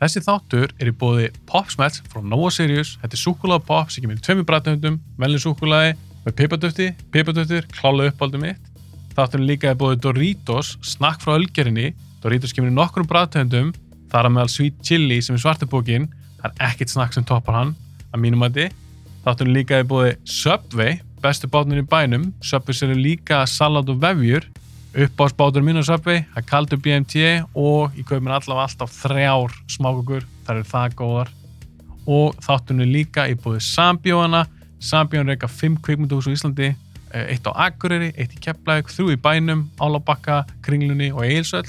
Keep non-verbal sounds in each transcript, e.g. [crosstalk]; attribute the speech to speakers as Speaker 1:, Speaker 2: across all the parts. Speaker 1: Þessi þáttur er í bóði Popsmets frá Nova Sirius. Þetta er súkulega pop sem kemur í tveimur brætnöfndum, velin súkulaði með pipadöfti, pipadöftir, klála uppáldum mitt. Þátturinn líka er bóði Doritos, snakk frá ölgerinni. Doritos kemur í nokkrum brætnöfndum, þar að meðal Sweet Chili sem er svartabókin. Það er ekkert snakk sem toppar hann, að mínum að þið. Þátturinn líka er bóði Subway, bestu bátnir í bænum. Subway sem líka salat og vefjur uppáðsbátur mín á Subway, það er kaldur BMT og ég kaup mér allavega alltaf þrjár smákukur, það eru það góðar og þáttunni líka í búið Sambjóana, Sambjón reyka 5 kvikmyndahús á Íslandi eh, eitt á Akureyri, eitt í Keflavík, þrjú í bænum Álabakka, Kringlunni og Egilsöll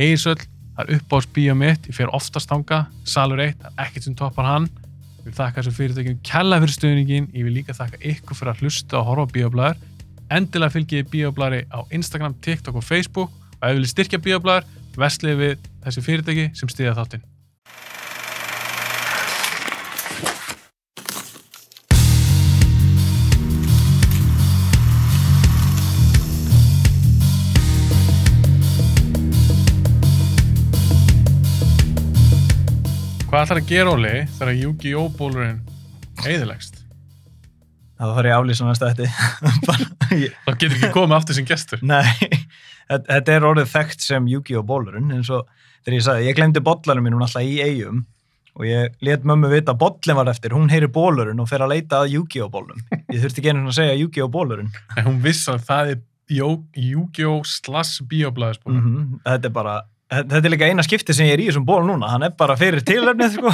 Speaker 1: Egilsöll, það er uppáðsbíja mitt ég fer oftast þanga, Salur 1 það er ekkert sem toppar hann ég vil þakka þessu fyrirtökjum kella fyrir stöðningin ég vil líka þakka ykkur fyrir að hlusta og horfa á bíoblæður endilega fylgjið Bíoblari á Instagram, TikTok og Facebook og ef við viljið styrkja Bíoblar, vestlið við þessi fyrirtæki sem stiðja þáttinn. Hvað ætlar að gera, Óli, þegar Yu-Gi-Oh! bólurinn heiðilegst?
Speaker 2: Það þarf ég að aflýsa næsta þetta. [laughs] Bara, ég,
Speaker 1: Það getur ekki komið aftur sem gestur.
Speaker 2: nei, þetta þetta er orðið þekkt sem Yu-Gi-Oh! bólurinn, eins og þegar ég sagði, ég glemdi bollanum mínum alltaf í eigum og ég let mömmu vita að bollin var eftir, hún heyri bólurinn og fer að leita að Yu-Gi-Oh! bólnum. Ég þurfti ekki einu sinni að segja Yu-Gi-Oh! bólurinn.
Speaker 1: En hún vissi að það er Jó- Yu-Gi-Oh! slash sko. bioblæðisbúna.
Speaker 2: Mm Þetta er bara, þetta þetta er líka eina skipti sem ég er í þessum ból núna, hann er bara fyrir tilöfnið, sko.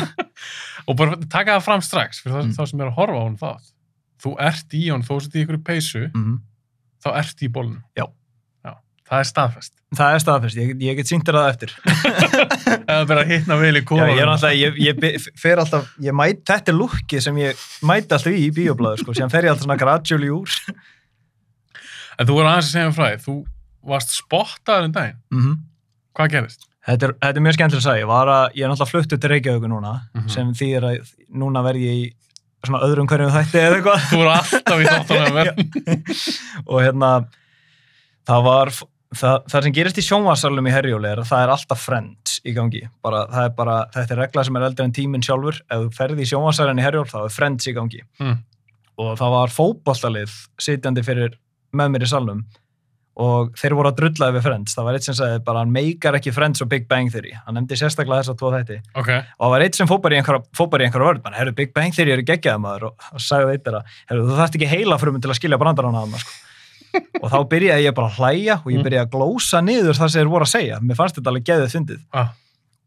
Speaker 1: Og bara taka það fram strax fyrir þá,
Speaker 2: Mm.
Speaker 1: þá sem er að horfa á hún þátt. Þú ert í hún, þó sem þið ykkur í peysu,
Speaker 2: Mhm.
Speaker 1: þá ert í bólunum.
Speaker 2: Já.
Speaker 1: Já, það er staðfest.
Speaker 2: Það er staðfest, ég, get- ég get sýndir það eftir.
Speaker 1: Það er bara að hitna vel í
Speaker 2: Já,
Speaker 1: kóðan.
Speaker 2: ég er alltaf, ég, ég be- fer alltaf, ég mæt, þetta er lúkið sem ég mæti alltaf í í bíoblæður, sko, sem fer ég alltaf svona gradually úr.
Speaker 1: En þú voru aðeins að segja um frá því, þú varst spottaður en daginn. Hvað gerist?
Speaker 2: Mhm. þetta, er, þetta er mjög skemmtilega að segja, ég var að, ég er náttúrulega fluttur til Reykjavíku núna,
Speaker 1: Mhm.
Speaker 2: sem þýðir að núna verð ég í svona öðrum hverjum þætti eða eitthvað.
Speaker 1: Þú voru alltaf í þáttunum að verða.
Speaker 2: og hérna, það var, það, það sem gerist í sjónvarsalum í Herjóli er að það er alltaf friends í gangi. Bara, það er bara, þetta er regla sem er eldri en tíminn sjálfur, ef þú ferði í sjónvarsalinn í Herjóli þá er friends í gangi.
Speaker 1: Mm.
Speaker 2: og það var fótbollalið sitjandi fyrir með mér í salnum og þeir voru að drulla yfir Friends það var eitt sem sagði bara hann meikar ekki Friends og Big Bang Theory, hann nefndi sérstaklega þess að tvo þætti
Speaker 1: Ok,
Speaker 2: og það var eitt sem fópar í einhverja, fópar í einhverja vörð, bara herru Big Bang Theory eru geggjaði maður og, og sagði eitt þeirra, herru þú þarft ekki heila frumum til að skilja brandar á hana sko.
Speaker 1: [laughs]
Speaker 2: og þá byrjaði ég bara að hlæja
Speaker 1: Mm.
Speaker 2: og ég byrjaði að glósa niður það sem þeir voru að segja mér fannst þetta alveg geðið fyndið
Speaker 1: ah,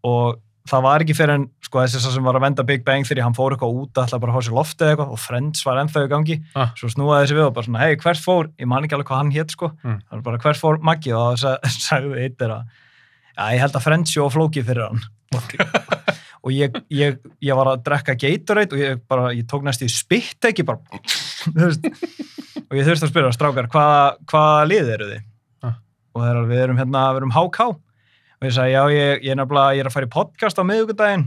Speaker 2: og það var ekki fyrir en sko, þessi sá sem var að venda Big Bang þegar hann fór eitthvað út alltaf bara að hóða sér loftið eða eitthvað og Friends var ennþá í gangi
Speaker 1: Ah.
Speaker 2: svo snúaði þessi við og bara svona hei hvert fór, ég man ekki alveg hvað hann hétt sko
Speaker 1: Mm.
Speaker 2: það var bara hvert fór Maggi og það sa- [laughs] sagði eitt er að ja, ég held að Friends sjó flókið fyrir hann og ég, ég, ég var að drekka Gatorade og ég bara, ég tók næst í spitt ekki bara [laughs] þú veist. og ég þurfti að spyrja strákar, hvaða hvaða lið eru þið?
Speaker 1: Ah.
Speaker 2: og þeir eru, við erum hérna, við erum HK og ég sagði, já, ég, ég er nefnilega, ég er að fara í podcast á miðugudaginn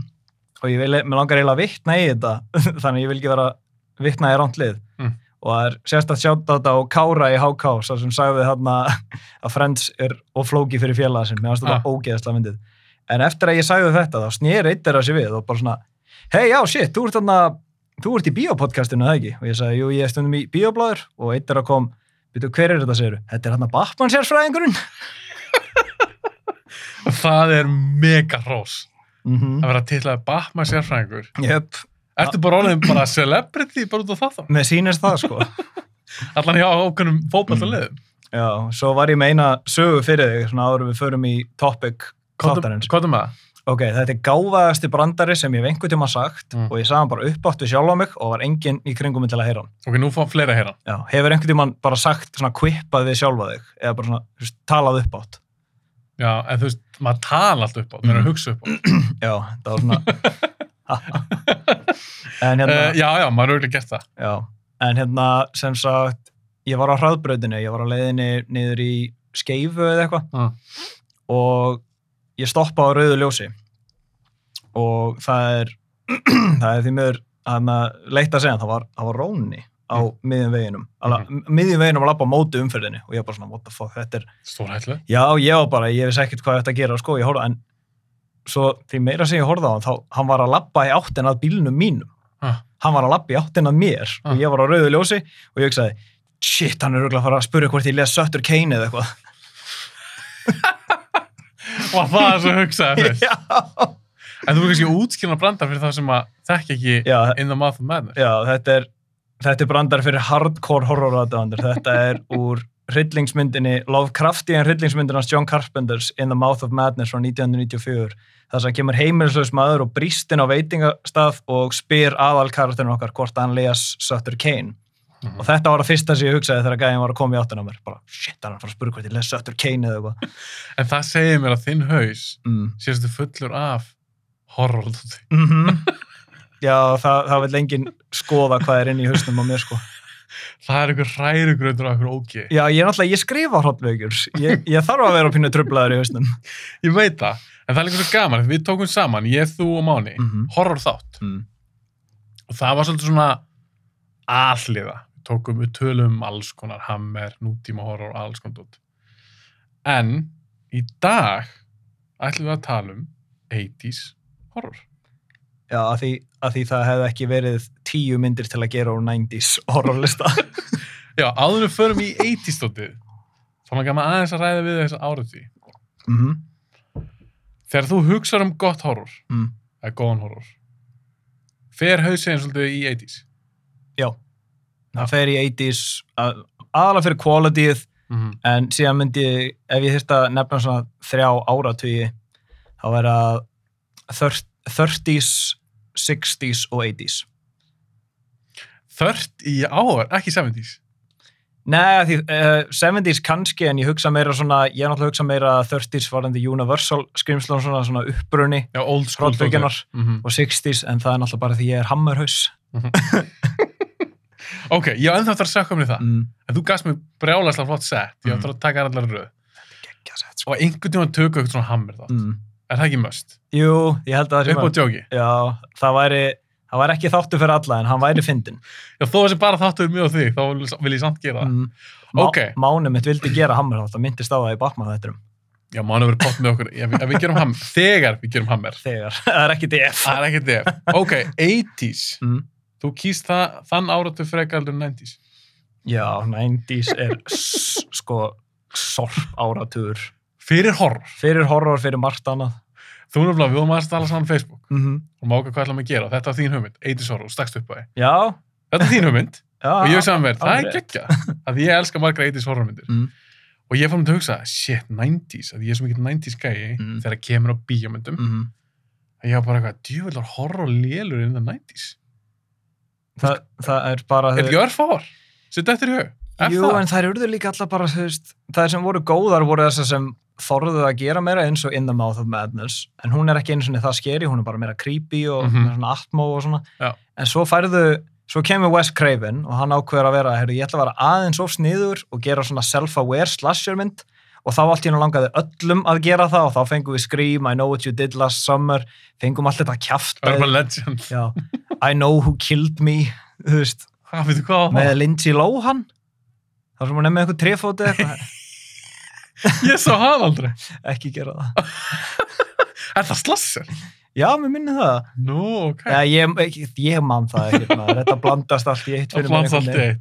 Speaker 2: og ég vil, mér langar eiginlega að vitna í þetta [laughs] þannig að ég vil ekki vera að vitna í rántlið
Speaker 1: Mm.
Speaker 2: og það er sérstætt sjátt á þetta og Kára í HK, sá sem sagði þarna að Friends er og flóki fyrir félaga sinn, mér finnst þetta
Speaker 1: Ah.
Speaker 2: ógeðslega myndið en eftir að ég sagði þetta, þá snýri eitt er að sér við og bara svona, hei, já, shit, þú ert þarna þú ert í bíopodcastinu, það ekki? og ég sagði, jú, ég er stundum í bíobláður og eitt er að kom, veitu, hver er þetta, segir þetta er hann að Batman sérfræðingurinn
Speaker 1: það er mega hrós
Speaker 2: mm
Speaker 1: að vera tillaði Batman sérfræðingur.
Speaker 2: Jöp,
Speaker 1: Ertu bara orðin bara celebrity bara út á það þá?
Speaker 2: með sínist það sko.
Speaker 1: Allan hjá ákveðnum
Speaker 2: Mm.
Speaker 1: fótballtaliðum.
Speaker 2: Já, svo var ég meina sögu fyrir þig, svona áður en við förum í topic þáttarins.
Speaker 1: Hvað er með það?
Speaker 2: Ok, þetta er gáfaðasti brandari sem ég hef einhvern tíma sagt
Speaker 1: Mm.
Speaker 2: og ég sagði hann bara uppátt við sjálf á mig og var enginn í kringum minn til að heyra hann.
Speaker 1: Ok, nú fá fleira að heyra.
Speaker 2: Já, hefur einhvern tíma bara sagt svona kvippað við sjálfa þig eða bara svona þú veist, talað uppátt.
Speaker 1: Já, en þú veist, maður tala allt upp á,
Speaker 2: Mm.
Speaker 1: maður er að hugsa upp á.
Speaker 2: Já, það var svona... [laughs] en hérna...
Speaker 1: Uh, já, já, maður er auðvitað gert það.
Speaker 2: Já, en hérna sem sagt, ég var á hraðbrautinu, ég var á leiðinni niður í skeifu eða eitthvað
Speaker 1: Mm.
Speaker 2: og ég stoppa á rauðu ljósi og það er, [clears throat] það er því miður hann að leita að segja, það var, það var róni á miðjum veginum, alveg, miðjum veginum var lappa á móti umferðinni og ég bara svona, what the fuck, þetta er
Speaker 1: Stór hætlu.
Speaker 2: Já, ég var bara, ég vissi ekkert hvað þetta að gera, sko, ég horfði, en svo því meira sem ég horfði á hann, þá hann var að labba í áttin að bílnum mínum. [laughs]
Speaker 1: Ah.
Speaker 2: Hann var að labba í áttin að mér
Speaker 1: Ah.
Speaker 2: og ég var á rauðu ljósi og ég hugsaði, shit, hann er auðvitað að fara að spura hvort ég les Söttur Kane eða eitthvað.
Speaker 1: Var það það sem hugsaði fyrst?
Speaker 2: [laughs] Já.
Speaker 1: En þú voru kannski útskýrna brandar fyrir það sem að þekki ekki
Speaker 2: Já.
Speaker 1: In the Mouth of Madness.
Speaker 2: Já, þetta er, þetta er brandar fyrir hardcore horror aðdæðandur. Þetta er úr hryllingsmyndinni, Lovecraftian hryllingsmyndin hans John Carpenter's In the Mouth of Madness frá 1994. Það sem kemur heimilislaus maður og brýstinn á veitingastað og spyr aðalkarakterinn okkar hvort hann les Sutter Kane.
Speaker 1: Mhm.
Speaker 2: Og þetta var það fyrsta sem ég hugsaði þegar gæðin var að koma í áttina á mér. Bara, shit, hann er að fara að spura hvort ég les Sutter Kane eða eitthvað.
Speaker 1: En það segir mér að þinn haus
Speaker 2: Mm.
Speaker 1: sést þú fullur af horror. dóti.
Speaker 2: Mm Já, það, það vil enginn skoða hvað er inn í hausnum á mér, sko.
Speaker 1: Það er einhver hrærugröndur af einhver ógi.
Speaker 2: Já, ég er náttúrulega, ég skrifa hrottveikjur. Ég, ég þarf að vera pínu trublaður í hausnum.
Speaker 1: Ég veit það. En það er einhver svo gaman. Við tókum saman, ég, þú og Máni,
Speaker 2: Mhm.
Speaker 1: horror þátt. Og það var svolítið svona alliða. Við tókum, við tölum um alls konar hammer, nútíma horror, alls konar dót. En í dag ætlum við að tala um 80s horror.
Speaker 2: Já, að því, að því það hefði ekki verið tíu myndir til að gera úr 90s horrorlista.
Speaker 1: Já, áður en við förum í 80s stótið þá langar maður aðeins að ræða við þess áriði.
Speaker 2: mm -hmm.
Speaker 1: Þegar þú hugsar um gott horror,
Speaker 2: mm.
Speaker 1: eða góðan horror, fer hausegin svolítið í 80s.
Speaker 2: Já, það fer í 80s, að, aðalega fyrir qualityð,
Speaker 1: Mm
Speaker 2: en síðan myndi ég, ef ég þyrst að nefna svona þrjá áratugi, þá verða þör- 30s, 60s og 80s.
Speaker 1: Þört í áður, ekki 70s.
Speaker 2: Nei, af því uh, 70s kannski, en ég hugsa meira svona, ég er náttúrulega hugsa meira að 30s varandi Universal skrimslun svona, svona uppbrunni
Speaker 1: Já, old school.
Speaker 2: hrottveikjunar
Speaker 1: Mm
Speaker 2: og 60s, en það er náttúrulega bara því ég er hammerhaus.
Speaker 1: Ok, ég á ennþá eftir að sökka um það.
Speaker 2: Mm.
Speaker 1: En þú gafst mér brjálaslega flott sett. Ég á eftir að taka þær allar í röð.
Speaker 2: Gekkja sett, sko.
Speaker 1: Og einhvern tíma tökum eitthvað svona hammer þá.
Speaker 2: Mm.
Speaker 1: Er það ekki möst?
Speaker 2: Jú, ég held að það sé
Speaker 1: Upp á
Speaker 2: maður.
Speaker 1: djóki.
Speaker 2: Já, það væri, það væri ekki þáttu fyrir alla, en hann væri fyndin.
Speaker 1: Já, þó þessi bara þáttuður mjög á þig, þá vil- vil ég samt gera það.
Speaker 2: Mm.
Speaker 1: Ok.
Speaker 2: Mánu mitt vildi gera hammerhátt, það myndist á það í Batman þetturum.
Speaker 1: Já, mánu verið pott með okkur. Ef, ef við gerum hammer, þegar við gerum hammer,
Speaker 2: Þegar, [laughs] það er ekki DF.
Speaker 1: Það er ekkert ef. Ok, 80s.
Speaker 2: Mm.
Speaker 1: Þú kýst það, þann áratu frekar heldur en 90s.
Speaker 2: Já, 90s er s- sko sorp áratugur.
Speaker 1: Fyrir horror.
Speaker 2: Fyrir horror, fyrir margt annað.
Speaker 1: Þú erum alveg, við vorum aðeins að tala saman á Facebook
Speaker 2: Mm
Speaker 1: og máka hvað ætlum að gera. Þetta er þín hugmynd, 80s horror, stakst upp á því.
Speaker 2: Já,
Speaker 1: Þetta er þín hugmynd
Speaker 2: já.
Speaker 1: og ég
Speaker 2: [laughs]
Speaker 1: hugsa að mér, það er
Speaker 2: alveg rétt.
Speaker 1: geggja. Að ég elska margra 80s horrormyndir.
Speaker 2: Mm.
Speaker 1: Og ég fór mér til að hugsa, shit, 90s, að ég er svo mikill 90s gæi
Speaker 2: Mm.
Speaker 1: þegar það kemur á bíómyndum.
Speaker 2: Mm -hmm.
Speaker 1: Að ég hafa bara eitthvað, djúvillar horror lélur inn í 90s.
Speaker 2: Þa, það er bara
Speaker 1: Er þetta ekki örfár? Sitt eftir í hug. Er
Speaker 2: Jú,
Speaker 1: það?
Speaker 2: en það eru líka alltaf bara þú veist, það sem voru góðar voru þessar sem þorðu að gera meira eins og In the Mouth of Madness en hún er ekki eins og það skeri, hún er bara meira creepy og
Speaker 1: Mhm.
Speaker 2: mm svona atmo og svona
Speaker 1: Já.
Speaker 2: en svo færðu, svo kemur Wes Craven og hann ákveður að vera, heyrðu, ég ætla að vera aðeins of sniður og gera svona self-aware slashermynd og þá allt í hennu langaði öllum að gera það og þá fengum við Scream, I Know What You Did Last Summer fengum allt þetta kjaft
Speaker 1: Urban Legend.
Speaker 2: Já, I Know Who Killed Me þú veist,
Speaker 1: Hvað, veitu hvað?
Speaker 2: með Lindsay Lohan þar sem hún er með eitthvað trefóti eitthvað,
Speaker 1: Ég sá hann aldrei.
Speaker 2: ekki gera það
Speaker 1: Er það slasser?
Speaker 2: já, mér minni það
Speaker 1: Nú, ok.
Speaker 2: ja, ég, ég, ég man það ekkert maður þetta blandast allt í eitt
Speaker 1: Það
Speaker 2: fyrir mér
Speaker 1: flanst
Speaker 2: einhvern
Speaker 1: allt í eitt.
Speaker 2: veginn.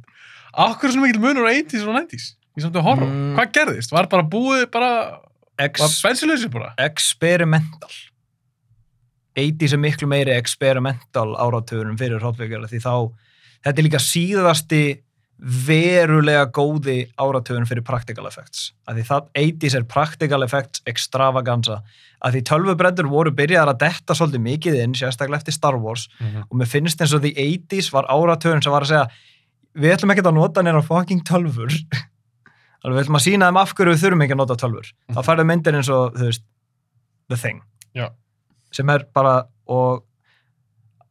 Speaker 1: Akkur er svona mikil munur á 80s og 90s? Í samt að horfa.
Speaker 2: Mm.
Speaker 1: Hvað gerðist? Var bara búið, bara, var
Speaker 2: Ex,
Speaker 1: bensinlausir bara?
Speaker 2: experimental 80s er miklu meiri experimental áratugurum fyrir hróttveikjara því þá þetta er líka síðasti verulega góði áratugun fyrir practical effects að því það 80s er practical effects extravaganza að því tölvubreddur voru byrjaðar að detta svolítið mikið inn sérstaklega eftir Star Wars og mér finnst eins og því 80s var áratugurinn sem var að segja við ætlum ekkert að nota neina fucking tölfur [laughs] alveg við ætlum að sína þeim af hverju við þurfum ekki að nota tölfur þá
Speaker 1: Mhm.
Speaker 2: færðu myndir eins og þú veist The Thing
Speaker 1: Já.
Speaker 2: sem er bara og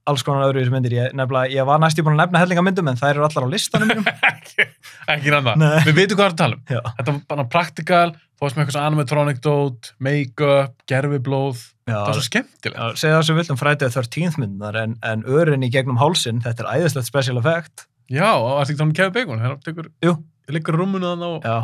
Speaker 2: alls konar öðru myndir ég, nefnilega, ég var næstu búin að nefna hellinga myndum en þær eru allar á listanum
Speaker 1: [laughs]
Speaker 2: mínum
Speaker 1: ekki, ekki rann það.
Speaker 2: Nei.
Speaker 1: Við veitum hvað það er að tala um.
Speaker 2: Já.
Speaker 1: Þetta var bara praktikal, þú varst með eitthvað svona animatronic dót, make-up, gerfiblóð. Það var svo skemmtilegt.
Speaker 2: Já, segja það sem við viljum frætið 13th myndar en, en örin í gegnum hálsin, þetta er æðislegt special effect
Speaker 1: Já, og það var ekki þannig kefið bacon. Það tekur,
Speaker 2: Jú.
Speaker 1: liggur rúmunu þannig og,
Speaker 2: Já.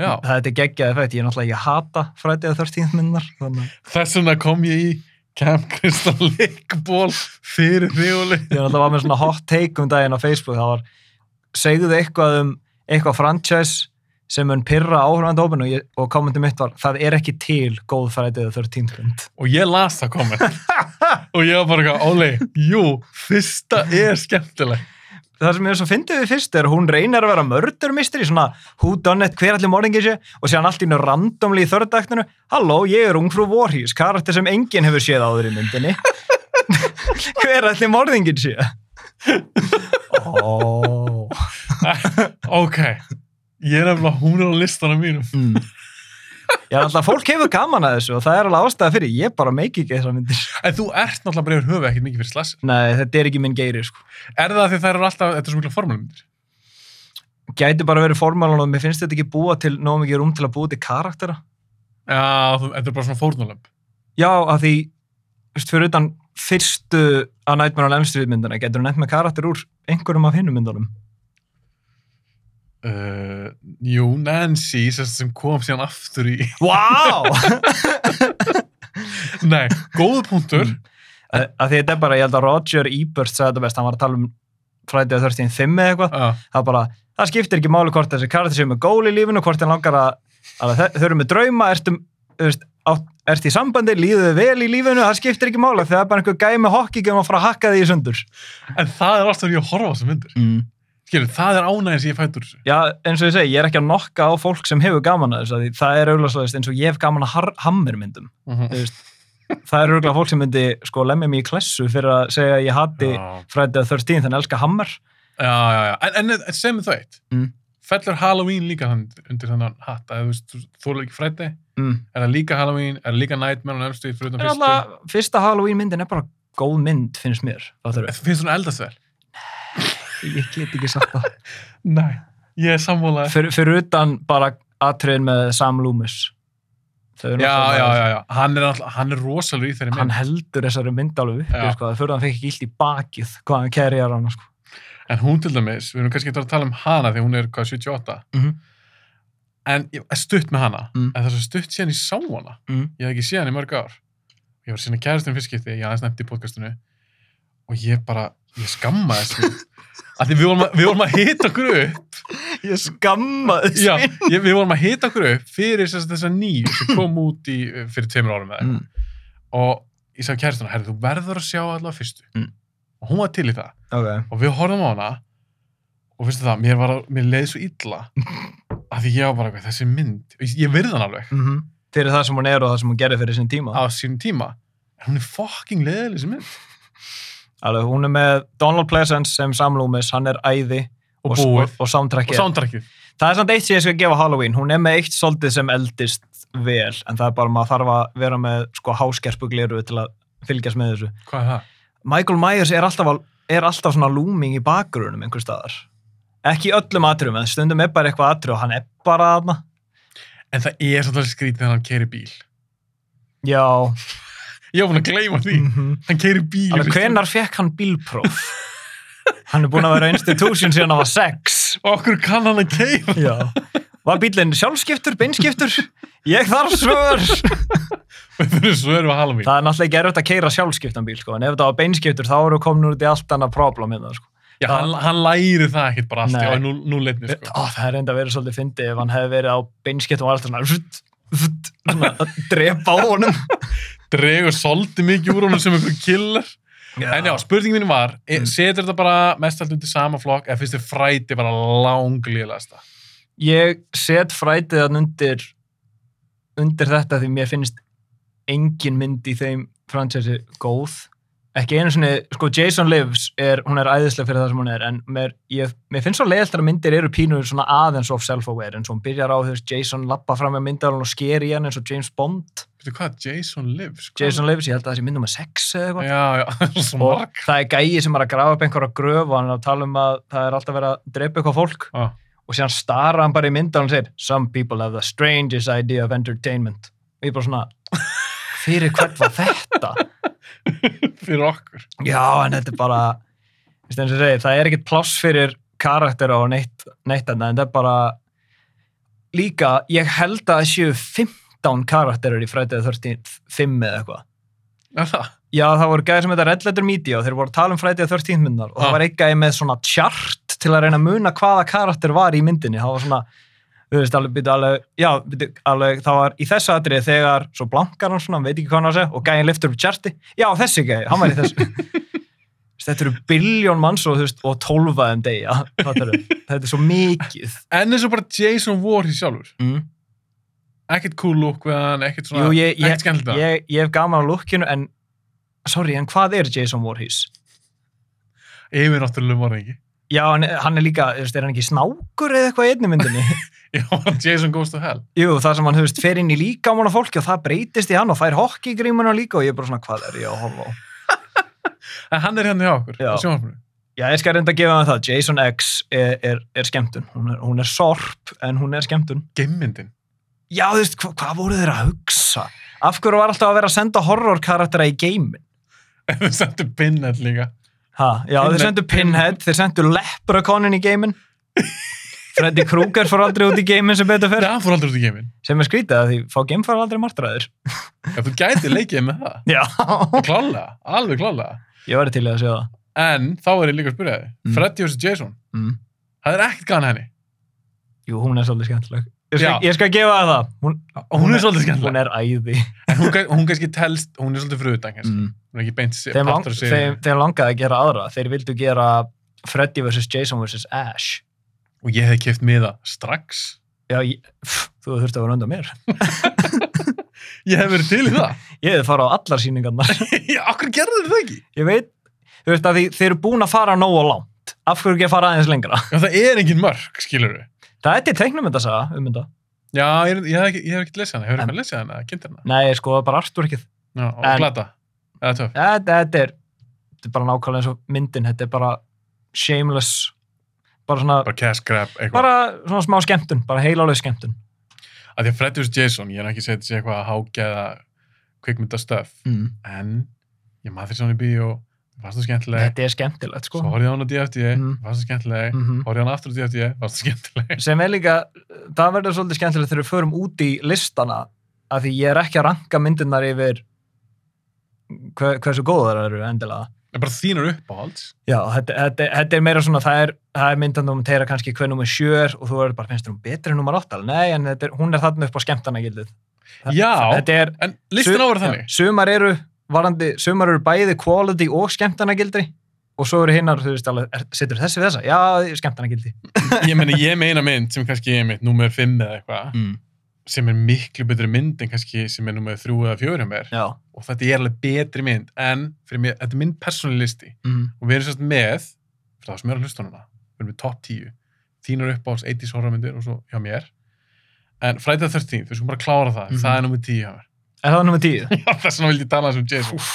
Speaker 1: já.
Speaker 2: þetta er geggjað effekt, ég náttúrulega ég hata frætið 13th myndar þannig
Speaker 1: Þess vegna kom ég í [laughs] kemkristall leikból fyrir rjóli
Speaker 2: ég er alltaf að með svona hot take um daginn á Facebook það var, segðu þið eitthvað um eitthvað franchise sem mun pyrra áhörðandópinu og, ég- og kommentum mitt var það er ekki til góð frætið 13 grund
Speaker 1: og ég las það komið
Speaker 2: [laughs]
Speaker 1: og ég var bara eitthvað, Óli, jú fyrsta er
Speaker 2: [laughs]
Speaker 1: skemmtileg
Speaker 2: það sem ég svo fyndið við fyrst er að hún reynir að vera mördur mystery, svona who done it, hver allir morðingi sé og sé hann allt í hennu randomli í þördaktinu, halló, ég er ungfrú Vorhís, karakter sem enginn hefur séð áður í myndinni [laughs] hver allir morðingin sé oh.
Speaker 1: ok, ég er nefnilega hún er á listana mínum
Speaker 2: mm. ég er alltaf, fólk hefur gaman að þessu og það er alveg ástæða fyrir, ég bara meiki ekki þessar myndir
Speaker 1: en þú ert náttúrulega bara yfir höfu ekkert mikið fyrir slassir
Speaker 2: nei, þetta er ekki minn geiri sko.
Speaker 1: er það af því þær eru alltaf, þetta er svo mikla formulmyndir
Speaker 2: gæti bara verið formálan og mér finnst þetta ekki búa til nóg mikið rúm til að búa til karaktera
Speaker 1: já, þú- þetta er bara svona fórnulömb
Speaker 2: Já, af því, veist, fyrir utan fyrstu að Nightmare on Elm Street myndina, getur hún nefnt með karakter úr einhverjum af hinnum myndunum.
Speaker 1: uh, jú, Nancy sem, sem kom síðan aftur í [laughs]
Speaker 2: Vá!
Speaker 1: nei, góðu punktur
Speaker 2: Wow! [laughs] af því þetta er bara, ég held að Roger Ebert sagði þetta best, hann var að tala um Friday the 13th 5 eða eitthvað,
Speaker 1: uh,
Speaker 2: það bara, það skiptir ekki máli hvort þessi karakter sem er gól í lífinu, hvort hann langar að, að þau- þau eru með drauma, ertu, þú veist, átt, ertu í sambandi, líðu þau vel í lífinu, það skiptir ekki máli, því það er bara einhver gæmi hokkigum að fara að hakka því í sundur.
Speaker 1: en það er alltaf því að horfa á þessar myndir
Speaker 2: Mm.
Speaker 1: Skilur, það er ánægins ég fætur þessu.
Speaker 2: Já, eins og ég segi, ég er ekki að nokka á fólk sem hefur gaman að þessu, af því það er auðvitað eins og ég hef gaman að hammermyndum.
Speaker 1: Mhm.
Speaker 2: Það er auðvitað fólk sem myndi sko lemja mig í klessu fyrir að segja að ég hati
Speaker 1: Já,
Speaker 2: Friday the 13th en elska hammer.
Speaker 1: já, já. já. En, en, en sem það eitt,
Speaker 2: Mm.
Speaker 1: fellur Halloween líka hann, undir þennan hatt, að þú veist, þú- þú er ekki frætti,
Speaker 2: Mm.
Speaker 1: er það líka Halloween, er það líka Nightmare on Elm Street fyrir utan
Speaker 2: En
Speaker 1: fyrstu?
Speaker 2: alltaf, fyrsta Halloween myndin er bara góð mynd, finnst mér. Það þurfum.
Speaker 1: Finnst þú hún eldast vel?
Speaker 2: Ég get ekki sagt það.
Speaker 1: Nei. Ég er sammálaði.
Speaker 2: Fyr, fyrir utan bara atriðin með Sam Loomis. Þau eru
Speaker 1: Já,
Speaker 2: náttúrulega-
Speaker 1: já, já, já. Hann er, alltaf, hann er rosalur í þeirri
Speaker 2: Hann
Speaker 1: mynd.
Speaker 2: heldur þessari mynd alveg uppi,
Speaker 1: Já.
Speaker 2: sko, það fyrir að hann fekk ekki illt í bakið hvað hann kæriðar hann, sko.
Speaker 1: En hún til dæmis, við erum kannski eftir að tala um hana því hún er, hvað, 78?
Speaker 2: Mhm.
Speaker 1: En ég er stutt með hana.
Speaker 2: Mm.
Speaker 1: En það er svo stutt síðan ég sá hana.
Speaker 2: Mm.
Speaker 1: ég hef ekki séð hann í mörg ár ég var að sinna kæristinn fyrst skipti, ég aðeins nefndi í podcastinu og ég bara, ég skamma þessu
Speaker 2: [laughs]
Speaker 1: að því við vorum að, við vorum að hita okkur upp
Speaker 2: Ég skammaði
Speaker 1: já, ég, við vorum að hita okkur upp fyrir þess að þess að nýju
Speaker 2: [laughs]
Speaker 1: sem kom út í, fyrir tveimur árum með mm.
Speaker 2: Mm,
Speaker 1: og ég sagði kæristinn, herri þú verður að sjá allavega fyrstu
Speaker 2: Mm.
Speaker 1: og hún var til í það
Speaker 2: ok.
Speaker 1: og við horfum á hana og finnst það, mér, var, að- mér leið svo
Speaker 2: [laughs]
Speaker 1: illa að því ég var bara, eitthvað, þessi mynd ég, ég virði hann alveg
Speaker 2: Mm Fyrir það sem hún er og það sem hún gerir fyrir sinn tíma.
Speaker 1: á sínum tíma en hún er fucking leiðileg þessi mynd
Speaker 2: Alveg, hún er með Donald Pleasence sem samlúmis, hann er æði
Speaker 1: og, búið
Speaker 2: og, og soundtrackið.
Speaker 1: og soundtrackið
Speaker 2: það er samt eitt sem ég skal gefa Halloween. Hún er með eitt soldið sem eldist vel, en það er bara maður þarf að vera með sko háskerpugleru til að fylgjast með þessu.
Speaker 1: Hvað er það?
Speaker 2: Michael Myers er alltaf, al- er alltaf svona looming í bakgrunum einhver staðar. Ekki í öllum atrum, en stundum er bara eitthvað atru og hann er bara aðna.
Speaker 1: En það er svolítið skrítið þegar hann keiri bíl.
Speaker 2: Já.
Speaker 1: Ég var búin að gleyma því.
Speaker 2: Mm [laughs] -hmm.
Speaker 1: Hann keiri bíl. í
Speaker 2: Alveg,
Speaker 1: fyrstu-
Speaker 2: hvenar fekk hann bílpróf? hann er búinn að vera á institution síðan hann var sex.
Speaker 1: Og okkur kann hann að
Speaker 2: [laughs]
Speaker 1: keira.
Speaker 2: Já. Var bílinn sjálfskiptur, beinskiptur? Ég þarf svör!
Speaker 1: Við þurfum svo erum við að hala mín.
Speaker 2: Það er náttúrulega ekki erfitt að keira sjálfskiptan bíl, sko, en ef þetta var beinskiptur þá eru komin út í allt annað problem hérna, sko.
Speaker 1: Já, hann, hann læri það ekkert bara allt.
Speaker 2: Nei.
Speaker 1: Já, nú, nú leitni, sko.
Speaker 2: Ó, það er enda verið svolítið fyndið ef hann hefði verið á beinskiptum og alltaf svona, vrt, vrt, svona að drepa á honum.
Speaker 1: Dregur svolítið mikið úr honum sem einhver killar. En já, spurningin mín var, mm.
Speaker 2: Mm.
Speaker 1: setur þetta bara mest allt undir sama flokk eða finnst þér fræti bara langlýðlegasta?
Speaker 2: Ég set frætið hann undir, undir þetta því mér finnst engin mynd í þeim fransesi góð. Ekki einu svona, sko Jason Lives, er, hún er æðislega fyrir það sem hún er, en mér, ég, mér finnst svo leiðilt að myndir eru pínur svona aðeins of self-aware, eins og hún byrjar á þess Jason lappa fram með myndar og sker í hann eins og James Bond.
Speaker 1: Veitu hvað, Jason lives? Hvað?
Speaker 2: Jason Lives, ég held að það sé myndum að sex eða eitthvað.
Speaker 1: Já, [laughs] já, það er svo
Speaker 2: Og
Speaker 1: marg.
Speaker 2: það er gæi sem er að grafa upp einhverja gröf og hann er að tala um að það er alltaf verið að drepa eitthvað fólk
Speaker 1: Ah.
Speaker 2: og síðan starra hann bara í mynda og hann segir Some people have the strangest idea of entertainment og ég bara svona fyrir hvert var þetta?
Speaker 1: [laughs] Fyrir okkur.
Speaker 2: Já, en þetta er bara veist, eins og ég segi, það er ekkit pláss fyrir karakter og neitt, neitt þarna, en þetta er bara líka, ég held að það séu 15 karakterar í frætið 35 eða eitthvað
Speaker 1: Er það?
Speaker 2: Já, það voru gæðir sem þetta Red Letter Media og þeir voru að tala um frætið að 13 myndar og
Speaker 1: Ah.
Speaker 2: það var eitt gæði með svona tjart til að reyna að muna hvaða karakter var í myndinni. Það var svona, þú veist, alveg, byrju, alveg, já, byrju, alveg, það var í þessu atrið þegar svo blankar hann svona, hann veit ekki hvað hann á að segja og gæðin liftur upp tjarti. Já, þessi gæði, hann var í þessu. Þú veist, þetta eru biljón manns og, þú veist, og tólfaðum degja, [laughs] þetta er svo mikið.
Speaker 1: En eins og bara Jason Voorhees sjálfur.
Speaker 2: Mm.
Speaker 1: Ekkert cool look við hann, ekkert svona,
Speaker 2: Jú, ég, ég,
Speaker 1: ekkert skemmtilegt við hann.
Speaker 2: ég, ég hef gaman á lukkinu en, sorry, en hvað er Jason Voorhees?
Speaker 1: Yfir náttúrulega morðingi.
Speaker 2: Já, hann, hann er líka, þú veist, er hann ekki snákur eða eitthvað í einni myndinni?
Speaker 1: [laughs] Já, Jason goes to hell.
Speaker 2: Jú, það sem hann, þú veist, fer inn í líkamann á fólki og það breytist í hann og fær hokkigrímuna líka og ég er bara svona, hvað er ég að horfa á?
Speaker 1: En hann er hérna hjá okkur, á
Speaker 2: Já.
Speaker 1: sjónvarpinu.
Speaker 2: Já, ég skal reynda að gefa hann það, Jason X er, er, er skemmtun, hún er, hún er sorp en hún er skemmtun.
Speaker 1: [laughs] Gimmindin.
Speaker 2: Já, þú veist, hva, hvað voru þeir að hugsa? Af hverju var alltaf að vera að senda horrorkaraktera í geimin?
Speaker 1: En þau sendu Pinhead líka.
Speaker 2: Ha, já,
Speaker 1: Pinhead.
Speaker 2: þeir sendu Pinhead, þeir sendu Leprechaunin í geimin. Freddy Krueger fór aldrei út í geimin sem betur
Speaker 1: Það
Speaker 2: fer,
Speaker 1: er hann fór aldrei út í geiminn.
Speaker 2: sem er skrítið að því fá geimfara aldrei martraðir.
Speaker 1: Ef þú gæti leikið með
Speaker 2: [laughs]
Speaker 1: það.
Speaker 2: Já.
Speaker 1: Klálega, alveg klálega.
Speaker 2: Ég væri til í að segja það.
Speaker 1: En þá er ég líka að spyrja þig.
Speaker 2: Mm.
Speaker 1: Freddy vs. Jason.
Speaker 2: Mm.
Speaker 1: Það er ekkert gana henni.
Speaker 2: Jú, hún er svolítið skemmtileg. Ég skal,
Speaker 1: Já.
Speaker 2: ég skal gefa það það. Hún,
Speaker 1: Hún, er svolítið
Speaker 2: Hún
Speaker 1: skemmtilega.
Speaker 2: er æði.
Speaker 1: En hún, kann- hún kannski telst, hún er svolítið fruðutan kannski. Hún er ekki beint sér,
Speaker 2: Þeim, lang,
Speaker 1: partur sér.
Speaker 2: þeim, þeim langaði að gera aðra. Þeir vildu gera Freddy vs. Jason vs. Ash.
Speaker 1: Og ég hef kæft miða strax.
Speaker 2: Já, ég, pff, þú þurfti að vera undan mér.
Speaker 1: Ég hef verið til í það.
Speaker 2: Ég hefði farað á allar síningarnar.
Speaker 1: [laughs] Já, Akkur gerður það ekki?
Speaker 2: [laughs] Ég veit, þú veist að því, þeir eru búin að fara nógu langt. Af hverju ekki að fara aðeins lengra? [laughs]
Speaker 1: Já, það er engin mörk, skilur við.
Speaker 2: Það er til teiknum þetta saga um þetta.
Speaker 1: Já, ég, ég, hef ekki- ég hef ekki lesið hana. Hefur
Speaker 2: En-
Speaker 1: eitthvað lesið hana? Kynnt hana?
Speaker 2: Nei, sko, það er bara artur ekki.
Speaker 1: Já, og
Speaker 2: En-
Speaker 1: glata. Eða töf.
Speaker 2: Þetta, þetta, er, þetta er bara nákvæmlega eins og myndin. Þetta er bara shameless. Bara svona
Speaker 1: Bara cash grab, eitthvað.
Speaker 2: bara svona smá skemmtun, bara heilalög skemmtun
Speaker 1: Að því að Freddy vs. Jason, ég er ekki setið sér eitthvað að hágeða kvikmyndastöf.
Speaker 2: mm.
Speaker 1: En ég maður þess að hann í bíó, varst það skemmtileg.
Speaker 2: þetta er skemmtilegt sko
Speaker 1: Svo horfði ég á hann á DFT,
Speaker 2: Mm.
Speaker 1: varst það E, skemmtileg.
Speaker 2: mm
Speaker 1: Horfði ég á hann aftur á DFT, varst það E, skemmtileg.
Speaker 2: sem er líka, það verður svolítið skemmtilegt þegar við förum út í listana af því ég er ekki að ranka myndirnar yfir hver, hversu góðar þær eru endilega
Speaker 1: [laughs] En bara þínar uppáhalds.
Speaker 2: Já, þetta, þetta, þetta er meira svona, það er, það er myndan þú teira kannski hver nummer sjör og þú verður bara, finnst þér hún betri en nummer áttal? Nei, en þetta er, hún er þarna upp á skemmtanagildið.
Speaker 1: Já,
Speaker 2: Þetta er,
Speaker 1: en listin á var þannig.
Speaker 2: Já, sumar eru, varandi, sumar eru bæði quality og skemmtanagildri og svo eru hinnar, þú veist alveg, er, setur þessi við þessa? Já, skemmtanagildi.
Speaker 1: ég meina, ég meina mynd sem kannski ég mynd nummer 5 eða eitthvað,
Speaker 2: Mm.
Speaker 1: sem er miklu betri mynd en kannski sem er nummer 3 eða 4 hjá mér
Speaker 2: Já.
Speaker 1: og þetta er alveg betri mynd en fyrir mér, þetta er minn persónali listi
Speaker 2: Mm.
Speaker 1: og við erum sérst með, fyrir það sem er að hlusta núna við erum með topp 10, þínar uppáhalds 80s horrormyndir og svo hjá mér en Friday the 13th, við skulum bara klára það
Speaker 2: Mhm.
Speaker 1: það er nummer 10 hjá mér,
Speaker 2: Er það nummer tíu?
Speaker 1: [laughs] Já, þess vegna vildi ég tala þessum Jason
Speaker 2: Úff.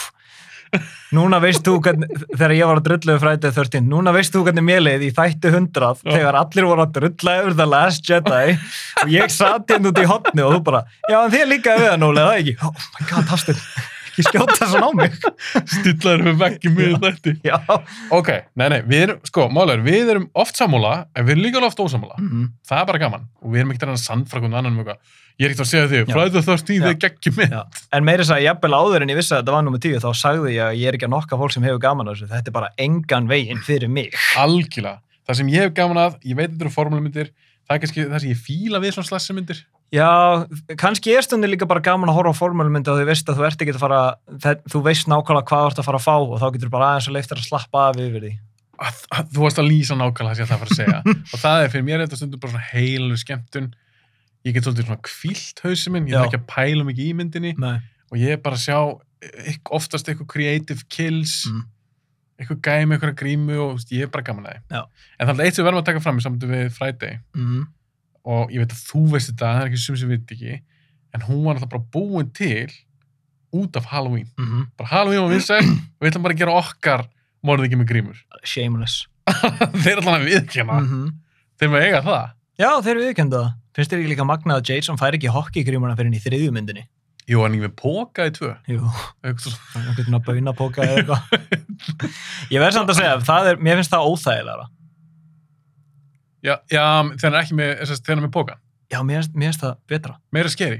Speaker 2: Núna veist þú hvernig, þegar ég var að drullu við frætið 13, núna veist þú hvernig mér leið í þætti 100
Speaker 1: Já.
Speaker 2: þegar allir voru að drulla yfir The Last Jedi og ég satt hérna út í hotni og þú bara, já en þið líka við það núlega, það ekki? Oh my god, Hastur, ekki skjóta þessan á mig. [laughs]
Speaker 1: stillaður við vekki með þetta
Speaker 2: Já.
Speaker 1: ok, nei nei, við erum, sko, málega við erum oft sammála, en við erum líka alveg oft ósammála
Speaker 2: Mm.
Speaker 1: það er bara gaman og við erum ekkert að reyna að sannfra hvernig annan um eitthvað ég er ekkert að segja þig,
Speaker 2: Já.
Speaker 1: fræðu það stíð
Speaker 2: Já.
Speaker 1: þig geggjum minn
Speaker 2: Já. En meira þess að jafnvel áður en ég vissi að þetta var nummið tíu þá sagði ég að ég er ekki að nokka fólk sem hefur gaman að þessu. Þetta er bara engan veginn fyrir mig.
Speaker 1: algjörlega, það sem ég hef gaman að ég veit þetta eru formulmyndir, það er kannski það sem ég fíla við svona slassamyndir
Speaker 2: Já, kannski er stundir líka bara gaman að horfa á formölmyndi og þú veist að þú ert ekki að fara, það, þú veist nákvæmlega hvað þú ert að fara að fá og þá getur bara aðeins að leifta að slappa af yfir því.
Speaker 1: að, að, þú varst að lýsa nákvæmlega það sem ég ætla að fara að
Speaker 2: [laughs]
Speaker 1: segja og það er fyrir mér þetta stundum bara svona heilu skemmtun ég get svolítið svona kvílt hausi minn, ég
Speaker 2: Já.
Speaker 1: þarf ekki að pæla mikið í myndinni
Speaker 2: Nei.
Speaker 1: og ég er bara að sjá ykk, oftast eitthvað creative kills
Speaker 2: Mm.
Speaker 1: eitthvað gæmi, eitthvað grímu og þú veist, ég er bara gaman að
Speaker 2: Já.
Speaker 1: því en þannig eitt sem við verðum að taka fram í samtum við Friday
Speaker 2: Mm.
Speaker 1: og ég veit að þú veist þetta, það er ekki sum sem við ekki, en hún var alltaf bara búin til út af Halloween.
Speaker 2: Mm.
Speaker 1: Bara Halloween var vinsæl
Speaker 2: [clears throat]
Speaker 1: og við ætlum bara að gera okkar morðið ekki með grímur.
Speaker 2: Shameless.
Speaker 1: [laughs] þeir allan að viðkjöna, mm.
Speaker 2: -hmm.
Speaker 1: þeir með eiga það.
Speaker 2: Já, þeir eru viðkjönda það. Finnst þér ekki líka magnað að Jason fær ekki hokkigrímuna fyrir henni í þriðju myndinni?
Speaker 1: Jú, en ekki með póka í tvö.
Speaker 2: Jú,
Speaker 1: Eitthvað svona-
Speaker 2: það er einhvern veginn að bauna póka eða eitthvað. [laughs] ég verð samt að segja, það er, mér finnst það óþægilega.
Speaker 1: Já, já þeir eru ekki með, þess að þeir eru með póka.
Speaker 2: Já, mér finnst, mér finnst það betra.
Speaker 1: Meira skeri.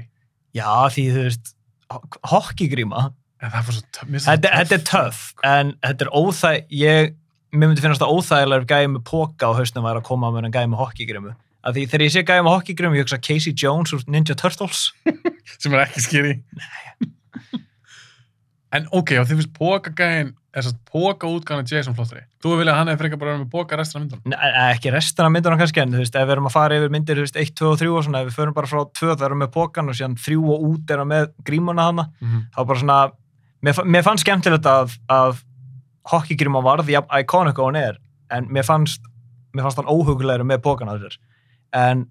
Speaker 2: Já, því þú veist, ho- hokkigríma
Speaker 1: En það var svo töff. mér finnst það svo
Speaker 2: Þetta, þetta er töff, en þetta er óþæg, ég, mér myndi finnast það óþægilegur gæði með póka á hausnum væri að koma á mér en gæði með hokkigrimu. Af því þegar ég sé gæði með hokkigrimu, ég hugsa Casey Jones úr Ninja Turtles.
Speaker 1: sem er ekki skýri [laughs] en ok, og þið finnst pókagæðin þess að póka útgáðan Jason flottri þú vilja að hann hefði frekar bara verið með póka restina af myndunum
Speaker 2: Nei, e- ekki restina af myndunum kannski, en þú veist, ef við erum að fara yfir myndir, þú veist, 1, 2 og 3 og svona, ef við förum bara frá 2, það erum við með pókan og síðan 3 og út erum við með grímuna hana,
Speaker 1: mm -hmm.
Speaker 2: þá bara svona, mér, fa- mér fannst skemmtilegt að, að hokkigríma varð jafn iconic og hún er, en mér fannst, mér fannst hann óhugulegur með pókan að þér, en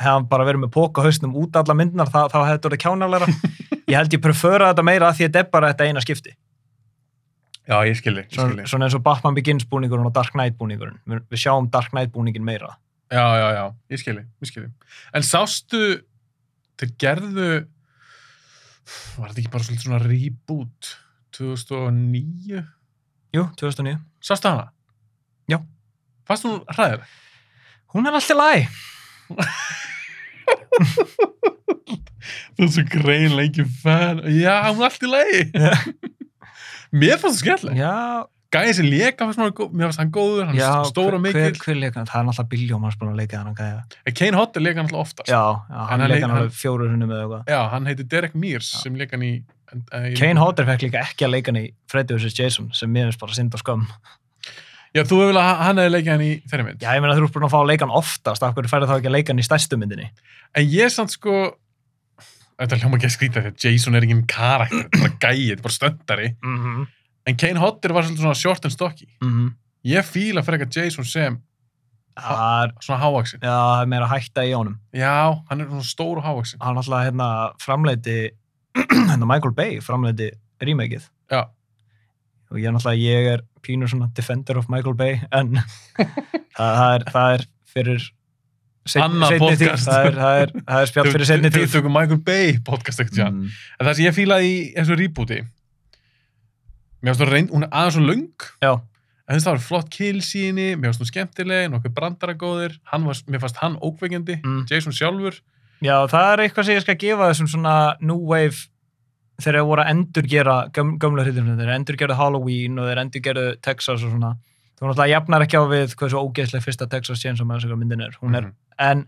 Speaker 2: hefði hann bara verið með póka hausnum út alla myndinar, þá, þá hefði þetta orðið kjánalegra.
Speaker 1: [laughs]
Speaker 2: Ég held ég prefera þetta meira að því að þetta er bara þetta eina skipti.
Speaker 1: já, ég skilji, ég
Speaker 2: Svona,
Speaker 1: skilji.
Speaker 2: svona eins og Batman Begins búningurinn og Dark Knight búningurinn. Við, við sjáum Dark Knight búningin meira.
Speaker 1: já, já, já, ég skilji, ég skilji en sástu þeir gerðu var þetta ekki bara svolítið svona reboot 2009
Speaker 2: Jú, 2009.
Speaker 1: sástu hana?
Speaker 2: Já.
Speaker 1: fannst hún hræðir?
Speaker 2: Hún er alltaf læg.
Speaker 1: þú er svo greinlega ekki fan já, hún er allt í lagi
Speaker 2: Já.
Speaker 1: [laughs] mér fannst það skemmtileg
Speaker 2: Já,
Speaker 1: gæði sem leka fannst mér, mér fannst hann góður, hann
Speaker 2: já.
Speaker 1: er stór og
Speaker 2: hver-
Speaker 1: mikill
Speaker 2: Hver, hver leikur hann? Það er náttúrulega Billjón hans búin að leika hann að gæða.
Speaker 1: en Kane Hodder leka hann alltaf oftast
Speaker 2: Já, já hann
Speaker 1: hann leik-
Speaker 2: leika hann
Speaker 1: hann-
Speaker 2: alveg fjóru húnum eða eitthvað.
Speaker 1: Já, hann heitir Derek Mears sem leka hann í en- eh, í-
Speaker 2: Kane Hodder fekk líka ekki að leika hann í Freddy vs. Jason sem mér finnst bara synd og skömm.
Speaker 1: já, þú hefur vel að hann hefði leika hann í þeirri mynd
Speaker 2: Já, ég meina þú ert búin að fá að leika hann oftast, af hverju færðu þá ekki að leika hann í stærstu myndinni?
Speaker 1: en ég samt sko þetta hljóma ekki að skrýta því að Jason er engin karakter þetta er bara gæi, þetta er bara stöndari
Speaker 2: Mm -hmm.
Speaker 1: en Kane Hodder var svolítið svona short and stocky
Speaker 2: Mhm.
Speaker 1: ég fíla frekar Jason sem
Speaker 2: Það er,
Speaker 1: svona hávaksin
Speaker 2: já, það er meira hætta í honum.
Speaker 1: já, hann er svona stór og hávaksin
Speaker 2: Hann alltaf hérna framleiti, [clears throat] hérna Michael Bay framleiti remakeið
Speaker 1: já,
Speaker 2: og ég er náttúrulega, ég er pínur svona defender of Michael Bay
Speaker 1: [laughs]
Speaker 2: en það, það, er, það er fyrir
Speaker 1: Annað
Speaker 2: tíð,
Speaker 1: podcast.
Speaker 2: það er, það er, það er spjátt fyrir setni
Speaker 1: Þegar við
Speaker 2: tíð.
Speaker 1: tökum Michael Bay podcast ekkert mm.
Speaker 2: Mm.
Speaker 1: en það sem ég fílaði í þessu rebooti mér finnst það reynd, hún er aðeins svo löng
Speaker 2: Já,
Speaker 1: en þess að það var flott kill síni, mér finnst hún skemmtileg nokkuð brandara góðir, hann var, mér fannst hann ókveikjandi,
Speaker 2: Mm.
Speaker 1: Jason sjálfur
Speaker 2: já, það er eitthvað sem ég skal gefa þessum svona new wave þegar þeir voru að endurgera göm, gömla hryllum, þeir endurgerðu Halloween og þeir endurgerðu Texas og svona þú náttúrulega jafnar ekki á við hversu ógeðslega fyrsta Texas Chainsaw Massacre myndin er, hún er
Speaker 1: Mhm.
Speaker 2: en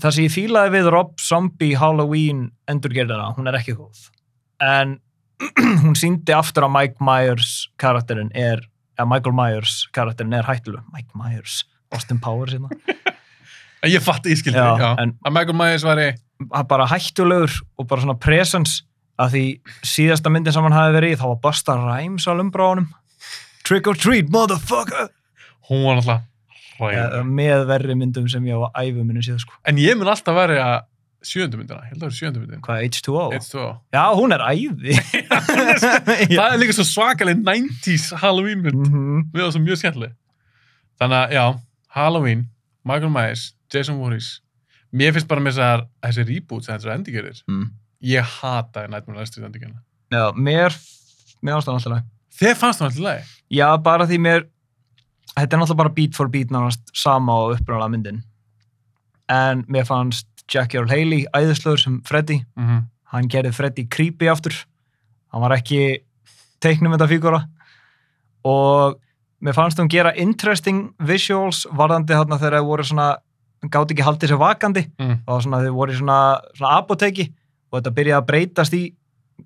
Speaker 2: það sem ég fílaði við Rob Zombie Halloween endurgerðina, hún er ekki góð en [clears throat] hún síndi aftur að Mike Myers karakterinn er eða Michael Myers karakterinn er hættilu Mike Myers, Austin Powers hérna.
Speaker 1: en ég fatt, ég skildi já, já.
Speaker 2: en
Speaker 1: að Michael Myers væri
Speaker 2: hann bara hættulegur og bara svona presence að því síðasta myndin sem hann hafi verið í þá var Busta Rhymes á lumbráunum Trick or treat, motherfucker
Speaker 1: hún var náttúrulega hræðileg.
Speaker 2: ja, með verri myndum sem ég á að æfu minni síðan sko
Speaker 1: en ég mun alltaf verið að sjöndu myndina, ég held að það er sjöndu myndin
Speaker 2: hvað, H2O?
Speaker 1: It's two.
Speaker 2: Já, hún er
Speaker 1: [laughs]
Speaker 2: æði [laughs] Já.
Speaker 1: það er líka svo svakaleg 90s Halloween mynd,
Speaker 2: Mhm.
Speaker 1: við það svo mjög skemmtileg þannig að já, Halloween Michael Myers, Jason Voorhees mér finnst bara með þessar þessi reboots, þessar endingerir
Speaker 2: mm.
Speaker 1: ég hata Nightmare on Elm Street endingerina
Speaker 2: Já, mér mér ástæðan alltaf lag
Speaker 1: þegar fannst hún alltaf leið
Speaker 2: Já, bara því mér þetta er náttúrulega bara beat for beat nánast sama á upprunalega myndin en mér fannst Jackie Earl Haley æðislöður sem Freddy
Speaker 1: mm -hmm.
Speaker 2: hann gerði Freddy creepy aftur hann var ekki teiknum þetta fígura og mér fannst hún gera interesting visuals varðandi þarna þegar þau voru svona gátt ekki haldið sér vakandi
Speaker 1: Mm.
Speaker 2: og svona þau voru í svona, svona apoteki og þetta byrjaði að breytast í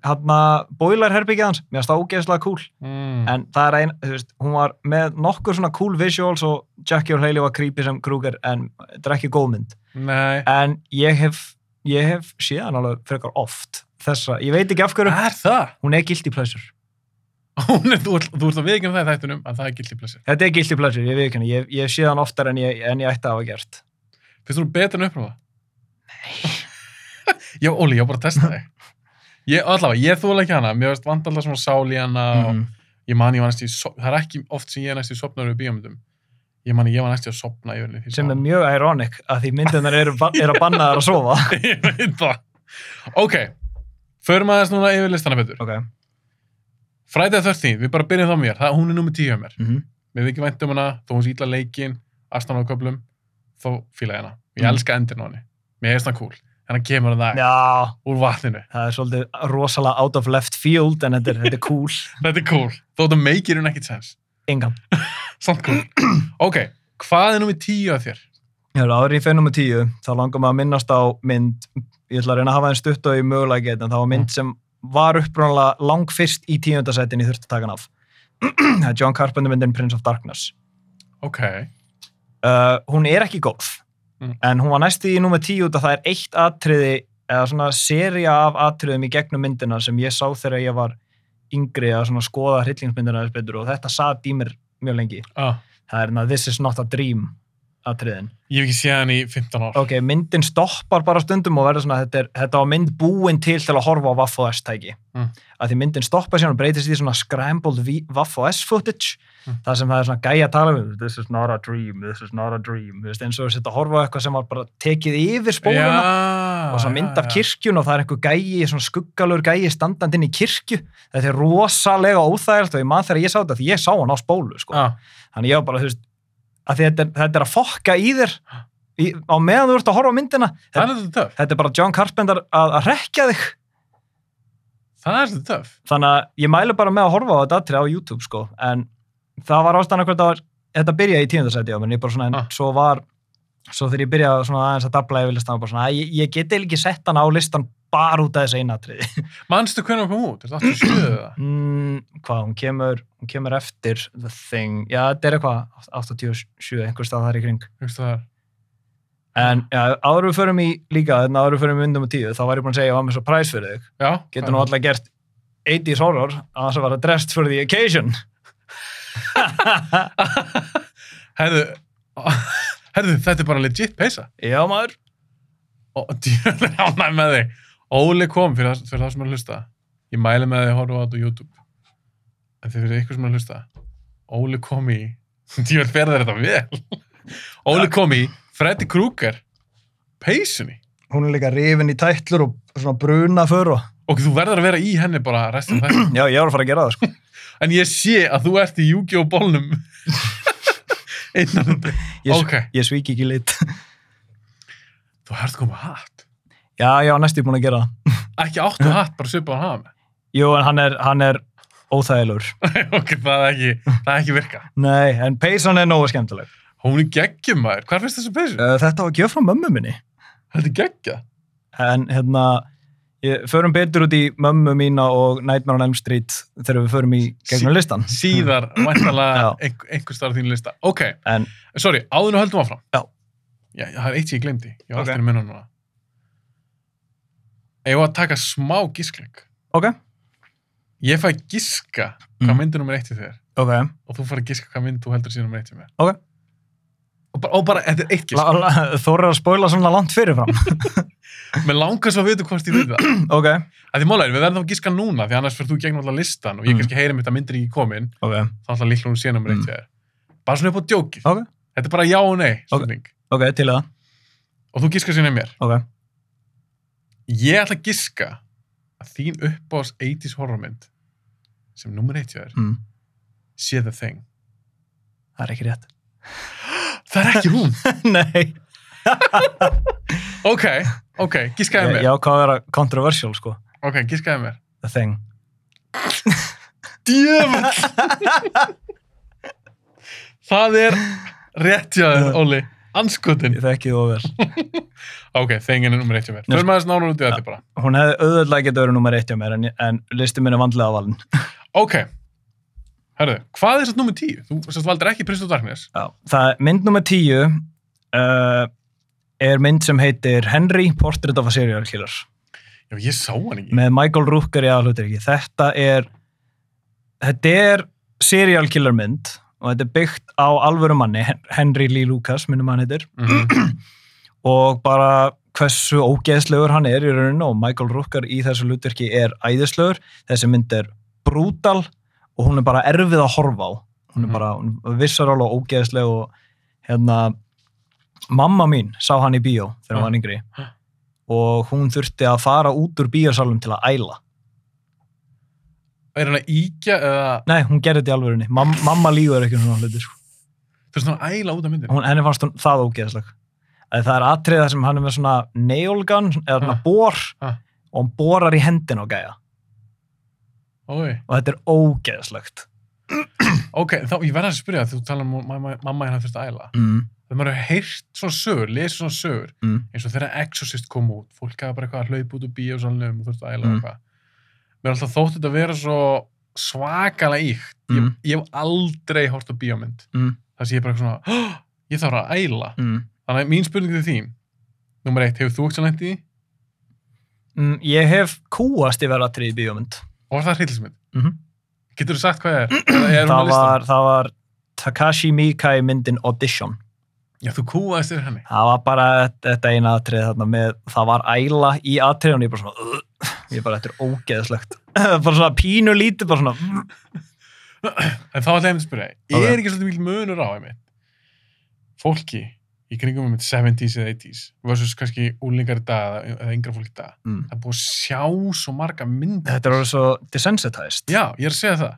Speaker 2: hérna boilerherbyggið hans mér finnst það ógeðslega cool
Speaker 1: Mm.
Speaker 2: en það er ein, þú veist, hún var með nokkur svona cool visuals og Jackie O'Haley var creepy sem Kruger en þetta er ekki góð mynd
Speaker 1: Nei,
Speaker 2: en ég hef ég hef séð hann alveg frekar oft þessa, ég veit ekki af hverju,
Speaker 1: er það? [laughs]
Speaker 2: hún er guilty pleasure
Speaker 1: Hún er, þú, ert- þú ert að viðkjöna það í þættunum að það er guilty pleasure.
Speaker 2: þetta er guilty pleasure, ég veit ekki hann ég, ég hef séð hann oftar en ég, en ég ætti að hafa gert
Speaker 1: Finnst þú betur en uppráða? Nei. [laughs] já, Óli, ég var bara að testa þig. Ég, allavega, ég þóla ekki hana, mér veist vant alltaf svona sál í hana
Speaker 2: Mhm.
Speaker 1: og ég man ég var næst í, so- það er ekki oft sem ég er næst í sopna yfir bíómyndum. Ég man ég var næst í að sopna yfir henni. því
Speaker 2: sem
Speaker 1: sá
Speaker 2: er mjög ironic að því myndunar eru, ba- eru að banna þar að sofa
Speaker 1: hana. [laughs] ég veit það. Ok, förum aðeins núna yfir listana betur.
Speaker 2: ok
Speaker 1: Friday the 13th, við bara byrjum þá mér, það, hún er nummer 10 hjá mér.
Speaker 2: mm -hmm.
Speaker 1: mér þykir vænt um hana, þó hún sé ítla leikin, aðstæðan á köflum, þó fíla ég hana. Ég
Speaker 2: Mm.
Speaker 1: elska endin á henni. Mér er það cool. en hann kemur hann það
Speaker 2: Já,
Speaker 1: úr vatninu
Speaker 2: það er svolítið rosalega out of left field en þetta er, þetta er cool.
Speaker 1: þetta er cool, þó þetta meikir hún ekkit sens
Speaker 2: Engan.
Speaker 1: samt
Speaker 2: [clears throat]
Speaker 1: cool ok, hvað er númið tíu að þér?
Speaker 2: Hefur áður í fennum og tíu, þá langar maður að minnast á mynd, ég ætla að reyna að hafa henni stutt og í mögulega geta, en hérna, það var mynd sem var upprónulega lang fyrst í tíundasætin ég þurfti að taka hann af. [clears throat] Það er John Carpenter myndin Prince of Darkness.
Speaker 1: ok,
Speaker 2: Uh, hún er ekki góð,
Speaker 1: Mm.
Speaker 2: en hún var næstu í númer tíu út að það er eitt atriði, eða svona seria af atriðum í gegnum myndina sem ég sá þegar ég var yngri að svona skoða hryllingsmyndina þess betur og þetta satt í mér mjög lengi.
Speaker 1: ah,
Speaker 2: Það er hérna This is not a dream atriðin.
Speaker 1: ég hef ekki séð hann í 15 ár
Speaker 2: ok, myndin stoppar bara stundum og verður svona, þetta, er, þetta var mynd búin til til að horfa á Waffle S-tæki
Speaker 1: Mm.
Speaker 2: að því myndin stoppar síðan og breytist í svona scrambled V- Waffle S-footage
Speaker 1: Mm.
Speaker 2: þar sem það er svona gæja að tala um this is not a dream, this is not a dream Þú veist, eins og þetta horfa á eitthvað sem var bara tekið yfir spóluna og svona mynd af kirkjun og það er einhver gæi, svona skuggalur gæi standandi inn í kirkju þetta er rosalega óþægilegt og ég man þegar ég sá þetta því ég sá hann á spólu sko
Speaker 1: ah,
Speaker 2: þannig ég var bara, þú veist að þetta, er- þetta er að fokka í þér í, á meðan þú ert að horfa á myndina
Speaker 1: það
Speaker 2: þetta,
Speaker 1: er þetta töff,
Speaker 2: þetta er bara John Carpenter að, að rekja þig
Speaker 1: það er þetta töff
Speaker 2: þannig að ég mælu bara með að horfa á þetta atrið á YouTube sko, en það var ástæðan hvernig var, þetta byrjaði í tíundasæti á mér, en ég bara svona, en
Speaker 1: Ah.
Speaker 2: svo var svo þegar ég byrjaði svona aðeins að dabla yfir listan, bara svona, að ég, ég geti ekki sett hann á listan bara út af þessu eina atriði [laughs]
Speaker 1: manstu hvernig hann kom út, er þetta 87 eða?
Speaker 2: mm, hvað, hún kemur, hún kemur eftir The Thing, já, þetta er eitthvað 87, einhvers stað þar í kring
Speaker 1: Hugstu það er
Speaker 2: En já, áður við förum í líka, þannig áður við förum í undum og tíu, þá var ég búin að segja að ég var með svo præs fyrir þig.
Speaker 1: Já,
Speaker 2: Getur nú alltaf gert 80s horror, að það var að dressed for the occasion.
Speaker 1: [laughs] Herðu, [laughs] herðu, þetta er bara legit peysa.
Speaker 2: já, maður.
Speaker 1: Og djúlega ánæg með þig. Óli kom fyrir, það- fyrir það sem er að hlusta. Ég mæli með þig að horfa á þetta á YouTube. En þið fyrir ykkur sem er að hlusta. Óli kom í, [laughs] djúlega fer þér þetta vel. Óli kom í Freddy Krueger peysunni.
Speaker 2: Hún er líka rifin í tætlur og svona bruna för og...
Speaker 1: Og þú verður að vera í henni bara restin af þessu.
Speaker 2: Já, ég var að fara að gera það, sko.
Speaker 1: En ég sé að þú ert í Yu-Gi-Oh!
Speaker 2: [laughs]
Speaker 1: bólnum. Einnan.
Speaker 2: Ég,
Speaker 1: Ok.
Speaker 2: ég svík ekki lit. [laughs]
Speaker 1: Þú ert komið hatt.
Speaker 2: já, já, næstu búin að gera það.
Speaker 1: Ekki áttu hatt, [laughs] bara svipa á hann hafa með.
Speaker 2: Jú, en hann er, hann er óþægilegur.
Speaker 1: [laughs] ok, það er ekki, það er ekki virka.
Speaker 2: Nei, en peysan er nógu skemmtileg.
Speaker 1: Hún er geggjum maður. Hvað finnst þessu peysu?
Speaker 2: Uh, þetta var gjöf frá mömmu minni.
Speaker 1: Þetta er geggja.
Speaker 2: en hérna ég, förum betur út í mömmu mína og Nightmare on Elm Street þegar við förum í gegnum
Speaker 1: Sí-
Speaker 2: listan
Speaker 1: Síðar,
Speaker 2: [laughs] Já.
Speaker 1: væntalega, einhver, einhver starf þín lista. Ok,
Speaker 2: en
Speaker 1: sorry, áður og höldum áfram.
Speaker 2: Já.
Speaker 1: Já, það er eitt sem ég glemdi. Ég var
Speaker 2: Ok.
Speaker 1: okay. alltaf að minna núna. Ég var að taka smá gískleik.
Speaker 2: ok,
Speaker 1: Ég fæ gíska hvað
Speaker 2: Mm.
Speaker 1: mm. myndir nummer eitt í þér
Speaker 2: ok
Speaker 1: og þú fær að gíska hvað mynd þú heldur síðan nummer eitt í mér.
Speaker 2: Ok.
Speaker 1: Og bara, og bara þetta er eitt gísk.
Speaker 2: þóra að spóila svona langt [laughs] fyrirfram
Speaker 1: Mér langar svo að vita hvort ég veit það.
Speaker 2: ok,
Speaker 1: Það er málega, við verðum þá að gíska núna því annars fyrir þú gegnum allan listan og ég
Speaker 2: Mm.
Speaker 1: kannski heyri mitt að myndir ekki komin
Speaker 2: ok,
Speaker 1: þá ætla líklega hún sé nummer eitt
Speaker 2: Mm.
Speaker 1: hjá þér. Bara svona upp á djókið.
Speaker 2: Ok.
Speaker 1: Þetta er bara já og nei, spurning.
Speaker 2: ok, til í það
Speaker 1: Og þú gískar sinni mér.
Speaker 2: ok,
Speaker 1: Ég ætla að gíska að þín uppbás 80s horrormynd sem nummer eitt hjá þér
Speaker 2: mm.
Speaker 1: sé The Thing.
Speaker 2: það er ekki rétt
Speaker 1: Það er ekki hún.
Speaker 2: [laughs] nei,
Speaker 1: ok, ok, gískaði
Speaker 2: ég,
Speaker 1: mér.
Speaker 2: ég ákvað að vera controversial sko,
Speaker 1: Ok, gískaði mér.
Speaker 2: the thing
Speaker 1: Djöfull! Það er rétt hjá þér,
Speaker 2: Já.
Speaker 1: Óli. Anskotin.
Speaker 2: ég þekki þú vel,
Speaker 1: Ok, Thing er nummer eitt hjá mér.
Speaker 2: Já.
Speaker 1: Fyrir maður snána út í þetta bara.
Speaker 2: hún hefði auðvitað getið verið nummer eitt hjá mér en, en listi minn er vandlega valin
Speaker 1: Ok. Herðu, hvað er satt nummer 10? Þú sérst valdir ekki Prince of Darkness.
Speaker 2: Já, það er mynd nummer tíu uh, er mynd sem heitir Henry, Portrait of a Serial Killer
Speaker 1: Já, ég sá hann ekki.
Speaker 2: með Michael Rooker í aðhlutir ekki. Þetta er þetta er serial killer mynd og þetta er byggt á alvöru manni Hen- Henry Lee Lucas, minnum hann heitir
Speaker 1: Mhm.
Speaker 2: og bara hversu ógeðslegur hann er í rauninu og Michael Rooker í þessu hlutverki er æðislegur þessi mynd er brútal og hún er bara erfið að horfa á hún er
Speaker 1: Mhm.
Speaker 2: bara hún er vissaral og ógeðsleg og hérna mamma mín sá hann í bíó þegar hún var yngri
Speaker 1: Ha.
Speaker 2: og hún þurfti að fara út úr bíósalum til að æla
Speaker 1: Er hann að íkja eða...
Speaker 2: Nei, hún gerði þetta í alvörunni. Mam mamma lígur ekki um svona hluti, sko.
Speaker 1: Þú veist, hann æla út af myndinu.
Speaker 2: Hún, henni fannst hún það ógeðsleg. að það er atriða sem hann er með svona nail gun, eða svona
Speaker 1: Ha.
Speaker 2: bor
Speaker 1: Ha.
Speaker 2: og hann borar í hendin á gæja
Speaker 1: Ói.
Speaker 2: og þetta er ógeðslegt
Speaker 1: Ok, þá ég verða að spyrja þú tala um að mamma, mamma hérna þurfti að æla.
Speaker 2: mm,
Speaker 1: Þegar maður hefur heyrt svona sögur, lesið svona sögur,
Speaker 2: mm,
Speaker 1: eins og þegar Exorcist kom út, fólk hafa bara eitthvað að hlaupa út úr bíó sannum og þurfti að æla og
Speaker 2: Mm.
Speaker 1: eitthvað. Mér er alltaf þótt þetta að vera svo svakalega íkt. Ég,
Speaker 2: Mm.
Speaker 1: ég hef aldrei hort á bíómynd.
Speaker 2: Mm.
Speaker 1: Það sé ég bara eitthvað svona, [gasps] "Hó, ég þarf að æla.
Speaker 2: mm.
Speaker 1: Þannig að mín spurning til þín, nummer eitt, hefur þú ekki sem lendi í því?
Speaker 2: Mm, ég hef kúast yfir atrið í bíómynd
Speaker 1: Og var það hryllismynd?
Speaker 2: mm
Speaker 1: Getur þú sagt hvað það er? Eða er hún á
Speaker 2: það,
Speaker 1: listanum?
Speaker 2: var, það var Takashi Mikai myndin Audition
Speaker 1: Já, þú kúaðist þér henni.
Speaker 2: það var bara þetta- þetta eina atrið þarna með, það var æla í atrið og ég bara svona "Ugh." ég bara, þetta er ógeðslegt [laughs] bara svona pínu lítið bara svona "Mm."
Speaker 1: En þá ætla ég að spyrja,
Speaker 2: Ok.
Speaker 1: er ekki svolítið mjög munur á einmitt? Fólki í kringum einmitt 70s eða 80s versus kannski úlingar í dag eða- eða yngra fólk í dag.
Speaker 2: mm.
Speaker 1: Það er búið að sjá svo marga myndir.
Speaker 2: þetta er orðið svo desensitized
Speaker 1: Já, ég er að segja það.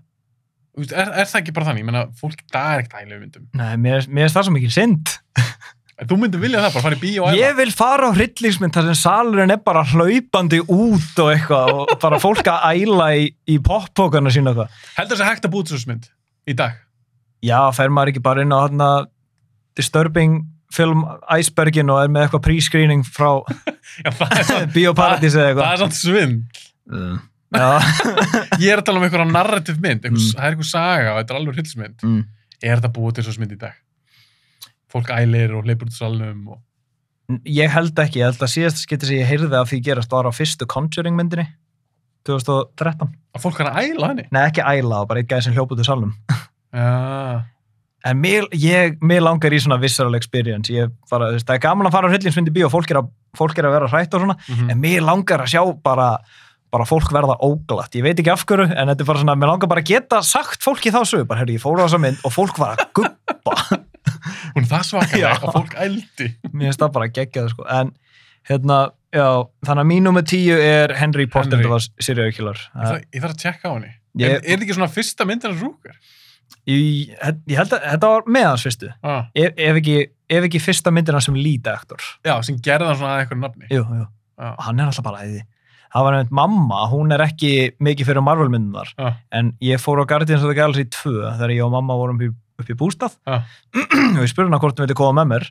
Speaker 1: Þú veist, Er, er það ekki bara þannig? Ég meina, fólk í dag er ekkert ægilega myndum.
Speaker 2: Nei, mér mér finnst það svo mikið synd
Speaker 1: En þú myndir vilja það bara, fara í bíó og æfa.
Speaker 2: ég vil fara á hryllingsmynd þar sem salurinn er bara hlaupandi út og eitthvað og bara fólk að æla í, í poppókana sína og eitthvað
Speaker 1: Heldur þess að hægt að búið þessu mynd í dag?
Speaker 2: já, fer maður ekki bara inn á þarna Disturbing film Icebergin og er með eitthvað pre-screening [laughs] frá
Speaker 1: Já, það er,
Speaker 2: [laughs]
Speaker 1: samt-
Speaker 2: Bíóparadís eða
Speaker 1: það
Speaker 2: eitthvað
Speaker 1: er samt svinn.
Speaker 2: Mm. já,
Speaker 1: Ég er að tala um einhverja narrativ mynd, einhver,
Speaker 2: Mm.
Speaker 1: það er einhver saga og þetta er alveg hilsmynd.
Speaker 2: mm.
Speaker 1: Er þetta búið til þessu mynd í dag? Fólk ælir og hleypur út úr salnum og...
Speaker 2: ég held ekki, ég held að síðast skipti sem ég heyrði af því gerast var á fyrstu Conjuring myndinni 2013,
Speaker 1: Að fólk er að æla henni?
Speaker 2: nei ekki æla og bara einn gæði sem hljóp út úr salnum
Speaker 1: Já,
Speaker 2: en mér, ég, mér langar í svona visceral experience, ég bara, þú veist, það er gaman að fara á hryllingsmyndi bíó, fólk er að, fólk er að vera hrætt og svona,
Speaker 1: mhm.
Speaker 2: en mér langar að sjá bara, bara fólk verða óglatt ég veit ekki af hverju, en þetta er bara svona mér langar bara að geta sagt fólki þá sögur bara, herru, ég fór á þessa mynd og fólk var að guppa
Speaker 1: hún er það
Speaker 2: Já.
Speaker 1: svakalega að fólk ældi.
Speaker 2: mér finnst það bara geggjað sko. en hérna, já, þannig að mínum með tíu er Henry Porter
Speaker 1: Henry.
Speaker 2: það var serial killer Uh,
Speaker 1: Ég þarf, ég þarf að tjekka á henni.
Speaker 2: Ég-
Speaker 1: Er, er þetta ekki svona fyrsta myndin að rúkar?
Speaker 2: ég, ég held að þetta var með hans fyrstu
Speaker 1: Ah.
Speaker 2: ef, ef, ekki, ef ekki fyrsta myndina sem lead actor
Speaker 1: Já, sem gerði hann svona að einhverju nafni.
Speaker 2: jú, jú,
Speaker 1: Já.
Speaker 2: og hann er alltaf bara æði það var nefnt mamma, hún er ekki mikið fyrir Marvel myndunar
Speaker 1: Ah.
Speaker 2: en ég fór á Guardians of the Galaxy 2 þegar ég og mamma vorum upp í, upp í bústað
Speaker 1: Ah.
Speaker 2: [clears throat] og ég spurði hana hvort hún vildi koma með mér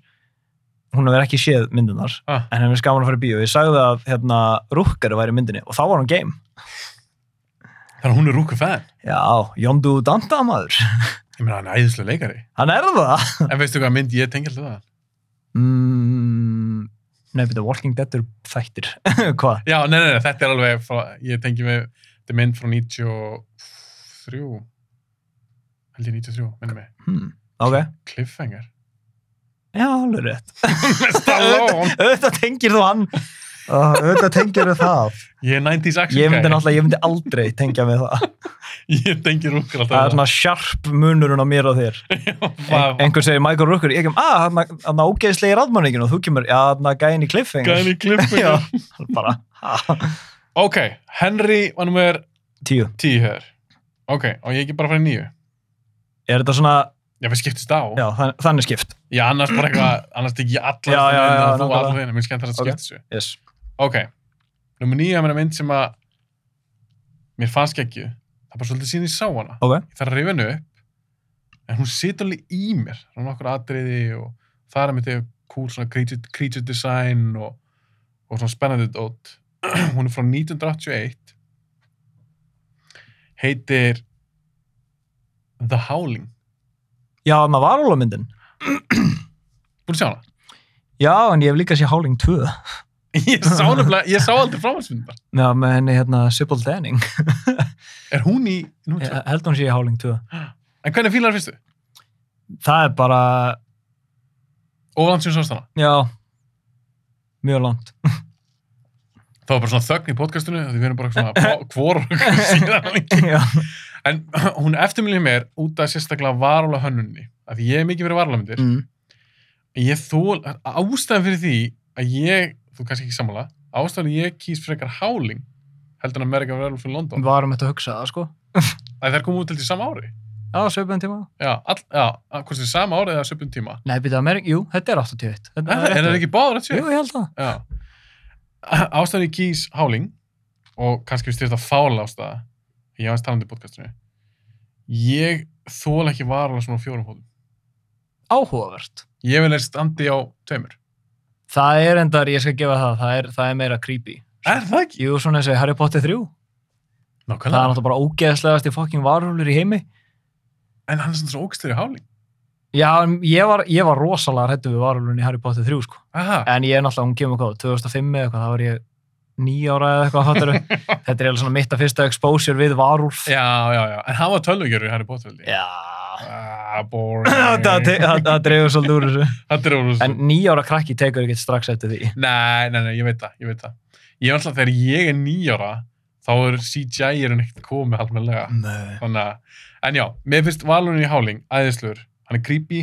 Speaker 2: hún hefur ekki séð myndunar
Speaker 1: Ah.
Speaker 2: en henni er skaman að fara í bíó. Ég sagði að hérna, rúkkari væri í myndinni og þá var hún game.
Speaker 1: Þannig að hún er rúkar fan.
Speaker 2: Já, Jóndu Danda maður.
Speaker 1: Ég meina, hann er æðislega leikari.
Speaker 2: Hann er það.
Speaker 1: En veistu hvað mynd ég tengi alltaf það?
Speaker 2: Mm, nei, betur, Walking Dead eru þættir. [laughs] Hvað?
Speaker 1: Já, nei, nei, nei, þetta er alveg, frá, ég tengi með, þetta er mynd frá 93, held ég 93, minnum mig,
Speaker 2: Hmm. Ok.
Speaker 1: Cliffhanger, [laughs]
Speaker 2: Já, alveg rétt.
Speaker 1: með Stallone,
Speaker 2: Auðvitað tengir þú hann. Uh, auðvitað tengir þú það.
Speaker 1: ég er 90s action
Speaker 2: Ég myndi náttúrulega, ég myndi aldrei tengja með það.
Speaker 1: ég tengi rúkar alltaf
Speaker 2: Það er svona sjarp munurinn á mér og þér.
Speaker 1: [laughs] Vá,
Speaker 2: Ein, einhver segir Michael Rooker, ég kem, ah, að, hann hann ágeðslegi ráðmanningin og þú kemur, já, hann að gæðin í cliffhanger.
Speaker 1: gæðin í Cliffhanger.
Speaker 2: Já, [laughs] bara, ha,
Speaker 1: Ok, Henry var nummer
Speaker 2: tíu.
Speaker 1: 10 hér, ok, og ég ekki bara frá nýju,
Speaker 2: Er þetta svona,
Speaker 1: já, við skiptist á,
Speaker 2: já, þann, þannig skipt.
Speaker 1: ég annars bara eitthvað, annars tek ég
Speaker 2: Já,
Speaker 1: allar
Speaker 2: já,
Speaker 1: þarna inn
Speaker 2: já,
Speaker 1: og þú
Speaker 2: nákvæmlega.
Speaker 1: allar þeirna, mér skemmt þess að
Speaker 2: Ok.
Speaker 1: skipta þessu.
Speaker 2: Yes.
Speaker 1: Ok, nummer 9 er mér mynd sem að, mér fannst ekki, það er bara svolítið síðan ég sá hana.
Speaker 2: Ok.
Speaker 1: ég þarf að rifja henni upp en hún situr alveg í mér hún er nokkur atriði og það er með þegar cool svona creature, creature design og, og svona spennandi dót [clears throat] hún er frá 1981 heitir The Howling
Speaker 2: Já, maður var alveg myndin.
Speaker 1: búin að sjá hana? [laughs]
Speaker 2: Já, en ég hef líka séð Howling 2.
Speaker 1: ég sá, nefnilega- ég sá aldrei fráhansmyndar
Speaker 2: Já, með henni, hérna, Sybil [laughs] Danning.
Speaker 1: er hún í nú,
Speaker 2: Ég held hún sé í Howling 2.
Speaker 1: en hvernig fílar fyrstu?
Speaker 2: Það er bara,
Speaker 1: Óland sem sást hana
Speaker 2: já, mjög langt. [laughs]
Speaker 1: það var bara svona þögn í podcastinu af því við erum bara svona hvor okkar síðan lengi
Speaker 2: já.
Speaker 1: En hún eftirmilja mér út af sérstaklega varulega hönnunni. Af því ég hef mikið verið varulega myndir.
Speaker 2: Mm.
Speaker 1: Ég þól, ástæðan fyrir því að ég, þú kannski ekki sammála, ástæðan að ég kýs frekar Howling, heldur en American Werewolf in London,
Speaker 2: Varum þetta að hugsa það, sko.
Speaker 1: að þær komu út til því sama ári.
Speaker 2: Já, á söpum tíma.
Speaker 1: Já, all, já hvort sem sama árið eða söpum tíma.
Speaker 2: Nei, byrja Amerik, jú, þetta er 81. Þetta
Speaker 1: Er, er það
Speaker 2: rétt.
Speaker 1: ekki báður að sé?
Speaker 2: Jú, ég held það.
Speaker 1: Já. Ástæðan ég kýs Háling og kannski við styrst að fála ástæða ég var aðeins talandi í podcastinu ég þól ekki varala svona á fjórum fótum
Speaker 2: Áhugavert.
Speaker 1: ég vil er standi á tveimur
Speaker 2: Það er endar, ég skal gefa það, það er, það er meira creepy.
Speaker 1: Er það ekki?
Speaker 2: Jú, svona eins og í Harry Potter 3. Það er
Speaker 1: Nákvæmlega,
Speaker 2: náttúrulega bara ógeðslegast í fokking varúlur í heimi.
Speaker 1: en hann er svona svona ógstleri Háling
Speaker 2: Já, en ég var, ég var rosalega hrættu við varúlun í Harry Potter 3, sko.
Speaker 1: Aha,
Speaker 2: En ég er náttúrulega, hún kemur hvað, 2005 eða eitthvað, þá var ég nýja ára eða eitthvað, fattur [laughs] Þetta er eiginlega svona mitt að fyrsta exposure við varúlf.
Speaker 1: já, já, já en hann var tölvugjörður í Harry Potter held ég.
Speaker 2: Já.
Speaker 1: ah, [laughs]
Speaker 2: Það-
Speaker 1: boring
Speaker 2: Það það dreifur svolítið úr þessu.
Speaker 1: þetta er ógstleri
Speaker 2: En nýja ára krakki tekur ekkert strax eftir því.
Speaker 1: Nei, nei, nei, ég veit það, ég veit það. Ég er alltaf, þegar ég er nýjára, þá er CGI-erinn ekkert komið almenlega.
Speaker 2: Nei.
Speaker 1: Þannig að, en já, mér finnst Valurinn í Háling æðislegur. Hann er creepy,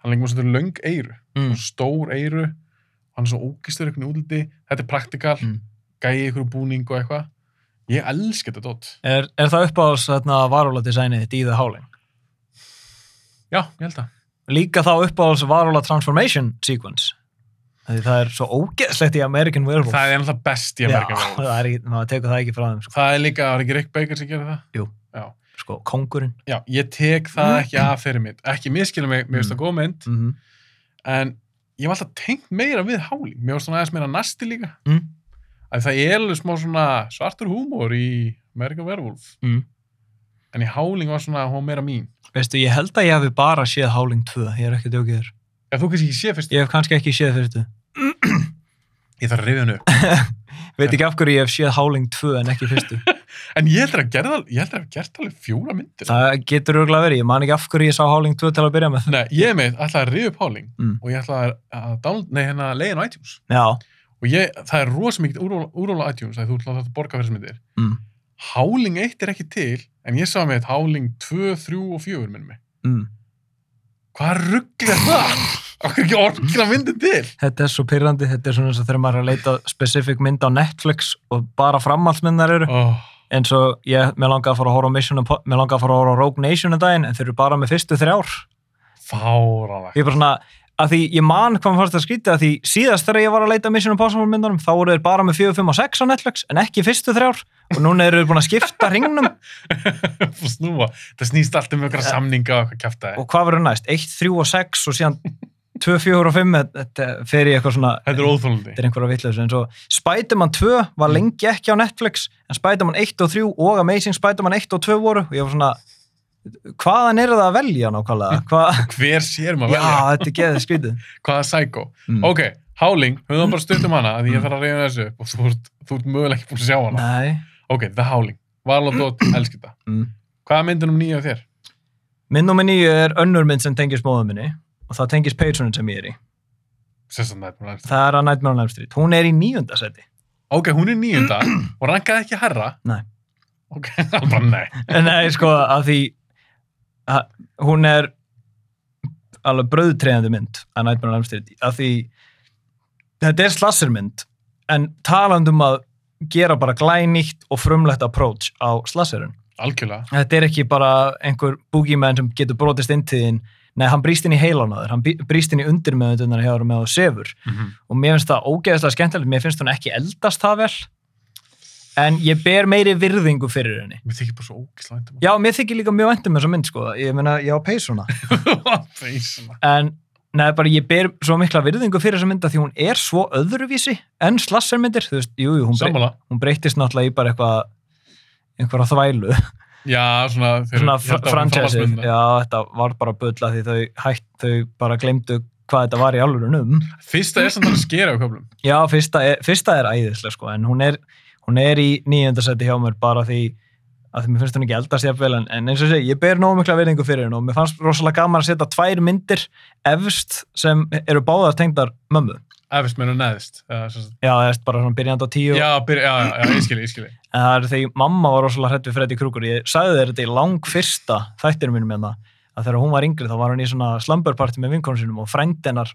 Speaker 1: hann er lengur svona löng eiru,
Speaker 2: Mm.
Speaker 1: mm. stór eiru, hann er svo ógistur einhvern útliti, þetta er praktikal,
Speaker 2: Mm.
Speaker 1: gæi ykkur búning og eitthvað. Ég elska þetta dótt.
Speaker 2: Er, er það uppáhalds þarna varúladesignið þitt í The Howling?
Speaker 1: Já, ég held það.
Speaker 2: Líka þá uppáhalds varúla transformation sequence. Því það er svo ógeðslegt í American Werewolf.
Speaker 1: Það er alltaf best í
Speaker 2: [laughs]
Speaker 1: Amerikan
Speaker 2: Já, það er ekki, maður tekur það ekki frá þeim, sko.
Speaker 1: Það er líka, var ekki Rick Baker sem gerir það?
Speaker 2: sko kongurinn.
Speaker 1: Já, ég tek það ekki af þeirri mynd. Ekki miskilum mig, mér finnst það góð mynd,
Speaker 2: Mm
Speaker 1: en ég var alltaf tengt meira við háling mér var svona aðeins meira nasti líka
Speaker 2: Mm.
Speaker 1: að það er alveg smá svona svartur húmor í American Werewolf
Speaker 2: Mm.
Speaker 1: en í háling var svona hún var meira mín
Speaker 2: Veistu, ég held að ég hefði bara séð Howling 2, ég er ekki djókið þér.
Speaker 1: ef þú kannski ekki sé fyrst
Speaker 2: Ég hef kannski ekki séð fyrstu.
Speaker 1: ég þarf að rifja hann upp
Speaker 2: Veit ekki af hverju ég hef séð Howling 2 en ekki
Speaker 1: [laughs]
Speaker 2: fyrstu.
Speaker 1: en ég heldur að gerða ég heldur að hafa gert alveg fjóra myndir
Speaker 2: það getur örgulega verið, ég man ekki af hverju ég sá Howling 2 til að byrja með.
Speaker 1: Nei, ég með ætlaði að rifja upp háling
Speaker 2: Mm.
Speaker 1: og ég ætlaði að, að down, nei, hérna, leiðin á iTunes
Speaker 2: Já. og
Speaker 1: og ég, það er rosa mikið úrval úrval á iTunes að þú ætlaði að borga fyrir þessar myndir
Speaker 2: Mm.
Speaker 1: háling 1 er ekki til en ég sá með þetta háling 2, 3 og 4 minnum mig
Speaker 2: Mm.
Speaker 1: Hvað ruggl er það? Okkur ekki orkina myndin til?
Speaker 2: Þetta er svo pyrrandi, þetta er svona eins og þegar maður er að leita spesifik mynd á Netflix og bara framhaldsmyndar eru.
Speaker 1: Oh.
Speaker 2: Eins og ég, mér langaði að fara að horfa á Mission, Impo- mér langaði að fara að horfa á Rogue Nation en daginn en þeir eru bara með fyrstu þrjár.
Speaker 1: Fáranlegt.
Speaker 2: ég er bara svona að því ég man hvað maður fannst að skrýta að því síðast þegar ég var að leita Mission Impossible myndunum þá voru þeir bara með 4, 5 og 6 á Netflix en ekki fyrstu þrjár og núna eru þeir búin að skipta ringnum
Speaker 1: [laughs] Fá snúa. Það snýst allt um ykkur samninga og eitthvað kæftæði.
Speaker 2: og hvað verður næst, 1, 3 og 6 og síðan 2, 4 og 5 þetta- þetta fer í eitthvað svona
Speaker 1: Þetta er
Speaker 2: þetta
Speaker 1: óþólandi.
Speaker 2: er einhverja vitleis eins og Spiderman 2
Speaker 1: Mm.
Speaker 2: var lengi ekki á Netflix en Spiderman 1 og 3 og Amazing Spiderman 1 og 2 voru og ég var svona hvaðan er það að velja nákvæmlega Hva...
Speaker 1: Hver sér maður Mm. velja?
Speaker 2: [laughs] já, þetta er geðið skrítið
Speaker 1: Hvaða sækó?
Speaker 2: Mm.
Speaker 1: [laughs] Ok, Howling, höfum það bara stutt um hana að ég þarf að reyna þessu upp og þú ert, þú ert mögulega ekki búin að sjá hana.
Speaker 2: Nei.
Speaker 1: Ok, The Howling. Varla
Speaker 2: [clears throat]
Speaker 1: Dótt, elskir það.
Speaker 2: Mm.
Speaker 1: Hvaða myndin um nýja þér?
Speaker 2: Minn nummer nýju er önnur mynd sem tengist móðum minni og það tengist Patreonin sem ég er í.
Speaker 1: Sessan Nightmare on Elm Street.
Speaker 2: Það er að Nightmare on Elm Street. Hún er í níunda seti.
Speaker 1: Ok, hún er
Speaker 2: [clears throat]
Speaker 1: nýjunda og rankaði ekki herra.
Speaker 2: Nei.
Speaker 1: Ok, [laughs] bara nei.
Speaker 2: Nei, sko, að því að, hún er alveg bröðtreyðandi mynd að Nightmare on Elm Street að því þetta er slassermynd en talandum að gera bara glænýtt og frumlegt approach á slasserun.
Speaker 1: Algjörlega.
Speaker 2: þetta er ekki bara einhver boogeyman sem getur brotist inn til þín nei, hann brýst inn í heilan á þér, hann bí- brýst inn í undirmeðundunar hjá þér með þú sefur og mér finnst það ógeðslega skemmtilegt, mér finnst hún ekki eldast það vel en ég ber meiri virðingu fyrir henni
Speaker 1: Mér þykir bara svo ógislega vænt um [laughs]
Speaker 2: já, mér þykir líka mjög endum þessa mynd sko, ég meina, ég á peysuna
Speaker 1: hana. Feysuna.
Speaker 2: en neða bara, ég ber svo mikla virðingu fyrir þessa mynda því hún er svo öðruvísi en slassermyndir, þú veist, jú, jú, hún, brey
Speaker 1: Sammála.
Speaker 2: hún breytist náttúrulega í bara eitthvað einhverja þvælu
Speaker 1: Já, svona, þeir,
Speaker 2: svona fr- franchise já, þetta var bara bulla því þau, hætt, þau bara glemdu hvað þetta var í alvörunum
Speaker 1: Fyrsta er samt alveg skera á köflum.
Speaker 2: já, fyrsta er, fyrsta er æðislega sko, en hún er, hún er í nýjöndarsæti hjá mér bara því að því mér finnst hún ekki eldast jafnvel en, en eins og sé, ég ber nógu mikla veiningu fyrir hún og mér fannst rosalega gaman að setja tvær myndir efst sem eru báðar tengdar mömmu,
Speaker 1: Efist meina neðist. eða sem sagt-
Speaker 2: já, það er bara svona byrjandi á tíu
Speaker 1: Já, byrja, já, já, já, ég skilji, ég skilji.
Speaker 2: en það er þegar mamma var rosalega hrætt við Freddy Krueger ég sagði þér þetta í lang fyrsta þættinu mínum hérna að þegar hún var yngri þá var hún í svona slumberparti með vinkonu sinum og frændennar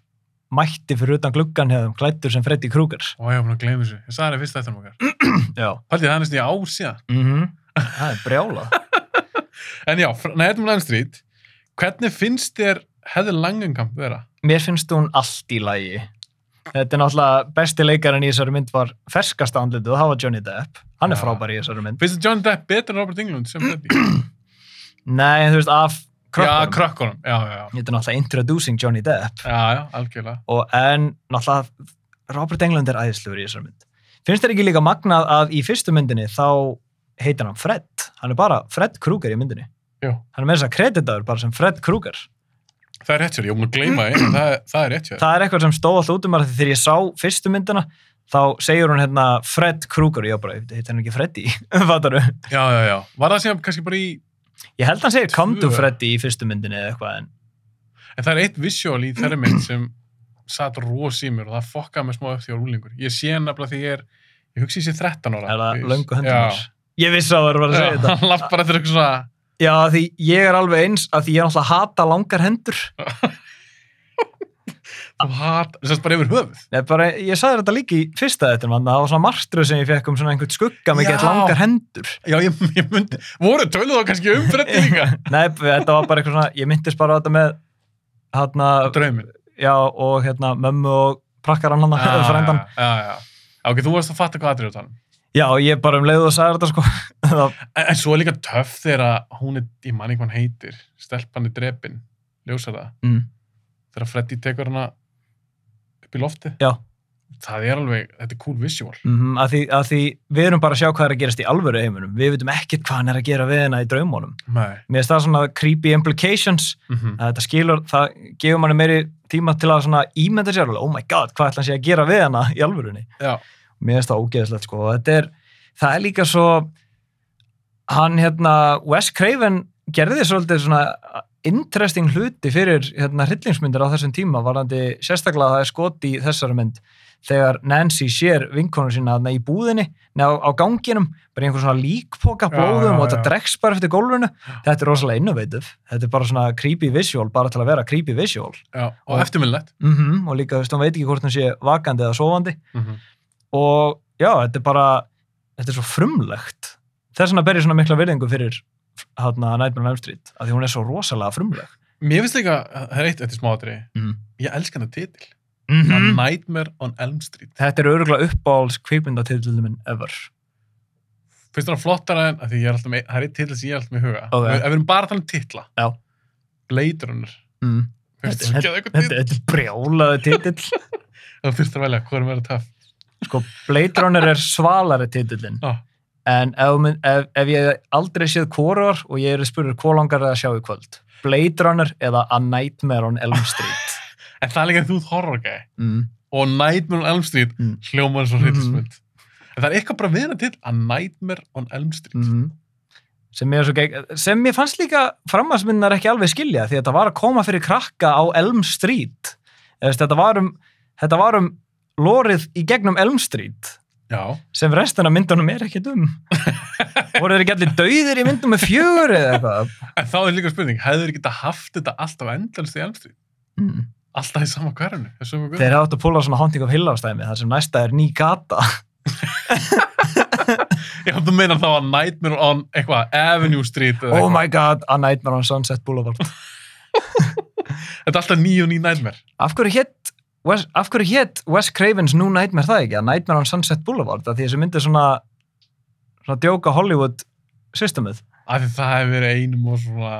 Speaker 2: mætti fyrir utan gluggan hefðum klættur sem Freddy Krueger
Speaker 1: Ó, ég var búin að gleyma þessu. Ég sagði það fyrst þetta um okkar.
Speaker 2: já Mhm.
Speaker 1: Paldið, það er næstu í ár síðan.
Speaker 2: mm -hmm. það er brjála
Speaker 1: En já, fr- Nightmare on Elm um Street, hvernig finnst þér hefði langengamp vera?
Speaker 2: Mér finnst hún allt í lagi. Þetta er náttúrulega besti leikarinn í þessari mynd var ferskasta andlitið og það var Johnny Depp. Hann er
Speaker 1: Já.
Speaker 2: frábær í þessari mynd.
Speaker 1: Finnst þér John Depp betur en Robert Englund sem Freddy?
Speaker 2: Nei, þú veist, af
Speaker 1: Já,
Speaker 2: [clears throat] krökkunum.
Speaker 1: krökkunum, já, já, já.
Speaker 2: Þetta er náttúrulega introducing Johnny Depp.
Speaker 1: Já, já, algjörlega.
Speaker 2: Og en náttúrulega Robert Englund er æðislegur í þessari mynd. Finnst þér ekki líka magnað að í fyrstu myndinni þá heitir hann Fred. Hann er bara Fred Kruger í myndinni.
Speaker 1: Jú.
Speaker 2: Hann er með þess að kreditaður bara sem Fred Kruger.
Speaker 1: Það er rétt sér, ég var búin að gleyma einu, það, er- það er rétt sér.
Speaker 2: Það er eitthvað sem stóð alltaf út um mér af því þegar ég sá fyrstu myndina þá segir hún hérna Fred Kruger. Já, bara, heitir hann ekki Freddy? [laughs] Fattaru?
Speaker 1: Já, já, já. Var það síðan kannski bara í,
Speaker 2: Ég held hann segir Come to
Speaker 1: Tvö.
Speaker 2: Freddy í fyrstu myndinni eða eitthvað en
Speaker 1: en það er eitt visual í þeirri mynd sem satt rós í mér og það fokkaði mig smá upp því á rúlingur. Ég sé hann nefnilega því ég er, ég hugsi ég sé 13 ára.
Speaker 2: er
Speaker 1: Ég-
Speaker 2: það löngu
Speaker 1: Já.
Speaker 2: höndumars. Ég vissi að það var að
Speaker 1: Já,
Speaker 2: segja þetta.
Speaker 1: hann [laughs] lappar eftir eitthvað svona
Speaker 2: Já, af því ég er alveg eins af því ég er náttúrulega að hata langar hendur.
Speaker 1: þú hat, þess að bara yfir höfuð
Speaker 2: Nei, bara, ég sagði þetta líka í fyrsta þetta, mann, það var svona martröð sem ég fekk um svona einhvern skugga með
Speaker 1: Já.
Speaker 2: gett langar hendur.
Speaker 1: já, ég, ég myndi, voru töluð þá kannski um freddi [laughs] líka
Speaker 2: Nei, þetta var bara eitthvað svona, ég myndist bara á þetta með, hérna,
Speaker 1: draumin
Speaker 2: já, og hérna, mömmu og prakkaran hann, ah, [laughs] frændan.
Speaker 1: já, já, já. ok, þú varst að fatta hvað aðrið á tannum
Speaker 2: Já, ég bara um leið og sagði þetta, sko. [laughs] það,
Speaker 1: en, en svo er líka töff þegar að hún er, ég man ekki hvað hann heitir stelpan er drepin, ljósa það
Speaker 2: mm,
Speaker 1: þegar freddi tekur hana upp í lofti
Speaker 2: já,
Speaker 1: það er alveg, þetta er cool visual
Speaker 2: mm, að, því, að því við erum bara að sjá hvað er að gerast í alvöru heiminum. Við veitum ekkert hvað hann er að gera við hennar í draumónum.
Speaker 1: nei,
Speaker 2: Mér finnst það svona creepy implications,
Speaker 1: mm -hmm.
Speaker 2: að þetta skilur, það gefur manni meiri tíma til að svona ímynda sér alveg, oh my god, hvað ætla hann sé að gera við hana í alvörunni?
Speaker 1: já,
Speaker 2: Mér finnst það ógeðslegt sko og þetta er, það er líka svo hann hérna Wes Craven gerði svolítið svona interesting hluti fyrir hérna hryllingsmyndir á þessum tíma varandi sérstaklega að það er skot í þessari mynd þegar Nancy sér vinkonu sína þarna í búðinni, neða á ganginum bara í einhver svona líkpoka
Speaker 1: Já,
Speaker 2: blóðum
Speaker 1: já,
Speaker 2: og þetta
Speaker 1: já.
Speaker 2: dregst bara eftir gólfinu þetta er rosalega innovative, þetta er bara svona creepy visual, bara til að vera creepy visual
Speaker 1: já, og eftirminnlegt
Speaker 2: mm og líka, þú veist, hún veit ekki hvort hún sé vakandi eða sofandi
Speaker 1: mm -hmm.
Speaker 2: og já, þetta er bara þetta er svo frumlegt þess vegna ber ég svona mikla virðingu fyrir hátna Nightmare on Elm Street af því hún er svo rosalega frumleg
Speaker 1: mér finnst líka, það er eitt eftir smáatri
Speaker 2: mm.
Speaker 1: ég elskan það titil,
Speaker 2: Mm
Speaker 1: A Nightmare on Elm Street
Speaker 2: þetta er öruglega uppáhalds kvikmyndatitillin minn ever
Speaker 1: finnst þér hann flottara en að því ég er alltaf með, það er eitt titla sem ég er alltaf með í huga
Speaker 2: Ok.
Speaker 1: ef við erum bara að tala um titla
Speaker 2: Já.
Speaker 1: Blade Runner
Speaker 2: mm.
Speaker 1: finnst
Speaker 2: Þetta-
Speaker 1: þér ekki að eitthvað
Speaker 2: þetta,
Speaker 1: titla
Speaker 2: þetta er brjálaði titill
Speaker 1: þú finnst þér að velja hvað er meira töff
Speaker 2: sko, Blade Runner er svalari titillin
Speaker 1: Já.
Speaker 2: en ef, þú mynd- ef, ef ég aldrei séð kóruar og ég er spurður hvað langar það að sjá í kvöld Blade Runner eða A Nightmare on Elm Street
Speaker 1: en það er líka þú horror gæði
Speaker 2: mm.
Speaker 1: og Nightmare on Elm Street
Speaker 2: Mm.
Speaker 1: hljómar svo
Speaker 2: Mhm.
Speaker 1: hryllismynd en það er eitthvað bara viðna til að Nightmare on Elm Street
Speaker 2: -hmm. sem, ég er svo gegg, sem ég fannst líka framhansmyndinar ekki alveg skilja því þetta var að koma fyrir krakka á Elm Street Eða, veist, þetta, var um, þetta var um lórið í gegnum Elm Street
Speaker 1: já,
Speaker 2: sem restina myndunum er ekkert [laughs] um voru þeir ekki allir dauðir í myndum með fjögur eða eitthvað
Speaker 1: en þá er líka spurning hefur þið geta haft þetta alltaf endalist í Elm Street
Speaker 2: mm.
Speaker 1: alltaf í sama hverjunu
Speaker 2: þeir áttu að púla svona Haunting of Hill ástæmi þar sem næsta er ný gata
Speaker 1: ég hafði að meina þá að Nightmare on eitthvað Avenue Street eða
Speaker 2: oh
Speaker 1: eitthvað.
Speaker 2: my god, A Nightmare on Sunset Boulevard
Speaker 1: þetta er alltaf ný og ný Nightmare
Speaker 2: Af hverju hétt Wes, af hverju hétt Wes Cravens New Nightmare það ekki að Nightmare on Sunset Boulevard að því þessi myndi svona svona djóka Hollywood systemið
Speaker 1: af því það hefur verið einum og svona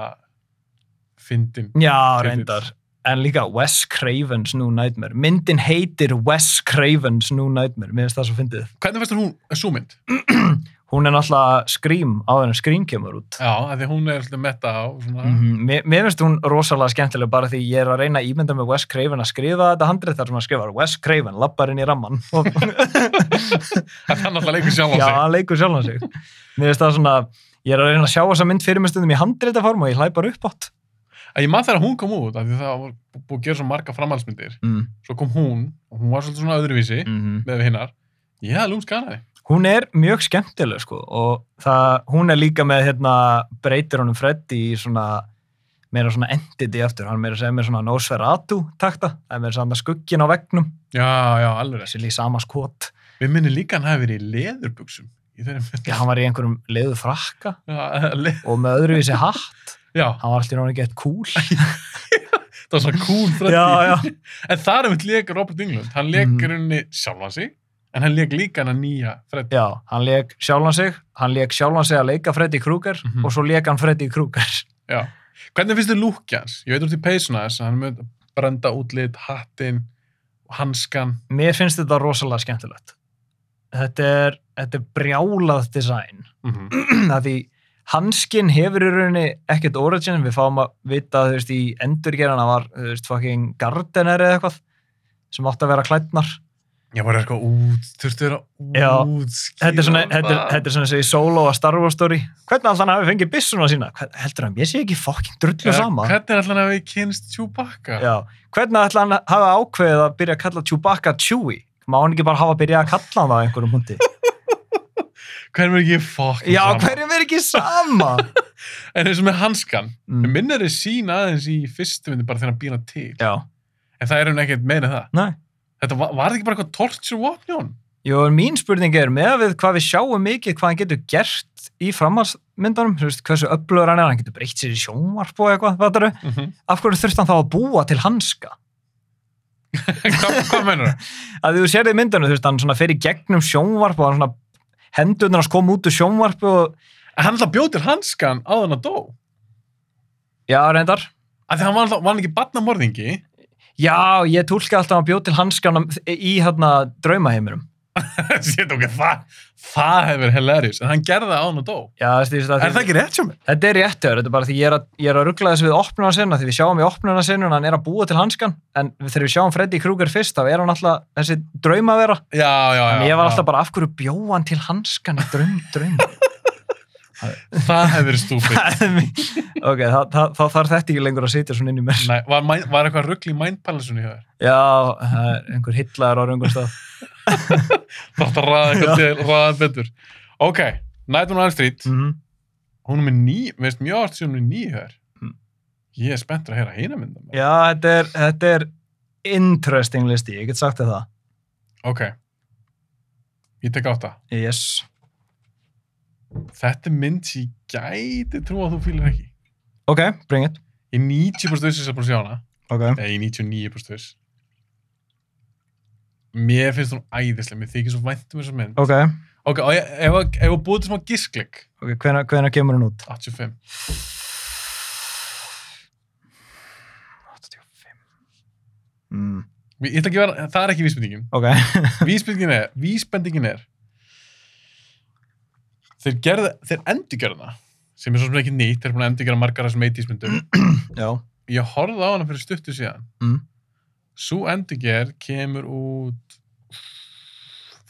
Speaker 1: fyndin
Speaker 2: Já,
Speaker 1: Titill.
Speaker 2: reyndar en líka Wes Cravens New Nightmare myndin heitir Wes Cravens New Nightmare mér finnst það svo fyndið
Speaker 1: hvernig fannst þér hún er sú mynd?
Speaker 2: hún er náttúrulega Scream á þennan Scream kemur út
Speaker 1: já, af því hún er alltaf metta á svona,
Speaker 2: Mm mér, mér finnst hún rosalega skemmtileg bara því ég er að reyna að ímynda með Wes Craven að skrifa þetta handrið þar sem hann skrifar Wes Craven lappar inn í ramman og
Speaker 1: að hann alltaf leikur sjálf á
Speaker 2: Já,
Speaker 1: um sig
Speaker 2: hann leikur sjálf hann sig. Mér finnst það svona, ég er að reyna að sjá þessa mynd fyrir mér stundum í handreitaform og ég hlæ bara upp átt.
Speaker 1: að ég man þegar hún kom út af því það var bú- búið að gera svo marga framhaldsmyndir
Speaker 2: Mm.
Speaker 1: svo kom hún og hún var svolítið svona öðruvísi
Speaker 2: Mhm.
Speaker 1: með hinnar ég hefði lúmsk hana því
Speaker 2: Hún er mjög skemmtileg, sko, og það, hún er líka með, hérna, breytir honum Freddy í svona, meira svona entity aftur, hann meira að segja með svona Nosferatu takta, það er meira svona skuggin á vegnum,
Speaker 1: já, já, alveg rétt.
Speaker 2: þessi líka sama skot.
Speaker 1: við minni líka hann hafi verið í leðurbuksum í í þeirri mynd. [laughs]
Speaker 2: Já, hann var í einhverjum leiðu frakka
Speaker 1: Já.
Speaker 2: og með öðruvísi hatt.
Speaker 1: Já,
Speaker 2: Hann var alltaf náttúrulega gett cool.
Speaker 1: það var svona cool fröndi.
Speaker 2: [laughs] Já, já.
Speaker 1: En þar er mitt leik Robert Englund. Hann leik
Speaker 2: Mhm.
Speaker 1: mm. rauninni sjálfan sig, en hann leik líka hann að nýja fröndi.
Speaker 2: Já, hann leik sjálfan sig, hann leik sjálfan sig að leika Freddy Krueger
Speaker 1: Mhm.
Speaker 2: og svo leik hann Freddy Krueger.
Speaker 1: Já. Hvernig finnst þið lúkja hans? Ég veit úr til peysuna þess að hann er með brenda útlit, hattinn, hanskan.
Speaker 2: Mér finnst þetta rosalega skemmtilegt. Þetta er, þetta er brjálað design. [clears throat]
Speaker 1: Mm
Speaker 2: að því hanskin hefur í rauninni ekkert origin, við fáum að vita þú veist, í endurgerana var, þú veist, fucking gardener eða eitthvað sem átti að vera klætnar.
Speaker 1: Ég var eitthvað út, þurftu að
Speaker 2: Já.
Speaker 1: vera útskýra.
Speaker 2: Þetta er svona, þetta er, þetta er svona þessi solo að Star Wars story. Hvernig alltaf hann hafi fengið byssuna sína? Hvern, heldur hann, ég sé ekki fucking drullu sama.
Speaker 1: Hvernig er allan að við kynst Chewbacca?
Speaker 2: Já, hvernig alltaf hann hafi ákveðið að byrja að kalla Chewbacca Chewie? Má hann ekki bara hafa byrjað að kalla hann það á einhverjum hundi?
Speaker 1: Hvernig er ekki fokkin
Speaker 2: Já,
Speaker 1: sama?
Speaker 2: hverjum er ekki sama?
Speaker 1: En eins og með hanskan, mm.
Speaker 2: Mm,
Speaker 1: minn er þessi sín aðeins í fyrstu myndi bara þegar hann býr hann til.
Speaker 2: já,
Speaker 1: En það er hann ekkert meina það.
Speaker 2: næ.
Speaker 1: Þetta var, var það ekki bara eitthvað torture vopn í honum?
Speaker 2: Jó, en mín spurning er með að við hvað við sjáum mikið, hvað hann getur gert í framhalsmyndunum, þú veist, hversu öflugur hann er, hann getur breytt sér í sjónvarp og eitthvað, hvað það
Speaker 1: Mm -hmm.
Speaker 2: af hverju þurft hann þá að búa til hanska?
Speaker 1: [laughs] hvað hvað mennur það?
Speaker 2: Að þú sér þið myndunum, þú veist, hann svona fer í gegnum sjónvarp og hann svona hendurnar hans kom út úr sjónvarp og,
Speaker 1: Hann alltaf bjóð til hanskan á þann að dó.
Speaker 2: já, reyndar,
Speaker 1: Af því hann var, alltaf, var hann ekki barnamorðingi.
Speaker 2: já, ég tólka alltaf að hann bjóð til hanskan í hérna draumaheimurum.
Speaker 1: [laughs] Sétt okkur, það, það hefur hilarious. En hann gerði það á hann að dó.
Speaker 2: Já, þú veist,
Speaker 1: Er
Speaker 2: að
Speaker 1: það ekki rétt hjá mér?
Speaker 2: Þetta er rétt, hjá þér, þetta er bara því ég er að, ég er að ruggla þessu við opnunarsinna, því við sjáum í opnunarsinnun hann er að búa til hanskan, en þegar við sjáum Freddy Krueger fyrst, þá er hann alltaf þessi drauma vera,
Speaker 1: Já, já, já.
Speaker 2: en ég
Speaker 1: já.
Speaker 2: var alltaf bara af hverju bjó hann til hanskan í draum,
Speaker 1: [laughs]
Speaker 2: drauma.
Speaker 1: Það hefur verið
Speaker 2: [laughs]
Speaker 1: stúfið.
Speaker 2: ok, þá, þá, þá þarf þetta ekki lengur að sitja svona inn í mér.
Speaker 1: Nei, var, mind- var eitthvað rugl í mindpalasunni hjá þér?
Speaker 2: Já, það er einhver hillar á
Speaker 1: [laughs]
Speaker 2: röngum stað.
Speaker 1: Það átt að ræða eitthvað til, ræða betur. Ok, Night on Elm Street,
Speaker 2: Mm
Speaker 1: hún er með ný, við veist mjög átt sem hún er ný hér.
Speaker 2: Mm.
Speaker 1: Ég er spenntur að heyra hýna myndum.
Speaker 2: Já, þetta er, þetta er interesting listi, ég get sagt þér það.
Speaker 1: Ok, ég tek átta.
Speaker 2: Yes.
Speaker 1: Þetta er mynd sem ég gæti trú að þú fýlir ekki.
Speaker 2: Ok, bring it.
Speaker 1: Ég er 90% viss þess að búin að sjá hana.
Speaker 2: Ok.
Speaker 1: Nei, ég er 99% viss. Mér finnst hún æðislega, mér þykir svo væntum þessar mynd.
Speaker 2: Ok,
Speaker 1: Ok, og ég, ef að- ef að búið til smá gisklik,
Speaker 2: ok, hvenær, hvenær kemur hann út?
Speaker 1: 85.
Speaker 2: 85 mm.
Speaker 1: Ég ætla ekki að vera, það er ekki vísbendingin.
Speaker 2: Ok,
Speaker 1: Vísbendingin er, vísbendingin er þeir gerða, þeir endurgerða það sem er svo sem ekki nýtt, þeir eru búin að endurgerða margar af þessum 80s myndum.
Speaker 2: já
Speaker 1: Ég horfði á hana fyrir stuttu síðan.
Speaker 2: Mm.
Speaker 1: Sú endurgerð kemur út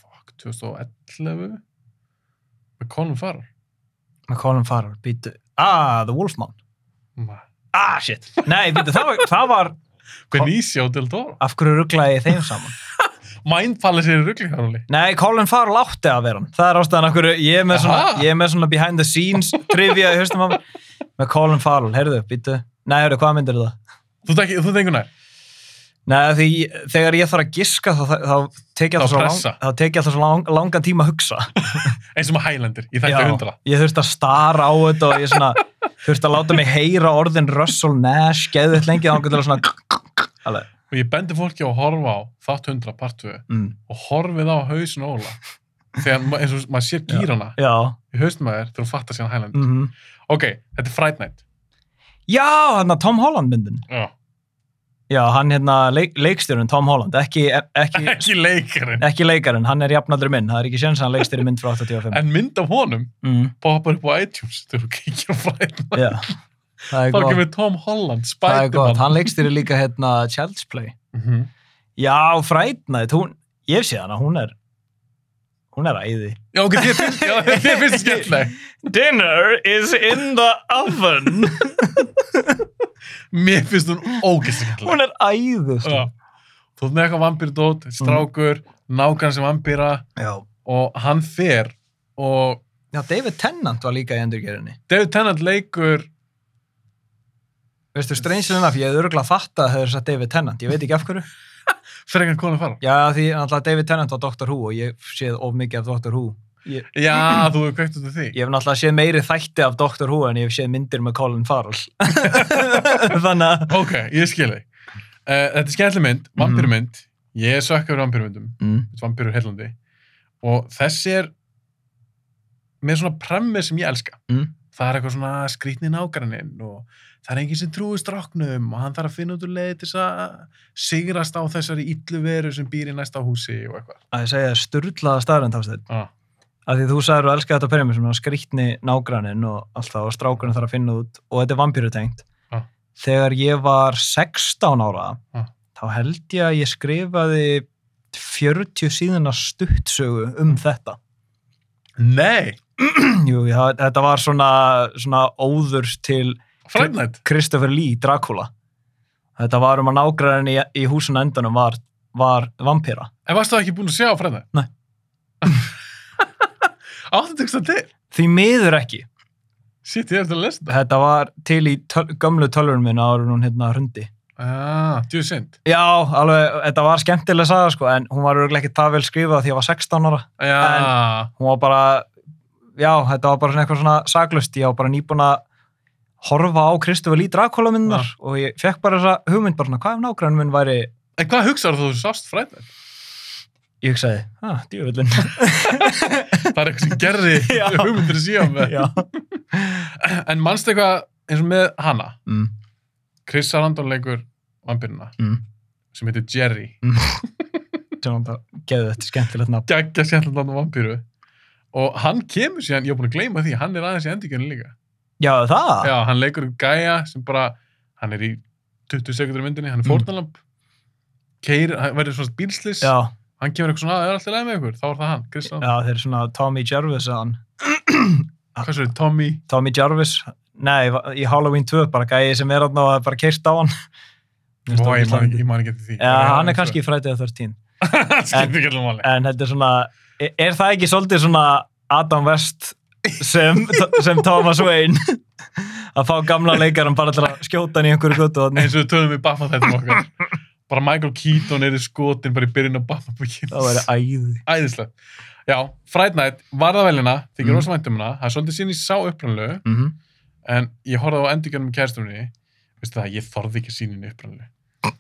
Speaker 1: fuck, 2011 með Colin Farrell.
Speaker 2: Með Colin Farrell, býtu Ah, The Wolfman
Speaker 1: Ma-
Speaker 2: Ah, shit Nei, býtu, það var, það var
Speaker 1: Benicio del Toro.
Speaker 2: Af hverju rugglaði ég þeim saman?
Speaker 1: Mindfallir sér í rugglingarhóli.
Speaker 2: Nei, Colin Farrell átti að vera hann Það er ástæðan af hverju Ég er með svona,
Speaker 1: Aha.
Speaker 2: ég er með svona behind the scenes trivia í höstum af mér. Með Colin Farrell, heyrðu, býtu Nei, heyrðu, hvað myndir það?
Speaker 1: Þú ert ekki, þú ert einhvern veginn.
Speaker 2: Nei, því, þegar ég þarf að giska þá, þá, þá tek ég
Speaker 1: Þá
Speaker 2: alltaf svo,
Speaker 1: pressa.
Speaker 2: lang, þá tek ég alltaf svo lang, langan tíma að hugsa
Speaker 1: Eins og með Highlander, ég þekki
Speaker 2: Já,
Speaker 1: að hundra.
Speaker 2: ég þurfti að stara á þetta og ég svona, þurfti að láta mig heyra orðin Russell Nash, geðið lengi þá getur það svona alveg,
Speaker 1: Og ég bendi fólki á að horfa á þátt 100 part 2
Speaker 2: mm,
Speaker 1: og horfið á hausin Óla þegar ma- eins og maður sér gýrana
Speaker 2: já
Speaker 1: í hausnum að þér þegar þú fattar síðan Highlander
Speaker 2: mm
Speaker 1: ok, þetta er Fright Night
Speaker 2: já, hérna Tom Holland myndin
Speaker 1: Já.
Speaker 2: já, hann hérna, leik, leikstjörun Tom Holland ekki, ekki,
Speaker 1: [laughs] ekki leikarinn
Speaker 2: ekki leikarinn, hann er jafnaldri minn það er ekki sjens að hann leikstjóri mynd frá 85
Speaker 1: en mynd af honum
Speaker 2: mm,
Speaker 1: poppar upp á iTunes þegar þú kikir á Fright Night
Speaker 2: já, það er
Speaker 1: þá
Speaker 2: gott
Speaker 1: kemur Tom Holland,
Speaker 2: það er gott,
Speaker 1: Spiderman
Speaker 2: hann leikstjóri líka hérna Child's Play
Speaker 1: Mhm.
Speaker 2: já, Frætnætt, hún, ég sé hana hún er, hún er æði
Speaker 1: já ok, þér finnst, já, þér finnst skemmtileg
Speaker 2: Dinner is in the oven
Speaker 1: mér finnst hún ógæst skemmtileg
Speaker 2: Hún er æðust
Speaker 1: Já. þú ert með eitthvað vampýrdót, strákur nákvæm sem vampýra
Speaker 2: Já.
Speaker 1: og hann fer og
Speaker 2: Já, David Tennant var líka í endurgerinni
Speaker 1: David Tennant leikur
Speaker 2: Veistu, strange enough, ég hefði örgulega fatt að þau hefur sagt David Tennant, ég veit ekki af hverju
Speaker 1: fyrir einhvern konar fara
Speaker 2: Já, því náttúrulega David Tennant var Doctor Who og ég séð of mikið af Doctor Who Ég-
Speaker 1: Já, þú hefur kveikt út af því.
Speaker 2: Ég hef náttúrulega séð meiri þætti af Doctor Who en ég hef séð myndir með Colin Farrell. [laughs] Þannig að...
Speaker 1: Ok, ég skil þig. Uh, þetta er skemmtileg mynd, vampýrmynd. Ég er sökkur vampýrmyndum,
Speaker 2: Mm.
Speaker 1: vampýrur heillandi. Og þessi er með svona premis sem ég elska.
Speaker 2: Mm.
Speaker 1: það er eitthvað svona skrýtni nágranninn og það er enginn sem trúist stráknum og hann þarf að finna út úr leið til þess að sigrast á þessari illu veru sem býr í næsta húsi og eitthvað.
Speaker 2: Að ég segja styrlaða staðrænt ástæð.
Speaker 1: Ah.
Speaker 2: Af því þú sagður að elska þetta perjum sem að skrýtni nágranninn og allt það og strákurinn þarf að finna út og þetta er vampýrutengt.
Speaker 1: Já.
Speaker 2: Þegar ég var 16 ára
Speaker 1: Já.
Speaker 2: þá held ég að ég skrifaði 40 síðuna stuttsögu um þetta. [clears throat]
Speaker 1: Nei!
Speaker 2: Jú, ég- þetta var svona, svona óður til
Speaker 1: Fright Night!
Speaker 2: Christopher Lee, Dracula þetta var um að nágræðin í, í húsun á endanum var, var vampýra
Speaker 1: En varstu það ekki búin að sjá Fright Night?
Speaker 2: Nei.
Speaker 1: [laughs] Áttu tekst það til?
Speaker 2: því miður ekki,
Speaker 1: Sitt, ég er til að lesa þetta.
Speaker 2: þetta var til í töl, gömlu tölvunum minn áður en hún hérna hrundi
Speaker 1: Ah, djú sind.
Speaker 2: já, alveg, þetta var skemmtilega saga sko, en hún var örugglega ekki það vel skrifað því ég var 16 ára
Speaker 1: Já,
Speaker 2: hún var bara, já, þetta var bara svona eitthvað svona saglust, ég var bara nýbúin að horfa á Christopher Lee Dracula myndar og ég fekk bara þessa hugmynd bara svona, hvað ef nágræðin minn væri
Speaker 1: en hvað hugsaður þú sást Fright Night?
Speaker 2: ég hugsaði, ah, djöfullin
Speaker 1: Það er eitthvað sem gerði
Speaker 2: [laughs] Já.
Speaker 1: hugmyndir síðan með.
Speaker 2: já,
Speaker 1: En manstu eitthvað eins og með hana?
Speaker 2: mm,
Speaker 1: Chris Sarandon leikur vampirina
Speaker 2: mm.
Speaker 1: sem heitir Jerry.
Speaker 2: sem hann geði þetta skemmtilegt nafn
Speaker 1: geggja skemmtilegan vampíru og hann kemur síðan, ég er búin að gleyma því hann er aðeins í endingunni líka
Speaker 2: Já, það?
Speaker 1: já, hann leikur um gæja sem bara hann er í 20 sekundur myndinni, hann er
Speaker 2: Mm.
Speaker 1: fórnalamb keir, hann verður svona bílslis
Speaker 2: já,
Speaker 1: hann kemur eitthvað svona, "Það er alltaf leið með ykkur þá er það hann, Kristján,
Speaker 2: já, þeir eru svona Tommy Jarvis að hann.
Speaker 1: hvað svo er Tommy
Speaker 2: Tommy Jarvis, nei, í Halloween 2 bara gæði sem er hann og það er bara keirt á hann Mér finnst
Speaker 1: Ó,
Speaker 2: það
Speaker 1: ég man,
Speaker 2: ógeðslega
Speaker 1: ég man ekki eftir því
Speaker 2: fyndið. Já, hann er
Speaker 1: [laughs]
Speaker 2: kannski í frætið 13
Speaker 1: skiptir ekki alveg máli
Speaker 2: en þetta er svona, er- er það ekki svolítið svona Adam West [laughs] sem, sem Thomas Wayne [laughs] að fá gamla leikarum bara til að skjóta hann í einhverju götu og
Speaker 1: eins og við tölum í Batman þetta okkar bara Michael Keaton er í skotin bara í byrjun á Batman Begins
Speaker 2: það væri æði
Speaker 1: æðislegt já, Fright Night, var það velina þykir
Speaker 2: Mm.
Speaker 1: mm. ósvænt um hana, það er svolítið síðan ég sá upprannlegu
Speaker 2: mm -hmm.
Speaker 1: en ég horfði á endurgjörnum kæristunni veistu það, ég þorði ekki síninni upprannlegu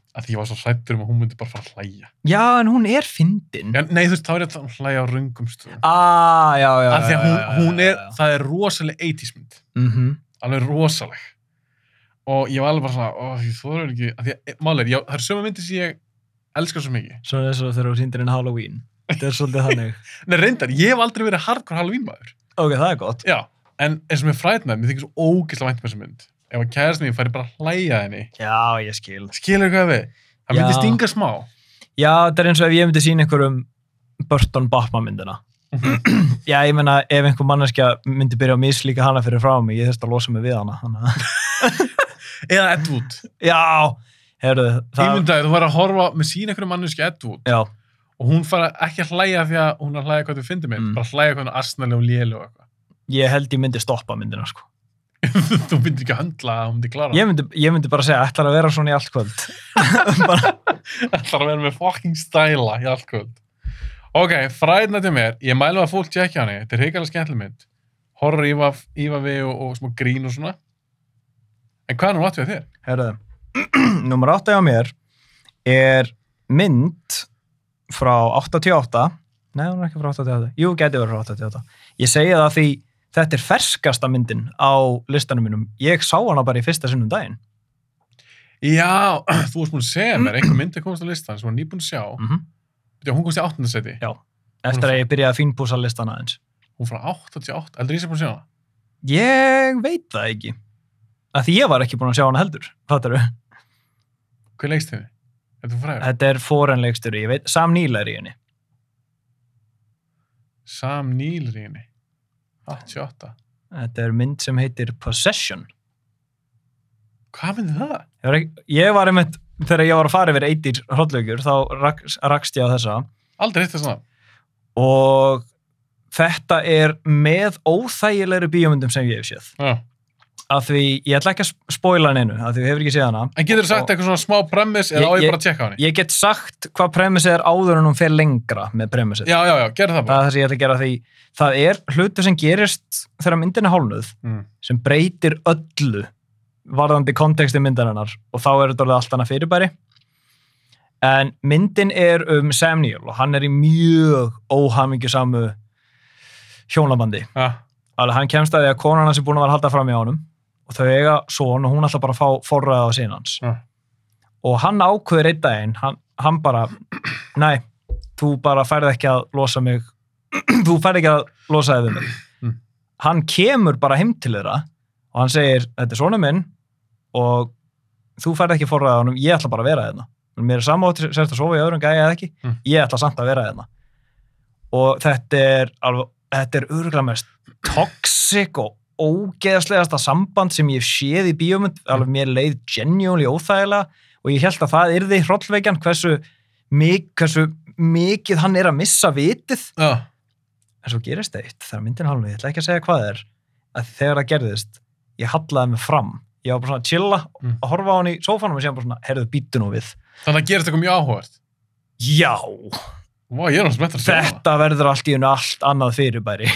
Speaker 1: að því ég var svo hrættur um að hún myndi bara fara að hlæja
Speaker 2: Já, en hún er fyndin
Speaker 1: en, nei, þú veist, þá er ég að hlæja á röngum stöðum
Speaker 2: Ah, já, já, já
Speaker 1: að því að
Speaker 2: já,
Speaker 1: hún,
Speaker 2: já,
Speaker 1: hún
Speaker 2: já,
Speaker 1: er,
Speaker 2: já, já.
Speaker 1: það er rosaleg 80s mynd
Speaker 2: Mhm.
Speaker 1: alveg rosaleg og ég var alveg bara svona, ó, ég þorður ekki að því að, málega, ég, það er sömu myndi sem ég elskar svo mikið,
Speaker 2: Svona eins og þegar þú sýndir inn Halloween. Þetta er svolítið [laughs] þannig.
Speaker 1: en reyndar, ég hef aldrei verið hardcore Halloween maður
Speaker 2: Ok, það er gott.
Speaker 1: Já, en eins og með fræðnað, mér þykir svo ógislega vænt með þessa mynd. Ef að kæðast mér færi bara að hlæja að henni,
Speaker 2: Já, ég skil.
Speaker 1: skilur hvað við? Það
Speaker 2: Já.
Speaker 1: myndi stinga smá.
Speaker 2: Já, þetta er eins og ef ég myndi sína einhverjum Burton Batman myndina. Já, ég meina, ef einhver manneskja myndi byrja að mislíka hana fyrir frá mig, ég þurfti að [laughs] losa mig við hana. hana.
Speaker 1: Eða Edwood.
Speaker 2: Já, heyrðu, það...
Speaker 1: Ímyndaðið, þú væri að horfa með sín einhverju manneski Edwood
Speaker 2: Já,
Speaker 1: og hún fara ekki að hlæja því að hún er að hlæja hvað þau fyndir mynd,
Speaker 2: Mm.
Speaker 1: bara að hlæja hvað hún er asnaleg og léleg og eitthvað. [laughs]
Speaker 2: ég held ég myndi stoppa myndina, sko.
Speaker 1: þú myndir ekki að höndla að hún myndi klara. [laughs]
Speaker 2: Ég myndi, ég myndi bara segja, ætlar að vera svona í allt kvöld. bara,
Speaker 1: Það er að vera með fucking stæla í allt kvöld. Ok, fræðna til mér, ég mælu að fólk tjekkja hann, þetta er reikalega skemmtileg mynd. Horror ífa, ífa við og, og smá grín og svona. En hvað er nú átt við þér?
Speaker 2: [clears throat] heyrðu, nummer 8 á mér er mynd frá 88 Nei, hún er ekki frá 88. Jú, geti verið frá 88. Ég segi það því þetta er ferskasta myndin á listanum mínum. Ég sá hana bara í fyrsta sinnum um daginn.
Speaker 1: Já, [clears throat] þú varst búin að segja mér, einhver mynd að komast á listan sem var nýbúin að sjá. Mm.
Speaker 2: Mm -hmm.
Speaker 1: Hún komst í 8. seti,
Speaker 2: Já. Eftir að ég byrjaði að fínpúsa listan aðeins.
Speaker 1: hún frá 88, aldrei sem búin að sjá hana.
Speaker 2: Ég veit það ekki. Af því ég var ekki búin að sjá hana heldur. Fattar þú?
Speaker 1: Hver leikst henni? Þetta er fræður.
Speaker 2: Þetta er foranlegstur, ég veit. Sam Neill er í henni.
Speaker 1: Sam Neill er í henni. 88.
Speaker 2: Þetta er mynd sem heitir Possession.
Speaker 1: Hvað myndi það?
Speaker 2: Ég var, ekki, ég var einmitt, þegar ég var að fara yfir 80 hrollaugur, þá rak, rakst ég á þessa
Speaker 1: Aldrei hitt þess að
Speaker 2: og þetta er með óþægilegri bíómyndum sem ég hef séð.
Speaker 1: Já,
Speaker 2: að því ég ætla ekki að sp- spoila hann einu, að því við hefur ekki séð hana.
Speaker 1: En getur þú sagt eitthvað svona smá premis eða
Speaker 2: Ég-
Speaker 1: á ég
Speaker 2: ég-
Speaker 1: bara að tjekka á henni?
Speaker 2: Ég get sagt hvað premissið er áður en hún fer lengra með premissið.
Speaker 1: Já, já, já, gerðu það
Speaker 2: Það
Speaker 1: bara.
Speaker 2: er það sem ég ætla að gera því það er hlutu sem gerist þegar myndin er hálnuð
Speaker 1: Mm.
Speaker 2: sem breytir öllu varðandi konteksti myndarinnar og þá er þetta orðið allt annað fyrirbæri. En myndin er um Samuel og hann er í mjög óhamingjusamu hjónabandi.
Speaker 1: Ja.
Speaker 2: Alveg, hann kemst að því að konan hans er búin að vera að halda fram í honum og þau eiga son og hún ætla bara að fá forræða á sín hans.
Speaker 1: Ja.
Speaker 2: Og hann ákveður einn daginn, hann, hann bara, [clears throat] næ, þú bara færð ekki að losa mig, [clears throat] þú færð ekki að losa þig við mig.
Speaker 1: Mm.
Speaker 2: Hann kemur bara heim til þeirra og hann segir, þetta er sonu minn og þú færð ekki forræða á honum, ég ætla bara að vera þeirna. Mér er samátt, sérst að sofa í öðrum gæja eða ekki,
Speaker 1: Mm.
Speaker 2: ég ætla samt að vera þeirna. Og þetta er alveg, þetta er örgulega mest toxic og ógeðslegasta samband sem ég hef séð í bíómynd alveg mér leið genuinely óþægilega og ég held að það yrði hrollveikjan hversu, mik hversu mikið hann er að missa vitið
Speaker 1: Já.
Speaker 2: en svo gerist eitt þegar myndin hálfnið, ég ætla ekki að segja hvað það er að þegar það gerðist, ég hallaði mig fram ég var bara svona að chilla
Speaker 1: Mm.
Speaker 2: að horfa á hann í sófanum og séðan bara svona, heyrðu býtu nú við
Speaker 1: Þannig að gerist eitthvað mjög áhugavert.
Speaker 2: já,
Speaker 1: Vá, ég er náttúrulega spenntur að sjá það.
Speaker 2: þetta verður allt í unni allt annað fyrirbæri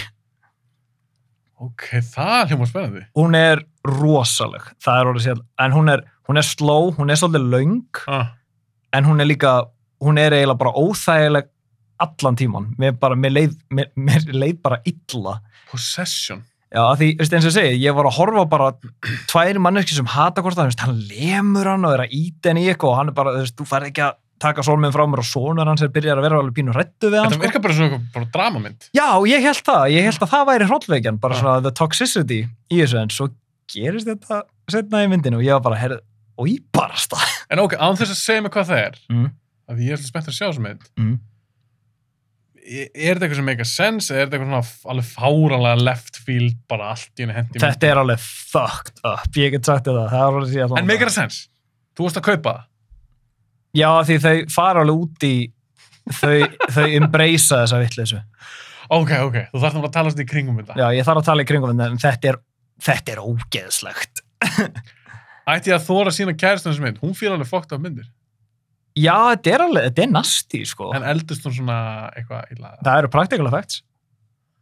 Speaker 1: Ok, það hljóma spennandi.
Speaker 2: hún er rosaleg það er orðið sér, en hún er, hún er sló hún er svolítið löng
Speaker 1: Ah.
Speaker 2: en hún er líka, hún er eiginlega bara óþægileg allan tíman mér, bara, mér, leið, mér, mér leið bara illa
Speaker 1: Possession.
Speaker 2: já, að því, veist, eins og ég segi, ég var að horfa bara á tvær manneski sem hata hvort það veist, hann lemur hann og er að íta henni í eitthvað og hann er bara, þú veist, þú færð ekki að taka sólminn frá mér og sonur hans er byrjar að vera alveg pínu hrættu við hann
Speaker 1: Þetta
Speaker 2: sko.
Speaker 1: virkar bara svona eitthvað bara dramamynd.
Speaker 2: já, ég held það, ég held að það væri hrollveikjan bara
Speaker 1: Já.
Speaker 2: svona the toxicity í þessu en svo gerist þetta setna í myndinu og ég var bara, herrið, og ég barasta
Speaker 1: En ok, án þess að segja mig hvað það er,
Speaker 2: mm,
Speaker 1: af því ég er svolítið spenntur að sjá þessu mynd,
Speaker 2: mm.
Speaker 1: er þetta eitthvað sem make a sense eða er þetta eitthvað svona alveg fáranlega left field bara allt í henni hendi mynd?
Speaker 2: Þetta er alveg fucked up, ég get sagt þér það, það er alveg síðan.
Speaker 1: En make a sense. Þú varst að kaupa það.
Speaker 2: Já, því þau fara alveg út í, þau, þau embracea þessa vitleysu.
Speaker 1: Ok, ok, þú þarfst að tala svona í kringum þetta.
Speaker 2: Já, ég þarf að tala í kringum þetta, en þetta er, þetta er ógeðslegt.
Speaker 1: Ætti ég að þóra að sína kæristun þessu mynd? Hún fýr alveg fókt af myndir.
Speaker 2: Já, þetta er alveg, þetta er nasty, sko.
Speaker 1: En eldist hún svona eitthvað illa.
Speaker 2: [laughs] það eru practical effects.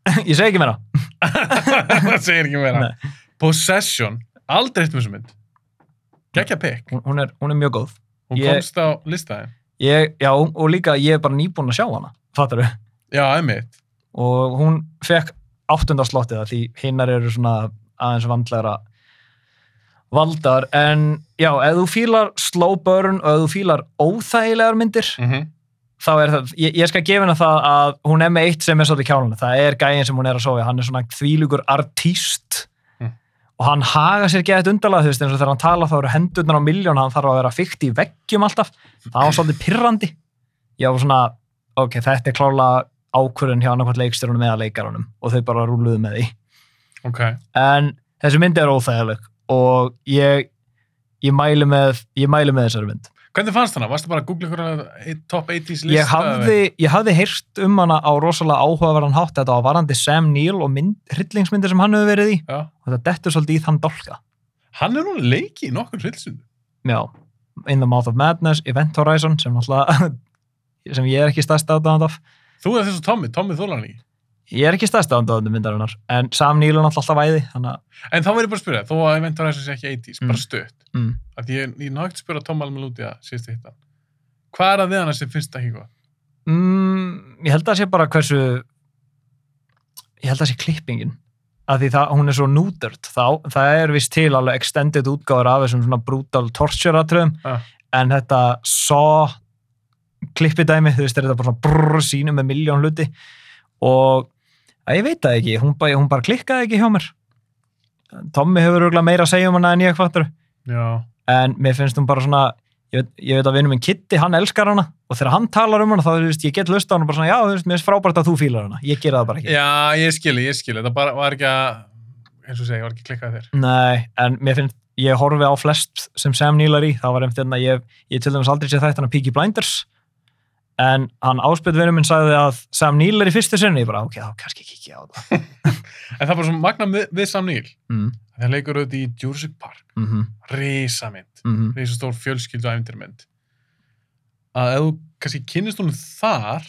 Speaker 2: [laughs] ég segi ekki meira.
Speaker 1: það segir ekki meira.
Speaker 2: Nei.
Speaker 1: Possession. Aldrei hitt með þessu mynd. Gekja pick.
Speaker 2: Hún, hún, er, hún er mjög góð.
Speaker 1: Hún
Speaker 2: Ég-
Speaker 1: komst á listaðin.
Speaker 2: Ég, já, og líka ég er bara nýbúinn að sjá hana, fattar þau?
Speaker 1: Já, einmitt.
Speaker 2: Og hún fekk áttundarslottið það, því hinnar eru svona aðeins vandlegra valdar en já, ef þú fílar slow burn og ef þú fílar óþægilegar myndir
Speaker 1: Mm
Speaker 2: þá er það, ég, ég skal gefa henni það að hún er með eitt sem er svolítið kjálun það er gæin sem hún er að sofa, í. hann er svona þvílugur artíst
Speaker 1: Mm.
Speaker 2: og hann haga sér geðið undarlega, þú veist, eins og þegar hann tala þá eru hendurnar á miljón, hann þarf að vera fyrkt í veggjum alltaf, það var svolítið pirrandi ég var svona, ok, þetta er klála ákvörðun hjá annarkvæmt leikstjórunum eða leikarunum og þau bara rúluðu með því
Speaker 1: Ok.
Speaker 2: en þessi mynd er óþægileg og ég, ég mæli með ég mæli með þessari mynd
Speaker 1: Hvernig fannst hana? Varstu bara að googla ykkur top 80s lista?
Speaker 2: ég hafði, ég hafði heyrt um hana á rosalega áhugaverðan hátt þetta á varandi Sam Neill og mynd, hryllingsmyndir sem hann hefur verið í
Speaker 1: Já.
Speaker 2: og það dettur svolítið í þann dolka
Speaker 1: Hann er núna leiki í nokkur hrylsund.
Speaker 2: já, In the Mouth of Madness, Event Horizon sem náttúrulega [laughs] sem ég er ekki stærst aðdáðan af
Speaker 1: Þú er þessu Tommy, Tommy Þólan ekki.
Speaker 2: ég er ekki stærst aðdáðan myndarinnar en Sam Neill er náttúrulega alltaf væði þannig að
Speaker 1: En þá verður ég bara að spyrja, þó að Event Horizon sé ekki 80s, bara
Speaker 2: Mm.
Speaker 1: stutt.
Speaker 2: mm.
Speaker 1: Af því ég, ég nátt spyrja Tom alveg út í að síðustu hittan. Hvað er að við hana sem finnst ekki góð?
Speaker 2: Mm, ég held að sé bara hversu ég held að sé klippingin að því það, hún er svo nútert þá, það er vist til alveg extended útgáður af þessum svona brutal torture atröðum
Speaker 1: Ja.
Speaker 2: en þetta saw klippidæmi, þú veist, er þetta bara svona brrr sínum með miljón hluti og að ég veit það ekki, hún, bara- hún bara klikkaði ekki hjá mér Tommy hefur örugglega meira að segja um hana en ég hvartur
Speaker 1: Já.
Speaker 2: en mér finnst hún bara svona ég veit, ég veit að vinnum minn Kitty, hann elskar hana og þegar hann talar um hana þá, þú veist, ég get lust á hana bara svona, já, þú veist, mér finnst frábært að þú fílar hana ég gera það bara ekki.
Speaker 1: Já, ég skilji, ég skilji. Það bara var ekki að, eins og segja, var ekki klikkað þér.
Speaker 2: Nei, en mér finnst, ég horfi á hérna, flest sem Sam Neill er í, það var einmitt enn að ég, ég til dæmis aldrei sé þætt hana Peaky Blinders en hann áspjöldvinur minn sagði að Sam Neill er í fyrstu sinni, ég bara ok, þá kannski kikki á það
Speaker 1: En það er bara svona magna við, við Sam Neill.
Speaker 2: mm,
Speaker 1: Það leikur auðvitað í Jurassic Park.
Speaker 2: mm -hmm,
Speaker 1: Rísamynd.
Speaker 2: mm -hmm.
Speaker 1: Rísastór fjölskyldu æfindirmynd. Að ef þú kannski kynnist hún þar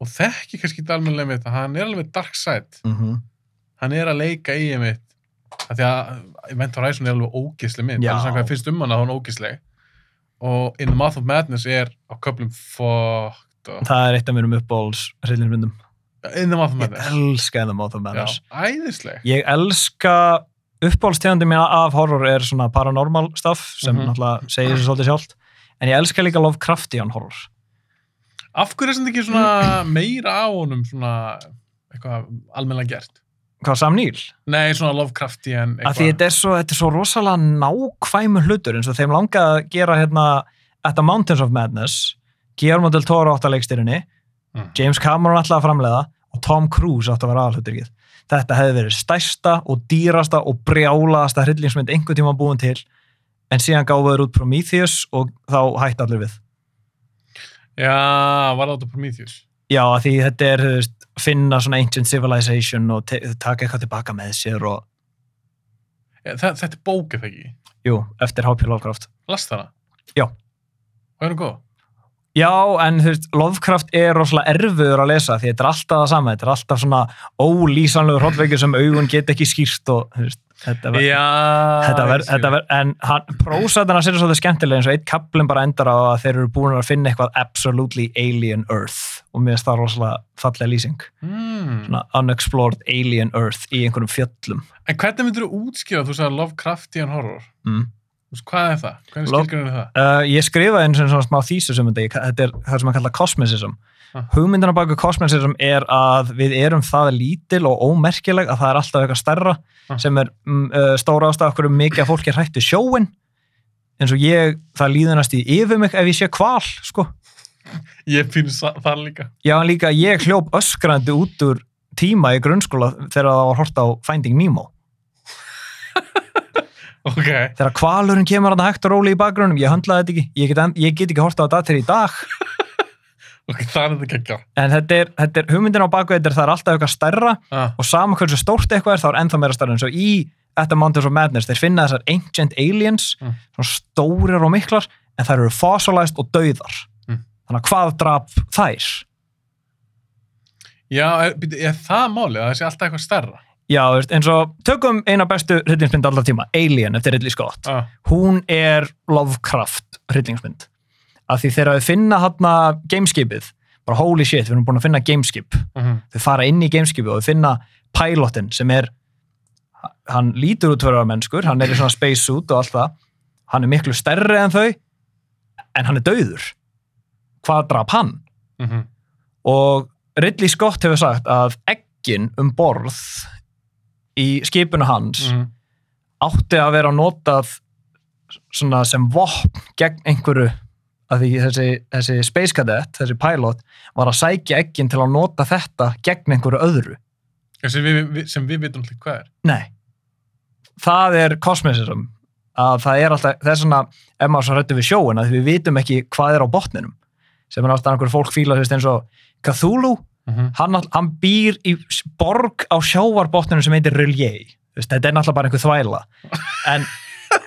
Speaker 1: og þekki kannski þetta almennilega mitt að hann er alveg dark side. Hann er að leika í mitt. Því að Event Horizon er alveg ógisleg mynd.
Speaker 2: Já.
Speaker 1: Það er svona hvað finnst um hana, þá er hún ógisleg. Og In the Mouth of Madness er á köplum fucked up.
Speaker 2: það er eitt af mérum uppbóls reyðlinsmyndum,
Speaker 1: In the Mouth of
Speaker 2: ég
Speaker 1: Madness.
Speaker 2: elska það mátum með
Speaker 1: Já,
Speaker 2: þess
Speaker 1: æðisleg.
Speaker 2: ég elska uppbólstegandi mína af horror er svona paranormal stuff sem
Speaker 1: Mhm.
Speaker 2: náttúrulega segir sér svolítið sjálft en ég elska líka Lovecraftian horror
Speaker 1: Af hverju er þetta ekki svona meira á honum svona eitthvað almennilega gert?
Speaker 2: hvað Sam Neill?
Speaker 1: Nei, svona Lovecrafti en
Speaker 2: að því þetta er svo, þetta er svo rosalega nákvæmu hlutur eins og þeim langaði að gera hérna At the Mountains of Madness Guillermo del Toro átt að leikstýrinni
Speaker 1: Mhm.
Speaker 2: James Cameron alltaf að framleiða og Tom Cruise átt að vera aðalhuturkið þetta hefði verið stærsta og dýrasta og brjálaðasta hryllingsmynd einhvern tíma búin til en síðan gáðu þeir út Prometheus og þá hætti allir við
Speaker 1: Já, var þetta Prometheus?
Speaker 2: Já, að því þetta er þú veist, finna svona ancient civilization og te- taka eitthvað tilbaka með sér og,
Speaker 1: Eh, Þa, þetta er bók eða ekki?
Speaker 2: jú, eftir H.P. Lovecraft.
Speaker 1: Last þarna?
Speaker 2: Já.
Speaker 1: Og er hún góð?
Speaker 2: Já, en þú veist, Lovecraft er rosalega erfiður að lesa því þetta er alltaf það sama, þetta er alltaf svona ólýsanlegur hotveikir sem augun get ekki skýrt og, þú veist, þetta verður
Speaker 1: Já.
Speaker 2: Þetta verð,
Speaker 1: ég skil.
Speaker 2: þetta verð, en hann, prósætana sér svolítið skemmtilega eins og eitt kaplinn bara endar á að þeir eru búin að finna eitthvað absolutely alien earth og mér finnst það rosalega fallega lýsing
Speaker 1: Hmm.
Speaker 2: svona unexplored alien earth í einhverjum fjöllum
Speaker 1: En hvernig myndir þú útskýra þú sagði Lovecrafti en horror?
Speaker 2: mm.
Speaker 1: Þú veist, Hvað er það? Hvernig
Speaker 2: Love-
Speaker 1: skilgrunir það?
Speaker 2: Uh, ég skrifaði eins og svona smá þýsus um þetta, Ég- þetta er það sem að kalla kosmesism.
Speaker 1: Ah.
Speaker 2: Hugmyndina baku kosmesism er að við erum það lítil og ómerkileg að það er alltaf eitthvað stærra
Speaker 1: Ah.
Speaker 2: sem er mm, uh, stóra ástæða okkur um mikið að fólk er hrættu sjóin eins og ég, það líðunast í yfir mig ef ég sé kval, sko.
Speaker 1: Ég finn sa- það líka.
Speaker 2: Já, en líka ég hljóp öskrandi út úr tíma í grunnskóla þegar það var hort á Finding Nemo.
Speaker 1: Ok.
Speaker 2: Þegar kvalurinn kemur að hægt og róli í bakgrunum, ég höndlaði þetta ekki. Ég get, en- ég get ekki hort á þetta til í dag.
Speaker 1: Ok, það er þetta gekkja.
Speaker 2: En þetta er, þetta er hugmyndin á baku þetta er það er alltaf eitthvað stærra
Speaker 1: Ah.
Speaker 2: og sama hversu stórt eitthvað er þá er ennþá meira stærra eins og í At the Mountains of Madness þeir finna þessar ancient aliens
Speaker 1: Mm.
Speaker 2: svona stórir og miklar en þær eru fossilized og dauðar
Speaker 1: Mm.
Speaker 2: þannig að hvað draf þær?
Speaker 1: Já, er, býttu, er það málið að það sé alltaf eitthvað stærra?
Speaker 2: Já, þú veist, eins og tökum eina bestu hryllingsmynd allar tíma, Alien eftir Ridley Scott
Speaker 1: Ah.
Speaker 2: hún er Lovecraft hryllingsmynd af því þegar við finna hann gameskipið bara holy shit, við erum búin að finna gameskip
Speaker 1: Uh -huh.
Speaker 2: þau fara inn í gameskipið og þau finna pilotin sem er hann lítur út fyrir að vera mennskur hann er í svona space suit og allt það hann er miklu stærri en þau en hann er dauður hvað draf hann?
Speaker 1: mhm,
Speaker 2: og Ridley Scott hefur sagt að eggin um borð í skipinu
Speaker 1: Mm.
Speaker 2: hans
Speaker 1: mhm.
Speaker 2: átti að vera notað svona sem vopn gegn einhverju að því þessi, þessi space cadet, þessi pilot var að sækja eggin til að nota þetta gegn einhverju öðru
Speaker 1: Sem, við, við, sem við vitum alltaf hvað er.
Speaker 2: Nei, það er kosmisism að það er alltaf, það er svona ef maður svo rættu við sjóin að við vitum ekki hvað er á botninum sem er alltaf einhver fólk fíla þú veist, eins og Cthulhu,
Speaker 1: Uh -huh.
Speaker 2: hann, all- hann býr í s- borg á sjávarbotninum sem heitir Rullier, Þú veist, þetta er náttúrulega bara einhver þvæla en,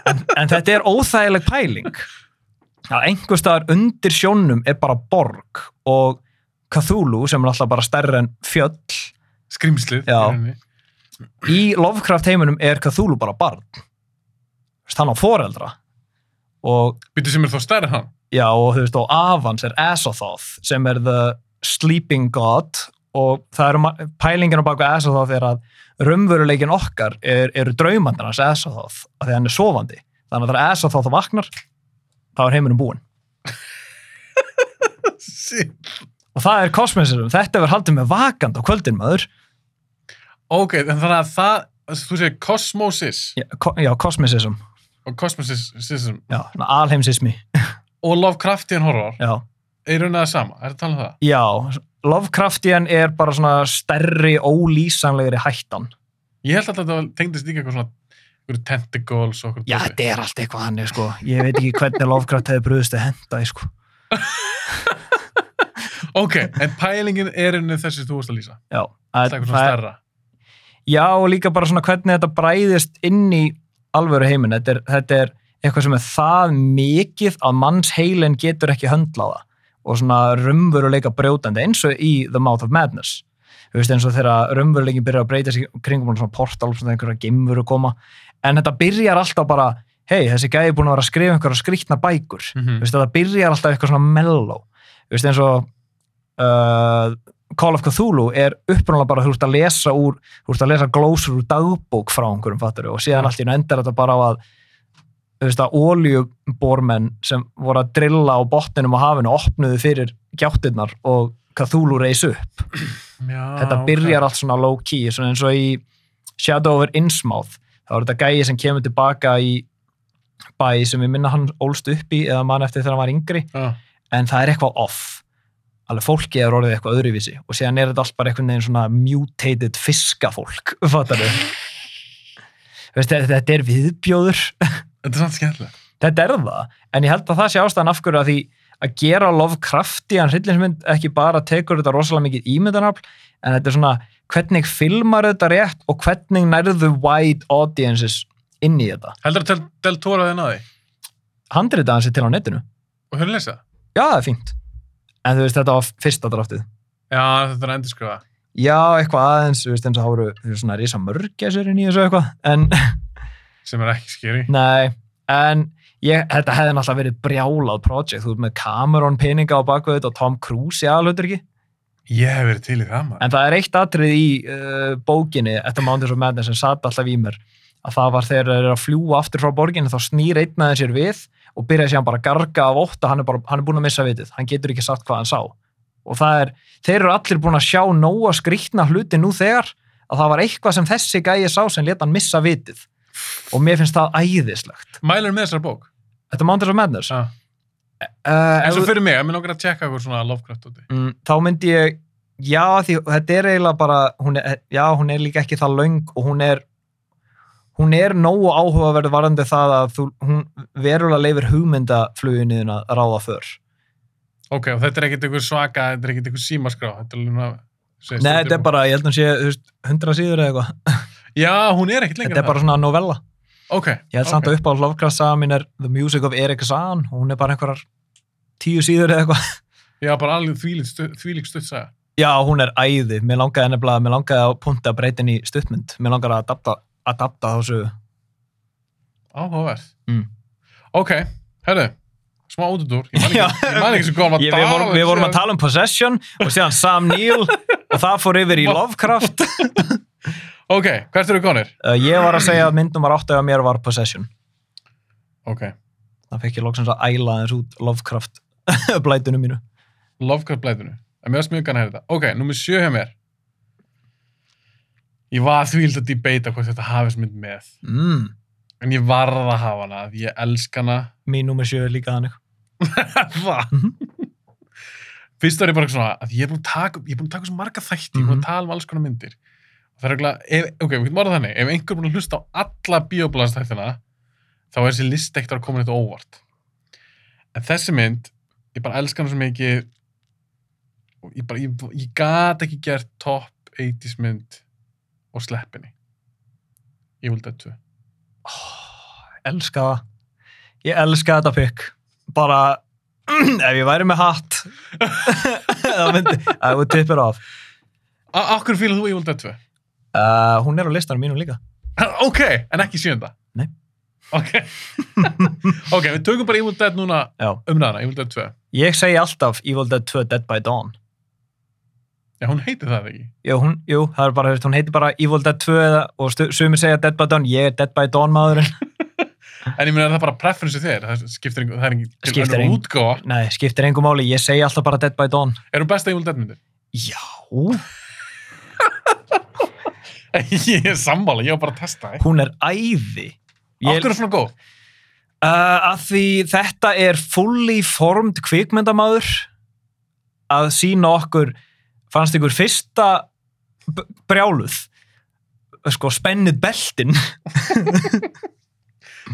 Speaker 2: en, en þetta er óþægileg pæling að einhver staðar undir sjónum er bara borg og Cthulhu sem er alltaf bara stærri en fjöll
Speaker 1: Skrimslið. í
Speaker 2: Já.
Speaker 1: rauninni.
Speaker 2: í Lovecraft heiminum er Cthulhu bara barn Þú veist, hann á foreldra og
Speaker 1: Býttu sem er þá stærri en hann. [laughs]
Speaker 2: já og þú veist og Avans er Azathoth sem er the sleeping god og það eru ma- pælingin á baku Azathoth er að raunveruleikin okkar er, eru draumandir hans Azathoth af því að hann er sofandi þannig að það er Azathoth og vaknar þá er heiminum búinn
Speaker 1: Sí.
Speaker 2: og það er kosmisism, þetta verður haldið með vakand á kvöldin maður
Speaker 1: Ok, en þannig að það, þú segir kosmosis
Speaker 2: já, ko já kosmisism,
Speaker 1: og kosmosisism
Speaker 2: já, svona alheimsismi
Speaker 1: og Lovecraftian horror
Speaker 2: já
Speaker 1: er raunin að það sama, er það talað um það?
Speaker 2: Já, Lovecraftian er bara svona stærri, ólýsanlegri hættan.
Speaker 1: Ég held alltaf að þetta tengdist líka eitthvað svona einhverju tentacles og okkur
Speaker 2: Já, þetta er allt eitthvað hann, sko. Ég veit ekki hvernig Lovecraft hefði brúðist að henda, sko.
Speaker 1: Ok, en pælingin er einu þessi sem þú varst að lýsa.
Speaker 2: Já,
Speaker 1: Það er eitthvað svona stærra.
Speaker 2: Já, og líka bara svona hvernig þetta bræðist inn í alvöru heiminn. Þetta er, þetta er eitthvað sem er það mikið að manns heilin getur ekki höndlaða og svona rumvöruleika brjótandi eins og í The Mouth of Madness. Þú veist eins og þegar rumvöruleikin byrjar að breyta sig kringum og svona portal, svona einhverja geimvöru koma. En þetta byrjar alltaf bara, hei, þessi gæði búin að vera að skrifa einhverja skrýtna bækur.
Speaker 1: Mm
Speaker 2: Þú veist, það byrjar alltaf eitthvað svona mellow. Þú veist, eins og uh, Call of Cthulhu er upprunalega bara, þú ert að lesa úr, þú ert að lesa glósur úr dagbók frá einhverjum, fattur og síðan
Speaker 1: Já.
Speaker 2: allt í enn endar þetta bara á að, þú veist, að oljubormenn sem voru að drilla á botninum á hafinu opnuðu fyrir gjáttirnar og Cthulhu reis upp.
Speaker 1: Já,
Speaker 2: Þetta byrjar allt svona low key, svona eins og í Shadow over Innsmouth. Það var þetta gæi sem kemur tilbaka í bæ sem ég minna hann ólst upp í eða mann eftir þegar hann var yngri
Speaker 1: Já,
Speaker 2: en það er eitthvað off alveg fólki er orðið eitthvað öðruvísi og síðan er þetta allt bara einhvern veginn svona mutated fiskafólk, [laughs] fattar þau veist, þetta þetta er viðbjóður [laughs]
Speaker 1: þetta er samt skemmtilegt.
Speaker 2: þetta er það, en ég held að það sé ástæðan af hverju að því að gera Lovecrafti hann hryllinsmynd ekki bara tekur þetta rosalega mikið ímyndanafl, en þetta er svona hvernig filmar þetta rétt og hvernig nærðu wide audiences inn í þetta,
Speaker 1: Heldur að Del Tóra þeir náði?
Speaker 2: handrita hans er til á netinu
Speaker 1: Og höfðu lesa?
Speaker 2: já, það er fínt en þú veist, þetta var fyrsta draftið
Speaker 1: Já, þetta er að endurskrifa.
Speaker 2: Já, eitthvað aðeins, þú veist, eins og það voru það eru svona rísa mörgæsirinn í þessu eitthvað, en [laughs]
Speaker 1: Sem er ekki skeri.
Speaker 2: nei, en ég, þetta hefði náttúrulega verið brjálað project, þú veist, með Cameron peninga á baku þetta og Tom Cruise í aðalhutur ekki,
Speaker 1: Ég hef verið til í það maður.
Speaker 2: en það er eitt atrið í uh, bókinni, þetta Mountains of Madness sem satt alltaf í mér, að það var þegar þeir eru að fljúa aftur frá borginni, þá snýr einn aðeins sér við og byrja sér hann bara að garga af ótta, hann er, bara, hann er búin að missa vitið, hann getur ekki sagt hvað hann sá og það er, þeir eru allir búin að sjá nóa skrýtna hluti nú þegar að það var eitthvað sem þessi gæi sá sem leta hann missa vitið og mér finnst það æðislegt
Speaker 1: Mælur með þessar bók.
Speaker 2: Þetta er Mountains of Madness
Speaker 1: Já.
Speaker 2: uh,
Speaker 1: En
Speaker 2: ef
Speaker 1: svo
Speaker 2: þú-
Speaker 1: fyrir mig, ég mér langar að tjekka eitthvað svona Lovecraft úti.
Speaker 2: mm, Þá myndi ég já, því þetta er eiginlega bara hún er, já, hún er líka ekki það löng og hún er hún er nógu áhugaverð varandi það að þú, hún verulega leifir hugmyndafluginniðin að ráða för
Speaker 1: Ok, og þetta er ekkert einhver svaka, þetta er ekkert einhver símaskrá. Þetta er alveg svona... segist
Speaker 2: Nei,
Speaker 1: þú,
Speaker 2: þetta er bara, ég held að hún sé þú veist, 100 síður eða eitthvað,
Speaker 1: Já, hún er ekkert lengur
Speaker 2: þetta er bara svona novella
Speaker 1: Ok.
Speaker 2: Ég held samt að upp á Lovecraft saga mín er The Music of Erik Sahn og hún er bara einhverjar tíu síður eða eitthvað. [laughs]
Speaker 1: Já, bara alveg þvílík stutt, þvílík stutt saga.
Speaker 2: Já, hún er æði. Mér langaði nefnilega, mér langaði að punta að breyta henni í stuttmynd. Mér langaði að adapta, adapta þessu.
Speaker 1: Áhugaverð.
Speaker 2: Mm.
Speaker 1: Ok, herru, smá útudúr.
Speaker 2: [laughs]
Speaker 1: Ég man
Speaker 2: Já.
Speaker 1: ekki, ég man ekki sem kom að
Speaker 2: Ég, við, vorum, við vorum að tala um Possession og síðan Sam Neill og það fór yfir í Lovecraft.
Speaker 1: Ok, hvert eru konir?
Speaker 2: Uh, Ég var að segja að mynd numar 8 af mér var Possession.
Speaker 1: Ok,
Speaker 2: Það fekk ég loksins að æla þessu út Lovecraft [laughs] blætunum mínu.
Speaker 1: Lovecraft blæðinu. En mér varst mjög gana að heyra þetta. Ok, númer sjö hjá mér. Ég var þvíld að debata hvort þetta hafis mynd með.
Speaker 2: Mm.
Speaker 1: En ég varð að hafa hana, því ég elsk hana.
Speaker 2: Mín nummer 7 er líka þannig.
Speaker 1: Það? Fyrst var ég bara eitthvað svona, að ég er búin að taka, ég er búin að taka svo marga þætti, ég er búin að tala um alls konar myndir. Og það er eitthvað, ef, ok, við getum orðað þannig, ef einhver er búin að hlusta á alla bioblastættina, þá er þessi list ekkert að koma neitt á óvart. En þessi mynd, ég bara elska hana svo mikið, og ég bara, ég, ég gat ekki gert top 80s mynd og sleppinni. Ég vildi þetta.
Speaker 2: elska það ég elska þetta pikk bara [clears throat] ef ég væri með hatt [laughs] það myndi það would tip it off
Speaker 1: Akkur fílar þú ég vildi þetta?
Speaker 2: uh, hún er á listanum mínum líka
Speaker 1: [laughs] Ok, en ekki sjönda?
Speaker 2: Nei.
Speaker 1: Ok, [laughs] ok, við tökum bara Evil Dead núna
Speaker 2: Já.
Speaker 1: umræðana, Evil Dead 2.
Speaker 2: ég segi alltaf Evil Dead 2 Dead by Dawn
Speaker 1: Já, hún heitir það ekki.
Speaker 2: jú, hún, jú það er bara, þú veist, hún heitir bara Evil Dead 2 eða, og stu- sumir segja Dead by Dawn ég er Dead by Dawn maðurinn [laughs]
Speaker 1: En ég meina, er það bara preference þér? Það skiptir einhver, það er engin, til
Speaker 2: Skiptir
Speaker 1: önnur
Speaker 2: engu.
Speaker 1: útgáfa.
Speaker 2: nei, skiptir engu máli, ég segi alltaf bara Dead by Dawn
Speaker 1: Er hún besta Evil Dead myndir? [laughs]
Speaker 2: já,
Speaker 1: ég er sammála, ég var bara að testa það.
Speaker 2: hún er æði
Speaker 1: Ég... Af hverju er svona góð?
Speaker 2: Uh, að því þetta er fully formed kvikmyndamaður að sína okkur fannst ykkur fyrsta b- brjáluð sko spennið beltin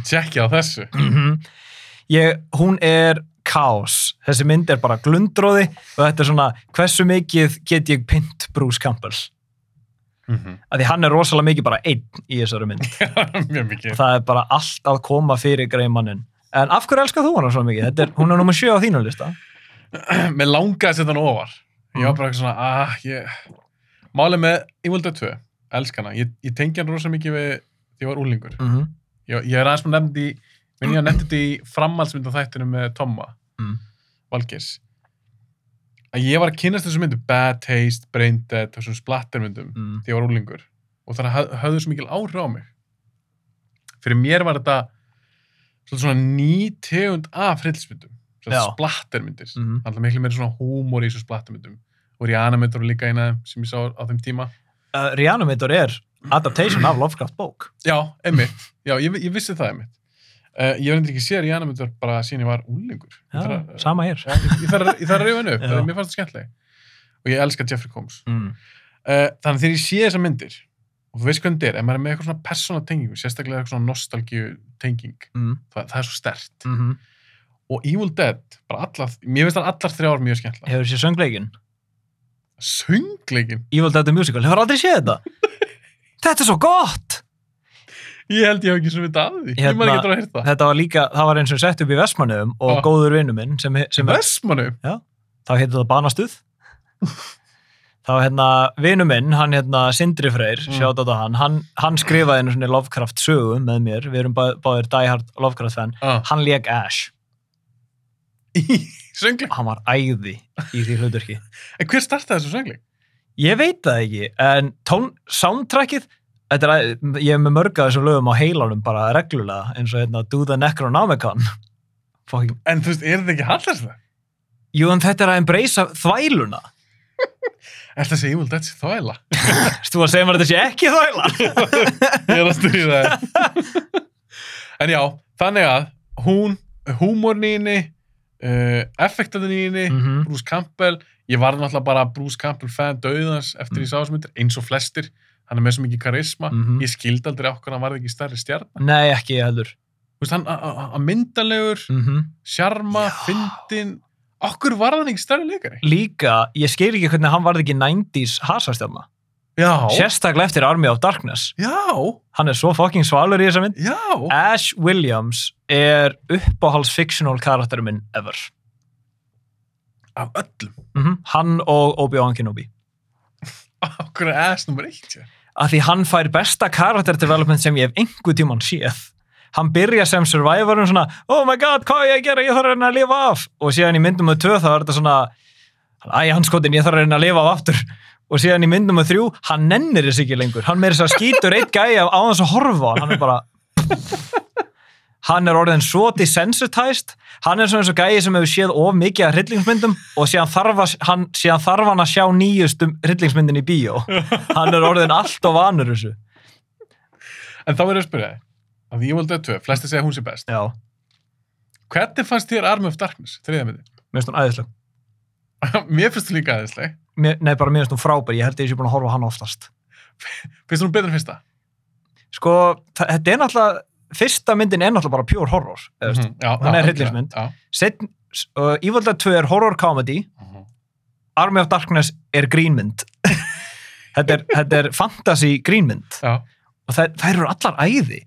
Speaker 1: Tjekkja á þessu.
Speaker 2: Mhm. ég, hún er kaos. Þessi mynd er bara glundróði og þetta er svona, hversu mikið get ég pint Bruce Campbell? Af því hann er rosalega mikið bara einn í þessari mynd.
Speaker 1: [laughs] Mjög mikið. [clears throat]
Speaker 2: Og það er bara allt að koma fyrir greimannin. En af hverju elskar þú hana svona mikið? Þetta Er, hún er nummer sjö á þínu lista.
Speaker 1: Mér langaði að setja hann ofar. Ég
Speaker 2: Mhm.
Speaker 1: var bara eitthvað svona, ah, ég... Málið með Evil Dead 2, elsk hana. Ég, ég tengi hann rosa mikið við, ég var úlingur.
Speaker 2: Mm -hmm.
Speaker 1: Ég, ég er aðeins með nefndi, minn ég að nefndi þetta í framhaldsmynda þættinu með Tomma,
Speaker 2: Mm.
Speaker 1: Valgeirs. Að ég var að kynast þessu myndu, Bad Taste, Brain Dead, þessum splattermyndum,
Speaker 2: Mm.
Speaker 1: þegar ég var úlingur. Og þannig höf, höfðu svo mikil áhrif á mig. Fyrir mér var þetta svolítið svona ný tegund af hryllismyndum. Svona
Speaker 2: Já.
Speaker 1: splattermyndir.
Speaker 2: Mhm.
Speaker 1: Alltaf miklu meira svona húmór í þessu splattermyndum. Og Rihanna myndur var líka eina af þeim sem ég sá á þeim tíma.
Speaker 2: Uh, Rihanna mitur er adaptation af Lovecraft bók.
Speaker 1: Já, einmitt. Já, ég, ég vissi það einmitt. Uh, ég var endur ekki séð Rihanna myndur bara síðan ég var úlingur. Ég
Speaker 2: Já,
Speaker 1: þarf að-
Speaker 2: sama hér.
Speaker 1: Já, ég- ég þarf að- ég þarf að reyfa henni upp.
Speaker 2: Já.
Speaker 1: það er- Mér fannst það skemmtileg. Og ég elska Jeffrey Combs.
Speaker 2: Mm.
Speaker 1: Eh, þannig þegar ég sé þessar myndir og þú veist hvernig þetta er, ef maður er með eitthvað svona persóna tengingu, sérstaklega eitthvað svona nostalgíu tenging,
Speaker 2: Mm.
Speaker 1: það, það er svo stert
Speaker 2: Mm -hmm.
Speaker 1: og Evil Dead, bara allar mér finnst það allar þrjár mjög skemmtilega
Speaker 2: Hefur sér söngleikin?
Speaker 1: söngleikin,
Speaker 2: Evil Dead the Musical, hefur aldrei séð þetta? þetta er svo gott!
Speaker 1: ég held ég hef ekki sem þetta að því, ég maður
Speaker 2: Hérna-
Speaker 1: ekki að hérta
Speaker 2: Þetta var líka, það var eins og sett upp í Vestmannum og
Speaker 1: Ah.
Speaker 2: góður vinnu minn sem, sem er,
Speaker 1: Vestmannu,
Speaker 2: þá heitir
Speaker 1: [laughs]
Speaker 2: það Banastuð. þá hérna, vinnu minn, hann hérna Sindri Freyr,
Speaker 1: Mm.
Speaker 2: mm. sjátt á hann, hann, hann skrifaði einu svona Lovecraft sögu með mér, við erum bá, báðir diehard Lovecraft fan,
Speaker 1: ah. [laughs]
Speaker 2: hann lék Ash,
Speaker 1: söngleik,
Speaker 2: hann var æði í því hluturki.
Speaker 1: en hver startaði þessu söngleik?
Speaker 2: Ég veit það ekki, en tón, soundtrackið, þetta er, að- ég er með mörg af þessum lögum á heilanum bara reglulega, eins og hérna Do the Necronomicon. Fucking,
Speaker 1: en þú veist, er þetta ekki hallast það?
Speaker 2: jú, en þetta er að embracea þvæluna.
Speaker 1: Er þessi Evil Dead sér þvæla? [laughs]
Speaker 2: Ertu að segja mér að þetta sé ekki þvæla?
Speaker 1: Ég er að styrja það. [laughs] en já, þannig að hún, húmorn í henni, uh, effektaðin í henni,
Speaker 2: Mhm.
Speaker 1: Bruce Campbell ég var náttúrulega bara Bruce Campbell fan döðans eftir mm. ég sá þessum myndir, eins og flestir hann er með svo mikið karisma
Speaker 2: Mhm.
Speaker 1: ég skildi aldrei okkur hann varði ekki stærri stjarn
Speaker 2: Nei, ekki ég heldur.
Speaker 1: Vist, hann a- a- a- myndalegur,
Speaker 2: Mm
Speaker 1: sjarma
Speaker 2: Já.
Speaker 1: fyndin, okkur varði hann ekki stærri leikari
Speaker 2: Líka, ég skil ekki hvernig hann varð ekki 90s hasastjáma.
Speaker 1: já,
Speaker 2: Sérstaklega eftir Army of Darkness.
Speaker 1: já,
Speaker 2: Hann er svo fucking svalur í þessa mynd.
Speaker 1: já
Speaker 2: Ash Williams er uppáhalds fictional karakterum minn ever.
Speaker 1: af öllum,
Speaker 2: Mm Hann og Obi-Wan Kenobi.
Speaker 1: okkur er S nummer eitt já.
Speaker 2: að því hann fær besta karakter development sem ég hef einhver tíman séð hann byrja sem survivorum svona oh my god, hvað á ég að gera, ég þarf að reyna að lifa af og síðan í myndum með tvö þá er þetta svona æ, hann skotin, ég þarf að reyna að lifa af aftur og síðan í myndum með þrjú, hann nennir þess ekki lengur hann meira þess að skýtur eitt gæja á þess að horfa á hann, hann er bara hann er orðin svo desensitized hann er svona eins og gæji sem hefur séð of mikið af hryllingsmyndum og síðan þarf, að, hann, síðan þarf hann að sjá nýjustum hryllingsmyndin í bíó hann er orðin allt og vanur þessu
Speaker 1: en þá er ég að spyrja þig af því ég valdi að tvö, flesti segja að hún sé best
Speaker 2: já,
Speaker 1: hvernig fannst þér Arm of Darkness, þriða myndi
Speaker 2: mér finnst hún æðisleg
Speaker 1: [laughs] mér finnst þú líka aðeinsleg,
Speaker 2: mér, nei, bara mér finnst hún frábær, ég held að ég sé búin að horfa á hann oftast
Speaker 1: finnst þú hún betur en fyrsta
Speaker 2: sko, þa- þetta er náttúrulega fyrsta myndin er náttúrulega bara pure horror mm -hmm.
Speaker 1: Mhm, já,
Speaker 2: Hún
Speaker 1: já,
Speaker 2: er
Speaker 1: algjörlega,
Speaker 2: hryllingsmynd.
Speaker 1: já.
Speaker 2: Setn, uh, Evil Dead 2 er horror comedy
Speaker 1: Mhm.
Speaker 2: Army of Darkness er grínmynd [laughs] þetta, er, þetta er fantasy grínmynd
Speaker 1: já
Speaker 2: og það, það eru allar æði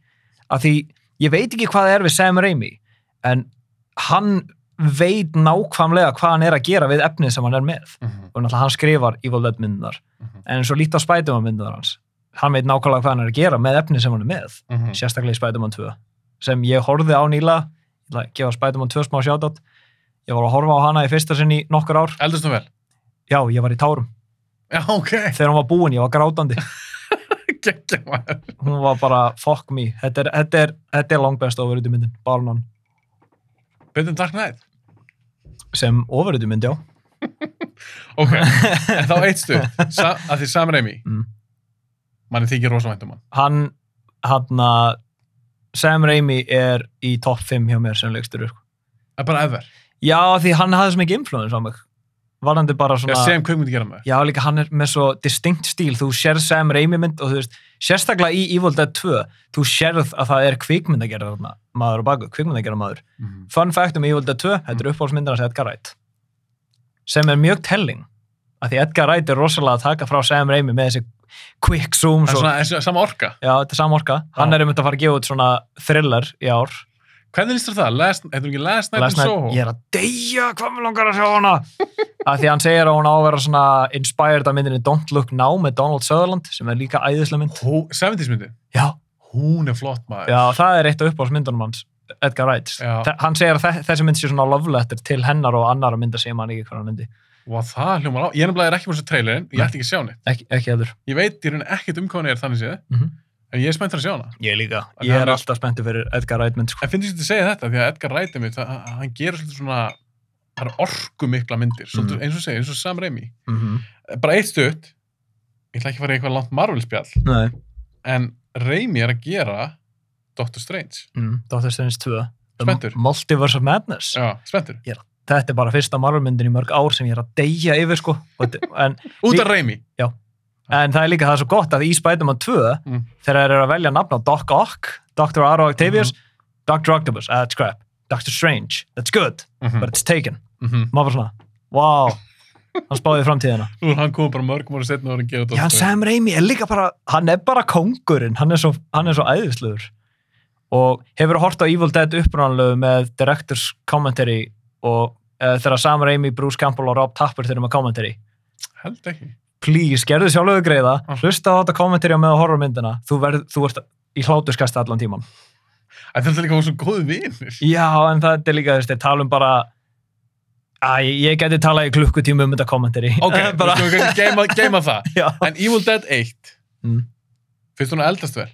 Speaker 2: af því ég veit ekki hvað það er við Sam Raimi en hann veit nákvæmlega hvað hann er að gera við efnið sem hann er með
Speaker 1: Mhm,
Speaker 2: og náttúrulega hann skrifar Evil Dead myndunar
Speaker 1: Mhm.
Speaker 2: en svo lítið á Spiderman myndunar hans hann veit nákvæmlega hvað hann er að gera með efnið sem hann er með
Speaker 1: mhm.
Speaker 2: sérstaklega í Spiderman 2 sem ég horfði á nýla ég ætla að gefa Spiderman 2 smá sjátt ég var að horfa á hana í fyrsta sinn í nokkur ár
Speaker 1: Eldast nú vel?
Speaker 2: já, ég var í tárum
Speaker 1: Já, ok. [laughs]
Speaker 2: þegar hún var búin, ég var grátandi
Speaker 1: Gekkja maður.
Speaker 2: hún var bara fuck me þetta er, þetta er, þetta er langbest ofurutmyndin Barnan
Speaker 1: Betur en Dark Knight.
Speaker 2: sem ofurutmynd, já [laughs]
Speaker 1: Ok, en þá eitt stuð. Sa að því Sam Raimi,
Speaker 2: mm.
Speaker 1: manni þykir rosa vænt um hann.
Speaker 2: hann, hann Sam Raimi er í topp 5 hjá mér sem sko. leikstur
Speaker 1: Það er bara eðver.
Speaker 2: já því hann hafði svo mikið influence á mig varandi bara svona
Speaker 1: Já, sem kveikmyndi gera maður.
Speaker 2: Já, líka hann er með svo distinct stíl, þú sér Sam Raimi mynd og þú veist, sérstaklega í Evil Dead 2, þú sérð að það er kvikmyndagerðarna maður og baku, kvikmyndagerðar maður.
Speaker 1: Mhm.
Speaker 2: Fun fact um Evil Dead 2, þetta
Speaker 1: Mm.
Speaker 2: er uppáhaldsmyndina sem Edgar Wright, sem er mjög telling, af því Edgar Wright er rosalega að taka frá Sam Raimi með þessi quick
Speaker 1: Það
Speaker 2: zooms
Speaker 1: er
Speaker 2: og,
Speaker 1: svona eins og sama orka.
Speaker 2: já, þetta er samorka, hann
Speaker 1: Já.
Speaker 2: er um þetta að fara að gefa út svona thriller í ár.
Speaker 1: Hvernig lístur það? Last, heitum ekki Last Night
Speaker 2: Last
Speaker 1: in Soho?
Speaker 2: Night, ég er að deyja, hvað mér langar að sjá
Speaker 1: [laughs]
Speaker 2: hana að því hann segir að hún á að vera svona inspired af myndinni Don't Look Now með Donald Sutherland sem er líka æðislega mynd
Speaker 1: Hó, 70s myndi.
Speaker 2: já,
Speaker 1: Hún er flott maður.
Speaker 2: já það er eitt af uppáhaldsmyndunum hans Edgar Wright,
Speaker 1: Já.
Speaker 2: Þe- hann segir að þe- þessi mynd sé svona love letter til hennar og annara mynda segir maður ekki hvað hann myndi,
Speaker 1: Og það hljómar á. Ég er nefnilega er ekki búin að sjá trailerinn. Ég ætti ekki að sjá hann.
Speaker 2: ekki, ekki hefur
Speaker 1: Ég veit í raun ekkert um hvað hann er þannig séð.
Speaker 2: Mhm.
Speaker 1: En ég er spennt fyrir að sjá hana.
Speaker 2: ég líka,
Speaker 1: En
Speaker 2: ég
Speaker 1: hann
Speaker 2: er
Speaker 1: er-
Speaker 2: alltaf spenntur fyrir Edgar Wright mynd sko.
Speaker 1: En finnst þú að segja þetta? Því að Edgar Wright er mitt, hann gerur svolítið svona, það er orku mikla myndir. Svolítið,
Speaker 2: Mhm.
Speaker 1: eins og segja, eins og Sam Raimi.
Speaker 2: mm
Speaker 1: Bara eitt stutt. Ég ætla ekki að fara í eitthvað langt Marvel-spjall.
Speaker 2: Nei,
Speaker 1: En Raimi er að gera Doctor Strange.
Speaker 2: mm, Dr. Strange 2 The
Speaker 1: Mhm. Spenntur.
Speaker 2: Multiverse of Madness
Speaker 1: Já, spenntur.
Speaker 2: þetta er bara fyrsta Marvel-myndin í mörg ár sem ég er að deyja yfir sko Og þetta- en
Speaker 1: Út
Speaker 2: Lí-
Speaker 1: af Raimi.
Speaker 2: En það er líka það er svo gott að í Spider-Man 2
Speaker 1: Mm.
Speaker 2: þegar þeir eru að velja nafn á Doc Ock, Dr. Otto Octavius,
Speaker 1: Mhm.
Speaker 2: Dr. Octopus, ah, that's crap, Dr. Strange, that's good,
Speaker 1: Mhm,
Speaker 2: but it's taken.
Speaker 1: mhm.
Speaker 2: Maður bara svona, wow, hann spáði í
Speaker 1: [laughs]
Speaker 2: framtíðina.
Speaker 1: Nú er hann komið bara mörgum ára setna og er að gera
Speaker 2: Já,
Speaker 1: Doctor
Speaker 2: hann
Speaker 1: Strange.
Speaker 2: Sam Raimi er líka bara, hann er bara kóngurinn, hann er svo, hann er svo æðislegur. Og hefur hort á Evil Dead upprannlegu með directors commentary og uh, þegar Sam Raimi, Bruce Campbell og Rob Tapper þeir eru með commentary.
Speaker 1: Held ekki.
Speaker 2: please, gerðu sjálfuðu greiða
Speaker 1: Ah.
Speaker 2: hlusta á þetta kommentarja með að horfa á myndina þú, verð, þú ert í hlátuskasta allan tíman
Speaker 1: Æ, Þetta er líka hún svo góð vinir.
Speaker 2: já, en það er líka, þú veist, þeir tala um bara að ég geti talað í klukkutíma um þetta kommentari
Speaker 1: [laughs]
Speaker 2: [laughs]
Speaker 1: Ok,
Speaker 2: bara,
Speaker 1: við skulum geima, geima það.
Speaker 2: [laughs] já
Speaker 1: En Evil Dead 1,
Speaker 2: Mm.
Speaker 1: finnst hún að eldast vel?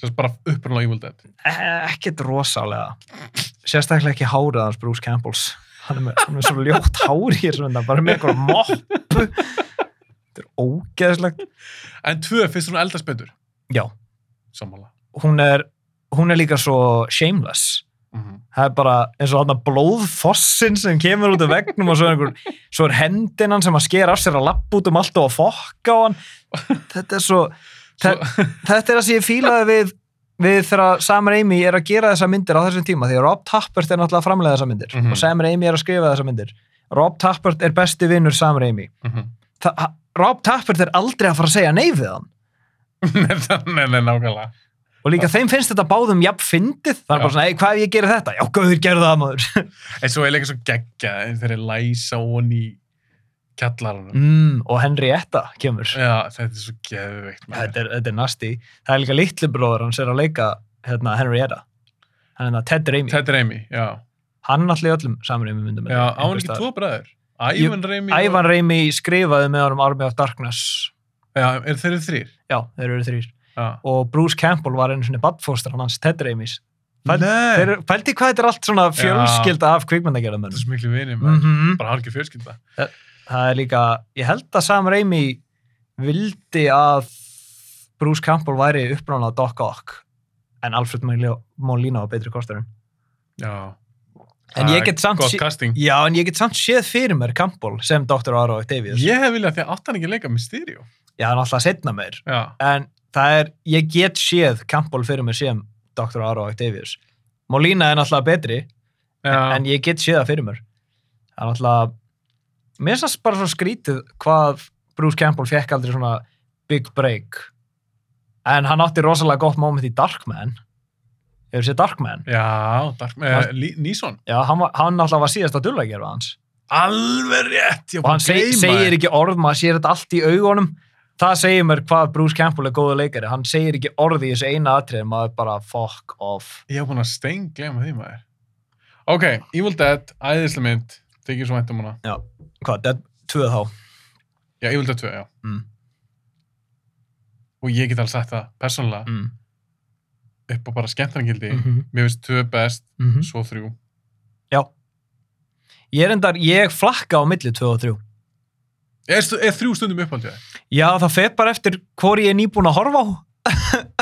Speaker 1: Sérst bara upprunlega Evil Dead.
Speaker 2: Eh, ekkert rosalega sérstaklega ekki hárið hans Bruce Campbells hann er með, hann er með svo ljótt hár í þessu mynda bara með eitthvað moppu þetta er ógeðslegt
Speaker 1: En 2, finnst hún að eldast betur?
Speaker 2: já,
Speaker 1: Sammála.
Speaker 2: hún er hún er líka svo shameless
Speaker 1: Mhm.
Speaker 2: það er bara eins og þarna blóðfossin sem kemur út af vegnum og svo er, einhver, svo er hendinan sem að sker af sér að lappa út um allt og að fokka á hann þetta er svo,
Speaker 1: Svo,
Speaker 2: þetta er það sem ég fílaði við við þegar Sam Raimi er að gera þessa myndir á þessum tíma því að Rob Tappert er náttúrulega að framlega þessa myndir
Speaker 1: Mhm.
Speaker 2: og Sam Raimi er að skrifa þessa myndir Rob Tappert er besti vinnur Sam Raimi
Speaker 1: [laughs] Mhm.
Speaker 2: Þa, ha- Rob Tappert er aldrei að fara að segja nei við hann
Speaker 1: Nei, það- nei, nei, nákvæmlega.
Speaker 2: og líka þeim finnst þetta báðum jafn fyndið, það er bara
Speaker 1: Já.
Speaker 2: svona, ei hvað ef ég gerir þetta? Já, gauður gerðu það maður
Speaker 1: En svo er líka svo geggjað en þeir eru læsa hon í kjallaranum.
Speaker 2: mm, og Henrietta kemur
Speaker 1: Já, þetta er svo geðveikt. maður.
Speaker 2: þetta er, þetta er nasty það er líka litli bróður hans er að leika hérna, Henrietta hann er það Ted Raimi
Speaker 1: Ted Raimi, já.
Speaker 2: hann allir í öllum samrými myndum
Speaker 1: Já, á hann ekki tvo bræður. Ævan Raimi. og-
Speaker 2: Ævan Raimi skrifaði með honum Army of Darkness
Speaker 1: Já, er þeir eru þrýr?
Speaker 2: já, þeir eru þrýr
Speaker 1: Já.
Speaker 2: og Bruce Campbell var einu svona badfóstur hann hans Ted Raimis Fæl-
Speaker 1: Nei.
Speaker 2: þeir, pældi hvað þetta er allt svona fjölskylda af kvikmyndagerðamönnum
Speaker 1: Þetta er svo miklu vinir, maður.
Speaker 2: mm -hmm.
Speaker 1: Bara hálfgjör fjölskylda.
Speaker 2: það er líka, ég held að Sam Raimi vildi að Bruce Campbell væri uppnáðan á Doc Ock en Alfred Molina Molina á betri kosturum
Speaker 1: Já.
Speaker 2: en
Speaker 1: Það
Speaker 2: ég
Speaker 1: er
Speaker 2: get samt
Speaker 1: Gott
Speaker 2: sé,
Speaker 1: casting.
Speaker 2: já, en ég get samt séð fyrir mér Campbell sem Dr. Otto Octavius
Speaker 1: Ég hef viljað því að átt hann ekki að leika Mysterio.
Speaker 2: já, hann alltaf setna mér
Speaker 1: Já.
Speaker 2: en það er, ég get séð Campbell fyrir mér sem Dr. Otto Octavius Molina er alltaf betri
Speaker 1: Já.
Speaker 2: en ég get séð það fyrir mér það er náttúrulega mér finnst það bara svo skrítið hvað Bruce Campbell fekk aldrei svona big break en hann átti rosalega gott moment í Darkman hefur séð Darkman
Speaker 1: Já, Dark, eh, Lí- Níson.
Speaker 2: já, hann, var, hann náttúrulega var síðast að dulla að hans
Speaker 1: Alveg rétt. ég var búin
Speaker 2: og hann
Speaker 1: að
Speaker 2: seg,
Speaker 1: gleyma
Speaker 2: segir
Speaker 1: þér.
Speaker 2: ekki orð maður sér þetta allt í augunum það segir mér hvað Bruce Campbell er góða leikari hann segir ekki orð í þessu eina atrið maður bara fuck off
Speaker 1: Ég hef búin að stein gleyma því maður. Ok, Evil Dead, æðislega mynd, þykir svo væntum hana.
Speaker 2: já, hvað, Dead 2 þá
Speaker 1: Já, Evil Dead 2, já.
Speaker 2: mm.
Speaker 1: Og ég get alveg sagt það, persónulega,
Speaker 2: Mm.
Speaker 1: upp á bara skemmtarangildi.
Speaker 2: Mm -hmm.
Speaker 1: Mér finnst 2 best,
Speaker 2: Mm
Speaker 1: svo 3.
Speaker 2: Já. Ég er endar, ég flakka á milli 2 og 3.
Speaker 1: Er, stu- er 3 stundum uppáldið?
Speaker 2: [laughs] Já, það fer bara eftir hvori ég er nýbúin að horfa á.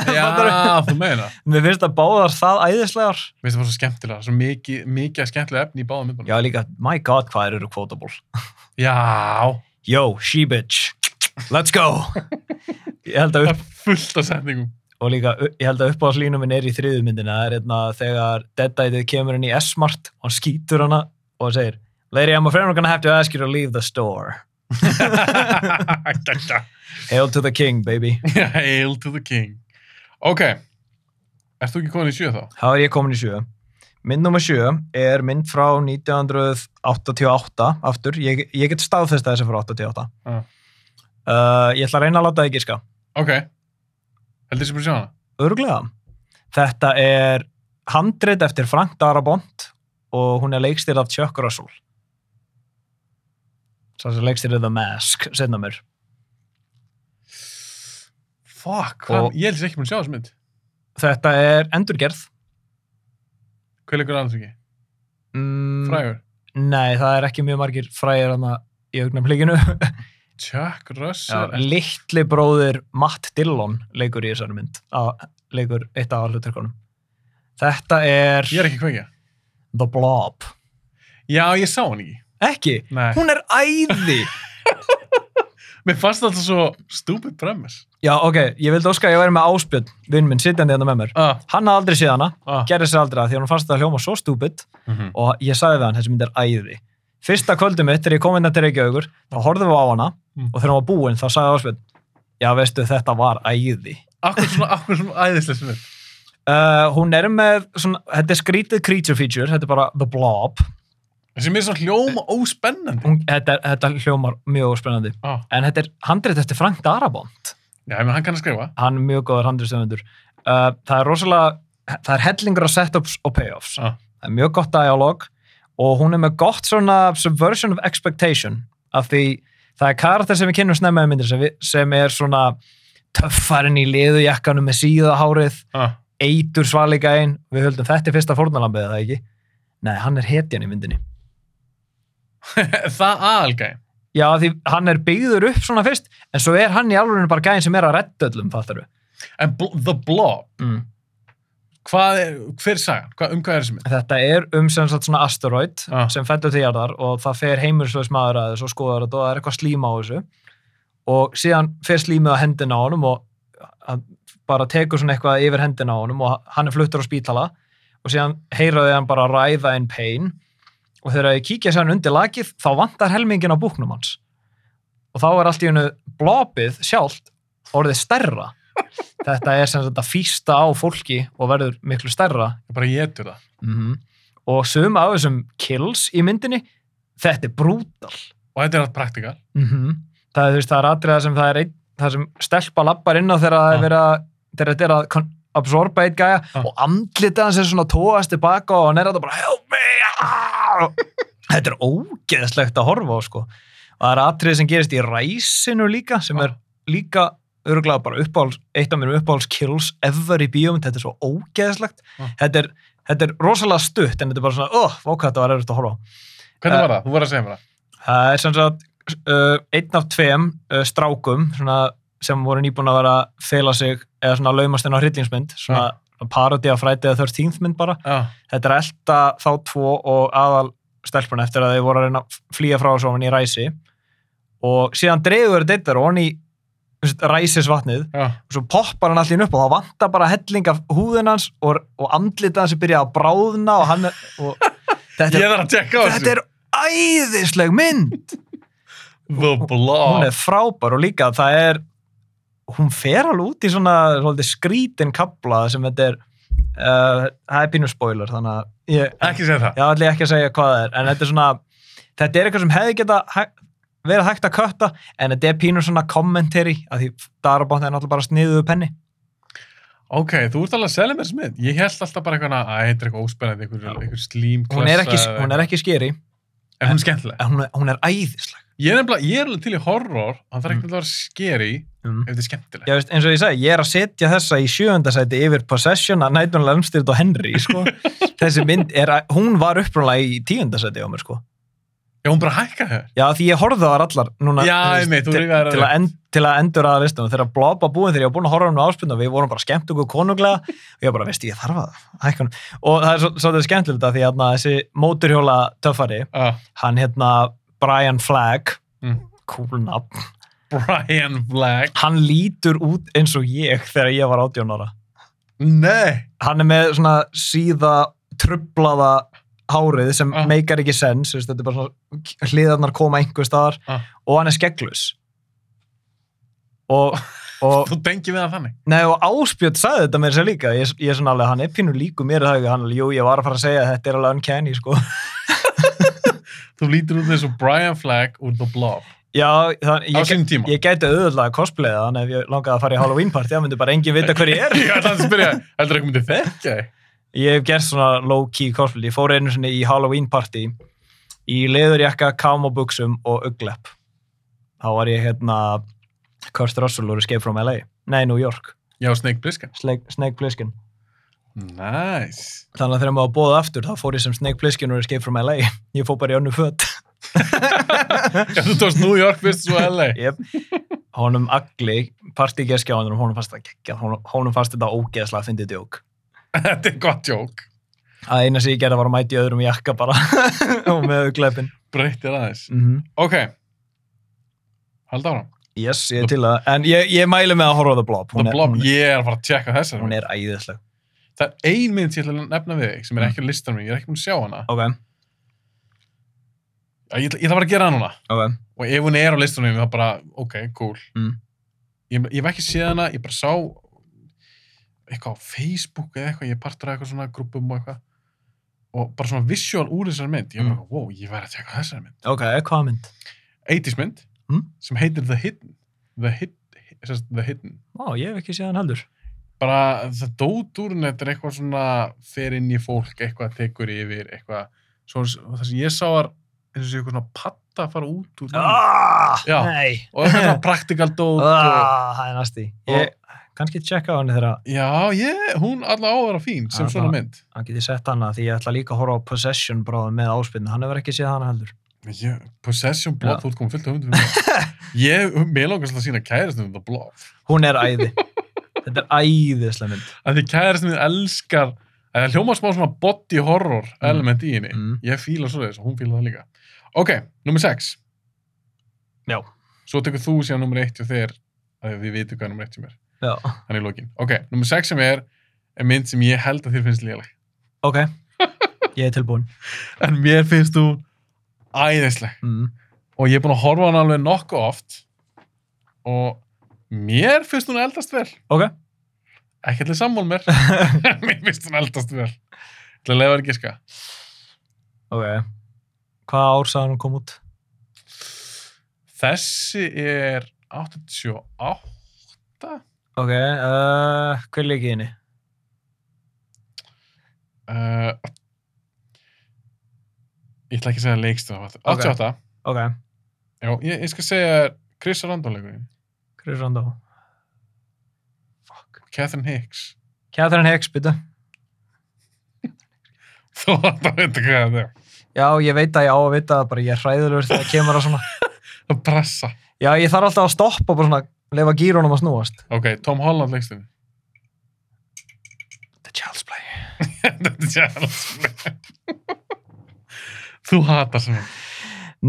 Speaker 1: Já, þú meina.
Speaker 2: Mér finnst að báðar það æðislegar.
Speaker 1: Mér finnst það bara svo skemmtilega, svo mikið, mikið skemmtilega efni í báða myndbana.
Speaker 2: Já, líka, my god, hvað þær eru quotable.
Speaker 1: Já,
Speaker 2: Yo, she bitch, let's go. ég held að,
Speaker 1: það
Speaker 2: upp,
Speaker 1: er fullt af setningum.
Speaker 2: og líka, ég held að uppáðslínu minn er í þriðu myndina. Það er einna þegar Deadite kemur inn í S-Mart og hann skýtur hana og segir, Lady, I'm afraid I'm gonna have to ask you to leave the store.
Speaker 1: [laughs] Gægja.
Speaker 2: Hail to the king, baby.
Speaker 1: Hail to the king. Ok, ert þú ekki komin í sjö þá?
Speaker 2: Þá er ég komin í sjö. Mynd nummer sjö er mynd frá 1988 aftur. Ég, ég get staðfesta þessi frá 88.
Speaker 1: Mm.
Speaker 2: Uh, ég ætla að reyna að láta það ekki ská.
Speaker 1: Ok, heldur þessi búin að sjá hana?
Speaker 2: Örglega. Þetta er handrit eftir Frank Darabont og hún er leikstýrð af Chuck Russell. Sá sem leikstýrð The Mask, setna mér.
Speaker 1: Fuck, hvað,
Speaker 2: Og-
Speaker 1: ég heldur þessi ekki búin að sjá þessu mynd.
Speaker 2: Þetta er endurgerð.
Speaker 1: Hvað leikur annars ekki?
Speaker 2: Mm,
Speaker 1: Frægur.
Speaker 2: Nei, það er ekki mjög margir fræðir hana í augnablikinu.
Speaker 1: Chuck
Speaker 2: [laughs] Já,
Speaker 1: Russell.
Speaker 2: litli bróðir Matt Dillon leikur í þessari mynd að, leikur eitt af hluturkonum þetta er
Speaker 1: Ég er ekki kveikja.
Speaker 2: The Blob
Speaker 1: Já, ég sá hann ekki.
Speaker 2: ekki,
Speaker 1: Nei.
Speaker 2: hún er æði
Speaker 1: Mér fannst þetta svo stupid premise.
Speaker 2: já ok, ég vildi óska að ég væri með áspjörn vinn minn sitjandi hérna með mér
Speaker 1: Ah,
Speaker 2: hann hafði aldrei séð hana,
Speaker 1: ah.
Speaker 2: gerði sér aldrei að því að hún fannst það hljóma svo stúpid
Speaker 1: Mm -hmm.
Speaker 2: og ég sagði við hann, þessi mynd er æði fyrsta kvöldum mitt, þegar ég kom inn til Reykjavíkur þá horfðum við á hana
Speaker 1: Mm.
Speaker 2: og þegar hún var búin þá sagði áspjörn já veistu, þetta var æði
Speaker 1: Akkur svona, akkur svona æðislega sem mynd.
Speaker 2: Uh, hún er með svona, þetta er skrítið creature feature, þetta er bara The Blob
Speaker 1: Þessi mér er svona hljóma óspennandi.
Speaker 2: hún, þetta, er- þetta hljómar mjög spennandi
Speaker 1: Ah.
Speaker 2: en þetta er handrið eftir Frank Darabont
Speaker 1: Já, menn hann kann að skrifa.
Speaker 2: hann er mjög góður handriðstöfundur uh, það er rosalega það er hellingur af setups og payoffs
Speaker 1: Ah.
Speaker 2: það er mjög gott dialog og hún er með gott svona subversion of expectation af því það er karakter sem við kynnum snemma í myndir sem, við, sem er svona töffarinn í liðujakkanum með síðahárið
Speaker 1: Ah.
Speaker 2: eitur svalika einn við höldum þetta er fyrsta fórnalambið það ekki nei, hann er hetjan í myndinni
Speaker 1: [laughs] það aðalgæði.
Speaker 2: já, því hann er byggður upp svona fyrst en svo er hann í alveg bara gæðin sem er að redda öllum, fattar við
Speaker 1: En bl The Blob,
Speaker 2: mm.
Speaker 1: hvað er, hver er sagan? Hva, um hvað er þessi mynd?
Speaker 2: þetta er um sem sagt svona asteroid
Speaker 1: Ah.
Speaker 2: sem fellur til jarðar og það fer heimurslaus maður að þessu og skoðar þetta og það er eitthvað slíma á þessu og síðan fer slímið á hendina á honum og hann bara tekur svona eitthvað yfir hendina á honum og hann er fluttur á spítala og síðan heyraði hann bara ræða in pain og þegar ég kíkja sér hann undir lakið þá vantar helmingin á búknum hans og þá er allt í hennu blopið sjálft orðið stærra þetta er sem sagt að fýsta á fólki og verður miklu stærra
Speaker 1: Ég bara getur það.
Speaker 2: Mhm. og sum af þessum kills í myndinni þetta er brútal
Speaker 1: Og þetta er allt praktikal.
Speaker 2: það, er, þú veist, það er atriða sem það er ein, það sem stelpa lappar inn á þegar það
Speaker 1: Ah.
Speaker 2: er verið að þegar þetta er að kon- absorba eitt gæja
Speaker 1: Ah.
Speaker 2: og andlita hans er svona tóast tilbaka og hann er að bara help me ah!" þetta er ógeðslegt að horfa á sko og það er atrið sem gerist í ræsinu líka sem Um er líka örgulega bara uppáhals, eitt af mér uppáhals kills ever í bíómynd, þetta er svo ógeðslegt
Speaker 1: Ah.
Speaker 2: þetta, er, þetta er rosalega stutt en þetta er bara svona, oh, vóka þetta var erfitt að horfa á
Speaker 1: Hvernig
Speaker 2: Eh.
Speaker 1: var það? Þú var að segja mér það.
Speaker 2: Það er sem sagt uh, einn af tveim uh, strákum svona, sem voru nýbúin að vera að fela sig eða svona laumast inn á hryllingsmynd svona ja. parodi á fræti eða þörstínþmynd bara.
Speaker 1: Ah.
Speaker 2: Þetta er elta þá tvo og aðal stelpun eftir að þau voru að reyna að flýja frá svo hann í ræsi og síðan dreifur þetta og hann í þú veist, ræsisvatnið
Speaker 1: Já.
Speaker 2: og svo poppar hann allir upp og þá vantar bara helling af húðin hans og, og andlita hans er byrjað að bráðna og hann er, og þetta
Speaker 1: Ég
Speaker 2: er,
Speaker 1: þarf að tjekka á þessu.
Speaker 2: þetta er æðisleg mynd
Speaker 1: The
Speaker 2: hún
Speaker 1: Blob.
Speaker 2: er frábær og líka það er hún fer alveg út í svona svolítið skrítin kabla sem þetta er uh, það er pínu spoiler þannig að ég,
Speaker 1: Ekki segja það.
Speaker 2: já, ætla ég ekki að segja hvað það er en þetta er svona þetta er eitthvað sem hefði geta verið hægt að kötta en þetta er pínu svona commentary að því Darabont er náttúrulega bara sniðuðu penni
Speaker 1: Ok, þú ert alveg að selja mér þessu mynd. Ég held alltaf bara eitthvað að þetta er eitthvað óspennandi,
Speaker 2: Já.
Speaker 1: eitthvað, eitthvað slímklassa.
Speaker 2: hún er ekki, hún er ekki skeri
Speaker 1: En hún er skemmtileg.
Speaker 2: en hún er, hún er æðisleg
Speaker 1: Ég er, nefnilega, ég er alveg til í horror, hann þarf ekki að vera skeri
Speaker 2: mm.
Speaker 1: ef þetta er skemmtilegt.
Speaker 2: Já, veist, eins og ég segi, ég er að setja þessa í sjöundasæti yfir Possession að Nightmare on Elm
Speaker 1: [laughs]
Speaker 2: Street og Henry, sko. Þessi mynd, er, að- hún var upprúnlega í tíundasæti á mér, sko.
Speaker 1: Já, hún bara hækkaði þér.
Speaker 2: Já, því ég horfði á þar allar núna
Speaker 1: Já,
Speaker 2: þú veist,
Speaker 1: einmitt, þú
Speaker 2: til,
Speaker 1: rifjaðir
Speaker 2: til,
Speaker 1: þær
Speaker 2: að end, til að endur aða listanum þegar blabba búin þegar ég var búin að horfa á hann á áspilna við vorum bara skemmt okkur konunglega og ég bara, veist, ég þarf að hækka hann og það er svo- svolítið skemmtilegt að því að þessi móturhjóla töffari,
Speaker 1: Ah,
Speaker 2: hann hérna Brian Flagg
Speaker 1: Mm.
Speaker 2: kúlnafn,
Speaker 1: Brian Black.
Speaker 2: hann lítur út eins og ég þegar ég var 18 ára
Speaker 1: Nei.
Speaker 2: hann er með svona síða trublaða hárið sem
Speaker 1: Ah.
Speaker 2: meikar ekki sens, þú veist, þetta er bara svona hliðarnar koma einhver staðar
Speaker 1: Ah.
Speaker 2: og hann er skegglus og, og,
Speaker 1: [laughs] Þú tengir við það þannig.
Speaker 2: nei, og áspjöld sagði þetta mér sér líka, ég, ég er svona alveg hann er pínu líku mér það, hann alveg, jú, ég var að fara að segja að þetta er alveg uncanny, sko [laughs]
Speaker 1: Þú lítur út eins og Brian Flagg úr The Blob.
Speaker 2: já, þann,
Speaker 1: Á
Speaker 2: ég,
Speaker 1: sínum tíma.
Speaker 2: ég gæti auðvitað að cosplayða hann ef ég langaði að fara í Halloween party, það myndi bara enginn vita hver ég er
Speaker 1: Ég ætla að spyrja, heldur ekki myndi þekkja þig?
Speaker 2: Ég hef gert svona low-key cosplay. Ég fór einu svona í Halloween party í leðurjakka, kámabuxum og uglepp. Þá var ég hérna Kurt Russell úr Escape from LA. Nei, New York.
Speaker 1: Já, Snake Plissken.
Speaker 2: Snake, Snake Plissken.
Speaker 1: Nice.
Speaker 2: Þannig að þegar maður bóði aftur, þá fór ég sem Snake Plissken úr Escape from LA. [laughs] Ég fór bara í önnu [laughs] fött.
Speaker 1: Já, þú tókst New York fyrst svo
Speaker 2: [laughs]
Speaker 1: LA.
Speaker 2: yep. Honum agli, partígeskjáðunum, honum fannst það geggjað. Honum, honum fannst þetta ógeðslega að fyndi djók.
Speaker 1: Þetta er gott jók.
Speaker 2: Að eina sem ég gerði var að mæti öðrum í jakka bara [laughs] og með augleppin.
Speaker 1: Breytir aðeins.
Speaker 2: Mm -hmm.
Speaker 1: Ok. Hald ára.
Speaker 2: Yes, ég er til að, en ég, ég mæli með að horfa á The Blob.
Speaker 1: The
Speaker 2: er-
Speaker 1: Blob,
Speaker 2: hún,
Speaker 1: ég er að fara að tjekka
Speaker 2: er-
Speaker 1: þessar.
Speaker 2: hún er æðisleg.
Speaker 1: Það er ein mynd sem ég ætla að nefna við þig sem
Speaker 2: Mm.
Speaker 1: er ekki á listanum mín, ég er ekki búin að sjá hana.
Speaker 2: Ok,
Speaker 1: Ég ætla, ég ætla bara að gera hana núna.
Speaker 2: ok.
Speaker 1: Og ef hún er á listanum mín, þá bara, ok, cool.
Speaker 2: Mm.
Speaker 1: Ég, ég hef ekki séð hana, ég bara sá eitthvað á Facebook eða eitthvað, ég er partur af eitthvað svona grúpum og eitthvað. Og bara svona visual úr þessar mynd, ég var
Speaker 2: Mm.
Speaker 1: bara, wow, ég væri að tjekka þessar mynd.
Speaker 2: Ok, hvaða mynd?
Speaker 1: 80s mynd,
Speaker 2: Mm.
Speaker 1: sem heitir The Hidden. The, hid, hid, sem sagt, The Hidden.
Speaker 2: Ó, ég hef ekki séð hann heldur.
Speaker 1: bara það dót úr henni, þetta er eitthvað svona fer inn í fólk, eitthvað tekur yfir eitthvað, svo, það sem ég sá var eins og sé eitthvað svona patta fara út úr henni.
Speaker 2: Ah,
Speaker 1: Já.
Speaker 2: nei.
Speaker 1: og eitthvað svona praktikal dót og,
Speaker 2: Ah, það er næsti. Ég,
Speaker 1: Og-
Speaker 2: kannski tjekka á henni þegar
Speaker 1: já, ég, hún allavega á að vera fín sem
Speaker 2: Já,
Speaker 1: svona
Speaker 2: það-
Speaker 1: mynd
Speaker 2: hann geti sett hana því ég ætla líka að horfa á Possession bráðum með áspilni. Hann hefur ekki séð hana heldur.
Speaker 1: ég, Possession
Speaker 2: Já.
Speaker 1: Blob, þú ert komið fullt af hundum [laughs] ég, mér langast að sína kærastum um það Blob,
Speaker 2: Hún er
Speaker 1: [laughs]
Speaker 2: æði. Þetta er æðisleg mynd.
Speaker 1: að því kærastum við elskar að það hljóma smá svona body horror element í henni,
Speaker 2: Mm.
Speaker 1: ég fíla svo þess og hún fíla það líka ok, nummer 6
Speaker 2: Já.
Speaker 1: Svo tekur þú síðan nummer eitt og þeir að við vitum hvað nummer eitt sem er.
Speaker 2: Já.
Speaker 1: Hann er í lokin. Ok, nummer sex sem er er mynd sem ég held að þér finnst léleg. [laughs]
Speaker 2: Ok, ég er tilbúin.
Speaker 1: En mér finnst þú æðisleg.
Speaker 2: Mm.
Speaker 1: Og ég er búin að horfa á hann alveg nokkuð oft og mér finnst hún eldast vel.
Speaker 2: Ok.
Speaker 1: Ekki allir sammál mér. [laughs] En mér finnst hún eldast vel. Til að lefa ekki ská.
Speaker 2: Ok. Hvaða ár sagði hann kom út?
Speaker 1: Þessi er 88
Speaker 2: Ok, uh, hver leikið henni?
Speaker 1: Uh, ég ætla ekki að segja leikstofa 88,
Speaker 2: Ok,
Speaker 1: já, ég, ég skal segja Chris Randóleikurinn,
Speaker 2: Chris Rondo. Fuck.
Speaker 1: Catherine Hicks [laughs]
Speaker 2: Catherine Hicks, byrja.
Speaker 1: þú átt að veit hvað það er
Speaker 2: Já, ég veit að ég á að vita það, bara ég er hræðilegur þegar það kemur að svona.
Speaker 1: að brassa,
Speaker 2: Já, ég þarf alltaf að stoppa og bara svona, lefa gírunum að snúast.
Speaker 1: ok, Tom Holland leikstinn
Speaker 2: The Child's Play.
Speaker 1: þetta er Charles [laughs] þú hatar sem hann.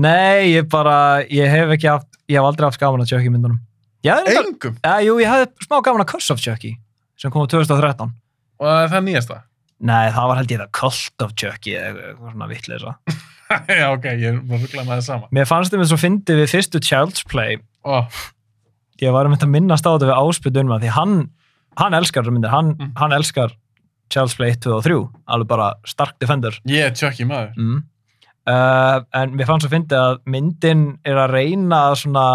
Speaker 2: Nei, ég bara, ég hef ekki haft, ég hef aldrei haft gaman að Chucky myndunum. Já, hey.
Speaker 1: engum,
Speaker 2: ja, jú, ég hafði smá gaman að Curse of Chucky, sem kom á 2013.
Speaker 1: og það er það nýjasta
Speaker 2: Nei, það var held ég það Cult of Chucky eða eitthvað svona vittlega.
Speaker 1: [laughs] já, ok, ég var ruggla með það sama
Speaker 2: Mér fannst þeim eins og fyndi við fyrstu Child's Play
Speaker 1: Ó,
Speaker 2: ég var um þetta að minnast á þetta við áspildu um að því hann, hann elskar þessar myndir, hann,
Speaker 1: Mm.
Speaker 2: hann elskar Child's Play 1, 2 og 3, alveg bara stark defender
Speaker 1: ég er Chucky maður
Speaker 2: mm. uh, en mér fannst að fyndi að myndin er að reyna að svona,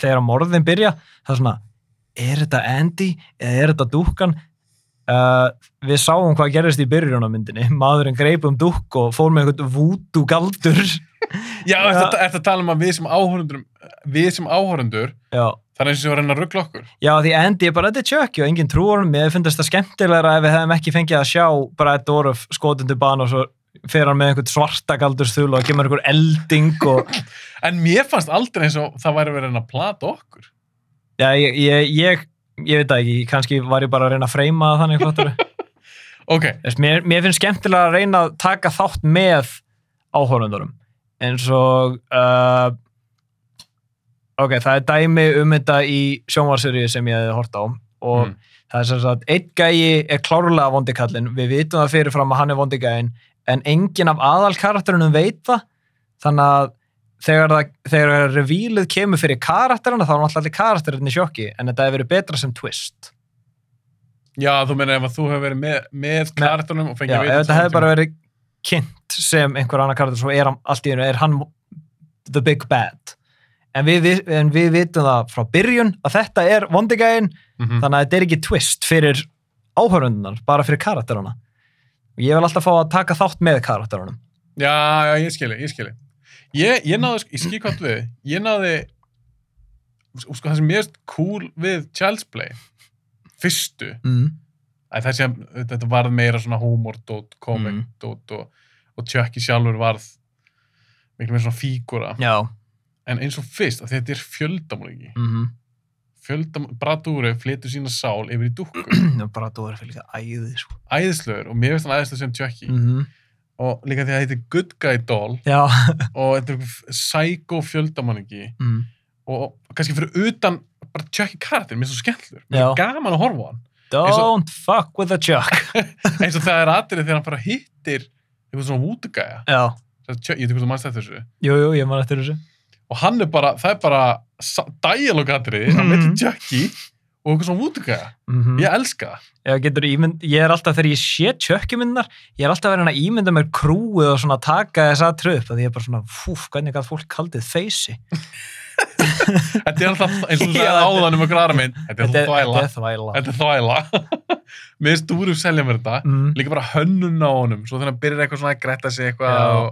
Speaker 2: þegar morðin byrja það er svona, er þetta Andy eða er þetta dúkkan uh, við sáum hvað gerðist í byrjun á myndinni, maðurinn greip um dúkk og fór með eitthvað vúdú galdur
Speaker 1: já,
Speaker 2: Já.
Speaker 1: ertu ertu að tala um að við sem áhörundur við sem áhörundur,
Speaker 2: já
Speaker 1: það er eins og að reyna að ruggla okkur
Speaker 2: Já, því endi ég bara, þetta er tjökk og enginn trúar honum. Mér finnst það skemmtilegra ef við hefðum ekki fengið að sjá Brad Dorff skotundu ban og svo fer hann með einhvern svartakaldur þul og það kemur einhver elding og
Speaker 1: En mér fannst aldrei eins og það væri verið að plata okkur.
Speaker 2: já, ég, ég, ég, ég veit það ekki, kannski var ég bara að reyna að freyma það þannig hvað
Speaker 1: Ok,
Speaker 2: Þess, mér, mér finnst skemmtilega að reyna að taka þátt með áhórundurum eins og uh, ok, það er dæmi um þetta í sjónvarserju sem ég hefði hort á og
Speaker 1: Mm.
Speaker 2: það er sem sagt, einn gæi er klárlega vondikallin, við vitum það fyrirfram að hann er vondikallin, en engin af aðalkarakterunum veit það þannig að þegar, það, þegar revílið kemur fyrir karakterina þá er náttúrulega allir karakterinn í sjokki en þetta hefur verið betra sem twist
Speaker 1: já, þú meina ef að þú hefur verið með, með karakterunum og fengið
Speaker 2: Já,
Speaker 1: að
Speaker 2: ef
Speaker 1: vita
Speaker 2: þetta
Speaker 1: svona
Speaker 2: hefði bara verið kynnt sem einhver annar karakter svo er hann allt í einu, er hann the big bad en við, vi- en við vitum það frá byrjun að þetta er vondigæin,
Speaker 1: Mhm.
Speaker 2: þannig að þetta er ekki twist fyrir áhörundunar, bara fyrir karakterana og ég vil alltaf fá að taka þátt með karakterunum
Speaker 1: Já, já, ég skilji, ég skilji. Ég, ég náði, sko- ég skil hvað við, ég náði, sko, það sem mér erst cool við Child's Play, fyrstu,
Speaker 2: mm.
Speaker 1: að þessi að þetta varð meira svona humordót, komikdót og, og Chucky sjálfur varð miklu meira svona fígura.
Speaker 2: Já
Speaker 1: En eins og fyrst, að þetta er fjöldamólingi.
Speaker 2: mm [clears throat]
Speaker 1: Fjöldam, Bradúri flytur sína sál yfir í dúkku,
Speaker 2: Bara þú er fyrir líka æði sko.
Speaker 1: æðislegur og mér finnst hann æðislegur sem Chucky.
Speaker 2: mm.
Speaker 1: Og líka því að þetta er Good Guy Doll
Speaker 2: Já
Speaker 1: og þetta er einhver psycho fjöldamólingi.
Speaker 2: mm.
Speaker 1: og kannski fyrir utan bara tjökki karatinn, mér er svo skemmtlur mér
Speaker 2: Já.
Speaker 1: er gaman að horfa á hann og-
Speaker 2: Don't fuck with the chuck
Speaker 1: eins og það er aðrið þegar hann bara hittir eitthvað svona vútugæja
Speaker 2: [laughs] Já,
Speaker 1: ég veit ekki hvað þú mannst eftir þessu
Speaker 2: jú, jú, ég man eftir þessu
Speaker 1: og hann er bara, það er bara dialog aðrið á
Speaker 2: [laughs] Mhm.
Speaker 1: milli tjökki og eitthvað svona vútugæja
Speaker 2: mm -hmm.
Speaker 1: ég elska það
Speaker 2: Ég, getur, ímynd, ég er alltaf þegar ég sé tjökkjumyndar ég er alltaf verið að ímynda mér krúið og svona taka þess að tröp að ég er bara svona, fúf, hvernig gæð fólk kaldið feysi
Speaker 1: þetta er alltaf, eins
Speaker 2: [laughs]
Speaker 1: og þú
Speaker 2: Já,
Speaker 1: sagði
Speaker 2: þetta-
Speaker 1: áðan um einhver aðra minn þetta er alltaf þvæla
Speaker 2: er þvæla
Speaker 1: þetta er þvæla [laughs] mér er stúruf selja mér þetta
Speaker 2: Mm.
Speaker 1: líka bara hönnun á honum svo þannig að byrjar eitthvað svona að gretta sig eitthvað
Speaker 2: Já.
Speaker 1: og...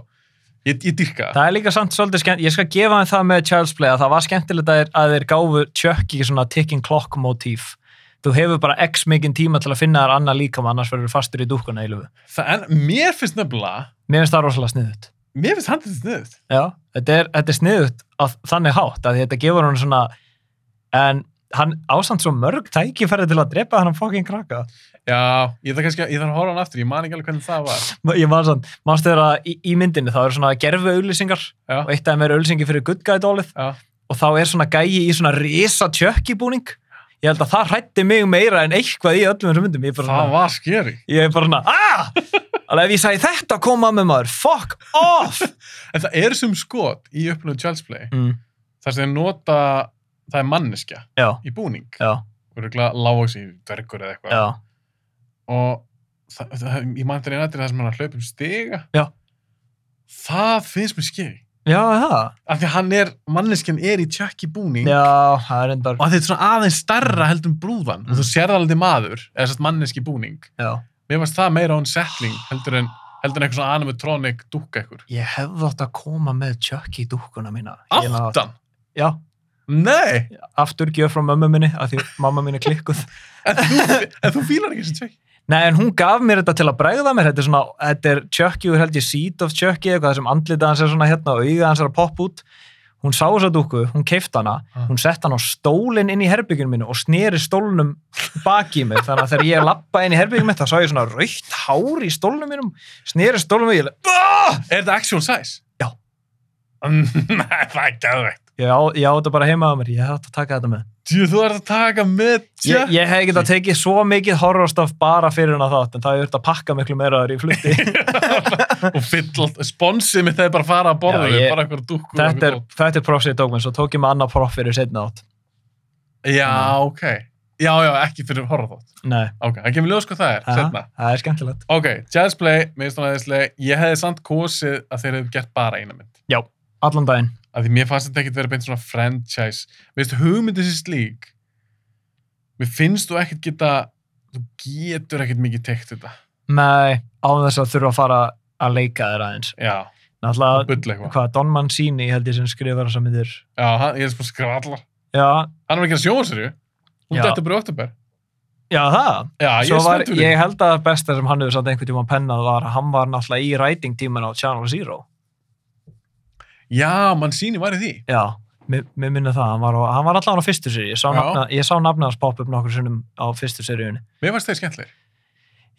Speaker 1: ég, ég dyrka það
Speaker 2: það er líka samt svolítið skemmt ég skal gefa þeim það með Child's Play að það var skemmtilegt að þeir, að þeir gáfu tjökki svona ticking clock motíf þú hefur bara x mikinn tíma til að finna þér annað líkam annars verður fastur í dúkkuna í löfu
Speaker 1: en mér finnst nefnilega
Speaker 2: mér finnst það rosalega sniðut
Speaker 1: Mér finnst handið sniðið.
Speaker 2: Já, þetta er, þetta er sniðut að þannig hátt að þetta gefur hann svona en hann ásamt svo mörg tækifæri til að drepa hann fokkin krakka.
Speaker 1: Já, ég þarf kannski að, ég þarf að horfa á hann aftur, ég man ekki alveg hvernig það var.
Speaker 2: Ég man sann, mannstu þeirra í, í myndinni þá eru svona gerfi auðlýsingar og
Speaker 1: Já,
Speaker 2: eitt af þeim er auðlýsingi fyrir Good Guy dólið
Speaker 1: já.
Speaker 2: og þá er svona gæi í svona risa tjökkibúning. Ég held að það hrætti mig meira en eitthvað í öllum þessum myndum. Ég er bara
Speaker 1: Það
Speaker 2: svona,
Speaker 1: var skeri.
Speaker 2: ég er bara svona, aah! Alveg ef ég sagði þetta koma með maður, fuck off!
Speaker 1: En það er sem skot í upplöðu Child's Play,
Speaker 2: Mm,
Speaker 1: þar sem þeir nota, það er manneskja
Speaker 2: já,
Speaker 1: í búning.
Speaker 2: já,
Speaker 1: Og röglega lágóks í dvergur eða eitthvað.
Speaker 2: já,
Speaker 1: Og það, það, ég man þetta einu aðrið þar sem hann er að hlaupa um stiga.
Speaker 2: Já.
Speaker 1: Það finnst mér skeri.
Speaker 2: já, það,
Speaker 1: Af því að hann er, manneskjan er í tjökk í búning.
Speaker 2: já, það er endar,
Speaker 1: Og þetta er svona aðeins starra heldur um brúðan.
Speaker 2: Mm.
Speaker 1: Og þú sér það alveg maður, eða sett manneski í búning.
Speaker 2: já.
Speaker 1: Mér varst það meira á en setling heldur en, heldur en eitthvað svona animatronic dúkka ykkur.
Speaker 2: Ég hefði átt að koma með Chucky í dúkkuna mína. Ég náði-
Speaker 1: Áttan?
Speaker 2: Já,
Speaker 1: Nei!
Speaker 2: aftur gjöf frá mömmu minni, af því mamma mín er klikkuð.
Speaker 1: En þú, en þú fílar ekki þessi tjökk?
Speaker 2: Nei, en hún gaf mér þetta til að bregða mér. Þetta er svona, þetta er Chucky, og held ég Seed of Chucky, eitthvað sem andlita hans er svona hérna og auga hans er að poppa út. Hún sá þessa dúkku, hún keift hana,
Speaker 1: Ah.
Speaker 2: hún sett hann á stólinn inn í herbygginu mínu og sneri stólnum baki mig. Þannig að þegar ég lappa inn í herbygginu mitt, þá sá ég svona raukt hár í stólnum mínum, sneri stólnum og ég,
Speaker 1: Ah! Er þetta actual size?
Speaker 2: Já.
Speaker 1: Mm, [laughs] Nei, það er gæðvegt.
Speaker 2: ég, á, ég á þetta bara heima á mér, ég hefði átt að taka þetta með.
Speaker 1: Jú, þú ert að taka með
Speaker 2: Ég,
Speaker 1: tjökk.
Speaker 2: ég hef getað tekið svo mikið horrorstoff bara fyrir hana þátt, en það er verið að pakka miklu meira þar í flutti.
Speaker 1: [laughs] [laughs] og fyll allt, sponsið mitt þegar bara að fara að borða
Speaker 2: Já,
Speaker 1: þig,
Speaker 2: ég-
Speaker 1: bara einhver dúkku. og
Speaker 2: þetta, er,
Speaker 1: einhver dót.
Speaker 2: þetta er proff sem ég tók með, svo tók ég með annað proff fyrir setna þátt.
Speaker 1: Já,
Speaker 2: Mm.
Speaker 1: ok. Já, já, ekki fyrir horfa þótt.
Speaker 2: Nei,
Speaker 1: Ok, það kemur ljós hvað það er,
Speaker 2: Aha,
Speaker 1: setna.
Speaker 2: það er skemmtilegt.
Speaker 1: Ok, Jazz Play, mér finnst hún aðeinslega, ég hefði samt kosið að þeir hefðu gert bara eina mynd.
Speaker 2: Allan daginn.
Speaker 1: að því mér fannst þetta ekkert vera beint svona franchise veist, hugmyndið sér slík mér finnst þú ekkert geta þú getur ekkert mikið tekt þetta
Speaker 2: Nei, á þess að þurfa að fara að leika þér aðeins.
Speaker 1: já,
Speaker 2: Náttúrulega,
Speaker 1: bull eitthvað
Speaker 2: hvað, Don Mancini held ég sem skrifar þess að myndir.
Speaker 1: já, hann, ég er sem að skrifa allar
Speaker 2: Já,
Speaker 1: hann er ekki að sjóa sér, hún
Speaker 2: Já.
Speaker 1: dætti bara í oktober
Speaker 2: Já, það.
Speaker 1: Já,
Speaker 2: Svo
Speaker 1: ég
Speaker 2: var,
Speaker 1: stendur
Speaker 2: ég held að besta sem hann hefur samt einhvern tíma pennað var að hann var náttúrulega í writing tíman á Channel Zero.
Speaker 1: Já, mann síni var í því.
Speaker 2: Já, mér mér minnir það. Hann var, á, hann var allavega á fyrstu séri. Ég sá,
Speaker 1: Já.
Speaker 2: nafna, ég sá nafna hans poppa upp nokkur sinnum á fyrstu seriunni.
Speaker 1: Mér fannst þeir skemmtilegir.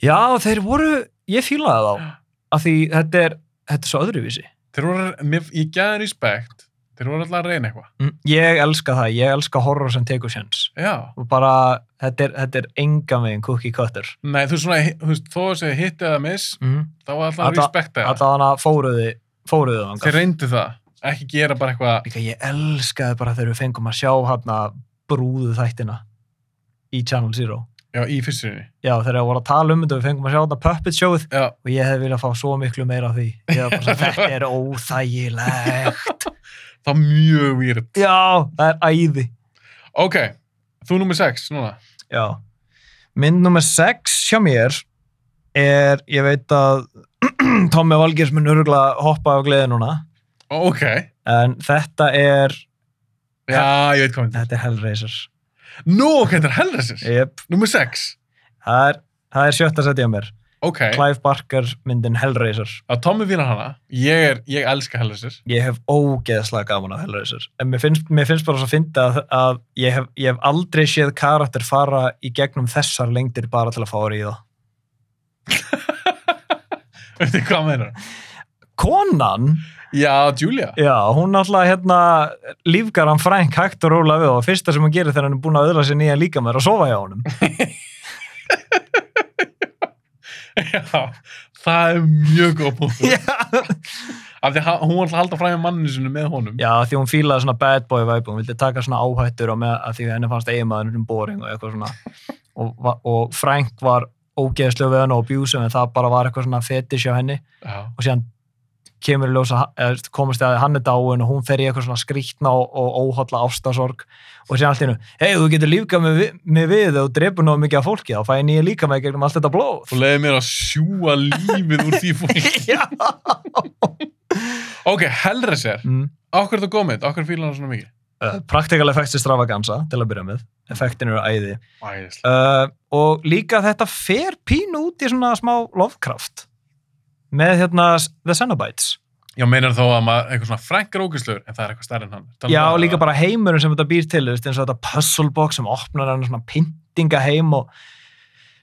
Speaker 2: Já, þeir voru, ég fílaði þá. Af því þetta er, þetta er svo öðruvísi.
Speaker 1: Þeir voru, mér, ég gæði respekt, þeir voru alltaf að reyna eitthvað.
Speaker 2: Mm, Ég elska það. Ég elska horror sem tekur sjens.
Speaker 1: Já.
Speaker 2: Og bara, þetta er, þetta er enga megin cookie cutter.
Speaker 1: Nei, þú veist svona, þú veist, þó að segja hitt eða miss,
Speaker 2: Mm.
Speaker 1: þá var alltaf að
Speaker 2: Alla-
Speaker 1: respekta það.
Speaker 2: Alltaf hann að fóruði, fóruði þangað.
Speaker 1: Þeir reyndu það. Ekki gera bara eitthvað,
Speaker 2: Líka ég elskaði bara þegar við fengum að sjá hann brúðu þættina í Channel Zero.
Speaker 1: já, í fyrsturinni.
Speaker 2: Já, þegar við vorum að tala um þetta, við fengum að sjá hann Puppet Showð
Speaker 1: Já,
Speaker 2: og ég hefði viljað fá svo miklu meira af því. Ég var bara svona, þetta er óþægilegt.
Speaker 1: það var mjög weird.
Speaker 2: Já, það er æði.
Speaker 1: Ok, þú nummer 6 núna.
Speaker 2: Já. Mynd nummer 6 hjá mér er, ég veit að [clears throat] Tommi Valgers mun örgulega hoppa á gleði núna,
Speaker 1: Ok,
Speaker 2: en þetta er,
Speaker 1: já, ég veit hvað myndi.
Speaker 2: þetta er Hellraiser.
Speaker 1: Nú, ok, þetta er Hellraiser.
Speaker 2: Jep,
Speaker 1: Nummer 6.
Speaker 2: það er, það er sjötta setja mér.
Speaker 1: Ok,
Speaker 2: Clive Barker myndin Hellraiser.
Speaker 1: að Tommy fílar hana. Ég er, ég elska Hellraiser.
Speaker 2: Ég hef ógeðslega gaman af Hellraiser. En mér finnst, mér finnst bara svo að finna að, að ég, hef, ég hef aldrei séð karakter fara í gegnum þessar lengdir bara til að fá orðið í það.
Speaker 1: [laughs] Veitir hvað meinar?
Speaker 2: Konan,
Speaker 1: Já, Julia.
Speaker 2: já, hún náttúrulega hérna lífgar hann Frank hægt og róla við og fyrsta sem hún gerir þegar hann er búin að öðla sér nýja líka með er að sofa hjá honum. [laughs]
Speaker 1: [laughs] Já, það er mjög góð punktur.
Speaker 2: já,
Speaker 1: Af því að hún var alltaf að halda fræði manninu sinu með honum.
Speaker 2: því hún fílaði svona bad boy vibe, hún vildi taka svona áhættur og með að því henni fannst eiginmaðurinn boring og eitthvað svona. Og, va- og Frank var ógeðslega við hann og abusive en það bara var eitthvað svona fetish hjá henni.
Speaker 1: Já.
Speaker 2: og síðan kemur í ljós að eða, þú veist, komast að hann er dáin og hún fer í eitthvað svona skrýtna og, og óhalla ástasorg og síðan allt í hennu, hei þú getur lífgað mig, vi- mig við þegar þú drefur náðu mikið af fólki þá fæ ég nýja líka mig gegnum allt þetta blóð
Speaker 1: Og leiði mér að sjúa lífið úr því fólki.
Speaker 2: [laughs] Já
Speaker 1: Ok, Hellraiser.
Speaker 2: mm.
Speaker 1: Akkur er það góð mynd? Akkur fílar hann svona mikið?
Speaker 2: uh, Praktikal effekts er stravagansa til að byrja með effektin eru æði
Speaker 1: Æðislega.
Speaker 2: uh, og líka þetta fer pínu út í svona smá lovecraft með hérna The Cenobites
Speaker 1: Já, meinar þá að maður eitthvað svona frænkar ógæslegur, en það er eitthvað stærri en hann. um Talum
Speaker 2: Já, og líka bara heimurinn sem þetta býr til, þú veist, eins og þetta puzzlebox sem opnar hann svona pyntinga heim og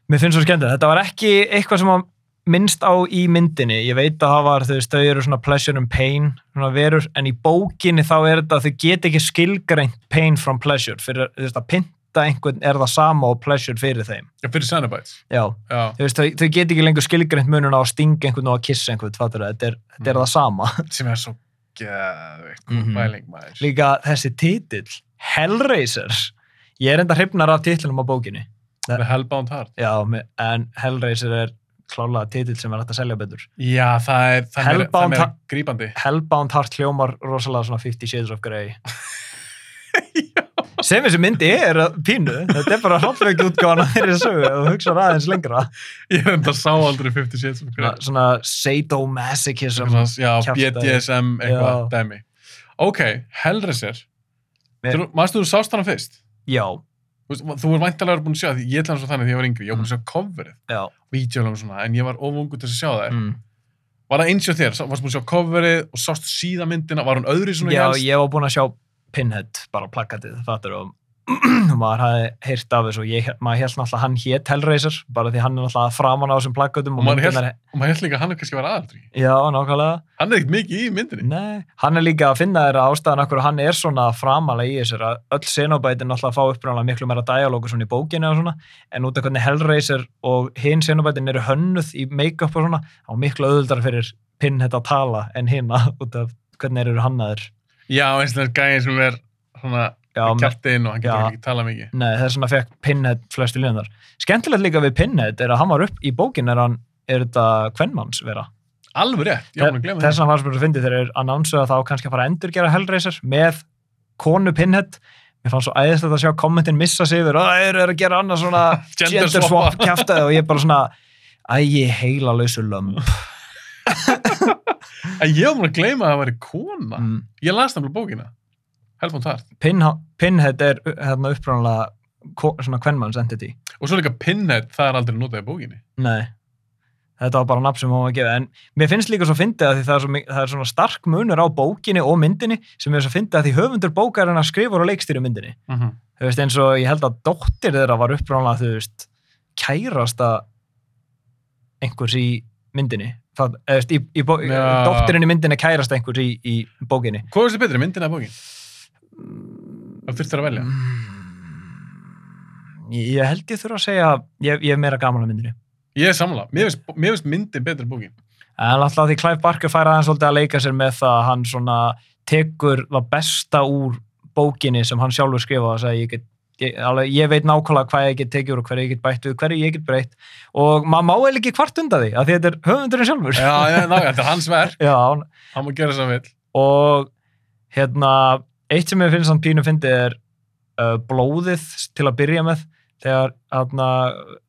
Speaker 2: mér finnst svo skemmtilegt. Þetta var ekki eitthvað sem var minnst á í myndinni. Ég veit að það var, þú veist, þau eru svona pleasure and pain, svona verur, en í bókinni þá er þetta að þau get ekki skilgreint pain from pleasure, fyrir þú veist, að pynta einhvern er það sama og pleasure fyrir þeim.
Speaker 1: Já, fyrir Cenobites.
Speaker 2: Já,
Speaker 1: Já,
Speaker 2: þú veist, þau, þau get ekki lengur skilgreint mununa á að stinga einhvern og að kissa einhvern, fattur þetta er, þetta er
Speaker 1: Mm.
Speaker 2: það sama. [laughs]
Speaker 1: sem er svo geðveikt. Mm
Speaker 2: Mhm.
Speaker 1: Mæling maður.
Speaker 2: líka þessi titill Hellraiser ég er enda hrifnar af titlunum á bókinni
Speaker 1: Með Hellbound Heart.
Speaker 2: já, me- en Hellraiser er klálega titill sem er hægt að selja betur
Speaker 1: Já, það er, það er, það er
Speaker 2: Hellbound
Speaker 1: meira
Speaker 2: Heart-
Speaker 1: grípandi. [laughs]
Speaker 2: Hellbound Heart hljómar rosalega svona 50 Shades of Grey sem þessi myndi er að pínu þetta er bara hlottveikið útgáðan að þeirri sögu og hugsa aðeins lengra
Speaker 1: Ég er enda sá aldrei 50 Shades of Grey.
Speaker 2: svona, svona sadomasochism
Speaker 1: Eitthvað svona, já,
Speaker 2: kjaftaði.
Speaker 1: BDSM eitthvað
Speaker 2: Já.
Speaker 1: dæmi ok, Hellraiser
Speaker 2: Mér-
Speaker 1: Þú- manstu þú sást hana fyrst
Speaker 2: já,
Speaker 1: Þú veist, þú var væntalega búin að sjá því ég ætla hann svo þannig því ég var yngri, ég var búin að sjá coverið
Speaker 2: já
Speaker 1: vídeolega svona, en ég var ofungu til að sjá það
Speaker 2: mm.
Speaker 1: var það eins og þér, Sá- varst búin að sjá coverið og sást síða myndina, var hún öðri svona í
Speaker 2: Já,
Speaker 1: helst?
Speaker 2: ég var búinn að sjá Pinhead, bara plakatið, fattur og [clears throat] og maður hafði heyrt af þessu og ég, maður held náttúrulega að hann hétt Hellraiser bara því hann er náttúrulega framan á þessum plakatum
Speaker 1: Og maður
Speaker 2: myndirnar-
Speaker 1: og maður held líka að hann er kannski var aðaldri
Speaker 2: Já, nákvæmlega
Speaker 1: hann er ekkert mikið í myndinni
Speaker 2: Nei, hann er líka að finna þeirra ástæðan okkur hann er svona framalega í þessu að öll senobætin náttúrulega fá uppræðanlega miklu meira dialógu svona í bókinu og svona en út af hvernig Hellraiser og hinn senobætin eru hönnuð í make-up og svona á miklu öðuldar fyrir Pinhead að tala en hinna út af hvernig þeir eru hannaður
Speaker 1: já, eins og þess gæði sem er svona
Speaker 2: Já, með-
Speaker 1: kjartinn og hann
Speaker 2: Já.
Speaker 1: getur ekki talað mikið
Speaker 2: Nei, það er svona fekk Pinhead flestu líðanar. Skemmtilegt líka við Pinhead er að hann var upp í bókin er hann, er þetta kvennmanns vera.
Speaker 1: alveg rétt, já, hann glemur
Speaker 2: Þess vegna var spyrir að fyndi þegar er annánsuð að þá kannski að fara að endurgera Hellraiser með konu Pinhead. Mér fannst svo æðislegt að sjá kommentin missa sig yfir, að eru þeir að gera annað svona
Speaker 1: Gender
Speaker 2: gender swap kjaftaði og ég bara svona, ægi heila lausu lömb.
Speaker 1: En ég var búin að gleyma að það væri kona.
Speaker 2: Mm.
Speaker 1: Ég las nefnilega bókina. Helfón Tart.
Speaker 2: Pin, Pinhead er uh, hérna upprónulega ko- svona kvenmanns entity.
Speaker 1: Og svo líka Pinhead, það er aldrei notað í bókinni.
Speaker 2: Nei, þetta var bara nafn sem hún var að gefa. En mér finnst líka svo fyndið að því það er, svo, mik- það er svona stark munur á bókinni og myndinni sem er svo fyndið að því höfundur bókar en að skrifur og leikstýri myndinni.
Speaker 1: Mm -hmm.
Speaker 2: Þú veist, eins og ég held að dóttir þeirra var uppráðanlega, þú veist, kærasta einhvers í myndinni. Það, eða, þú veist, í, í bó,
Speaker 1: Já.
Speaker 2: dóttirinn í myndinni er kærasta einhvers í, í bókinni.
Speaker 1: Hvað finnst þér betri, myndin eða bókin? Það þurftir að velja.
Speaker 2: Mm, Ég, ég held ég þurfa að segja að ég, ég er meira gaman á myndinni.
Speaker 1: Ég er sammála. Mér finnst, mér finnst myndin betri en bókin.
Speaker 2: En alltaf því Clive Barker fær aðeins svolítið að leika sér með það að hann svona tekur það besta úr bókinni sem hann sjálfur skrifaði og sagði ég get Ég, alveg, ég veit nákvæmlega hvað ég get tekið úr og hverju ég get bætt við, hverju ég get breytt og maður má eða ekki kvart undan því að því þetta er höfundurinn sjálfur
Speaker 1: Já, já, ná, þetta er hans verk.
Speaker 2: Já, hann-
Speaker 1: Hann má gera sem hann vil.
Speaker 2: og hérna eitt sem ég finnst hann pínu fyndi er uh, blóðið til að byrja með þegar hérna,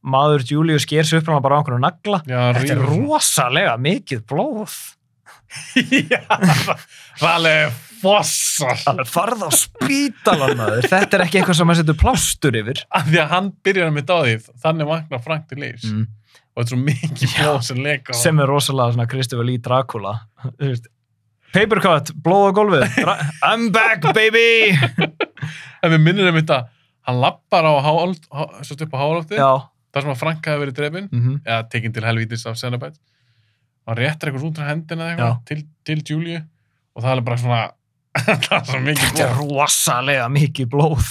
Speaker 2: maður Julius sker sér upp hann bara á einhvern nagla
Speaker 1: Já,
Speaker 2: þetta er
Speaker 1: rífur svona.
Speaker 2: rosalega mikið blóð
Speaker 1: Já, það er alveg fossar.
Speaker 2: alveg farð á spítalan maður þetta er ekki eitthvað sem maður setur plástur yfir
Speaker 1: Af því að hann byrjar með dáðið, þannig vaknar Frank til lífs. Og þetta er svo mikið
Speaker 2: Mm. Já.
Speaker 1: blóð sem leka. á-
Speaker 2: sem er rosalega svona Christopher Lee Dracula Þú veist, papercut, blóð á gólfið Dra I'm back baby
Speaker 1: En við minnum um þetta, hann lappar á háloft, há, svo stupp á hálofti,
Speaker 2: já,
Speaker 1: þar sem að Frank hafi verið drefin,
Speaker 2: mm
Speaker 1: eða tekinn til helvítis af Cenobite. Hann réttir eitthvað út frá hendina eða
Speaker 2: Já.
Speaker 1: eitthvað, til, til Júliu, og það er bara svona, [laughs] það er svo mikið
Speaker 2: þetta er
Speaker 1: blóð.
Speaker 2: rosalega mikið blóð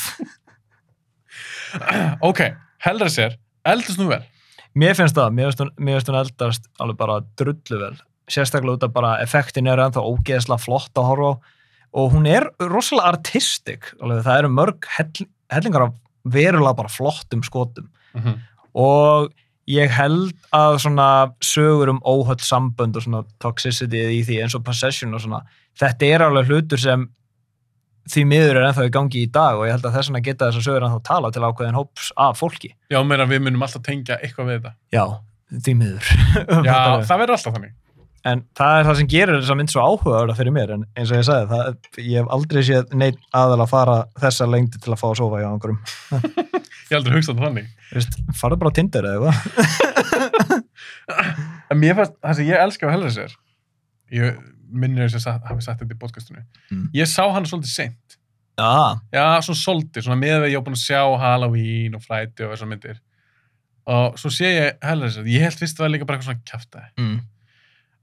Speaker 1: ok, helra sér, eldast nú vel.
Speaker 2: mér finnst það, mér finnst hún- mér finnst hún eldast alveg bara drullu vel sérstaklega út af bara effektin er ennþá ógeðslega flott að horfa á og hún er rosalega artistik alveg, það eru mörg hell hellingar af verulega bara flottum skotum og ég held að svona sögur um óhöll sambönd og svona toxicity í því eins og possession og svona þetta er alveg hlutur sem því miður er ennþá í gangi í dag og ég held að þess vegna geta þess að sögur ennþá tala til ákveðin hóps af fólki.
Speaker 1: Já, meira við munum alltaf tengja eitthvað við þetta.
Speaker 2: Já, því [laughs] miður.
Speaker 1: Já,
Speaker 2: Fattarðu?
Speaker 1: það verður alltaf þannig. en
Speaker 2: en það er það sem gerir þess að mynd svo áhugaverða fyrir mér en eins og ég sagði, það, ég hef aldrei séð neitt aðal að fara þessa lengdi til að fá að sofa hjá einhverjum.
Speaker 1: Ég hef aldrei hugsa þetta þannig.
Speaker 2: Þú veist, farðu bara á Tinder eða eitthvað.
Speaker 1: En mér fannst, það sem ég elska á Helra sér, ég minnir þess að hafi sagt þetta í podcastunni,
Speaker 2: Mm.
Speaker 1: ég sá hana svolítið seint.
Speaker 2: Já,
Speaker 1: Já, svona svolítið, svona með að ég á búin að sjá Halloween og Friday og þessar myndir. Og svo sé ég Helra sér, ég held fyrst að það er líka bara eitthvað svona kjaftaði.
Speaker 2: mm. mhm.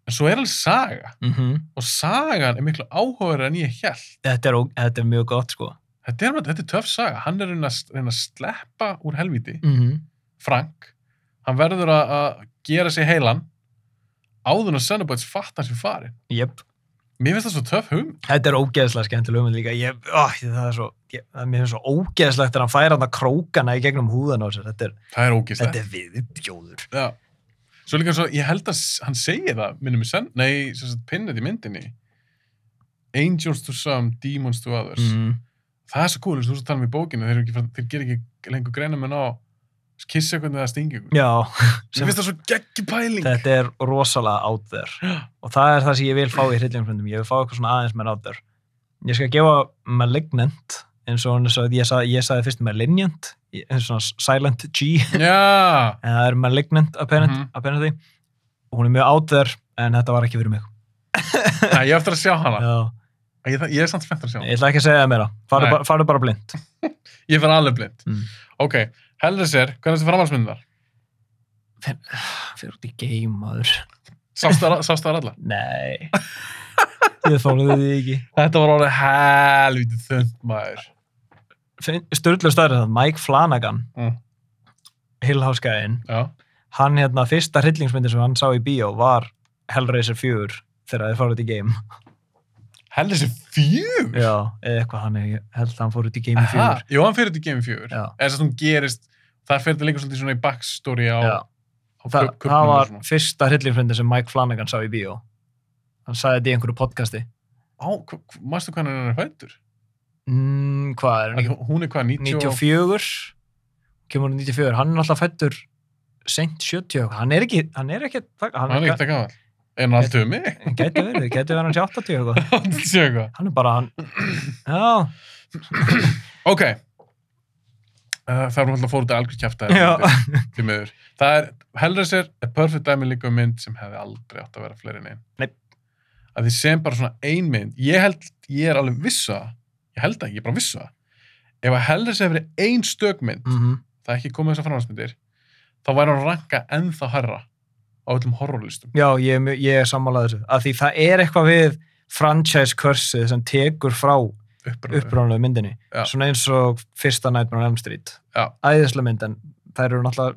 Speaker 1: En svo er alveg saga, og sagan er miklu áhugaverð en ég held.
Speaker 2: þetta, er, ó- þetta er mjög gott sko.
Speaker 1: Þetta er, bara- þetta er töff saga, hann er að reyna að reyna að sleppa úr helvíti.
Speaker 2: -hmm.
Speaker 1: Frank, hann verður að að gera sig heilan áður en Cenobites fatt hans við farin.
Speaker 2: Jep,
Speaker 1: Mér finnst það svo töff hugmynd.
Speaker 2: þetta er ógeðslega skemmtileg umhund líka. Ég, ó, það er svo, ég, það er mér finnst svo ógeðslegt þegar hann færa hann að krókana í gegnum húðan á sér. Þetta er,
Speaker 1: Það er ógíslegt.
Speaker 2: þetta er viðbjóður.
Speaker 1: Já. Svo líka svo, ég held að s- hann segir það, minnum við sen, nei, sem sagt, pinnið í myndinni. Angels to some, demons to others.
Speaker 2: Mhm.
Speaker 1: Það er svo cool, eins og þú svo tala um í bókinu, þeir, eru ekki, frá- þeir gerir ekki lengur greina með ná, kissa eitthvað eða stingi eitthvað.
Speaker 2: Já,
Speaker 1: Mér finnst það svo geggi pæling.
Speaker 2: þetta er rosalega out there. Og það er það sem ég vil fá í hryllingsmyndum. Ég vil fá eitthvað svona aðeins með out there. Ég skal gefa Malignant, eins og hann sagði, ég sagði, ég sagði fyrst Malignant, ég- eins og svona Silent G.
Speaker 1: Já,
Speaker 2: En það er Malignant apparently.
Speaker 1: Mhm.
Speaker 2: apparently. Og hún er mjög out there, en þetta var ekki fyrir mig.
Speaker 1: Nei, ég á eftir að sjá hana.
Speaker 2: Já.
Speaker 1: Ég, ég er samt spennt að sjá hana.
Speaker 2: Ég ætla ekki að segja það meira. Farðu
Speaker 1: Nei.
Speaker 2: bara- Farðu bara blind.
Speaker 1: Ég fer alveg blind.
Speaker 2: Mm.
Speaker 1: Ok, heldur sér, hvernig þessi framhalsmynd var?
Speaker 2: fyrir út í game, maður.
Speaker 1: Sástu þær- sástu þar alla?
Speaker 2: Nei. ég þólaði því ekki.
Speaker 1: Þetta var orðið helvítið þund maður.
Speaker 2: Sturlu stærri það, Mike Flanagan,
Speaker 1: Mm.
Speaker 2: Hillháskæðin,
Speaker 1: Já.
Speaker 2: hann hérna, fyrsta hryllingsmyndin sem hann sá í bíó var Hellraiser 4 þegar þið fór út í game.
Speaker 1: Heldur sér fjögur?
Speaker 2: Já, eða eitthvað hann, ég held að hann fór út í game í
Speaker 1: Aha,
Speaker 2: 4.
Speaker 1: Jú, hann fyrir þetta í Game 4.
Speaker 2: Já.
Speaker 1: Eða sem hún gerist, þar fyrir þetta líka svolítið svona í backstory á,
Speaker 2: Já.
Speaker 1: á
Speaker 2: Þa,
Speaker 1: kub- kubnum
Speaker 2: það
Speaker 1: og
Speaker 2: var
Speaker 1: svona.
Speaker 2: fyrsta hryllingsmyndin sem Mike Flanagan sá í bíó. Hann sagði þetta í einhverju podcasti.
Speaker 1: Á, hva- hva- manstu hvernig hann er fættur?
Speaker 2: Mm, hvað er hann ekki
Speaker 1: Hún er hvað, 90? og-
Speaker 2: 94 kemur hann 94, hann er alltaf fættur sent 70 og- hann er ekki hann er ekki, hann,
Speaker 1: Hann er ekkert að gafa. Er hann alltaf um [laughs] mig?
Speaker 2: hann gæti verið, gæti verið hann til 80 og eitthvað.
Speaker 1: Sjá [clears throat] eitthvað.
Speaker 2: hann er bara hann, já
Speaker 1: Ok. Uh, það það er hún alltaf að fóra út að algjör kjæfta
Speaker 2: Já.
Speaker 1: því miður. Það er, Hellraiser er perfect dæmi líka um mynd sem hefði aldrei átt að vera fleiri en einn.
Speaker 2: Nei.
Speaker 1: Að því sem bara svona ein mynd, ég held, ég er alveg vissa, ég held það ekki, ég er bara vissa. Ef að Hellraiser hefði verið ein stök mynd,
Speaker 2: Mhm.
Speaker 1: það er ekki komið þessar framhansmyndir, þá væri hann að ranka ennþá harra á öllum horrorlistum.
Speaker 2: Já, ég, er mjög- ég er sammálað þessu. Af því það er eitthvað við franchise kursið sem tekur frá
Speaker 1: Uppröðu.
Speaker 2: uppránlega myndinni.
Speaker 1: Já.
Speaker 2: Svona eins og fyrsta Nightmare on Elm Street.
Speaker 1: Já.
Speaker 2: Æðislega mynd, en þær eru náttúrulega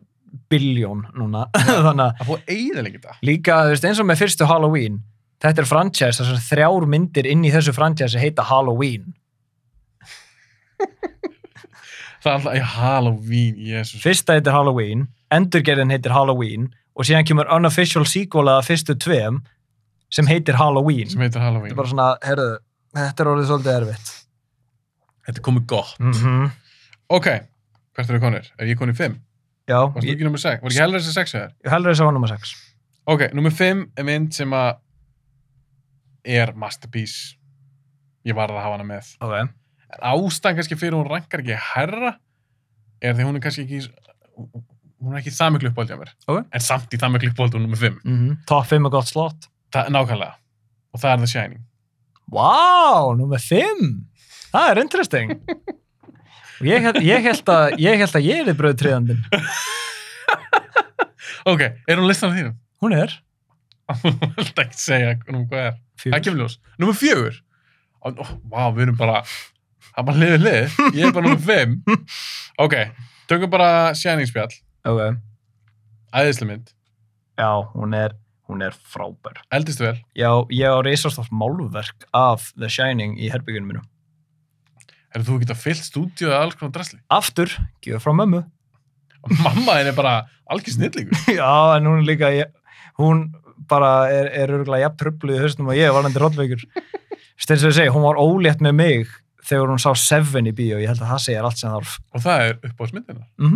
Speaker 2: biljón núna. [laughs] Þannig að
Speaker 1: Það fóði eiginlega þetta.
Speaker 2: líka, þú veist, eins og með fyrstu Halloween, þetta er franchise, þessar þrjár myndir inn í þessu franchise heita Halloween.
Speaker 1: Það er alltaf, já, Halloween, jésus.
Speaker 2: Fyrsta heitir Halloween, endurgerðin heitir Halloween og síðan kemur unofficial sequel að fyrstu tveim sem heitir Halloween.
Speaker 1: Sem heitir
Speaker 2: Þetta
Speaker 1: Halloween.
Speaker 2: er bara svona, herðu, þetta er orðið svolítið erfitt.
Speaker 1: Þetta er komið gott.
Speaker 2: Mm.
Speaker 1: Ok, hvert eru konir? Er ég konir 5?
Speaker 2: Já,
Speaker 1: Varst þú
Speaker 2: ég,
Speaker 1: ekki nummer 6? Var ekki Hellraiser 6 eða?
Speaker 2: ég heldur þess að var nummer 6.
Speaker 1: Ok, nummer 5 er mynd sem að er masterpiece. Ég varð að hafa hana með.
Speaker 2: Ok.
Speaker 1: En ástæðan kannski fyrir hún rankar ekki herra er því hún er kannski ekki hún er ekki í það miklu uppáldi á mér.
Speaker 2: Ok.
Speaker 1: En samt í það miklu uppáldi hún nummer 5.
Speaker 2: Mm Top 5 er gott slott.
Speaker 1: Það er nákvæmlega. Og það er The Shining.
Speaker 2: Vá, wow, nummer 5! Það
Speaker 1: [laughs]
Speaker 2: er interesting. Og ég, held- ég, held að, ég held að ég er í bröðtriðandinn.
Speaker 1: Ok, er hún listan á þínum? [laughs]
Speaker 2: Hún er.
Speaker 1: Hún vilt ekki segja um hvað er.
Speaker 2: Fjör.
Speaker 1: Það kemur ljós. Nummer 4. Ó, ó, Vá, við erum bara það er bara liðið lið. Ég er bara nummer 5. Ok, tökum bara Shining spjall.
Speaker 2: Ok.
Speaker 1: Æðislega mynd,
Speaker 2: Já, hún er, hún er frábær.
Speaker 1: eldist vel
Speaker 2: Já, ég á reisastótt málverk af The Shining í herbyggjunum mínum.
Speaker 1: Er þú geta fyllt stúdíu eða alls konar drasli?
Speaker 2: Aftur, gjöf frá mömmu. [laughs]
Speaker 1: Og mamma þín er bara algjör snillingur
Speaker 2: Já, en hún er líka, ég, hún bara er, er örgulega jafn trubluð í höstum og ég varandi rollveikur. Steins og ég segi, hún var ólétt með mig þegar hún sá Seven í bíó, ég held að það segir allt sem þarf.
Speaker 1: Og það er uppáðsmyndina
Speaker 2: Mm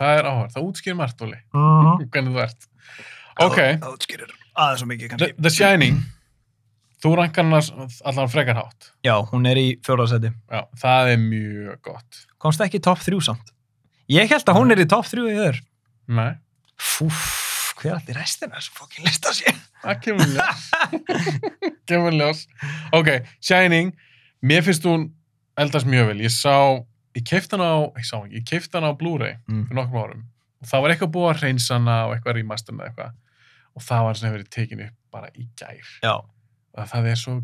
Speaker 1: Það er áhverð, það útskýr margt, Óli
Speaker 2: -hmm.
Speaker 1: Hvernig þú ert Mhm. Ok,
Speaker 2: Það útskýrir aðeins og mikið
Speaker 1: The,
Speaker 2: kannski.
Speaker 1: The Shining Þú rankar hann allan frekar hátt
Speaker 2: Já, hún er í fjóraðsæti.
Speaker 1: Já, það er mjög gott
Speaker 2: Komst ekki í topp þrjú samt. Ég held að hún er í topp þrjú í þér.
Speaker 1: Nei,
Speaker 2: Fúf, hver allir restina þessum fokkin lista sér?
Speaker 1: það kemur í
Speaker 2: [laughs]
Speaker 1: ljós Kemur í ljós Ok, Shining Mér finnst hún eldast mjög vel Ég sá, ég keift hann á Ég sá hann, ég keift hann á Blu-ray
Speaker 2: Mm.
Speaker 1: fyrir nokkrum árum og það var eitthvað búið að reynsa hana og eitthvað remaster með eitthvað og það var sem hefur verið tekin upp bara í gær
Speaker 2: Já,
Speaker 1: og það er svo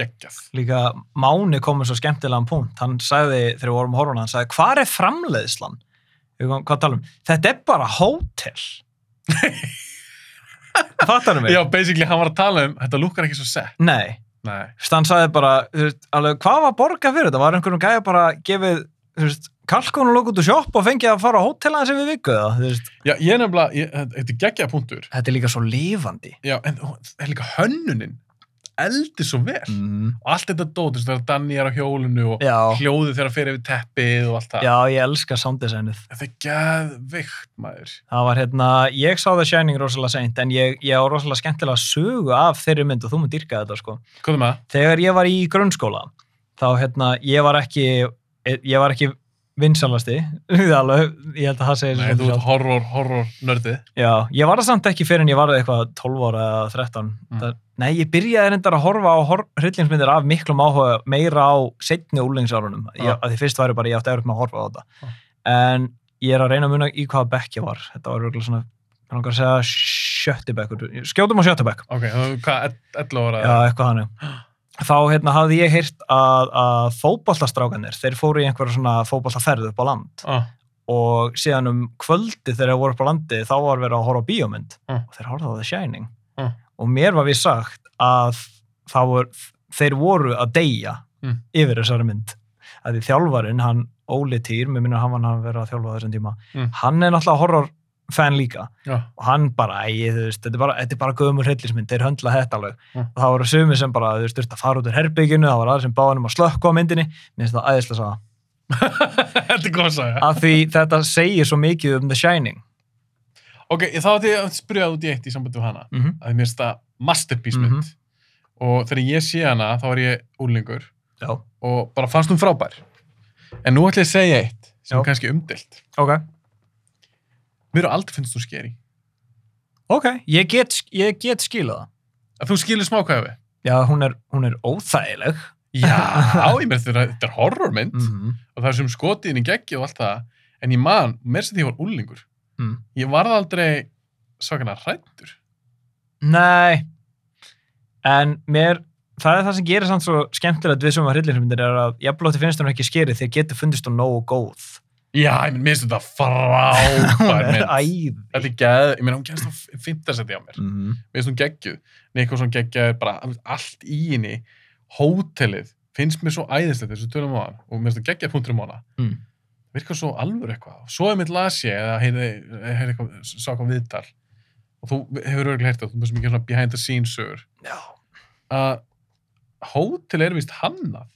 Speaker 1: geggjað
Speaker 2: líka Máni komið svo skemmtilegan punkt hann sagði, þegar við vorum að horfa á hann hann sagði, hvar er framleiðslan? Við komum, hvað talum? Þetta er bara [laughs] hótel Fattar mig?
Speaker 1: Já, basically, hann var að tala um þetta lúkar ekki svo sett
Speaker 2: Nei,
Speaker 1: Nei,
Speaker 2: Þú veist, hann sagði bara þú veist, alveg, hvað var borga fyrir þetta? Var einhverjum gæja bara gefið þú veist, kalkun og lók út úr sjopp og fengið að fara á hótela þessi við vikuð það? Þú veist,
Speaker 1: já, ég er nefnilega ég, þetta- þetta er geggjað punktur
Speaker 2: þetta er líka svo lifandi
Speaker 1: Já, en hún- það er líka hönnunin eldi svo vel
Speaker 2: mm.
Speaker 1: og allt þetta dótist þegar Danni er á hjólinu og
Speaker 2: Já,
Speaker 1: hljóðið þegar hann fer yfir teppið og allt það
Speaker 2: já, ég elska sounddesignið
Speaker 1: Þetta er geðveikt, maður
Speaker 2: Það var hérna, ég sá The Shining rosalega seint en ég, ég á rosalega skemmtilega sögu af þeirri mynd og þú mun dýrka þetta sko.
Speaker 1: Hvað er maður?
Speaker 2: Þegar ég var í grunnskóla þá hérna, ég var ekki ég var ekki [laughs] vinsalasti alveg, ég held að það segir
Speaker 1: Nei,
Speaker 2: svolítið
Speaker 1: þú ert
Speaker 2: sjálft.
Speaker 1: horror, horror nördið
Speaker 2: Já, ég var það samt ekki fyrir en ég var eitthvað 12 ára eða 13
Speaker 1: Mm.
Speaker 2: það, Nei, ég byrjaði reyndar að horfa á hor hryllingsmyndir af miklum áhuga meira á setni úlingsárunum,
Speaker 1: Já.
Speaker 2: ah. að því fyrst væri bara ég átti eftir með að horfa á þetta
Speaker 1: Já.
Speaker 2: en ég er að reyna að muna í hvaða bekk ég var þetta var örugglega svona, hann langar að segja sjötti bekkur, skjótum á sjötti bekk
Speaker 1: Ok, þú- hvað, 11 ára?
Speaker 2: Já, eitthvað hannig. Þá hérna, hafði ég heyrt að, að fótballastrákanir, þeir fóru í einhverja svona fótballaferð upp á land
Speaker 1: Ah.
Speaker 2: og síðan um kvöldi þegar þeir voru upp á landi þá var verið að horfa á bíómynd
Speaker 1: Mm.
Speaker 2: og þeir horfðu á The Shining
Speaker 1: Mm.
Speaker 2: og mér var við sagt að það vor, þeir voru að deyja
Speaker 1: Mm.
Speaker 2: yfir þessari mynd að því þjálfarinn, hann Óli Týr, mér minnir að hann var að vera að þjálfa á þessum tíma
Speaker 1: Mm.
Speaker 2: hann er náttúrulega horrorfan líka
Speaker 1: Já. [laughs]
Speaker 2: og hann bara, æ, þú veist, þetta er bara, þetta er bara gömur hryllismynd, þeir höndla þetta alveg
Speaker 1: Mm.
Speaker 2: og það voru sumi sem bara, þú veist, þurfti að fara út úr herbygginu, það var aðeins sem báðanum að slökka á myndinni, mér finnst það æðislega saga
Speaker 1: Þetta er góð saga.
Speaker 2: af því þetta segir svo mikið um The Shining
Speaker 1: Ok, ég- þá ætti ég að spyrja út í eitt í sambandi við hana.
Speaker 2: mm -hmm.
Speaker 1: Að því mér finnst það masterpiece mynd.
Speaker 2: Mhm.
Speaker 1: Og þegar ég sé hana, þá var ég úlingur
Speaker 2: já,
Speaker 1: og bara fannst hún frábær. En nú ætla ég að segja eitt sem
Speaker 2: Já.
Speaker 1: er kannski umdelt.
Speaker 2: Ok.
Speaker 1: Mér eru aldrei finnst þú skeri.
Speaker 2: Ok, ég get, ég get skilað það.
Speaker 1: Að þú skilur smá hvað ég á
Speaker 2: [laughs]
Speaker 1: við.
Speaker 2: Já, hún er, hún er óþægileg.
Speaker 1: Já, ég meira þetta er- þetta er horrormynd
Speaker 2: Mhm.
Speaker 1: og það er sem skotiðin í geggi og allt það. En ég man, mér sem því ég var úlingur.
Speaker 2: Mm.
Speaker 1: Ég varð aldrei svakana hrættur.
Speaker 2: Nei, en mér, það er það sem gerir samt svo skemmtilegt við sem var hryllingsmyndir er að jafnblótti finnst hún ekki skerið þegar getur fundist hún nógu góð.
Speaker 1: Já, ég meina, mér finnst þetta
Speaker 2: [laughs] Hún
Speaker 1: frábær
Speaker 2: [laughs] er
Speaker 1: mynd.
Speaker 2: æði.
Speaker 1: Þetta er geð, ég meina, hún kemst á fintasetti á mér.
Speaker 2: Mm.
Speaker 1: mér finnst hún geggjuð Nei, eitthvað svona geggjaður, bara allt í henni hótelið, finnst mér svo æðislegt þessu tölum á hann og mér finnst það geggjaður punktur um á hana
Speaker 2: Mm.
Speaker 1: virkar svo alvöru eitthvað og svo er mitt las ég eða heyrði, heyrði eitthvað, sá eitthvað viðtal og þú hefur örgulega heyrt það, þú veist mikið svona behind the scenes sögur
Speaker 2: Já.
Speaker 1: að hótel er vist hannað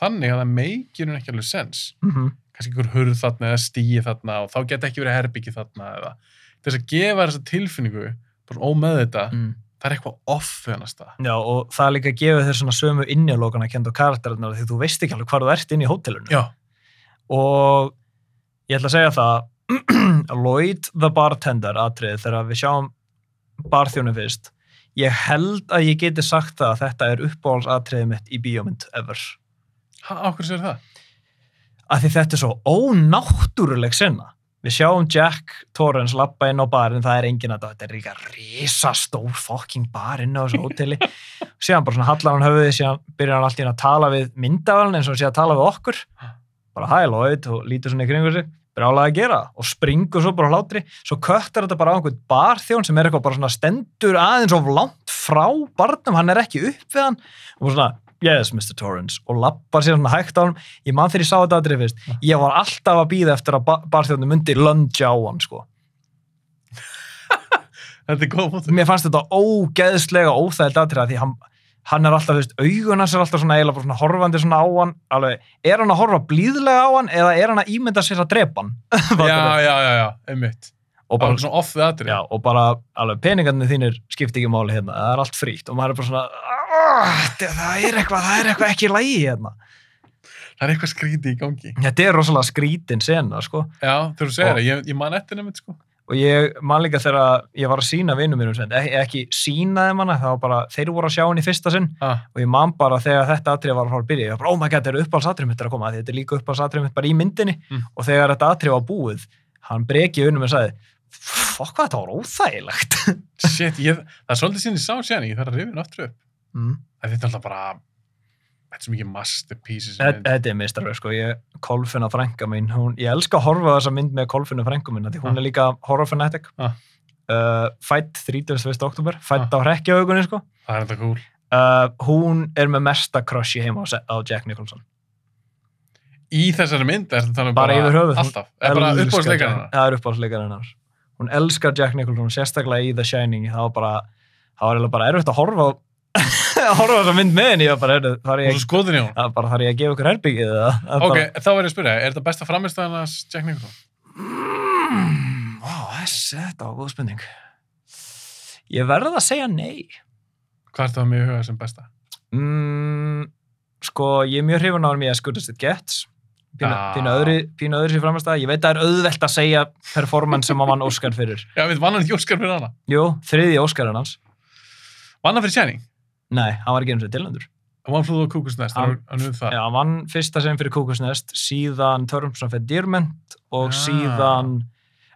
Speaker 1: þannig að það meikir hún ekki alveg sens
Speaker 2: Mm
Speaker 1: kannski einhver hurð þarna eða stíi þarna og þá geta ekki verið herbyggi þarna eða til þess að gefa þessa tilfinningu bara ómeð þetta
Speaker 2: mm.
Speaker 1: það er eitthvað off við hann að stað.
Speaker 2: Já, og það er líka gefið þér svona sömu innjálókan að kenda á karakterarnar því þú veist ekki alveg hvar þú ert inn í hótelunum.
Speaker 1: Já.
Speaker 2: Og ég ætla að [clears throat] segja það, Lloyd the bartender atrið þegar við sjáum barþjónu fyrst, ég held að ég geti sagt það að þetta er uppáhaldsatriðið mitt í bíómynd ever.
Speaker 1: Ha, á hverju sér það?
Speaker 2: Af því þetta er svo ónáttúruleg sinna. Við sjáum Jack Torrance lappa inn á barinn, það er engin að þetta er líka risastór fucking bar inn á þessu hóteli. Síðan bara svona hallar hann höfuðið, síðan byrjar hann alltaf inn að tala við myndavælun eins og hann sé að tala við okkur. Bara hæ Lloyd og lítur svona í kringu sig, brjálega að gera og springur svo bara á hlátri. Svo köttar þetta bara á einhvern barþjón sem er eitthvað bara svona stendur aðeins of langt frá barnum, hann er ekki upp við hann og bara svona yes Mr. Torrance og lappar sér svona hægt á hann ég man þegar ég sá þetta aðrið fyrst ég var alltaf að býða eftir að ba barþjóðnum myndi lunge á hann sko
Speaker 1: Þetta er góð
Speaker 2: [laughs]
Speaker 1: mótur.
Speaker 2: mér fannst þetta ógeðslega óþægild aðrið að því hann, hann er alltaf, þú veist, augun hans er alltaf svona eiginlega bara svona horfandi svona á hann alveg, er hann að horfa blíðlega á hann eða er hann að ímynda sér að drepa
Speaker 1: [laughs]
Speaker 2: hann
Speaker 1: Já, já, já, já, einmitt.
Speaker 2: og
Speaker 1: Það var
Speaker 2: bara,
Speaker 1: svona off við aðrið.
Speaker 2: já, og bara alveg peningarnir þínir skipti ekki máli hérna það er allt fríkt og maður er bara svona "Ah, það er eitthvað, það er eitthvað ekki í lagi hérna
Speaker 1: Það er eitthvað skríti í gangi.
Speaker 2: þetta er rosalega skrítin sena sko
Speaker 1: Já, þegar þú segir
Speaker 2: Og-
Speaker 1: það, ég, ég man eftir nefnt, sko.
Speaker 2: og ég man líka þegar ég var að sína vinnum mínum sem, ekki, ekki sínaði manna það var bara, þeir voru að sjá hann í fyrsta sinn
Speaker 1: Ha,
Speaker 2: og ég man bara þegar þetta atrið var að fara að byrja ég var bara, oh my god, þetta er uppáhaldsatrið mitt er að koma af því þetta er líka uppáhaldsatrið mitt bara í myndinni
Speaker 1: Mm.
Speaker 2: og þegar þetta atrið var búið hann brekið unum og sagði fokk hvað þetta var óþægilegt
Speaker 1: shit, ég, það er svolítið sinni sá sér, ég þarf að rifja hann aftur upp.
Speaker 2: mm.
Speaker 1: En Þetta er alltaf bara, þetta er svo mikið masterpieces.
Speaker 2: Þetta- þetta er mistarverð sko, ég, Kolfinna frænka mín, hún, ég elska að horfa á þessa mynd með Kolfinna frænka mín, af því hún
Speaker 1: Ah.
Speaker 2: er líka horrorfanatic,
Speaker 1: Ah.
Speaker 2: uh, fætt 31. oktober, fætt á hrekkjaugunni sko
Speaker 1: Það er enda cool.
Speaker 2: uh, hún er með mesta crush í heima á, Se- á Jack Nicholson
Speaker 1: Í þessari mynd er þetta
Speaker 2: Bara yfir höfuð.
Speaker 1: um Alltaf. Er bara
Speaker 2: Elskar
Speaker 1: uppáðsleikar
Speaker 2: Jack- það er uppáhaldsleikar hennar hún elskar Jack Nicholson, sérstaklega í The Shining það var bara, það var eiginlega bara erfitt að horfa á [laughs] að horfa á þessa mynd með henni ég var bara, heyrðu, þarf
Speaker 1: Og
Speaker 2: ég,
Speaker 1: svo skoðin í hún.
Speaker 2: það bara þarf ég að gefa ykkur herbyggið eða það er
Speaker 1: Ok,
Speaker 2: bara,
Speaker 1: þá verður ég að spyrja, er þetta besta framistæðan að Jack Nicholson?
Speaker 2: mm, vá, þess, þetta var góð spurning ég verð að segja nei
Speaker 1: Hvað er það með huga sem besta?
Speaker 2: mm, sko, ég er mjög hrifun á hann mér að skuldast it gets pínu,
Speaker 1: Ah.
Speaker 2: pínu öðri, pínu öðri sér framast ég veit að það er auðvelt að segja performance sem að vann Óskar fyrir
Speaker 1: Já, við vann hann ekki Óskar fyrir hana.
Speaker 2: Jú, þriði Óskarinn hans
Speaker 1: Vann hann fyrir Shining?
Speaker 2: Nei, hann var ekki eins og tilnendur
Speaker 1: One Flew Over Cuckoo's Nest,
Speaker 2: Hann-
Speaker 1: hann- hann við það.
Speaker 2: Já, hann vann fyrsta sem fyrir Kúkusnest síðan Törmsson fyrir Dýrmynd og
Speaker 1: Ah.
Speaker 2: síðan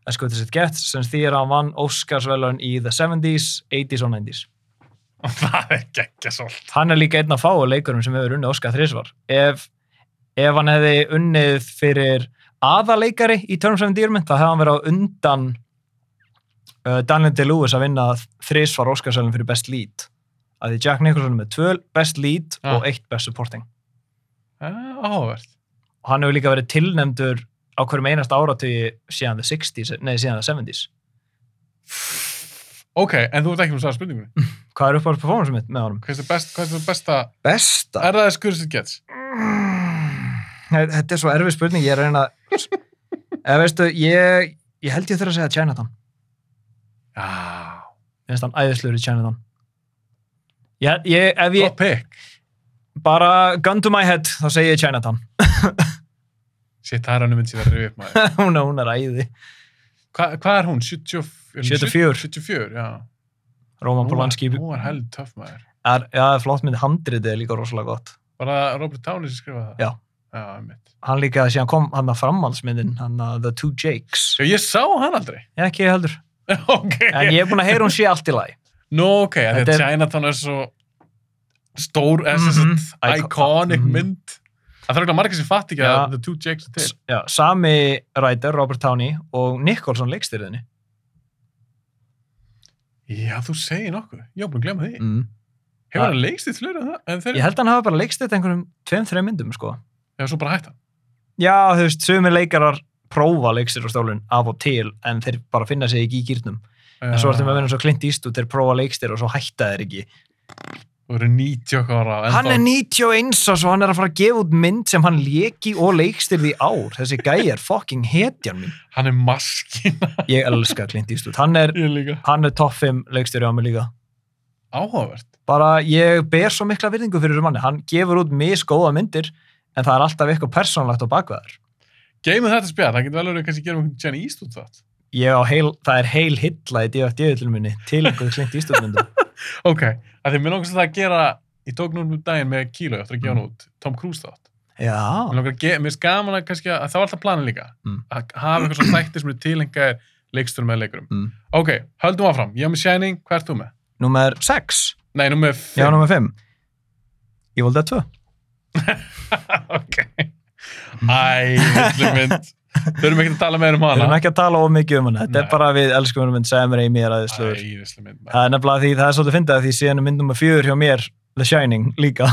Speaker 2: að skuldast it gets sem því að hann vann Óskarsvelun í the 70s, 80s og 90s
Speaker 1: [laughs] það er geggja svolít.
Speaker 2: hann er líka einn af fáu leikurum sem hefur unnið Óskar þrísvar ef, ef hann hefði unnið fyrir aðaleikari í Terms of Endearment þá hefði hann verið á undan uh, Daniel Day-Lewis að vinna þrísvar Óskarsælum fyrir Best Lead að því Jack Nicholson er með tvö Best Lead
Speaker 1: Ja.
Speaker 2: og eitt Best Supporting
Speaker 1: Ah, Áhugavert.
Speaker 2: og hann hefur líka verið tilnefndur á hverjum einasta áratugi síðan the 60s, nei síðan the 70s
Speaker 1: Ok, en þú ert ekki með að svara
Speaker 2: Mm.
Speaker 1: spurningunni.
Speaker 2: hvað er uppáhalds performance mitt með honum?
Speaker 1: Hvað er það best, hvað er það besta,
Speaker 2: Besta?
Speaker 1: er það skurðið sitt gets?
Speaker 2: Nei, Þetta er svo erfið spurning, ég er að reyna [laughs] eða veistu, ég, ég held ég þurfa að segja Chinatown,
Speaker 1: Já,
Speaker 2: Mér finnst hann æðisluður í Chinatown ég, ég, ef ég
Speaker 1: gott pick.
Speaker 2: bara gun to my head, þá segi ég Chinatown
Speaker 1: Sitt það er hann mynd sem það er að rifja upp maður.
Speaker 2: [laughs] hún, er- hún er æði.
Speaker 1: Hva, hvað er hún? 70,
Speaker 2: 74.
Speaker 1: 74, já.
Speaker 2: Roman
Speaker 1: Nú
Speaker 2: Polanski.
Speaker 1: er, nú er heldur töff maður.
Speaker 2: Er, já, flott mynd, handriðið er líka rosalega gott.
Speaker 1: Var það Robert Downey sem skrifaði það?
Speaker 2: Já.
Speaker 1: Já, mitt.
Speaker 2: Hann líka, síðan kom hann að framhaldsmyndin, hann að The Two Jakes.
Speaker 1: Ég sá hann aldrei. [laughs]
Speaker 2: Ekki heldur.
Speaker 1: ok.
Speaker 2: En ég er búin að heyra hún sé allt í [laughs] lagi.
Speaker 1: Nú, ok, að
Speaker 2: Þetta
Speaker 1: þetta
Speaker 2: er-
Speaker 1: Chinatown er svo stór, mm
Speaker 2: Mhm. Icon-
Speaker 1: iconic
Speaker 2: Mhm. mynd.
Speaker 1: mynd. Það þarf ekki margir sem fatt ekki
Speaker 2: Já.
Speaker 1: að The Two Jakes er til.
Speaker 2: S- Já, sami rætar, Robert Downey og Nicholson leikstyrðinni.
Speaker 1: Já, þú segir nokkuð. Ég var búin að glemma því.
Speaker 2: Mm.
Speaker 1: Hefur
Speaker 2: Það-
Speaker 1: hann leikst í flöru en það? En þeir,
Speaker 2: Ég held að hann hafa bara leikstyrð einhverjum tveim, þreim myndum, sko.
Speaker 1: Já, svo bara hægt hann.
Speaker 2: Já, þú veist, sumi leikarar prófa leikstyrðarstólun af og til en þeir bara finna sig ekki í gýrnum. En svo ertum við að vinna svo Clint Eastwood, þeir prófa leikstyrð og svo hætta þeir ekki.
Speaker 1: Þú eru 90 okkar ára. ennþá.
Speaker 2: Hann er 91 árs og hann er að fara að gefa út mynd sem hann leki og leikstyrði ár. Þessi gæi er fucking hetjan mín.
Speaker 1: Hann er maskina.
Speaker 2: Ég elska Clint Eastwood. Hann er,
Speaker 1: [laughs] Ég líka.
Speaker 2: hann er topp 5 leikstyrði á mig líka.
Speaker 1: Áhugavert.
Speaker 2: bara ég ber svo mikla virðingu fyrir þessu manni, hann gefur út misgóða myndir en það er alltaf eitthvað persónlegt á bakveðar
Speaker 1: Geymið þetta spjall. Það getur vel verið að kannski gera einhvern Jenny Eastwood þátt.
Speaker 2: ég á heil, það er heil hilla í DFD-villinu minni til einhver klint ístofmyndum
Speaker 1: Ok, að því mér langast að það að gera í tóknum um daginn með Kíló eftir að gefa
Speaker 2: Mm.
Speaker 1: hann út Tom Cruise þátt. Mér
Speaker 2: [laughs] já,
Speaker 1: langar að ge- mér finnst gaman að kannski að það var alltaf planin líka.
Speaker 2: Mm.
Speaker 1: Að hafa eitthvað svona þættir sem eru tilengaðir leiksturum eða leikurum.
Speaker 2: Mm.
Speaker 1: Ok, höldum áfram. Ég er með Shining, hvað ert þú með?
Speaker 2: nummer 6
Speaker 1: Nei, nú með
Speaker 2: já,
Speaker 1: 5.
Speaker 2: nummer 5 ég voldi að 2
Speaker 1: [laughs] ok. Æ, villu mynd. Þurfum ekki að tala meira um
Speaker 2: við
Speaker 1: hana.
Speaker 2: erum ekki að tala of mikið um hana þetta
Speaker 1: Nei.
Speaker 2: er bara við elskum hana mynd sem reymi er
Speaker 1: Æ,
Speaker 2: aðeins slöður
Speaker 1: villu mynd. maður.
Speaker 2: það er nefnilega því það er svolítið fyndið að því síðan er mynd nummer 4 hjá mér The Shining líka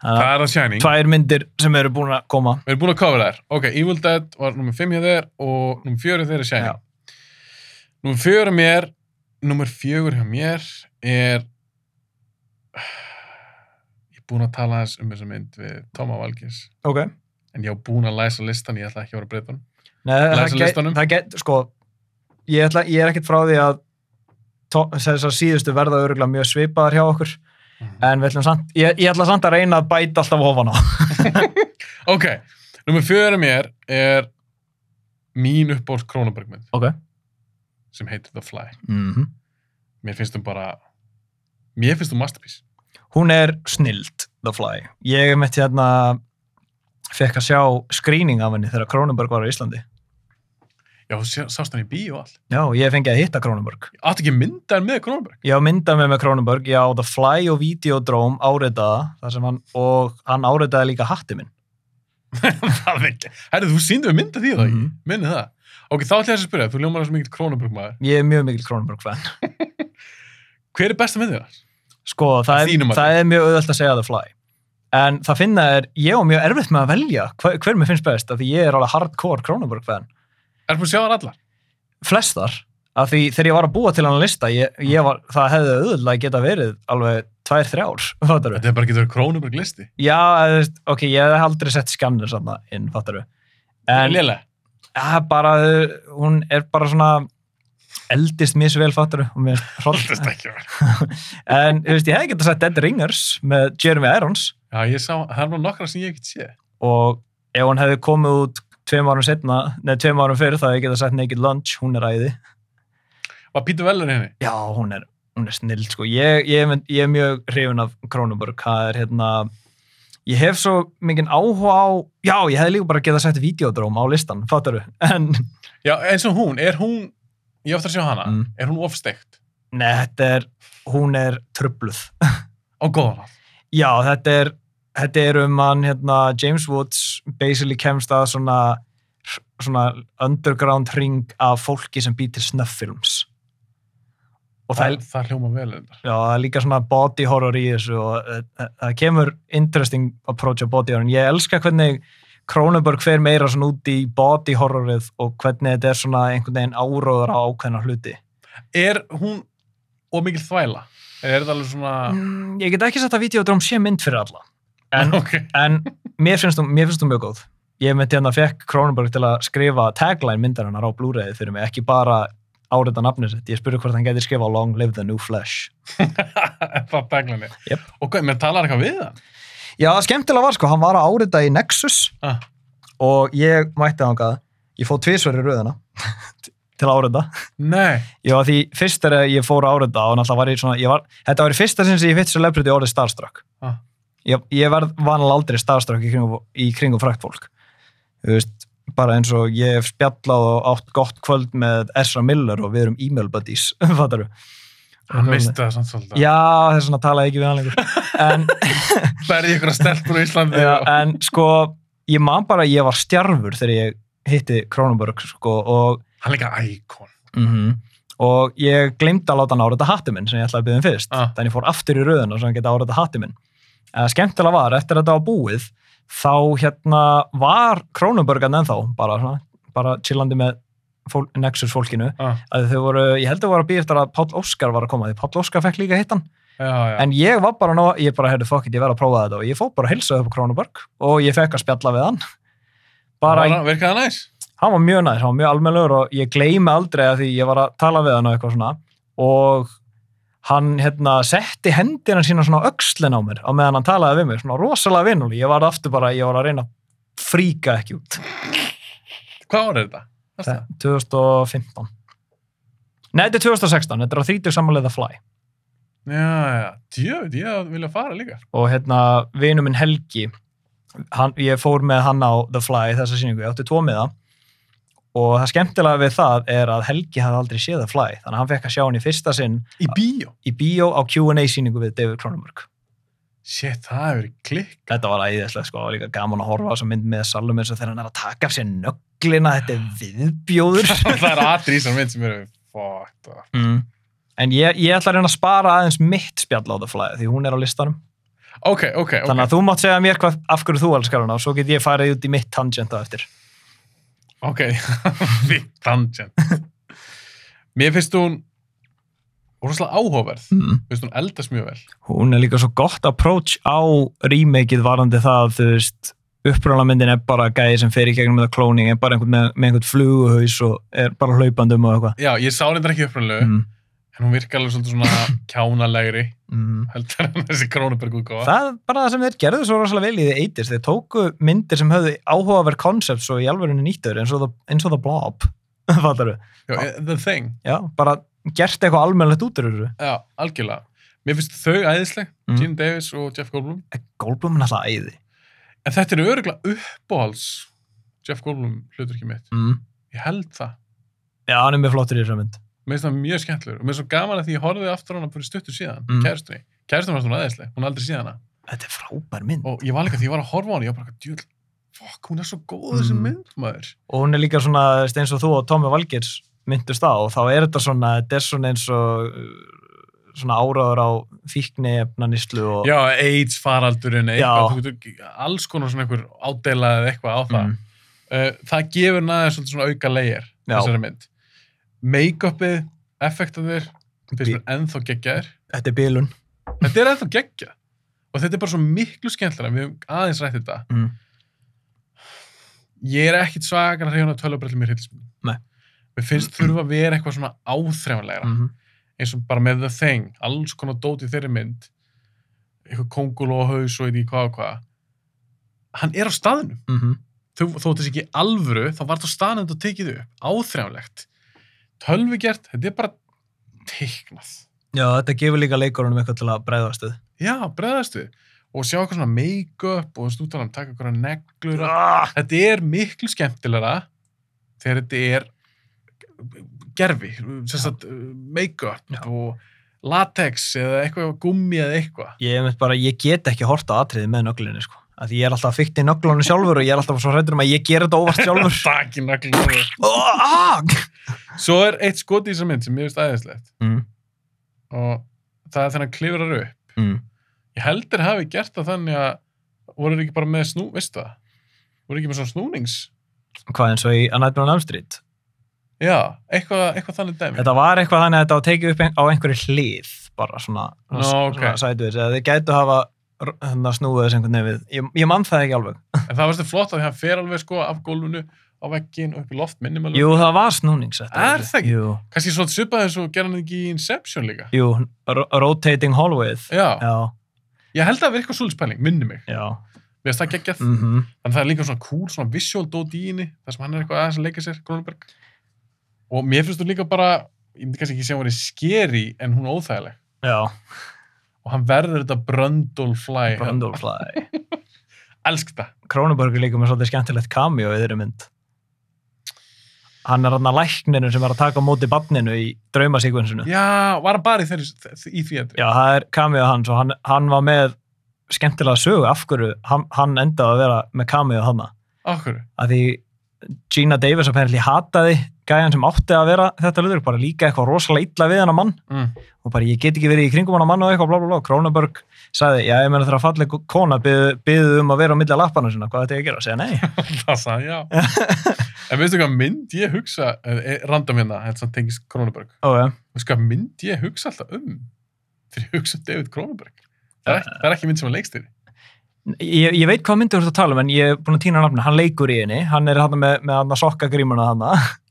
Speaker 1: Það er að Shining.
Speaker 2: tvær myndir sem eru búin að koma
Speaker 1: Við erum búin að cover þær. Ok, Evil Dead var nummer 5 hjá þér og nummer 4 hjá þér er Shining. Nummer 4 hjá mér, nummer 4 hjá mér er... Ég er búin að tala aðeins um þessa mynd við Tóma Valgis.
Speaker 2: ok
Speaker 1: En ég á búin að læsa listan, ég ætla ekki að vera að breyta hann.
Speaker 2: Nei, það
Speaker 1: Læsa
Speaker 2: get,
Speaker 1: listanum.
Speaker 2: það get, sko ég, ætla, ég er ekkert frá því að to- þessar síðustu verða öruglega mjög svipaðar hjá okkur
Speaker 1: Mhm.
Speaker 2: en við ætlum samt, ég, ég ætla samt að reyna að bæta alltaf ofan á
Speaker 1: Ok, nummer 4 hjá mér er mín uppbóls Krónabergmynd
Speaker 2: okay.
Speaker 1: sem heitir The Fly.
Speaker 2: mm
Speaker 1: Mér finnst þú bara... Mér finnst þú masterpiece.
Speaker 2: hún er snild, The Fly ég er mitt hérna fekk að sjá skrýning af henni þegar Kronenberg var á Íslandi
Speaker 1: Já, þú sé- sást hann í bíó og all.
Speaker 2: já, ég fengi að hitta Kronenberg
Speaker 1: Áttu ekki myndaðan með Krónaberg?
Speaker 2: ég á mynda með með Kronenberg, ég á The Fly og Videodrome áritaða þar sem hann, og hann áritaði líka hatti minn
Speaker 1: það er ekki. Herri, þú síndum við mynda því það ekki.
Speaker 2: Mhm.
Speaker 1: Minni það. Ok, þá ætla ég að spyrja, þú ljómar þessu mikill Krónaberg maður.
Speaker 2: ég er mjög mikil Kronenberg fan
Speaker 1: Hver er besta myndið það?
Speaker 2: Sko,
Speaker 1: Að
Speaker 2: það er,
Speaker 1: þínu mati.
Speaker 2: það er mjög auðvelt að segja The Fly. En það finna er, ég á mjög erfitt með að velja hver, hver mér finnst best, af því ég er alveg hardcore Kronenberg fan.
Speaker 1: Er búin að sjá þar allar?
Speaker 2: Flestar, af því þegar ég var að búa til hann að lista, ég, ég var, það hefði auðvitað geta verið alveg tvær, þrjár, [laughs] fattar við.
Speaker 1: Þetta er bara getur Krónaberg listi.
Speaker 2: Já, eða þú veist, ok, ég hef aldrei sett skannir saman inn, fattar við. En
Speaker 1: Lélega.
Speaker 2: ja, bara, uh, hún er bara svona eldist mjög svo vel, fattar við, og mér er
Speaker 1: [laughs]
Speaker 2: hroll.
Speaker 1: Þetta er ekki verið.
Speaker 2: En, þú veist, ég hefði getað sett Dead Ringers með Jeremy Irons.
Speaker 1: Já, ég sá, það er bara nokkra sem ég hef ekki séð.
Speaker 2: og ef hún hefði komið út tveim árum setna, neða tveim árum fyrir það hefði getað sagt Naked Lunch, hún er æði
Speaker 1: Var Pítur hérna? Veller henni?
Speaker 2: já, hún er, hún er snild sko ég, ég, mynd- ég er mjög hrifin af Kronenburg það er hérna ég hef svo mikinn áhuga á já, ég hefði líka bara getað sett videodróm á listan fattar en
Speaker 1: Já, eins og hún, er hún, ég átti að sjá hana,
Speaker 2: Mm.
Speaker 1: er hún ofsteikt
Speaker 2: nei, þetta er, hún er trubluð
Speaker 1: á góðan hátt?
Speaker 2: já, þetta er þetta er um hann, hérna, James Woods basically kemst að svona svona underground ring af fólki sem býr til snöfffilms og það,
Speaker 1: Það, það hljóma vel hérna. þetta.
Speaker 2: já, það er líka svona body horror í þessu og eh, eh, það kemur interesting approach á body horror ég elska hvernig Kronenberg fer meira svona út í body horrorið og hvernig þetta er svona einhvern veginn áróður á ákveðna hluti
Speaker 1: Er hún og mikil þvæla? Eða er það alveg svona...
Speaker 2: mm, ég get ekki sagt að videodróm sé mynd fyrir alla en
Speaker 1: [laughs] ok.
Speaker 2: en mér finnst hún, mér finnst hún mjög góð ég myndi hérna fekk Kronenberg til að skrifa tagline myndar hennar á Blu-rayði fyrir mig ekki bara árita nafnið sitt ég spurði hvort hann gæti skrifa Long Live the New Flesh
Speaker 1: það daglinni.
Speaker 2: Jep.
Speaker 1: Og hvað, menn talar eitthvað við það?
Speaker 2: já, skemmtilega var sko, hann var að árita í Nexus
Speaker 1: Ah,
Speaker 2: og ég mætti þangað ég fóð tvisverri röðina [laughs] til árunda
Speaker 1: Nei,
Speaker 2: ég var því fyrst er að ég fór árunda og náttúrulega var ég svona ég var, þetta var í fyrsta sinn sem ég fitt celebrity orðið starstruck
Speaker 1: Ah.
Speaker 2: ég, ég verð vanalega aldrei starstruck í kringum, í kringum frækt fólk þú veist, bara eins og ég hef spjallað og átt gott kvöld með Ezra Miller og við erum e-mail buddies [laughs] fattar
Speaker 1: hann misti það samt svolítið.
Speaker 2: Já, þess vegna talaði ég ekki við hann lengur. En,
Speaker 1: Berði ykkur að stelpur á Íslandi.
Speaker 2: já,
Speaker 1: og-
Speaker 2: en sko, ég man bara að ég var stjarfur þegar ég hitti Kronenberg sko, og,
Speaker 1: Hann er líka íkon.
Speaker 2: Mhm. og ég glemdi að láta hann áreita hatti minn sem ég ætlaði að byggja um fyrst.
Speaker 1: Ah.
Speaker 2: Þannig ég fór aftur í röðuna sem hann geta áreita hatti minn. Eh, Skemmtilega var, eftir að þetta var búið, þá hérna var Kronenbergan ennþá, bara, svona, bara chillandi með fól, Nexus fólkinu,
Speaker 1: Ah,
Speaker 2: að þau voru, ég held að þau voru að býja eftir að Páll Óskar var að koma, því Páll Óskar fekk líka hittan.
Speaker 1: já, já.
Speaker 2: En ég var bara, ná, ég bara, heyrðu, fuck it, ég verð að prófa þetta og ég fór bara að hilsa upp á Krónuborg og ég fekk að spjalla við hann. Bara,
Speaker 1: Var hann- Virkaði það næs?
Speaker 2: hann var mjög næst, hann var mjög almennlegur og ég gleymi aldrei að því ég var að tala við hann og eitthvað svona og hann, hérna, setti hendina sína svona á öxlin á mér á meðan hann talaði við mig, svona rosalega vinnuli. Ég var aftur bara, ég var að reyna að fríka ekki út.
Speaker 1: Hvað var þetta? Varstu það?
Speaker 2: 2015. Nei, þetta er 2016, þetta er á 30 samanlega fly.
Speaker 1: Já, já. Djöfn, ég vilja fara líka.
Speaker 2: og hérna vinur minn Helgi hann, ég fór með hann á The Fly þessa síningu, ég átti tvo með það og það skemmtilega við það er að Helgi hafði aldrei séð The Fly þannig að hann fekk að sjá hann í fyrsta sinn
Speaker 1: Í bíó.
Speaker 2: í bíó á Q&A síningu við David Cronenberg
Speaker 1: Shit, það hefur verið klikk.
Speaker 2: þetta var æðislega sko, það var líka gaman að horfa á þessa mynd með Salome eins og þegar hann er að taka af sér nöglina, þetta er viðbjóður
Speaker 1: [laughs] það er aðri í þessar mynd sem eru fucked up.
Speaker 2: mm. en ég, ég ætla að reyna að spara aðeins mitt spjall á The Fly því hún er á listanum,
Speaker 1: Ok, ok, ok.
Speaker 2: þannig að þú mátt segja mér hvað, af hverju þú elskar hana og svo get ég farið út í mitt tangent á eftir
Speaker 1: Ok, [laughs] fint tangent. Mér finnst hún rosalega áhugaverð. Mér
Speaker 2: mm.
Speaker 1: finnst hún eldast mjög vel.
Speaker 2: hún er líka svo gott approach á remakeið varandi það þú veist, uppránlamyndin er bara gæði sem fer í gegnum með klóning, er bara einhvern með, með einhvern fluguhaus og er bara hlaupandum og eitthvað
Speaker 1: Já, ég sá reyndar ekki upprænlegu,
Speaker 2: mm.
Speaker 1: en hún virkar alveg svolítið svona kjánalegri,
Speaker 2: Mm.
Speaker 1: heldur en þessi Krónuberg útgáfa.
Speaker 2: það er bara það sem þeir gerðu svo rosalega vel í því eitist, þeir tóku myndir sem höfðu áhugaverð koncept svo í alvörinu nýttur eins og það, eins og það blob [laughs] fattar
Speaker 1: Já, eh, the Thing,
Speaker 2: já, bara gert eitthvað almennlegt út úr þessu
Speaker 1: já, algjörlega. Mér finnst þau æðisleg,
Speaker 2: Mm.
Speaker 1: Gene Davis og Jeff Goldblum.
Speaker 2: Goldblum er alltaf æði
Speaker 1: En þetta eru öruglega uppáhalds Jeff Goldblum hlutur ekki mitt.
Speaker 2: mm.
Speaker 1: Ég held það.
Speaker 2: já, hann er mjög flottur í þessu mynd
Speaker 1: Mér finnst það mjög skemmtilegur. Og mér finnst svo gaman að því ég horfið aftur á hana fyrir stuttur síðan,
Speaker 2: Mm.
Speaker 1: mm. kærustunni. Kærustunni var svona æðisleg, hún er aldrei síðan hana.
Speaker 2: þetta er frábær mynd
Speaker 1: og ég var líka því ég var að horfa á hann ég var bara eitthvað djúl fokk hún er svo góð þessi
Speaker 2: Mm.
Speaker 1: mynd maður
Speaker 2: og hún er líka svona þú veist, eins og þú og Tommy Valgers myndust á og þá er þetta svona, þetta er svona eins og uh, svona áraður á fíkni efnanislu og
Speaker 1: já AIDS faraldurinn
Speaker 2: Já.
Speaker 1: eitthvað þú getur alls konar svona einhver ádela eða eitthvað á það
Speaker 2: Mm,
Speaker 1: uh, það gefur næður svolítið svona auka leir
Speaker 2: Já.
Speaker 1: þessari mynd make-upið effektaðir finnst
Speaker 2: Bí-
Speaker 1: mér ennþá geggjaðir
Speaker 2: þetta er bílun
Speaker 1: þetta er ennþá geggjað og þetta er bara svo miklu skemmtilega við höfum aðeins rætt þetta
Speaker 2: mm.
Speaker 1: ég er ekkit svakar að reyna tölubrellum í hryllismin
Speaker 2: Nei.
Speaker 1: mér finnst þurfa að vera eitthvað svona áþreifanlegra
Speaker 2: mhm,
Speaker 1: eins og bara með The Thing, alls konar dót í þeirri mynd, eitthvað kongul og haus og eitthvað hvað og hvað, hann er á staðnum.
Speaker 2: mhm,
Speaker 1: Þó, þó þessi ekki alvöru, þá var þetta á staðnum þetta tekið upp, áþrjámlegt. Tölvigert, þetta er bara teiknað.
Speaker 2: já, þetta gefur líka leikurunum eitthvað til að bregðast við
Speaker 1: Já, bregðast við. Og sjá eitthvað svona make-up og stúttalann taka eitthvað neglur.
Speaker 2: Ah,
Speaker 1: Þetta er miklu skemmtilega þegar þetta er gerfi, sem sagt
Speaker 2: Já.
Speaker 1: make-up og latex eða eitthvað gummi eða eitthvað.
Speaker 2: ég, einmitt bara, ég get ekki horta atriði með nöglinni sko. að ég er alltaf að fykta í nöglunum sjálfur og ég er alltaf svo hrættur um að ég ger þetta óvart sjálfur
Speaker 1: [laughs] Takk í naglinu.
Speaker 2: oh, ah!
Speaker 1: Svo er eitt skot í þessar mynd sem mér finnst æðislegt
Speaker 2: mm,
Speaker 1: og það er þegar hann klifrar upp.
Speaker 2: mm.
Speaker 1: Ég heldur hafi gert það þannig að voru þeir ekki bara með snú, veistu það? Voru ekki með svona snúnings?
Speaker 2: hvað eins og í A Nightmare on Elm Street
Speaker 1: Já, eitthvað, eitthvað þannig dæmi.
Speaker 2: Þetta var eitthvað þannig að þetta var tekið upp ein- á einhverju hlið, bara svona,
Speaker 1: Nú,
Speaker 2: svona
Speaker 1: ok.
Speaker 2: sætu þess, að þið gætu hafa r- hérna snúið þess einhvern veginn við. Ég, ég mann það ekki alveg.
Speaker 1: En það var svolítið flott að því hann fer alveg sko af gólfinu á veggin og upp í loft minnum alveg.
Speaker 2: Jú, það var snúnings. þetta
Speaker 1: Er
Speaker 2: var-
Speaker 1: það ekki?
Speaker 2: Jú,
Speaker 1: Kanski svolítið svipað eins og gerði hann ekki í Inception líka.
Speaker 2: jú ro- rotating hallways.
Speaker 1: Já,
Speaker 2: Já,
Speaker 1: ég held að það verið eitthvað svolítið spæling, minni mig.
Speaker 2: já.
Speaker 1: Mér finnst það geggjað.
Speaker 2: Mm
Speaker 1: Þannig það er líka svona cool, svona visual dót í henni, þar sem hann er eitthvað aðeins að leika sér, Grónberg. Og mér finnst þú líka bara, ég myndi kannski ekki segja að hún er skeri, en hún er óþægileg.
Speaker 2: Já,
Speaker 1: Og hann verður þetta bröndulflæ.
Speaker 2: Brundlefly.
Speaker 1: Elsk það.
Speaker 2: Krónuborg er líka með svolítið skemmtilegt cameo í þeirri mynd. Hann er hann að lækninu sem er að taka á móti banninu í draumasekvensinu.
Speaker 1: Já, var hann bara í, þeirri, í því að
Speaker 2: Já, það er cameo hans og hann, hann var með skemmtilega sögu af hverju hann, hann endaði að vera með cameo hana.
Speaker 1: Áhverju?
Speaker 2: Að því Gina Davis apparently hataði gæjan sem átti að vera þetta löður, bara líka eitthvað rosalega illa við hann mann
Speaker 1: Mm.
Speaker 2: og bara ég get ekki verið í kringum hann mann og eitthvað blá blá blá. Krónaberg sagði, já ég meina þegar að falleg kona byggðu um að vera á milli að lappana sinna, hvað þetta ég að gera? Segja nei.
Speaker 1: [laughs]
Speaker 2: [laughs]
Speaker 1: Það sagði já. en veistu hvað mynd ég hugsa, eh, random hérna, hérna sem tengist Krónberg.
Speaker 2: Ok,
Speaker 1: Veistu hvað mynd ég hugsa alltaf um þegar ég hugsa um David Krónberg? Það er, ekki, það er ekki mynd sem hann leikst þér.
Speaker 2: ég, ég veit hvað myndi þú ert að tala um en ég er búin að týna nafna, hann leikur í henni, hann er hann með, með hann að sokka grímuna hann.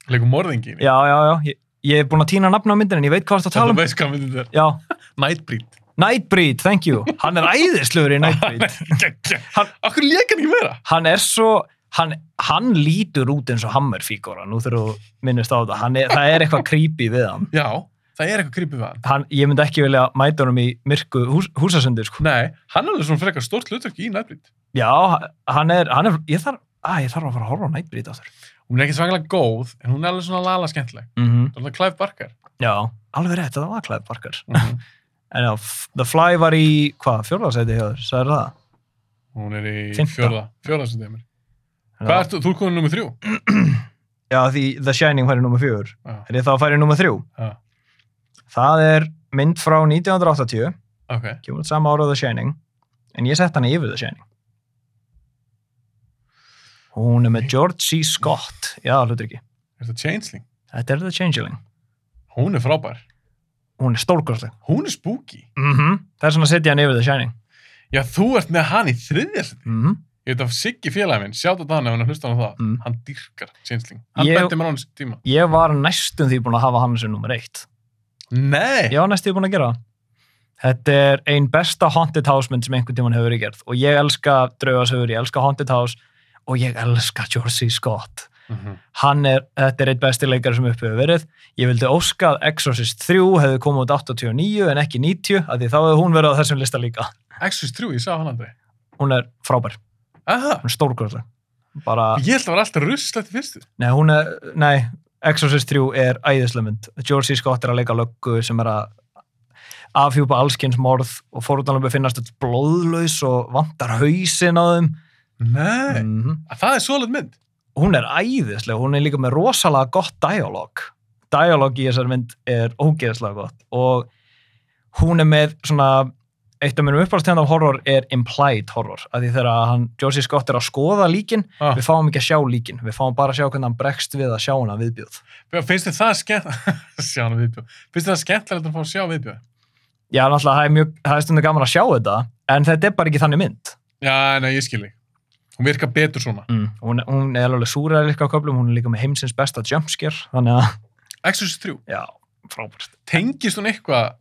Speaker 1: Leikum morðingin.
Speaker 2: [laughs] Já, já, já, ég, ég er búin að týna nafna á myndin en ég veit hvað þú ert að
Speaker 1: Þú
Speaker 2: tala um.
Speaker 1: veist hvað myndin þetta er.
Speaker 2: Já,
Speaker 1: Nightbreed.
Speaker 2: Nightbreed, thank you. Hann er æðisluður í
Speaker 1: [laughs]
Speaker 2: Nightbreed.
Speaker 1: Gekkja.
Speaker 2: Hann-
Speaker 1: Akkur leik hann ekki meira?
Speaker 2: Hann er svo, hann, hann lítur út eins og hammerfígóra, nú þurfum við minnist á þetta. Hann Er, það er eitthvað creepy við hann.
Speaker 1: Já, það er eitthvað krypið við hann.
Speaker 2: hann. Ég myndi ekki vilja mæta honum í myrku hús, húsasundir, sko.
Speaker 1: Nei, hann er alveg svona frekar stórt hlutverk í Nightbreed.
Speaker 2: Já, hann er, hann er, ég þarf, að, ég þarf að fara að horfa á Nightbreed áttur.
Speaker 1: Hún er ekki svakalega góð, en hún er alveg svona lala skemmtileg.
Speaker 2: Mm -hmm.
Speaker 1: Það er alveg Clive Barker.
Speaker 2: Já, alveg rétt, þetta var klæðið barkar. En já, F- The Fly var í, hvað, fjórðarsæti hjá þér, sagði það?
Speaker 1: Hún er í
Speaker 2: Fimmta.
Speaker 1: fjörða, fjörða sem þeimur. Hvað ertu, þú er komin nummið þrjú?
Speaker 2: Já, því The Shining var í nummer fjögur.
Speaker 1: Já,
Speaker 2: Er ég þá að fara í nummer þrjú?
Speaker 1: já,
Speaker 2: Það er mynd frá 1980
Speaker 1: ok.
Speaker 2: kemur út sama ára á The Shining en ég sett hana yfir The Shining hún er með George C. Scott já, hlutur ekki,
Speaker 1: Er þetta Changeling?
Speaker 2: þetta er The Changeling
Speaker 1: Hún er frábær.
Speaker 2: hún er stórkostleg
Speaker 1: Hún er spooky.
Speaker 2: mm
Speaker 1: Mhm.
Speaker 2: það er svona að setja hann yfir The Shining
Speaker 1: Já, þú ert með hann í þriðja sæti.
Speaker 2: mm -hmm.
Speaker 1: Ég veit að Siggi félagi minn, sjátt að hann ef hann er að hlusta hann á það,
Speaker 2: Mm.
Speaker 1: hann dyrkar Changeling. Hann
Speaker 2: Ég-
Speaker 1: ég... bendi mér á hann þessum tíma.
Speaker 2: ég var næstum því búin að hafa hann sem nummer eitt [laughs]
Speaker 1: Nei!
Speaker 2: ég var næstum því búin að gera það Þetta er ein besta haunted house mynd sem einhvern tímann hefur verið gerð og ég elska draugasögur, ég elska haunted house og ég elska George C. Scott
Speaker 1: Mhm.
Speaker 2: hann er, þetta er eitt besti leikar sem upp hefur verið. Ég vildi óska að Exorcist 3 hefði komið út 89 en ekki 90, af því þá hefði hún verið á þessum lista líka.
Speaker 1: Exorcist 3, ég sá hann aldrei.
Speaker 2: Hún er frábær,
Speaker 1: Aha,
Speaker 2: hún er stórkvöldsleg. Bara,
Speaker 1: ég held að það var alltaf russlegt í fyrstu.
Speaker 2: nei, hún er, nei, Exorcist 3 er æðislemynd. George C. Scott er að leika löggu sem er að afhjúpa allskins morð og fórhundanlega finnast öll blóðlaus og vantar hausin á þeim.
Speaker 1: Nei,
Speaker 2: Mm
Speaker 1: að það er svolít mynd.
Speaker 2: hún er æðisleg, hún er líka með rosalega gott dialog dialog í þessar mynd er ógeðslega gott og hún er með svona eitt af mínum uppáðstegnd af horror er implied horror, að því þegar að hann Josie Scott er að skoða líkin,
Speaker 1: Ah.
Speaker 2: við fáum ekki að sjá líkin við fáum bara að sjá hvernig hann bregst við að sjá hana viðbjóð.
Speaker 1: Finnst þið það skemmt... [laughs] sjá hann viðbjóð. Finnst þið það skemmtilegt að fá að sjá viðbjóð?
Speaker 2: Já, náttúrulega, það er, mjög, það er stundu gaman að sjá þetta en þetta er bara ekki þannig mynd
Speaker 1: Já, nei, ég skil þig. Hún virkar betur svona.
Speaker 2: mm. hún, hún er alveg súræðir líka á köflum, hún er líka með heimsins besta jumpscare, þannig að,
Speaker 1: Exorcist 3,
Speaker 2: já, frábært
Speaker 1: tengist hún eitthvað?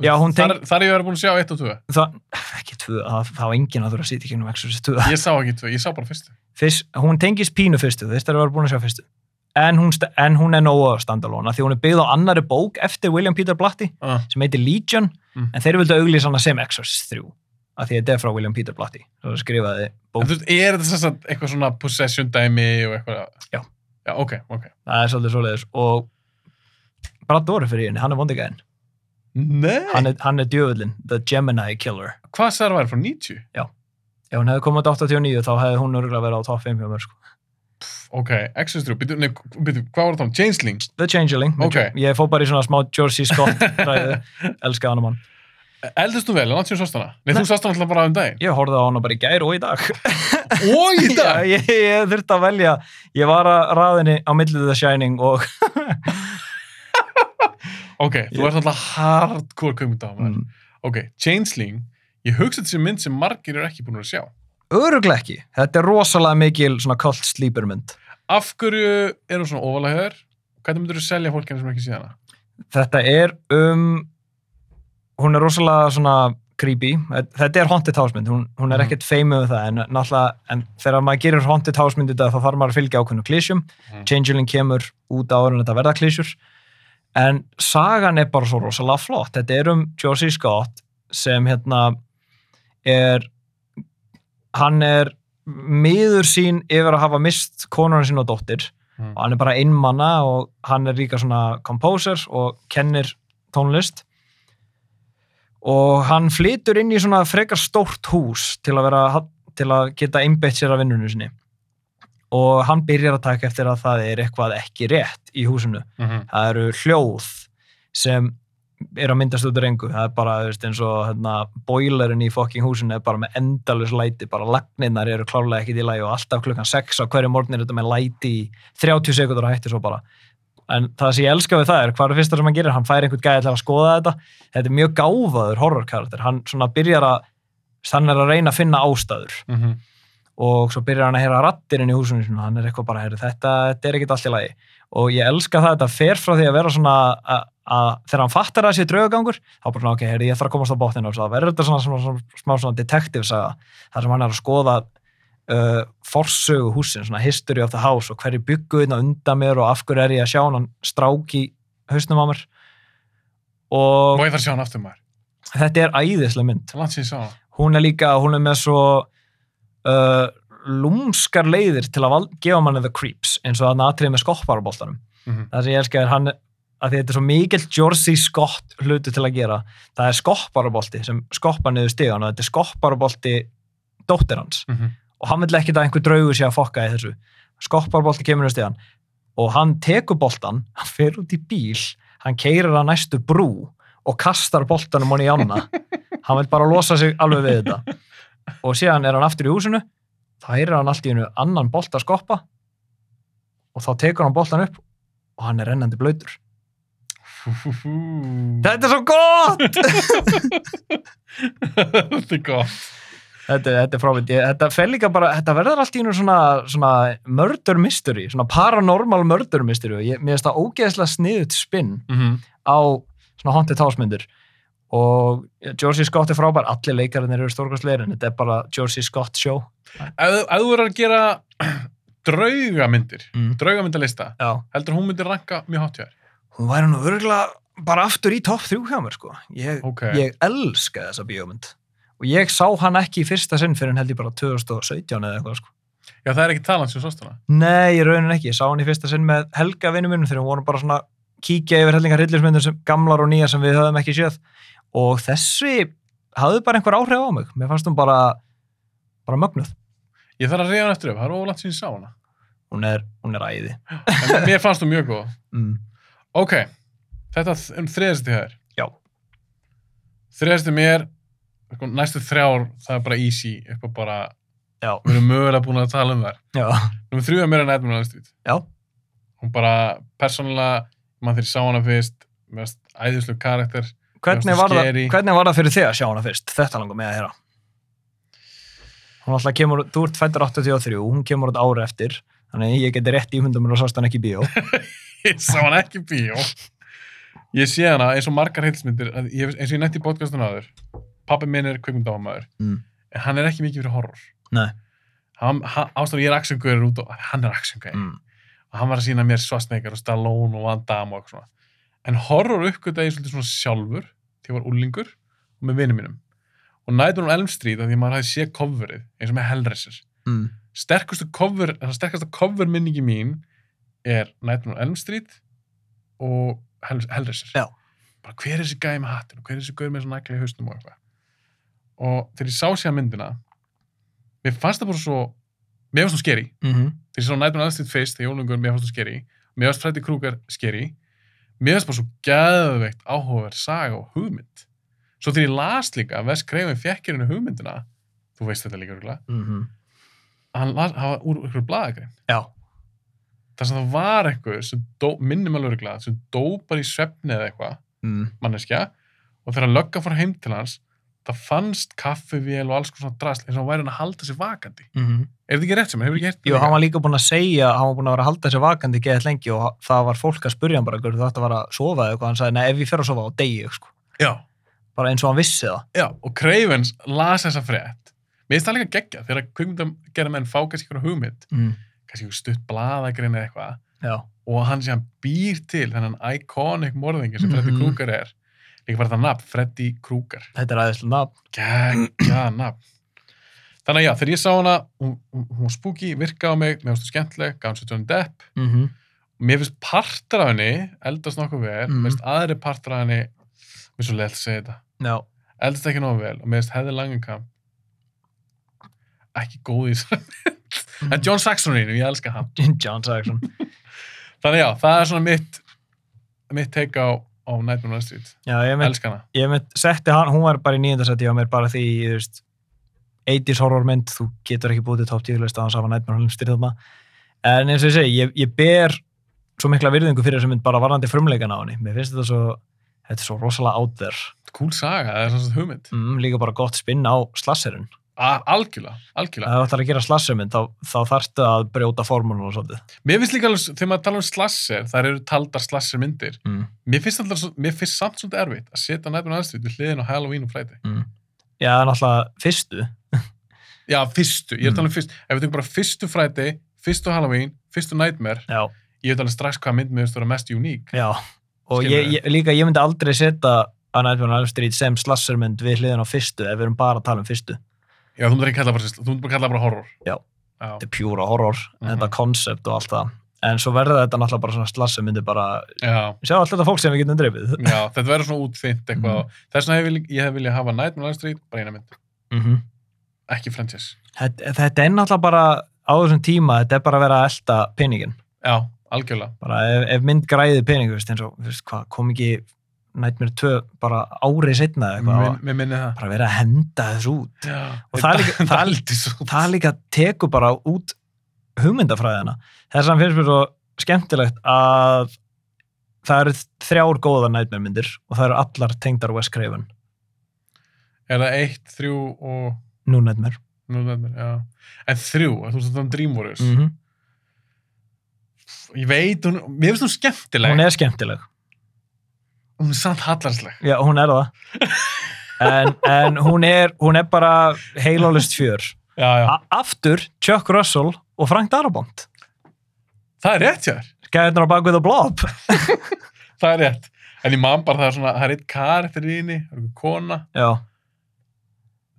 Speaker 2: Já, hún
Speaker 1: Þar, þar er ég verið búin að sjá 1 og 2.
Speaker 2: það, ekki tvö, það, það var enginn að þurfa að sitja ekki um Exorcist 2.
Speaker 1: Ég sá ekki 2, ég sá bara fyrstu.
Speaker 2: Fyrst, hún tengist pínu fyrstu, þú veist að það var búin að sjá fyrstu. En hún, sta- en hún er nógu standalóna því hún er byggð á annari bók eftir William Peter Blatty
Speaker 1: Ah,
Speaker 2: sem heitir Legion,
Speaker 1: Mm.
Speaker 2: en þeir vildu auglýsa hana sem Exorcist 3 af því þetta er frá William Peter Blatty sem skrifaði
Speaker 1: En
Speaker 2: bók.
Speaker 1: þú veist, er þetta sem sagt eitthvað svona possession dæmi og eitthvað?
Speaker 2: Já.
Speaker 1: Já, ok, ok.
Speaker 2: Það er svolítið svoleiðis og Brad Dourif er í henni, hann er vondigæðin.
Speaker 1: Nei!
Speaker 2: Hann er, hann er djöfullin, the Gemini Killer.
Speaker 1: Hvað sér það væri frá 90?
Speaker 2: Ef hún hefði komið út 89 þá hefði hún örgulega verið á top 5 hjá mér sko.
Speaker 1: Ok, Exorcist 3, byrju, nei, byrju, hvað var það um? Changeling?
Speaker 2: The Changeling, með
Speaker 1: Ok.
Speaker 2: Jo- ég fór bara í svona smá George C. Scott [laughs] ræðu, elska hann um hann.
Speaker 1: Eldist hún vel, en átt sér sást hana? Nei,
Speaker 2: Nei.
Speaker 1: þú sást hana alltaf bara um daginn.
Speaker 2: Ég horfði á hana bara í gær og í dag.
Speaker 1: Ó, í dag!
Speaker 2: [laughs] [laughs] Já, ég, ég þurfti að velja. Ég var að raðinni á millið The Shining og...
Speaker 1: Ok, þú
Speaker 2: Ég-
Speaker 1: ert alltaf hardcore kvömyndahamar.
Speaker 2: Mm.
Speaker 1: Ok, Changeling, ég hugsa þetta sem mynd sem margir eru ekki búin að sjá.
Speaker 2: Öruglega ekki. Þetta er rosalega mikil svona cult sleeper mynd.
Speaker 1: Af hverju er hún svona ofalega hér? Hvernig myndur þú selja fólk henni sem ekki sé hana?
Speaker 2: Þetta er um... Hún er rosalega svona creepy, þetta er haunted house mynd hún, hún er
Speaker 1: Mhm.
Speaker 2: ekkert feimið við það en, náttúrulega- en þegar maður gerir haunted house mynd í dag, þá þarf maður að fylgja ákveðnu klísjum
Speaker 1: Mhm.
Speaker 2: Changeling kemur út áður en þetta verða klísjur en sagan er bara svo rosalega flott þetta er um Josie Scott sem hérna er hann er miður sín yfir að hafa mist konurinn sín og dóttir
Speaker 1: Mm.
Speaker 2: og hann er bara einmanna og hann er líka svona composer og kennir tónlist og hann flytur inn í svona frekar stórt hús til að, vera, til að geta einbeitt sér að vinnunum sinni og hann byrjar að taka eftir að það er eitthvað ekki rétt í húsinu
Speaker 1: Mhm.
Speaker 2: það eru hljóð sem er að myndast út af rengu það er bara, þú veist, eins og hérna, boilerinn í fokking húsinu er bara með endalus læti bara lagninnar eru klárlega ekkit í lagi og alltaf klukkan 6 á hverju morgun er þetta með læti í 30 sekundur og hætti svo bara en það sem ég elska við það er hvað er það fyrsta sem hann gerir, hann fær einhvern gæði til að skoða þetta þetta er mjög gáfaður horrorkarakter hann svona byrjar að hann er að reyna að finna ástæður
Speaker 1: Mhm.
Speaker 2: og svo byrjar hann að heyra rattirinn í húsinu sinu, hann er eitthvað bara, heyri, þetta, þetta er ekkit allt í lagi og ég elska það, þetta fer frá því að vera svona að, að þegar hann fattar að það sé draugagangur þá bara, svona, ok, heyri, ég þarf að komast á bóttinu og svo það verður þetta svona, svona, svona, smá svona detective saga, þar sem hann er að skoða uh, forsögu húsin, svona history of the house og hverju byggu inn undan mér og af hverju er ég að sjá hann strák í hausnum á mér og
Speaker 1: og ég þarf að sjá hann aftur maður
Speaker 2: þetta er æðislega mynd
Speaker 1: það er langt síðan ég sá hann
Speaker 2: hún er líka, hún er með svo uh, lúmskar leiðir til að val- gefa manni the creeps eins og að natrið með skopparaboltanum
Speaker 1: Mhm.
Speaker 2: það sem ég elska er hann að því þetta er svo mikill Jersey Scott hlutu til að gera það er skopparabolti sem skoppar niður stíðan og þetta er skopparabolti dóttir hans
Speaker 1: Mhm.
Speaker 2: og hann vil ekkit að einhver draugur sé að fokka í þessu skopparabolti kemur niður stíðan og hann tekur boltan, hann fer út í bíl hann keirir að næstu brú og kastar boltanum honni í ána hann vil bara losa sig alveg við þetta og síðan er hann aftur í húsinu þá heyrir hann allt í hennu annan bolt að skoppa og þá tekur hann boltan upp og hann er rennandi blöytur
Speaker 1: Fú, fú, fú.
Speaker 2: þetta er svo gott
Speaker 1: [laughs] þetta er gott
Speaker 2: þetta, þetta er frávind, þetta fer líka bara þetta verður allt í hennu svona, svona murder mystery, svona paranormal murder mystery og ég, mér finnst það ógeðslega sniðut spinn
Speaker 1: Mhm.
Speaker 2: á svona haunted house myndir og Georgie Scott er frábær allir leikarinnir eru stórkastleir en þetta er bara Georgie Scott show
Speaker 1: ef ef þú verður að gera [clears throat] draugamyndir
Speaker 2: mm.
Speaker 1: draugamyndalista,
Speaker 2: já
Speaker 1: heldur hún myndir ranka mjög hátt hjá þér
Speaker 2: hún væri nú örgulega bara aftur í topp þrjú hjá mér sko. Ég,
Speaker 1: ok,
Speaker 2: ég elska þessa bíómynd og ég sá hann ekki í fyrsta sinn fyrir hann held ég bara 2017 eða eitthvað sko.
Speaker 1: já það er ekki talan sem svost hana
Speaker 2: Nei, ég raunin ekki, ég sá hann í fyrsta sinn með Helga vinnu minnum þegar hún voru bara svona kíkja yfir hellingar hryllismyndir sem gamlar og nýjar sem við höfum ekki séð og þessi hafði bara einhver áhrif á mig mér fannst hún bara, bara mögnuð
Speaker 1: ég þarf að reyða hann eftir upp, það er ólant sem ég sá hana
Speaker 2: hún er, hún er æði
Speaker 1: en mér fannst hún mjög góð
Speaker 2: mm.
Speaker 1: ok, þetta þ- um þriðasti hér
Speaker 2: Já.
Speaker 1: þriðasti mér sko, næstu þrjár, það er bara easy upp á bara,
Speaker 2: Já,
Speaker 1: við erum mögulega búin að tala um þær
Speaker 2: já,
Speaker 1: nummer þrjú er mér en Edmund Alstýt
Speaker 2: já
Speaker 1: hún bara persónulega, mann þegar ég sá hana fyrst mér varst æðislu karakter [laughs]
Speaker 2: hvernig
Speaker 1: Mér
Speaker 2: var,
Speaker 1: fannst
Speaker 2: það,
Speaker 1: scary.
Speaker 2: hvernig var það fyrir þig að sjá hana fyrst? Þetta langar mig að heyra. Hún alltaf kemur, þú ert fættur 83, hún kemur út ára eftir, þannig að ég geti rétt ímyndum og sást hann ekki í bíó.
Speaker 1: ég sá hann ekki í bíó ég sé hana eins og margar heilsmyndir að ég- eins og ég nætti í podcastun aður pappi minn er kvikmyndámaður
Speaker 2: [laughs] Mm.
Speaker 1: en hann er ekki mikið fyrir horror
Speaker 2: Nei.
Speaker 1: hann, hann, ástæður ég er aksjöngauður út og hann er aksjöngauður
Speaker 2: Mm.
Speaker 1: og hann var að sína mér Svarsneikar og Stallone og Van Damme og eitthvað svona. En horror uppgötta ég svolítið svona sjálfur þegar ég var úlingur og með vinum mínum. Og Nightmare on Elm Street að því að maður hafði séð coverið eins og með Hellraiser.
Speaker 2: Mm.
Speaker 1: Sterkustu cover, það sterkasta cover minningi mín er Nightmare on Elm Street og Hell, Hellraiser.
Speaker 2: Já.
Speaker 1: Bara hver er þessi gæði með hattinu, hver er þessi gæði með svona nægla í hausnum og eitthvað. Og þegar ég sá sér myndina, mér fannst það bara svo, mér fannst það skeri
Speaker 2: Mm
Speaker 1: þegar ég sá Nightmare on Elm Street fyrst, þegar Jólungur, mér fannst þú skeri, mér fannst Freddy Krueger skeri, mér fannst bara svo gæðveikt áhugaverð saga og hugmynd. Svo þegar ég las líka að Wes Craven fekk hérna hugmyndina, þú veist þetta líka rúglega, hann las, hann var úr ykkur blaðagrein.
Speaker 2: Mm-hmm. Já,
Speaker 1: Þar sem það var eitthvað sem dó, minnum alveg rúglega, sem dó bara í svefni eða eitthvað,
Speaker 2: mm.
Speaker 1: manneskja, og þegar löggan fór heim til hans, það fannst kaffivél og alls konar svona drasl, eins og hann væri hann að halda sér vakandi. Er þetta ekki rétt sem hann? Hefur ekki hert
Speaker 2: Mhm. Jú, hann var líka búin að segja, hann var búin að vera að halda sér vakandi geðið lengi og það var fólk að spurja hann bara, "Gaur, þú ætti að vera að sofa eða eitthvað, hann sagði, nei, ef ég fer að sofa á degi, sko.
Speaker 1: Já.
Speaker 2: bara eins og hann vissi það
Speaker 1: Já, og Cravens las þessa frétt. Mér finnst það líka geggjað þegar kvikmyndagerðar menn fá kannski einhverja hugmynd,
Speaker 2: mm.
Speaker 1: kannski einhver stutt blaðagrein eða eitthvað,
Speaker 2: já,
Speaker 1: og hann sem býr til þennan iconic morðingi sem Freddy
Speaker 2: Mhm.
Speaker 1: Krueger er. Líka bara það nafn, Freddy Krueger.
Speaker 2: þetta er aðeinslega nafn
Speaker 1: Geggjað nafn. Þannig að já, þegar ég sá hana, hún, hún, hún var spooky, virkaði á mig, mér finnst það skemmtileg, gaf hann sér Johnny Depp.
Speaker 2: mm -hmm.
Speaker 1: Mér finnst partur af henni, eldast nokkuð vel,
Speaker 2: Mhm.
Speaker 1: mér finnst aðri partur af henni, mér er svo leitt að segja þetta,
Speaker 2: já,
Speaker 1: eldast ekki nógu vel og mér finnst hefði langenkamp ekki góð í þessu. en John Saxoninu, ég elska hann
Speaker 2: [laughs] John Saxon
Speaker 1: þannig já, það er svona mitt mitt take á, á Nightmare on Elm Street
Speaker 2: já, ég mynd,
Speaker 1: elska hana,
Speaker 2: ég mynd, setti hann, hún var bara í nýjöndarsætti á mér bara því, þú veist 80s horrormynd, þú getur ekki búið til top 10 list að hans hafa Nightmare on Elm Street þarna en eins og ég segi, ég, ég ber svo mikla virðingu fyrir þessu mynd bara varðandi frumleikana á henni, mér finnst þetta svo þetta er svo rosalega out there
Speaker 1: cool saga, það er svona svona hugmynd
Speaker 2: mm, líka bara gott spinn á slasserun
Speaker 1: A- algjörlega, algjörlega
Speaker 2: ef þú ætlar að gera slassermynd þá, þá þarftu að brjóta formúlun og svolítið
Speaker 1: mér finnst líka alveg, s- þegar maður tala um slasser þar eru taldar slasser myndir
Speaker 2: mm.
Speaker 1: mér finnst, alltaf, svo- mér finnst samt svolítið erfitt að setja Nightmare on Elm Street við hliðin á Halloween og Friday
Speaker 2: Mm. já, það er náttúrulega fyrstu
Speaker 1: já, fyrstu, ég er að tala um fyrst ef við tökum bara fyrstu Friday, fyrstu Halloween fyrstu Nightmare,
Speaker 2: já,
Speaker 1: ég veit alveg um strax hvað mynd miður stóra mest uník
Speaker 2: já. og
Speaker 1: Skilurðu?
Speaker 2: ég, ég, líka ég myndi aldrei setja að Nightmare on Elm Street sem slassermynd við hliðin á fyrstu ef við erum bara að tala um fyrstu
Speaker 1: Já, þú myndir ekki kalla bara, þú myndir bara kalla bara horror.
Speaker 2: Já.
Speaker 1: Já,
Speaker 2: þetta er pjúra horror,
Speaker 1: Mhm.
Speaker 2: þetta koncept og allt það en svo verður þetta náttúrulega bara svona slassermyndi bara,
Speaker 1: já,
Speaker 2: sjá allt þetta fólk sem við getum dreifið
Speaker 1: já þetta verður svona útþynt eitthvað. Mm. Þess vegna hef ég, vil- ég hef viljað hafa Nightmare on Elm Street, bara eina mynd,
Speaker 2: mm
Speaker 1: Mhm. ekki franchise.
Speaker 2: þetta, þetta er náttúrulega bara á þessum tíma, þetta er bara að vera að elda peningin
Speaker 1: Já, algjörlega.
Speaker 2: bara ef, ef mynd græði pening þú veist, eins og þú veist, hvað, kom ekki Nightmare 2 bara árið setna eitthvað,
Speaker 1: Mér, mér minni það.
Speaker 2: bara verið að henda þessu út
Speaker 1: Já,
Speaker 2: Og það er
Speaker 1: [laughs]
Speaker 2: líka- það er-
Speaker 1: aldrei svo.
Speaker 2: það líka tekur bara út hugmyndafræðina þess að finnst mér svo skemmtilegt að það eru þrjár góða Nightmare myndir og það eru allar tengdar Wes Craven,
Speaker 1: Er það eitt, þrjú og,
Speaker 2: nú Nightmare
Speaker 1: nú Nightmare, já. En þrjú, þú veist þetta um Dream Warriors.
Speaker 2: mm -hmm.
Speaker 1: Ég veit, hún, mér finnst hún skemmtileg.
Speaker 2: hún er skemmtileg
Speaker 1: hún er samt hallarsleg.
Speaker 2: já, hún er það en, en hún, er, hún er bara heilólist fjör
Speaker 1: Já, já.
Speaker 2: A aftur Chuck Russell og Frank Darabont
Speaker 1: Það er rétt hjá þér.
Speaker 2: gæðirnar á bakvið og blob
Speaker 1: Það er rétt. En ég man bara það er svona, það er eitt karakter í henni, það er einhver kona.
Speaker 2: já,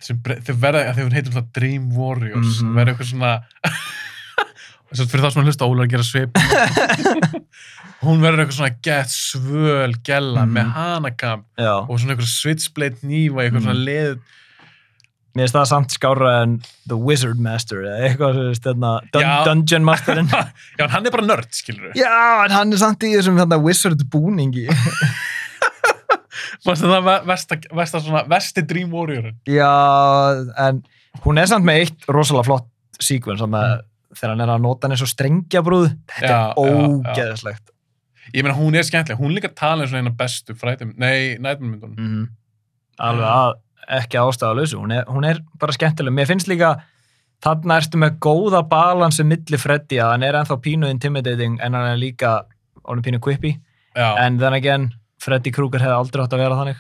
Speaker 1: sem bre- þau verða, að þau heitum það Dream Warriors, mm
Speaker 2: Mhm.
Speaker 1: verða eitthvað svona [laughs] þess að fyrir það sem að hlusta Óla er að gera
Speaker 2: [laughs]
Speaker 1: svip hún verður eitthvað svona gett svöl gella
Speaker 2: Mhm.
Speaker 1: með hanakamp
Speaker 2: já
Speaker 1: og svona eitthvað switchblade nýfa eitthvað
Speaker 2: Mhm.
Speaker 1: svona leð
Speaker 2: mér finnst það samt skára en The Wizard Master eða eitthvað sem veist þarna dun
Speaker 1: Já.
Speaker 2: Dungeon Masterin
Speaker 1: já, en hann er bara nörd, skilur við
Speaker 2: já, en hann er samt í þessum þarna Wizard búningi
Speaker 1: það var versta, versta svona, versti Dream Warrior
Speaker 2: já, en hún er samt með eitt rosalega flott sequence þarna þegar hann er að nota hann eins og strengjabrúð þetta
Speaker 1: Já, já, já.
Speaker 2: er ógeðslegt
Speaker 1: ég meina, hún er skemmtileg, hún er líka talin svona eina bestu frætum, nei, nætmyndunum
Speaker 2: mm alveg að ekki ástæða lausu, hún er, hún er bara skemmtileg mér finnst líka þarna ertu með góða balansi milli Freddy að hann er ennþá pínu intimidating en hann er líka orðin pínu kvippi
Speaker 1: já,
Speaker 2: en then again, Freddy Krueger hefði aldrei átt að vera þannig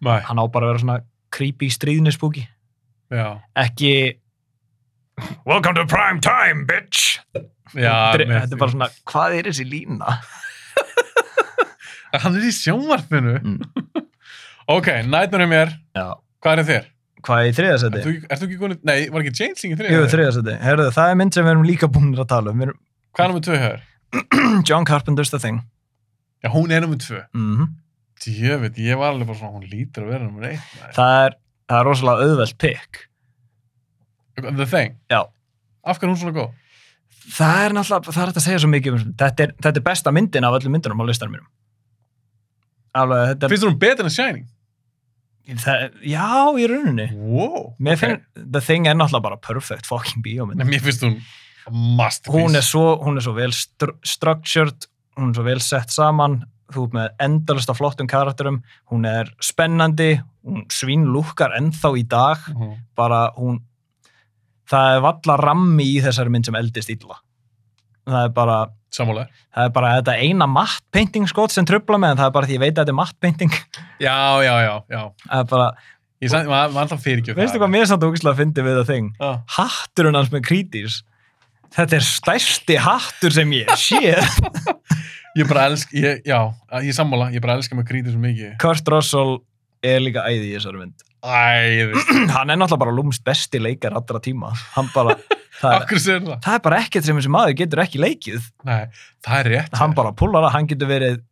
Speaker 1: mæ,
Speaker 2: hann á bara að vera svona creepy stríðnispúki
Speaker 1: já
Speaker 2: ekki Welcome to prime time, bitch
Speaker 1: já,
Speaker 2: Dre-
Speaker 1: með-
Speaker 2: Þetta er bara svona, hvað er þessi lína?
Speaker 1: hann er í sjónvarpinu
Speaker 2: Mm.
Speaker 1: ok, nætmyndunum mér,
Speaker 2: Já,
Speaker 1: hvað er þér?
Speaker 2: hvað er í
Speaker 1: Ert
Speaker 2: þriðasæti?
Speaker 1: þú, ert þú ekki konið, nei, var ekki Changeling í þriðja?
Speaker 2: Jú, þriðasæti, herðu, það er mynd sem við erum líka búinir að tala um, við erum
Speaker 1: Hvað er nummið tvö hér?
Speaker 2: [clears throat] John Carpenter's The Thing
Speaker 1: Já, hún er nummið tvö.
Speaker 2: mm
Speaker 1: Djöfitt, ég var alveg bara svona, hún lítur að vera nummið eitt. maður.
Speaker 2: það, er, það er rosalega auðvelt pick
Speaker 1: The Thing.
Speaker 2: Já.
Speaker 1: Af hverju er hún svona góð?
Speaker 2: Það er náttúrulega, það er hægt að segja svo mikið um, þetta, er, þetta er besta myndin af öllum myndunum á listanum mínum Alveg, þetta er
Speaker 1: Finnst þú hún betur en Shining?
Speaker 2: það, Já, í rauninni
Speaker 1: Wow.
Speaker 2: Mér
Speaker 1: ok.
Speaker 2: finn, The Thing er náttúrulega bara perfect fucking bíómynd.
Speaker 1: Nei, mér finnst hún masterpiece.
Speaker 2: Hún er svo, hún er svo vel stru structured, hún er svo vel sett saman, þú ert með endalista flottum karakterum, hún er spennandi, hún svínlúkkar ennþá í dag,
Speaker 1: Mhm.
Speaker 2: bara hún, það er valla rammi í þessari mynd sem eldist illa. það er bara,
Speaker 1: Sammálaður.
Speaker 2: það er bara þetta eina matt painting skot sem trubla með, en það er bara því ég veit að þetta er matt painting.
Speaker 1: Já, já, já, já.
Speaker 2: [laughs] Það er bara,
Speaker 1: Ég sann, maður var alltaf fyrirgjöf.
Speaker 2: veistu hvað mér samt ógislega fyndi við það þing?
Speaker 1: Já.
Speaker 2: Hatturinn hans með krítis. Þetta er stærsti hattur sem ég sé.
Speaker 1: Ég bara elsk, ég, já, ég sammála, ég bara elska mig grítið svo mikið.
Speaker 2: Kurt Russell er líka æði í þessari mynd. [clears throat]
Speaker 1: Æðist.
Speaker 2: Hann er náttúrulega bara lúmst besti leikar allra tíma. Hann
Speaker 1: [laughs]
Speaker 2: bara, það, er,
Speaker 1: Akkur sér það?
Speaker 2: það er bara ekkert sem þessi maður getur ekki leikið.
Speaker 1: Nei, það er rétt.
Speaker 2: hann bara púlar að hann getur verið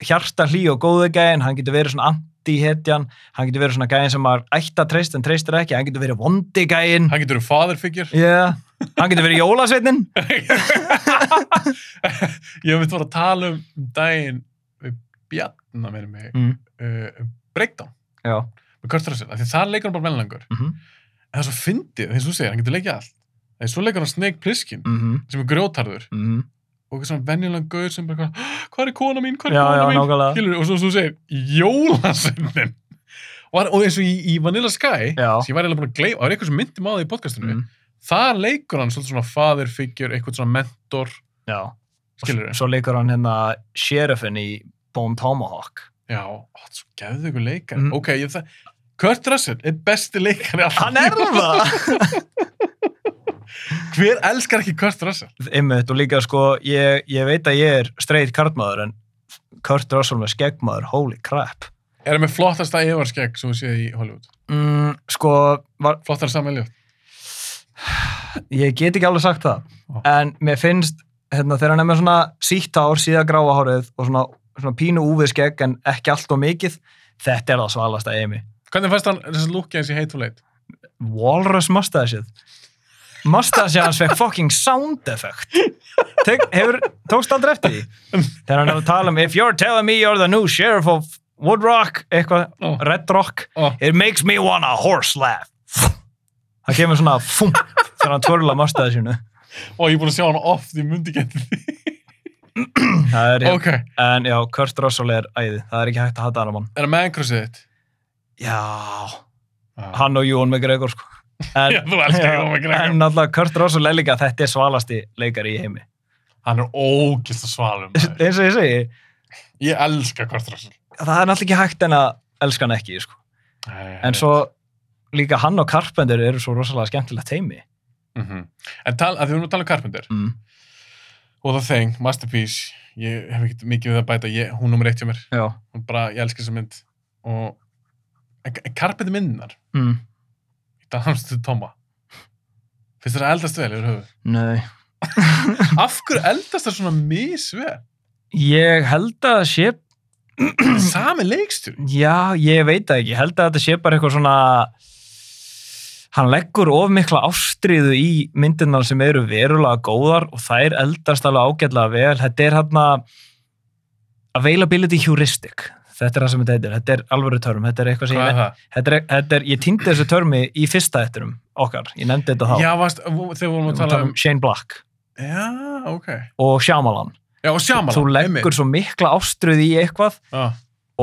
Speaker 2: hjarta hlý og góðu gæðin, hann getur verið svona anti-hetjan, hann getur verið svona gæðin sem maður ætti að treysta en treystir ekki, hann getur verið vondi gæðin,
Speaker 1: Hann getur um father figure.
Speaker 2: yeah. hann getur verið jólasveitnin.
Speaker 1: [laughs] ég hef mitt voru að tala um um daginn við Bjarna með mig
Speaker 2: Mm.
Speaker 1: uh, um breakdown
Speaker 2: Já.
Speaker 1: með Kurt Russell, af því það leikur hann bara meðlangur
Speaker 2: Mm -hmm.
Speaker 1: en það er svo fyndið, þegar þú segir, hann getur leikið allt en svo leikur hann Snake Plissken
Speaker 2: Mm -hmm.
Speaker 1: sem er grjótarður
Speaker 2: Mm -hmm.
Speaker 1: og eitthvað svona venjulega gaur sem bara "Hah, hvað er kona mín, hvað er
Speaker 2: Já, já,
Speaker 1: kona mín
Speaker 2: nákvæmlega.
Speaker 1: Skilur, og svo þú segir, jólasennin og, hann- og eins og í, í Vanilla Sky
Speaker 2: Já.
Speaker 1: sem ég var eiginlega búin að gleyma, það er eitthvað sem myndi maður í podcastinu
Speaker 2: Mm.
Speaker 1: þar leikur hann svolítið svona father figure, eitthvað svona mentor
Speaker 2: Já.
Speaker 1: skilur
Speaker 2: Svo leikur hann hérna sheriffin í Bone Tomahawk.
Speaker 1: Já, það er svo gefðu ykkur leikar.
Speaker 2: Mm.
Speaker 1: Ok, ég það... Kurt Russell er besti leikari alltaf. [laughs]
Speaker 2: Hann er það!
Speaker 1: Hver elskar ekki Kurt Russell?
Speaker 2: Einmitt og líka sko, ég, ég veit að ég er straight kartmaður en Kurt Russell með skeggmaður, holy crap.
Speaker 1: Er hann með flottasta yfarskegg sem við séð í Hollywood?
Speaker 2: Mm, sko, var,
Speaker 1: Flottara saman ljótt?
Speaker 2: Ég get ekki alveg sagt það,
Speaker 1: Ó.
Speaker 2: en mér finnst hérna, þegar hann er með svona sítt hár, síða gráa hárið og svona, svona pínu úfið skegg en ekki allt og mikið, þetta er það svalasta eimi.
Speaker 1: Hvernig fannst hann þessi lúkja eins í Hateful Eight?
Speaker 2: Walrus mustacheið. Mustacheið hans fekk fucking sound effect. Tek, hefur, tókst aldrei eftir því? Þegar hann er að tala um If you're telling me you're the new sheriff of Wood Rock, eitthvað,
Speaker 1: Ó.
Speaker 2: Red Rock,
Speaker 1: Ó.
Speaker 2: it makes me wanna horse laugh. Það kemur svona fum þegar hann tvörla mustacheinu.
Speaker 1: Ó, ég er búin að sjá hann oft, ég mundi ekki eftir því.
Speaker 2: Það er hérna,
Speaker 1: ok, er
Speaker 2: En já, Kurt Russell er æði. Það er ekki hægt að hata hann á mann.
Speaker 1: hann með einhversið þitt?
Speaker 2: Já.
Speaker 1: Já.
Speaker 2: Hann og Jón McGregor, sko. En,
Speaker 1: Já, þú elskar Ewan McGregor.
Speaker 2: En náttúrulega Kurt Russell er líka þetta er svalasti leikari í heimi.
Speaker 1: Hann er ógist að svalum. maður.
Speaker 2: [laughs] Eins og ég segi,
Speaker 1: ég elska Kurt Russell.
Speaker 2: það er náttúrulega ekki hægt en að elska hann ekki, sko. En svo líka hann og Carpenter eru svo rosalega skemmtilegt heimi.
Speaker 1: Mm En tal, að því við erum að tala um Carpenter.
Speaker 2: Mm.
Speaker 1: Og það þeng, Masterpiece, ég hef ekkert mikið við að bæta, ég, hún nummer eitt hjá mér.
Speaker 2: Já.
Speaker 1: og bara ég elska þessa mynd og en, en karpið myndnar
Speaker 2: Mm.
Speaker 1: í danstu Toma finnst þér að eldast vel yfir höfu
Speaker 2: Nei.
Speaker 1: af hverju eldast það svona misvel
Speaker 2: Ég held að það sé,
Speaker 1: sami leikstur
Speaker 2: já, ég veit það ekki. Ég held að þetta sé bara eitthvað svona, hann leggur of mikla ástriðu í myndirnar sem eru verulega góðar og þær eldast alveg ágætlega vel. Þetta er hann availability heuristic. Þetta er það sem þetta heitir. Þetta er alvöru törm. Þetta er eitthvað sem
Speaker 1: hvað
Speaker 2: ég...
Speaker 1: er það?
Speaker 2: Þetta er, þetta er, ég týndi þessu törmi í fyrsta þetturum okkar. Ég nefndi þetta þá.
Speaker 1: já, varst, vo- þegar vorum að
Speaker 2: Við vorum að
Speaker 1: tala
Speaker 2: tala
Speaker 1: um
Speaker 2: Shane Black
Speaker 1: já, ok já,
Speaker 2: og Shyamalan.
Speaker 1: og Shyamalan
Speaker 2: Þú leggur svo mikla ástriðu í eitthvað
Speaker 1: ah,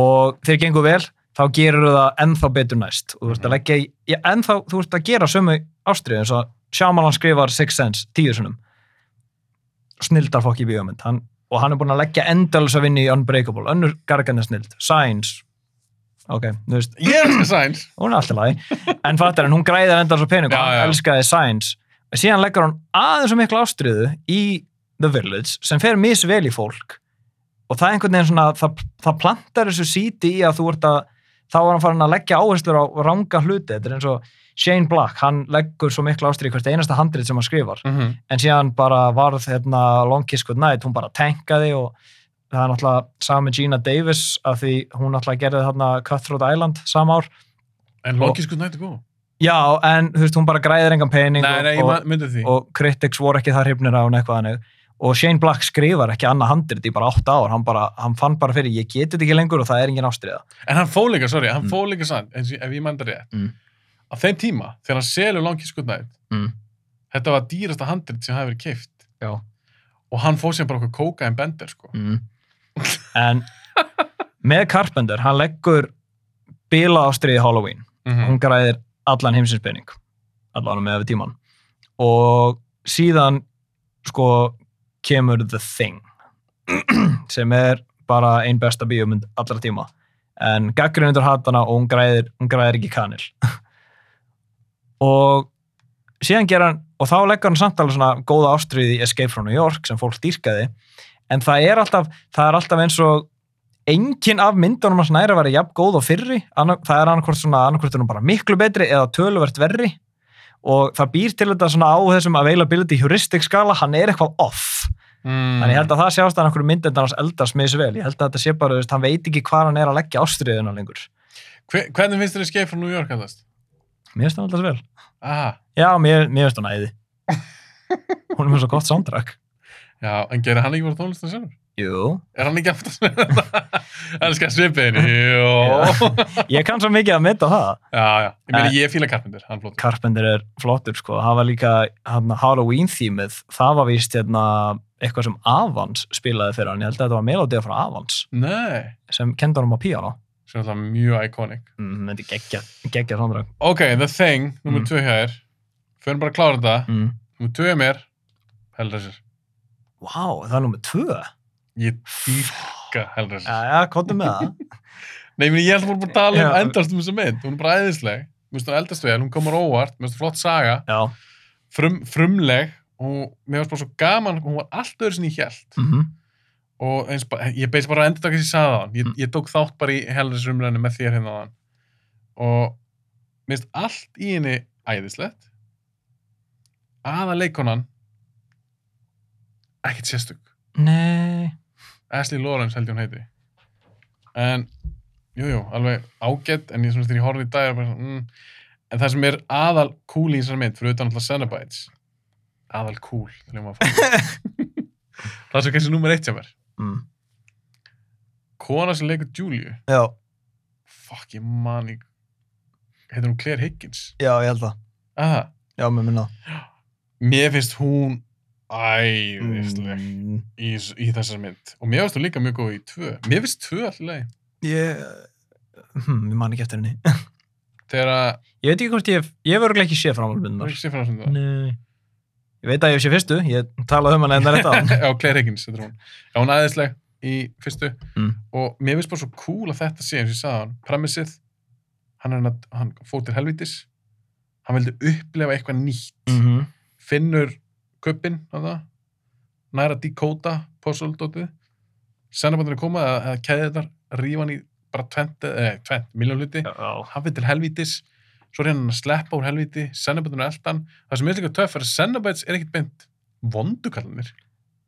Speaker 2: og þeir gengur vel þá gerur það ennþá betur næst og þú ert
Speaker 1: Mhm.
Speaker 2: að leggja í, já, ennþá, þú ert að gera sömu ástriðu eins og Shyamalan skrifar Six Sense tíu sinum snildar fokk í bíómynd hann, og hann er búin að leggja endalsa vinni í Unbreakable, önnur gargan er snild Signs, ok, þú veist
Speaker 1: ég er þessi sæns
Speaker 2: hún er alltaf lagi, en fattar en hún græðar endalsa pening og
Speaker 1: Já, já.
Speaker 2: hann elskaði Signs og síðan leggur hann aðeins og mikla ástriðu í The Village sem fer misvel í fólk og það er einhvern veginn svona, það, það plantar þessu síti í að þú ert að þá var hann farin að leggja áherslur á ranga hluti þetta er eins og Shane Black hann leggur svo mikla ástriði hvert einasta handrið sem hann skrifar
Speaker 1: mm -hmm.
Speaker 2: en síðan bara varð hérna Long Kiss Good Night, hún bara tankaði og það er náttúrulega saman Gina Davis af því hún náttúrulega gerði þarna Cutthroat Island sama ár
Speaker 1: en Loki skutt nætti góð
Speaker 2: já en þú veist hún bara græðir engan pening
Speaker 1: nei, nei, ég
Speaker 2: og,
Speaker 1: ma- myndi því
Speaker 2: og, og critics voru ekki þar hrifnir á hún eitthvað hannig og Shane Black skrifar ekki annað handrit í bara 8 ár, hann, bara, hann fann bara fyrir ég geti þetta ekki lengur og það er engin ástriða
Speaker 1: en hann fóð líka, sorry, hann
Speaker 2: Mm.
Speaker 1: mm. fóð líka sann eins og ef ég mændi rétt
Speaker 2: Mm.
Speaker 1: á þeim tíma, þegar hann selur Loki skutt nætt
Speaker 2: mm.
Speaker 1: þetta var dýrasta handrit sem hafi verið keift
Speaker 2: já
Speaker 1: og hann fóð sem bara okkur kóka en bender sko.
Speaker 2: mm. en með Carpenter, hann leggur bila ástriði Halloween
Speaker 1: mm
Speaker 2: hún græðir allan heimsins pening allan með yfir tíman og síðan sko kemur The Thing [clears throat] sem er bara ein besta bíómynd allra tíma en gaggrinundur hatana og hún græðir, hún græðir ekki kanil [laughs] og síðan gera hann og þá leggur hann samt alveg svona góða ástriði Escape from New York sem fólk dýrkaði en það er alltaf, það er alltaf eins og engin af myndunum hans næra væri jafn góð og fyrri, Anna, það er annarkvort svona annarkvort er hún bara miklu betri eða töluvert verri og það býr til þetta svona á þessum availability heuristic skala hann er eitthvað off
Speaker 1: Mm.
Speaker 2: Þannig ég held að það sjást að einhverju myndendar hans eldast með þessu vel. Ég held að þetta sé bara, þú veist, hann veit ekki hvað hann er að leggja ástriðuna lengur.
Speaker 1: Hve, hvernig finnst þér að skeið frá New York allast?
Speaker 2: Mér finnst hann alltaf vel.
Speaker 1: Ah,
Speaker 2: Já, mér, mér finnst hann æði. Hún er með svo gott soundtrack.
Speaker 1: já, en gerir hann ekki bara tónlistar sjálfur?
Speaker 2: Jú.
Speaker 1: Er hann ekki aftur sem þetta?
Speaker 2: [laughs]
Speaker 1: Elskar svipiðin, jú.
Speaker 2: Ég kann svo mikið að mynda það.
Speaker 1: Já, já. Ég meina, ég fíla Carpenter, hann er flott.
Speaker 2: Carpenter er flottur, sko. Það var líka hann, Halloween-þýmið. Það var víst hérna, eitthvað sem Avans spilaði fyrir hann. Ég held að þetta var melodið frá Avans
Speaker 1: Nei,
Speaker 2: sem kendi hann á píano.
Speaker 1: sem er alltaf mjög iconic.
Speaker 2: Mm, þetta er geggja, geggja soundtrack.
Speaker 1: Ok, The Thing, nummer
Speaker 2: Mm.
Speaker 1: 2 hjá þér. Förum bara að klára þetta.
Speaker 2: Mm.
Speaker 1: Nummer 2 hjá mér, Hellraiser.
Speaker 2: Vá, það er nummið tvö.
Speaker 1: Ég dýrka Hellraiser.
Speaker 2: Já, já, kóttu með það.
Speaker 1: Nei, ég meina, ég held að voru bara að tala um
Speaker 2: Já.
Speaker 1: endast um þessa mynd. Hún er bara æðisleg. Mér finnst hún eldast vel, hún komur óvart, mér finnst hún flott saga,
Speaker 2: [laughs] Já.
Speaker 1: frum, frumleg og mér finnst bara svo gaman, hún var allt öðru sinni í hjælt.
Speaker 2: Mm
Speaker 1: og eins, bara- ég beist bara að endur taka þessi sagði á hann ég,
Speaker 2: Mm.
Speaker 1: ég tók þátt bara í helriðsumræðinu með þér hérna á hann og minnst allt í henni æðislegt aða leikonan ekkert sérstök
Speaker 2: Nei.
Speaker 1: Ashley Lawrence held ég hún heiti en jújú, jú, alveg ágætt en ég svona þegar ég horfði í dag er bara, svona, mm, en það sem er aðal cool í þessari mynd fyrir utan alltaf Cenobites aðal cool hljóma að fara. það er svo kannski númer eitt sem er
Speaker 2: Mm.
Speaker 1: kona sem leikur Juliu
Speaker 2: Já,
Speaker 1: fuck, ég man ekki heitir hún Claire Higgins
Speaker 2: já, ég held það.
Speaker 1: Aha.
Speaker 2: Já, mér minna það.
Speaker 1: mér finnst hún æðisleg
Speaker 2: Mm.
Speaker 1: í, í þessar mynd og mér finnst hún líka mjög góð í tvö mér finnst tvö allirlega
Speaker 2: Ég, hm, ég man ekki eftir henni. [laughs]
Speaker 1: þegar að,
Speaker 2: Ég veit ekki hvort ég, ég verður ekki
Speaker 1: það er
Speaker 2: séð framhaldunar.
Speaker 1: ekki sér frá sem það
Speaker 2: Nei. Ég veit að ég hef séð fyrstu, ég talaði um hann enda rétt á
Speaker 1: [laughs]
Speaker 2: hann.
Speaker 1: [laughs] já, Claire Higgins, þetta er hún já, hún er æðisleg í fyrstu
Speaker 2: Mm.
Speaker 1: og mér finnst bara svo cool að þetta sé eins og ég sagði hann, premissið hann, er hann, hann fór til helvitis hann vildi upplefa eitthvað nýtt
Speaker 2: Mm -hmm.
Speaker 1: finnur kuppin á það næra Dakota puzzle-dótið sennabandurinn koma eða, eða keðið þetta rífan í bara 20, eh, 20 miljón hluti
Speaker 2: Já.
Speaker 1: hafið til helvítis svo reyna hann að sleppa úr helvíti sennabandurinn eldan það sem er líka töff er að sennabands er ekkit beint vondukallanir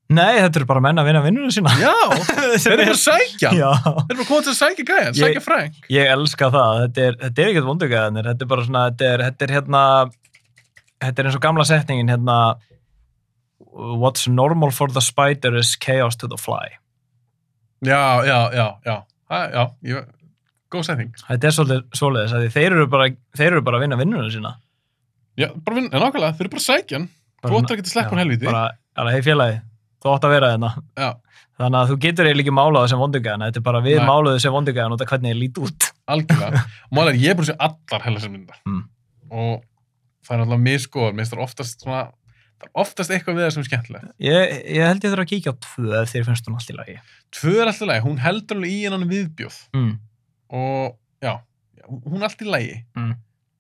Speaker 2: Nei, þetta eru bara menn að vinna vinnuna sína.
Speaker 1: já, [laughs] þeir
Speaker 2: [laughs]
Speaker 1: eru bara að sækja
Speaker 2: Já.
Speaker 1: þeir eru bara að koma til að sækja gæjan, sækja Frank
Speaker 2: Ég elska það, þetta er, þetta er ekkert vondugæðanir, þetta er bara svona, þetta er, þetta er hérna, þetta er eins og gamla setningin hérna, what's normal for the spider is chaos to the fly.
Speaker 1: já, já, já, já, það, já ég, góð setting
Speaker 2: Þetta er svolítið, svoleiðis að því þeir eru bara, þeir eru bara að vinna vinnuna sína.
Speaker 1: já, bara vinn, en ákvæmlega, þeir eru bara að sækja hann
Speaker 2: Bara-
Speaker 1: þú ætlar ekki að sleppa úr
Speaker 2: Já,
Speaker 1: helvíti
Speaker 2: Bara, alveg, hei félagi, þú átt að vera hérna." þeirna.
Speaker 1: já,
Speaker 2: Þannig að þú getur eiginlega ekki málað það sem vondugæðan, þetta er bara við
Speaker 1: Nei.
Speaker 2: málaðu sem vondugæðan og þetta hvernig ég lít út.
Speaker 1: algjörlega og málega er ég er búin að sjá allar hella sem myndar
Speaker 2: Mm.
Speaker 1: og það er alltaf miskoður mér finnst það oftast svona það er oftast eitthvað við það sem er skemmtilegt
Speaker 2: Ég, ég held ég þurfa að kíkja á tvö ef þeir finnst hún allt í lagi.
Speaker 1: tvö er alltaf lægi, hún heldur alveg í hennan viðbjóð
Speaker 2: Mm.
Speaker 1: og já, hún er alltaf lægi
Speaker 2: Mm.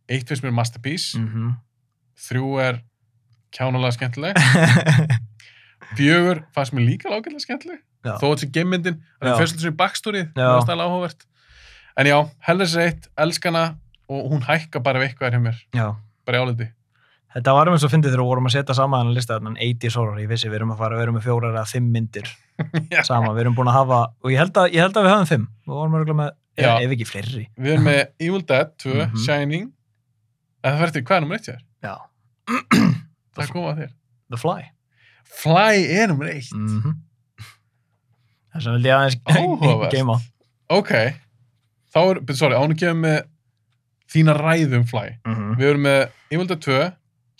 Speaker 1: eitt finnst mér masterpiece
Speaker 2: Mm
Speaker 1: [laughs] þrjú er kjánalega skemmtileg fjögur fannst mér líka lágætlega skemmtileg
Speaker 2: Já.
Speaker 1: þó að sé gemmyndin, það
Speaker 2: Já.
Speaker 1: er fyrst sem í backstory
Speaker 2: Já.
Speaker 1: það er stæðlega áhugavert en já, Hellas er eitt, elskana og hún hækka bara ef eitthvað er hjá mér
Speaker 2: Já.
Speaker 1: bara í áliti [laughs]
Speaker 2: Þetta var um eins og fyndið þegar við vorum að setja saman þennan lista þannig 80 horror, ég vissi við erum að fara, við erum með fjórar eða fimm myndir
Speaker 1: Já.
Speaker 2: saman, við erum búin að hafa, og ég held að, ég held að við höfum fimm, við vorum örgulega með,
Speaker 1: Já.
Speaker 2: ef, ef ekki fleiri.
Speaker 1: Við erum með Evil Dead 2,
Speaker 2: Mhm.
Speaker 1: Shining eða það verður til hvað er nummer 1 þér?
Speaker 2: Já.
Speaker 1: Það er góð að þér
Speaker 2: [clears throat] The Fly.
Speaker 1: Fly er nummer 1
Speaker 2: Mm Þess vegna vildi ég aðeins [laughs]
Speaker 1: Áhugavert.
Speaker 2: geima.
Speaker 1: Ok, þá er, byrju, sorry, án að gefa með þína ræðu um Fly
Speaker 2: Mm -hmm.
Speaker 1: Við erum með Evil Dead 2,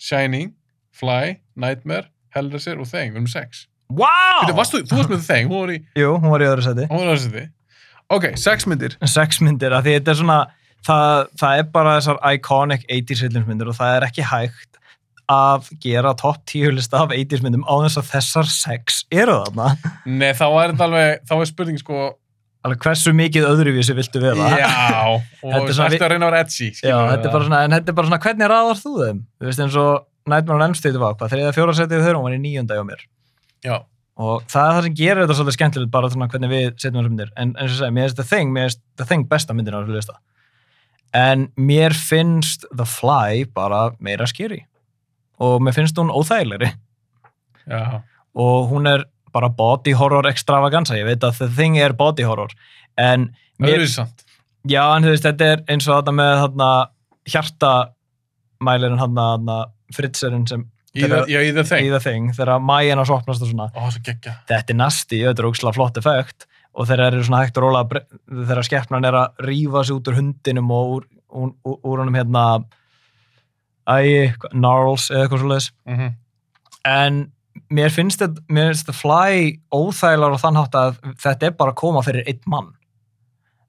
Speaker 1: Shining Fly, Nightmare, Hellraiser og Thing, við erum með 6
Speaker 2: Wow!
Speaker 1: Byrju, varstu, Þú varst með Thing, hún var í
Speaker 2: Jú, hún var í öðru seti.
Speaker 1: hún var í þessu því Ok, 6 myndir
Speaker 2: Sex myndir, af því þetta er svona, það, það er bara þessar iconic 80s hillinsmyndir og það er ekki hægt að gera topp 10 lista af 80s myndum á þess að þessar sex eru þarna
Speaker 1: Nei, þá er þetta alveg, þá er spurning sko,
Speaker 2: alveg hversu mikið öðruvísi viltu vera
Speaker 1: já,
Speaker 2: Þetta
Speaker 1: og
Speaker 2: er svona
Speaker 1: ertu
Speaker 2: við-
Speaker 1: að reyna að vera edgy.
Speaker 2: Já, þetta er bara svona, en þetta er bara svona, hvernig raðar þú þeim? Þú veist eins og Nightmare on Elm Street var, hvað, þriða fjóra setið þau, hún var í nýjunda hjá mér.
Speaker 1: Já,
Speaker 2: Og það er það sem gerir þetta svolítið skemmtilegt, bara svona hvernig við setjum þessar myndir. En eins og ég segi, mér finnst The Thing, mér finnst The Thing besta myndin á þessu lista. En mér finnst The Fly bara meira skýri. Og mér finnst hún óþægilegri.
Speaker 1: já,
Speaker 2: Og hún er bara body horror extravaganza, ég veit að The Thing er body horror. En
Speaker 1: það er samt.
Speaker 2: Já, en þú veist, þetta er eins og þetta með hana, hjartamælirinn hana, hana, fritzerinn sem
Speaker 1: Í
Speaker 2: Þetta-
Speaker 1: það, já, í það
Speaker 2: í
Speaker 1: þeng.
Speaker 2: það þing, þegar mæjan hans opnast og svona,
Speaker 1: Ó, svo geggja.
Speaker 2: þetta er nasti, þetta er ógislega flott effekt og þeir eru svona hægt og róla þegar skeppnan er að rífa sig út úr hundinum og úr, úr, úr, úr honum hérna æ, hva- gnarls eða eitthvað svoleiðis
Speaker 1: Mhm.
Speaker 2: en mér finnst þetta, mér finnst þetta fly óþægilegar og þann hátt að þetta er bara að koma fyrir einn mann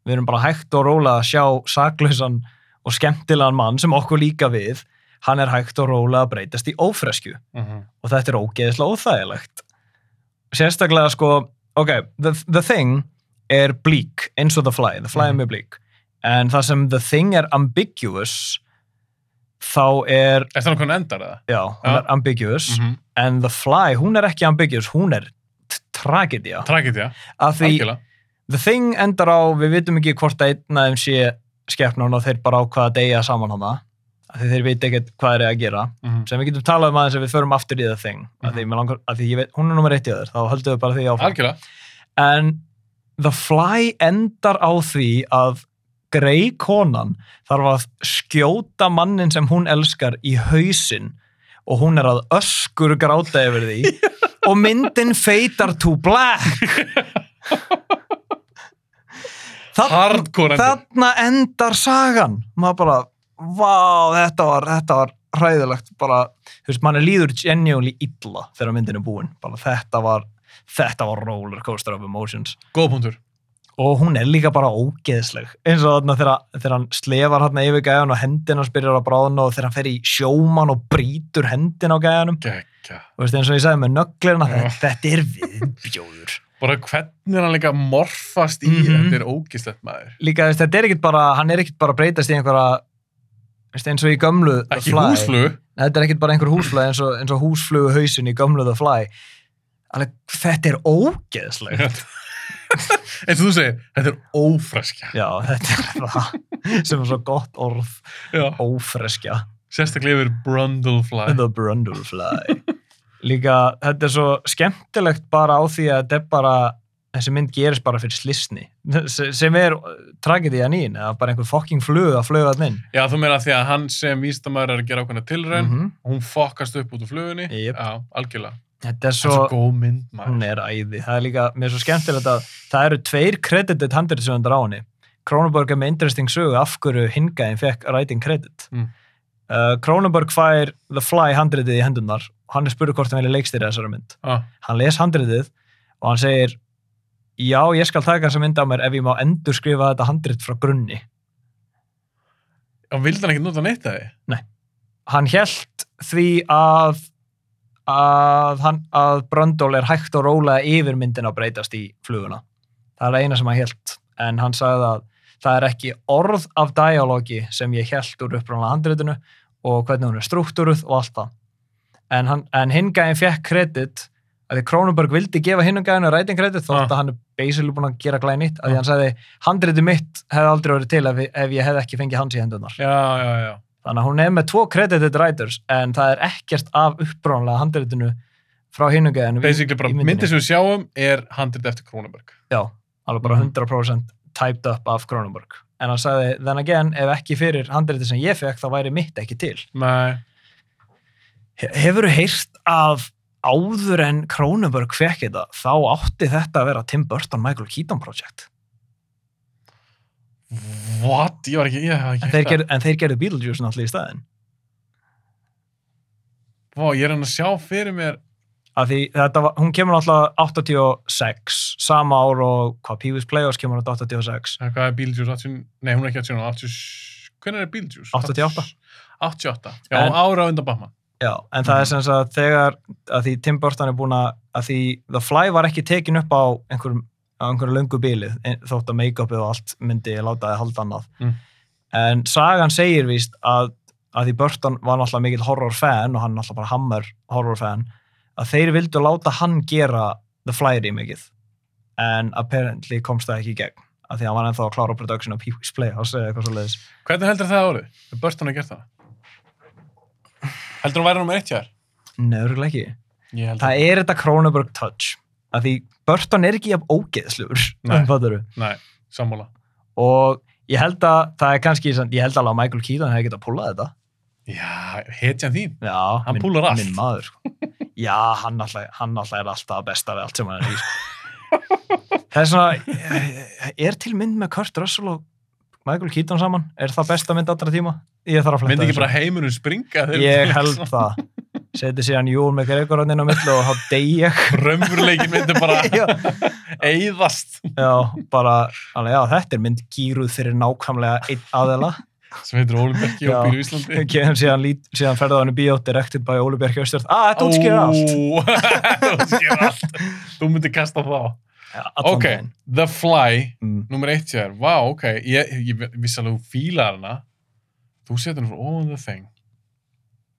Speaker 2: við erum bara hægt og róla að sjá saklausan og skemmtilegan mann sem okkur líka við, hann er hægt og róla að breytast í ófresku
Speaker 1: mhm.
Speaker 2: og þetta er ógeðislega óþægilegt sérstaklega sko ok, the, the Thing er blík eins og The Fly, The Fly er
Speaker 1: Mhm.
Speaker 2: mjög blík en það sem The Thing er ambiguous þá er,
Speaker 1: Er það nákvæmlega endar eða?
Speaker 2: já, hún
Speaker 1: Já.
Speaker 2: er ambiguous
Speaker 1: Mhm.
Speaker 2: en The Fly, hún er ekki ambiguous, hún er t- tragedía
Speaker 1: Tragedía,
Speaker 2: af því
Speaker 1: algjörlega.
Speaker 2: The Thing endar á, við vitum ekki hvort að einn af þeim sé skepnan og þeir bara ákvaða að deyja saman hana af því þeir veit ekkert hvað er að gera
Speaker 1: Mhm.
Speaker 2: sem við getum talað um aðeins ef við förum aftur í The Thing af því, mig langar, af því ég veit, hún er nummer eitt í öður þá höldum við bara því áfram
Speaker 1: Algjörlega.
Speaker 2: en The Fly endar á því að grei konan þarf að skjóta mannin sem hún elskar í hausinn og hún er að öskur gráta yfir því og myndin feitar to black Þarna-
Speaker 1: Hardcore endur.
Speaker 2: þarna endar sagan maður bara, vá, þetta var þetta var hræðilegt, bara þú veist, manni líður genuinely illa þegar myndin er búin, bara þetta var þetta var rollercoaster of emotions
Speaker 1: Góð punktur.
Speaker 2: og hún er líka bara ógeðsleg eins og þarna þegar, þegar hann slefar hann yfir gæjan og hendina spyrir að bráðna og þegar hann fer í sjóman og brýtur hendina á gæjanum,
Speaker 1: Geggja.
Speaker 2: þú veist, eins og ég sagði með nöglirna,
Speaker 1: Já.
Speaker 2: þetta, þetta er viðbjóður
Speaker 1: Bara hvernig hann líka morfast í,
Speaker 2: Mhm.
Speaker 1: þetta er ógislegt maður.
Speaker 2: líka, þú veist, þetta er ekkit bara, hann er ekkit bara að breytast í einhverja þú veist, eins og í gömlu The
Speaker 1: Ekki
Speaker 2: Fly.
Speaker 1: húsflug.
Speaker 2: þetta er ekkert bara einhver húsflöð eins og, eins og húsflögu hausin í gömlu The Fly alveg, þetta er ógeðslega
Speaker 1: [laughs] eins og þú segir, þetta er ófreskja
Speaker 2: já, þetta er það sem er svo gott orð
Speaker 1: Já.
Speaker 2: ófreskja,
Speaker 1: sérstaklega yfir Brundlefly
Speaker 2: The Brundlefly líka, þetta er svo skemmtilegt bara á því að þetta er bara þessi mynd gerist bara fyrir slisni sem er tragediðan í henni, að bara einhver fucking flug að fluga þann inn
Speaker 1: já þú meira því að hann sem vístamæður er að gera ákveðna tilraun
Speaker 2: Mhm.
Speaker 1: hún fokkast upp út úr flugunni
Speaker 2: Jep.
Speaker 1: já, algjörlega,
Speaker 2: þetta er
Speaker 1: svo,
Speaker 2: svo
Speaker 1: það er svo góð mynd maður
Speaker 2: hún er æði, það er líka, mér er svo skemmtilegt að það eru tveir credited handriðsöndar á henni Kronenberg er með interesting sögu af hverju hingaðin fekk writing credit
Speaker 1: Mm.
Speaker 2: uh, Kronenberg fær The Fly handriðið í hendunar og hann er spurður hvort hann vilja leikstýra þessari mynd
Speaker 1: ah,
Speaker 2: hann les handriðið og hann segir já, ég skal taka þessa mynd á mér ef ég má endur skrifa þetta handrið frá grunni
Speaker 1: og vildi hann ekki nota neitt að því
Speaker 2: hann hélt því að að, hann, að Bröndól er hægt og rólega yfir myndin að breytast í fluguna. Það er eina sem hann hélt en hann sagði að það er ekki orð af dialogi sem ég hélt úr upprannlega handritinu og hvernig hún er struktúruð og allt það. En, hann- en hingæðin fekk kredit að því Kronenberg vildi gefa hingæðinu ræting kredit
Speaker 1: Ah.
Speaker 2: þótt að hann er basically búin að gera glæði nýtt að því
Speaker 1: Ah.
Speaker 2: hann sagði handritu mitt hefði aldrei verið til ef, ef ég hefði ekki fengið hans í hendunar.
Speaker 1: já, já, já,
Speaker 2: Þannig að hún er með tvo credited writers en það er ekkert af upprónlega handritinu frá hinungaðinu.
Speaker 1: basically bara myndin sem við sjáum er handrit eftir Kronenberg
Speaker 2: Já, alveg bara
Speaker 1: Mhm.
Speaker 2: 100% typed up af Cronenberg. En hann sagði, then again, ef ekki fyrir handriti sem ég fekk, þá væri mitt ekki til.
Speaker 1: nei,
Speaker 2: He- Hefurðu heyrt af áður en Cronenberg fekk þetta, þá átti þetta að vera Tim Burton Michael Keaton project.
Speaker 1: what, ég var ekki ég, hef ekki
Speaker 2: En
Speaker 1: heyrt
Speaker 2: þeir,
Speaker 1: það.
Speaker 2: ger, en þeir gerðu Beetlejuice náttúrulega í staðinn.
Speaker 1: Vá, ég er hann að sjá fyrir mér
Speaker 2: Af því þetta var, hún kemur náttúrulega 86, sama ár og hvað, Pee-wee's Playhouse kemur náttúrulega 86.
Speaker 1: eh, hvað er Beetlejuice, 80, nei hún er ekki 80, 80 hvernig er Beetlejuice?
Speaker 2: 88.
Speaker 1: 88, já,
Speaker 2: En-
Speaker 1: ára undan Batman
Speaker 2: Já, en það er
Speaker 1: Mhm.
Speaker 2: sem sagt þegar að því Tim Burton er búin að að því The Fly var ekki tekin upp á einhverjum, á einhverju löngu bílið þótt að make-upið og allt myndi láta þið halda annað
Speaker 1: Mm.
Speaker 2: en sagan segir víst að, að því Burton var náttúrulega mikill horror-fan og hann náttúrulega bara hammer horror-fan að þeir vildu láta hann gera The Fly remake-ið en apparently komst það ekki í gegn að því að hann var ennþá að klára production á Pee-wee's Playhouse eða eitthvað svo leiðis
Speaker 1: Hvernig heldur það árið? Er Burton að gera það? Heldur hún væri nummer eitt hjá þér?
Speaker 2: Nörgulega ekki
Speaker 1: Ég held
Speaker 2: það er þetta Cronenberg touch að því Burton er ekki jafn ógeðslugur
Speaker 1: Nei.
Speaker 2: um fattaru
Speaker 1: Nei, sammála.
Speaker 2: og ég held að það er kannski samt- ég held alveg að Michael Keaton hefði getað að púla þetta
Speaker 1: Já, hetjan þín.
Speaker 2: já,
Speaker 1: Hann púllar allt.
Speaker 2: minn maður sko. já, hann alltaf, hann alltaf er alltaf að besta við allt sem hann er í sko. það er svona er til mynd með Kurt Russell og Michael Keaton saman, er það besta mynd allra tíma ég þarf að fletta
Speaker 1: Myndi ekki bara heimurinn springa þegar
Speaker 2: ég
Speaker 1: [laughs]
Speaker 2: held það seti síðan Jón með Gregor hann inn á millu og þá dey ég
Speaker 1: Römmurleikin myndi bara
Speaker 2: [laughs]
Speaker 1: [laughs]
Speaker 2: já,
Speaker 1: eyðast
Speaker 2: já, bara, alveg, já, þetta er mynd gýruð fyrir nákvæmlega einn aðela
Speaker 1: sem heitir Ólibergi og
Speaker 2: Já.
Speaker 1: býr í Íslandi
Speaker 2: kemur síðan, lít, síðan ferða hann í bíó directed by Óli Björk Hjöstjörn ah, þetta útskýr allt
Speaker 1: [laughs] Þetta útskýr allt Þú myndi kasta þá
Speaker 2: Ja, allan
Speaker 1: Ok,
Speaker 2: daginn.
Speaker 1: The Fly
Speaker 2: mm.
Speaker 1: Númer eitt hér, vá, ok, ég, ég vissi alveg þú fílar hana. Þú setur hana svo on the thing.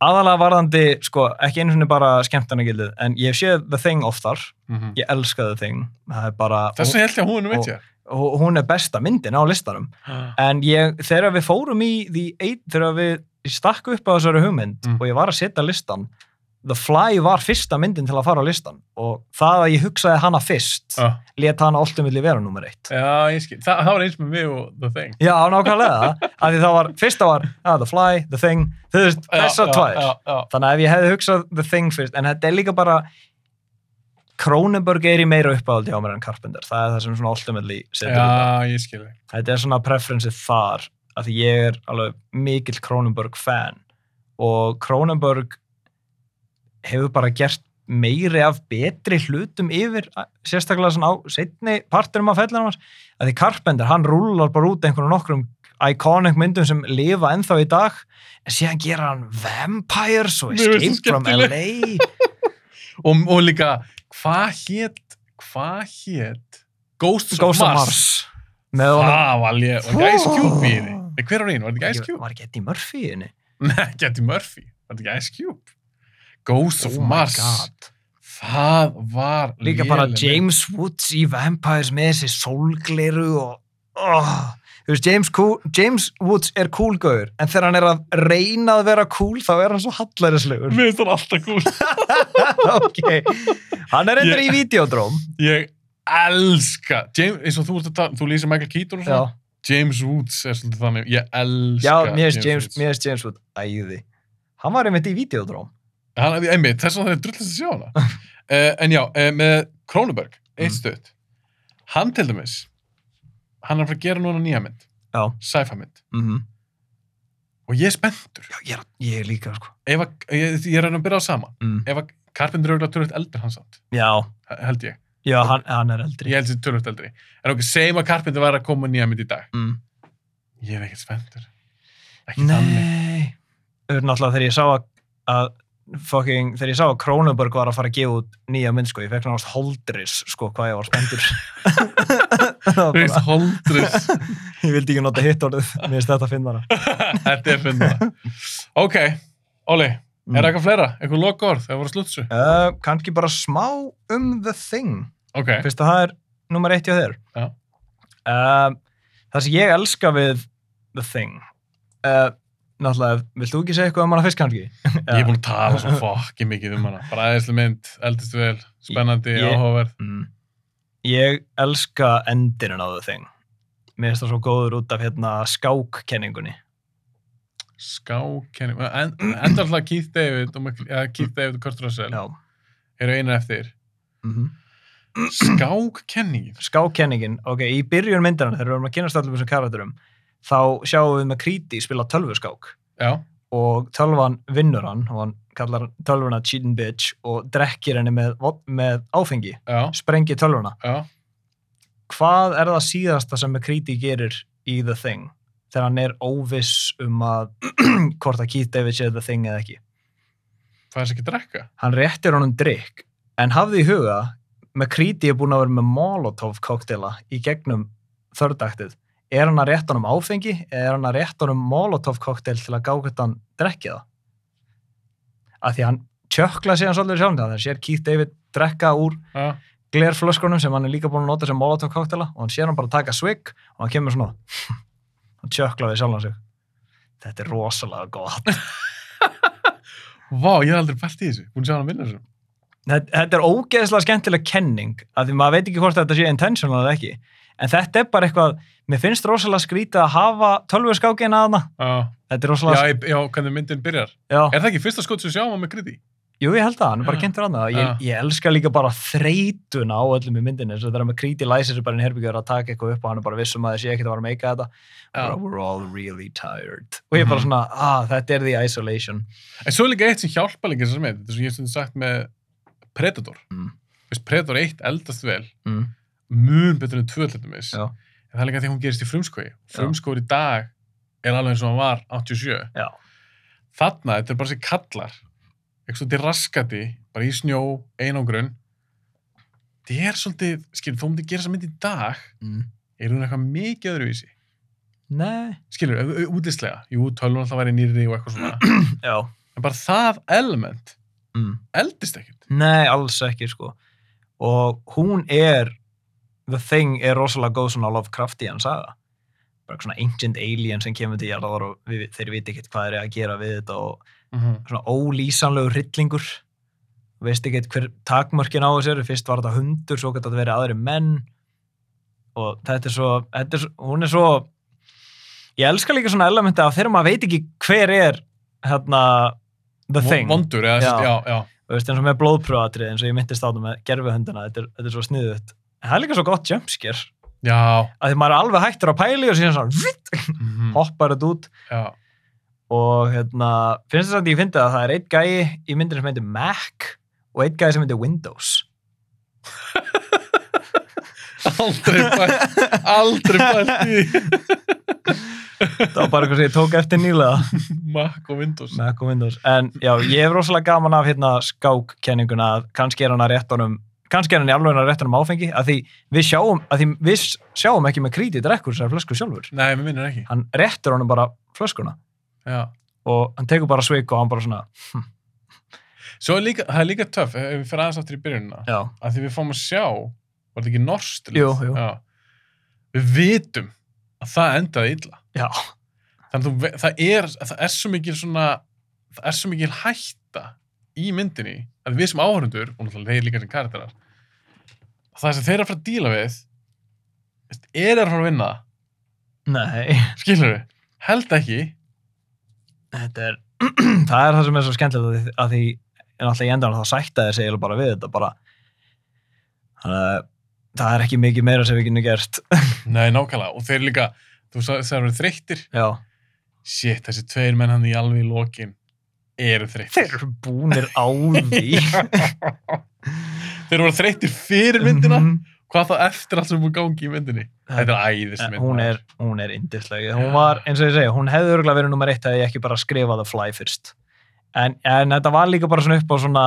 Speaker 2: aðalega varðandi, sko, ekki einu sinni bara skemmtanagildið, en ég hef séð The Thing oftar,
Speaker 1: Mm
Speaker 2: ég elska The Thing það er bara,
Speaker 1: Þess vegna held ég að hún er nummer eitt hér.
Speaker 2: og, og hún er besta myndin á listanum en ég, þegar við fórum í því eitt, þegar við ég stakk upp á þessari hugmynd
Speaker 1: Mm.
Speaker 2: og ég var að setja listan The Fly var fyrsta myndin til að fara á listan og það að ég hugsaði hana fyrst
Speaker 1: Ah,
Speaker 2: let hana ultimately vera nummer eitt
Speaker 1: Já, ég skil. Þa, það var eins með mig og the thing.
Speaker 2: Já, nákvæmlega, af því það var, fyrsta var ah, The Fly, The Thing, þú veist,
Speaker 1: Já,
Speaker 2: þessar
Speaker 1: já,
Speaker 2: tvær
Speaker 1: Já, já,
Speaker 2: þannig að ef ég hefði hugsað The Thing fyrst en þetta er líka bara Cronenberg er í meira uppáhaldi á mér en Carpenter það er það sem svona ultimately setur þetta.
Speaker 1: já, ég skil. þig.
Speaker 2: þetta er svona preferenceið þar af því ég er alveg mikill Cronenberg fan og Cronenberg hefur bara gert meiri af betri hlutum yfir sérstaklega svona á setni parturum af fellinum hans að því Carpenter, hann rúlar bara út einhvern nokkrum iconic myndum sem lifa ennþá í dag en síðan gera hann Vampires og
Speaker 1: Mér finnst
Speaker 2: Escape
Speaker 1: það
Speaker 2: from LA
Speaker 1: [laughs] Og, og líka, hvað hétt, hvað hétt Ghosts,
Speaker 2: Ghost
Speaker 1: of Mars?
Speaker 2: of Mars með honum
Speaker 1: Það var ég, var ekki Ice Cube í henni. Nei, hver var einu? Var þetta ekki Ice
Speaker 2: Ég-
Speaker 1: Cube?
Speaker 2: var ekki Eddie Murphy í henni
Speaker 1: Nei, Getty Murphy. Var þetta ekki Ice Cube? Ghosts of
Speaker 2: Oh my
Speaker 1: Mars.
Speaker 2: God.
Speaker 1: Það var
Speaker 2: líka bara
Speaker 1: léleg mynd.
Speaker 2: James Woods í Vampires með þessi sólgleru og oh. Þú veist, James, cool, James Woods er cool gaur, en þegar hann er að reyna að vera cool, þá er hann svo
Speaker 1: [laughs]
Speaker 2: hallærislegur. [laughs]
Speaker 1: Mér finnst það alltaf cool.
Speaker 2: ok. Hann er endur í videodróm.
Speaker 1: Ég elska James, eins og þú, ert að tala- þú lýsir Michael Keaton og
Speaker 2: Já,
Speaker 1: svona, James Woods er svolítið þannig ég elska
Speaker 2: já mér finnst James,
Speaker 1: Woods.
Speaker 2: mér finnst James Woods æði. Hann var einmitt í videodróm.
Speaker 1: hann, einmitt, þess að það er drullast að sjá hana
Speaker 2: [laughs]
Speaker 1: uh, en já, uh, með Kronenberg eitt
Speaker 2: Mm.
Speaker 1: stöðt hann til dæmis hann er að fara að gera núna nýja mynd
Speaker 2: Já.
Speaker 1: sci-fi mynd
Speaker 2: Mm
Speaker 1: og ég er spenntur
Speaker 2: Já, ég er, ég er líka, sko.
Speaker 1: ef að, ég, ég er að reyna að byrja á sama
Speaker 2: Mm.
Speaker 1: ef að Carpenter er auðvitað tölvöld eldri hans átt
Speaker 2: Já,
Speaker 1: held ég,
Speaker 2: já, hann, hann er eldri.
Speaker 1: ég held þessi tölvöld eldri en ok, segjum að Carpenter var að koma með nýja mynd í dag
Speaker 2: Mm.
Speaker 1: ég er ekkert spenntur ekki þannig
Speaker 2: Nei Þú veist náttúrulega þegar ég sá að, að fucking, þegar ég sá að Krónuborg var að fara að gefa út nýja mynd sko, ég fekk náttúrulega holdris sko hvað ég var
Speaker 1: [laughs]
Speaker 2: spendur Það var
Speaker 1: Þú veist,
Speaker 2: bara,
Speaker 1: holdrið
Speaker 2: [laughs] ég vildi ekki nota hitt orðið mér finnst þetta að finna hana
Speaker 1: Þetta er finna. Ok, Óli, er
Speaker 2: Mm.
Speaker 1: það eitthvað fleira? Eitthvað loka orð? Það voru slutsu?
Speaker 2: uh, Kannski bara smá um the thing
Speaker 1: Ok,
Speaker 2: Fyrst að það er nummer eitt hjá þér
Speaker 1: Já.
Speaker 2: uh, Það sem ég elska við the thing uh, Náttúrulega, vilt þú ekki segja eitthvað um hana fyrst kannski?
Speaker 1: ég er búin að tala svo fokki mikið um hana. Bara aðeinslu mynd, eldist vel, spennandi,
Speaker 2: Ég-
Speaker 1: áhugaverð.
Speaker 2: Mm. Ég elska endinin á þau þing. Mér finnst það svo góður út af hérna skákkenningunni.
Speaker 1: Skákenning. En, enda alltaf Keith David og Michael- eða Keith David og Kurt Russell
Speaker 2: Mm. Já.
Speaker 1: eru einu eftir.
Speaker 2: Mm
Speaker 1: Skákenningin.
Speaker 2: Skákkenningin, ok, í byrjun myndirna þegar við erum að kynast allir þessum karakterum, þá sjáum við með Kríti spila tölvuskák
Speaker 1: Já,
Speaker 2: og tölvan vinnur hann og hann kallar tölvuna cheating bitch og drekkir henni með, með áfengi,
Speaker 1: já,
Speaker 2: sprengir tölvuna.
Speaker 1: já.
Speaker 2: Hvað er það síðasta sem Kríti gerir í The Thing þegar hann er óviss um að [clears throat] hvort að Keith David sé The Thing eða ekki?
Speaker 1: Það er þess ekki að drekka.
Speaker 2: hann réttir honum drikk En hafði í huga, McCready er búin að vera með Molotov kokteila í gegnum þördaktið. Er hann að rétta honum áfengi eða er hann að rétta honum Molotov kokteil til að gá hvernig hann drekki það? Af því að hann tjökla sig hann svolítið sjálf, þannig að hann sér Keith David drekka úr
Speaker 1: Já.
Speaker 2: glerflöskunum sem hann er líka búin að nota sem Molotov koktela og hann sér hann bara að taka swig og hann kemur svona [laughs] hann tjökla við sjálfan sig þetta er rosalega gott
Speaker 1: Vá, ég er aldrei pælt í þessu. Búin að sjá hann að vinna þessu.
Speaker 2: þetta þetta er ógeðslega skemmtileg kenning af því maður veit ekki hvort þetta sé intentional eða ekki en þetta er bara eitthvað mér finnst rosalega skrítið að hafa tölvuskákina að hana
Speaker 1: Já,
Speaker 2: þetta
Speaker 1: já,
Speaker 2: er rosalega
Speaker 1: ég- já, hvernig myndin byrjar.
Speaker 2: já.
Speaker 1: Er það ekki fyrsta skot sem við sjáum á McCready?
Speaker 2: Jú, ég held það, hann er bara kynntur annað. Ég,
Speaker 1: Já.
Speaker 2: ég elska líka bara þreytuna á öllum í myndinni, þess að það er með kríti læsir sem bara einn herbyggjör að taka eitthvað upp og hann er bara vissum að þessi ekkert að var að meika þetta.
Speaker 1: Já.
Speaker 2: Bara, We're all really tired. Og ég er bara
Speaker 1: Mhm.
Speaker 2: svona, ah, þetta er the isolation.
Speaker 1: En svo er líka eitt sem hjálpa líka þessar mynd, þetta sem ég hef stundum sagt með Predator.
Speaker 2: Mm.
Speaker 1: Þú veist, Predator 1 eldast vel,
Speaker 2: Mm.
Speaker 1: mun betur en 2 hlutum þess.
Speaker 2: Já.
Speaker 1: En það er líka því að hún gerist í frumskói. Frumskói í dag er alveg eins og hann var 87.
Speaker 2: Já,
Speaker 1: Þarna, þetta er bara þessi kallar, eitthvað svolítið raskati, bara í snjó, einangrun. Það er svolítið, skilur, þó um þið gera þessa mynd í dag,
Speaker 2: mm.
Speaker 1: er hún eitthvað mikið öðruvísi.
Speaker 2: nei,
Speaker 1: Skilur, útlistlega, jú, tölvun alltaf væri nýri og eitthvað svona.
Speaker 2: já,
Speaker 1: en bara það element
Speaker 2: mm.
Speaker 1: eldist ekkert.
Speaker 2: nei, alls ekki, sko. Og hún er, the thing er rosalega góð svona Lovecraftian saga. Bara svona ancient alien sem kemur til jarðar og við, þeir viti ekkert hvað er að gera við þetta og svona ólýsanlegur hryllingur veist ekki hver takmörkin á þessu eru fyrst var þetta hundur, svo gæti þetta verið aðri menn og þetta er svo, þetta er, svo- hún er svo ég elska líka svona elementi að þegar maður veit ekki hver er hérna the
Speaker 1: Von-
Speaker 2: thing,
Speaker 1: vondur, eða,
Speaker 2: Já.
Speaker 1: já. Já, já.
Speaker 2: þú veist eins og með blóðpröfatrið eins og ég myndist á þetta með gerfuhundina þetta er, þetta er svo sniðut, en það er líka svo gott jumpsker,
Speaker 1: já.
Speaker 2: að því maður er alveg hættur að pæli og síðan svona vitt,
Speaker 1: mhm,
Speaker 2: hoppar þetta út
Speaker 1: já.
Speaker 2: og hérna, finnst þess að ég fyndi að það er eitt gæi í myndinu sem heitir Mac og eitt gæi sem heitir Windows
Speaker 1: Aldrei bælt, aldrei bælt í því.
Speaker 2: það var bara eitthvað sem ég tók eftir nýlega
Speaker 1: Mac og Windows.
Speaker 2: Mac og Windows, en já, ég hef rosalega gaman af hérna skákkenninguna að kannski er hann að rétt honum kannski er hann í alveg að rétt honum áfengi að því við sjáum, að því við sjáum ekki með krítið drekkur þessar flösku sjálfur
Speaker 1: Nei, mér minnir ekki.
Speaker 2: hann réttur honum bara flöskuna
Speaker 1: Já.
Speaker 2: og hann tekur bara sveik og hann bara svona
Speaker 1: Svo er líka, það er líka töff, ef við fyrir aðeins aftur í byrjunina,
Speaker 2: já,
Speaker 1: að því við fáum að sjá, var þetta ekki norskt? lið?
Speaker 2: Jú, jú.
Speaker 1: Já. Við vitum að það endaði illa.
Speaker 2: já,
Speaker 1: Þannig að þú ve- það er, það er svo mikil svona, það er svo mikil hætta í myndinni að við sem áhörundur, og náttúrulega þeir líka sem karakterar, að það sem þeir eru að fara að díla við, veist, er að fara að vinna,
Speaker 2: nei
Speaker 1: skilur við, held ekki,
Speaker 2: þetta er, [clears throat] það er það sem er svo skemmtilegt að því, að því en alltaf í endan þá sættaði sig eiginlega bara við þetta bara þannig að það er ekki mikið meira sem við getum gert
Speaker 1: nei, nákvæmlega, og þeir líka, þú sagði það eru þreyttir,
Speaker 2: já,
Speaker 1: shit, þessi tveir menn hann í alveg í lokin eru
Speaker 2: þeir
Speaker 1: þreyttir.
Speaker 2: eru búnir á því
Speaker 1: þeir eru bara þreyttir [laughs] fyrir myndina,
Speaker 2: Mhm.
Speaker 1: hvað þá eftir allt sem er búið gangi í myndinni. Þetta er æðist
Speaker 2: En
Speaker 1: mynd.
Speaker 2: hún er, hún er indislega hún var, eins og ég segja, hún hefði örgulega verið nummer eitt að ég ekki bara skrifa The Fly fyrst en, en þetta var líka bara svona upp á svona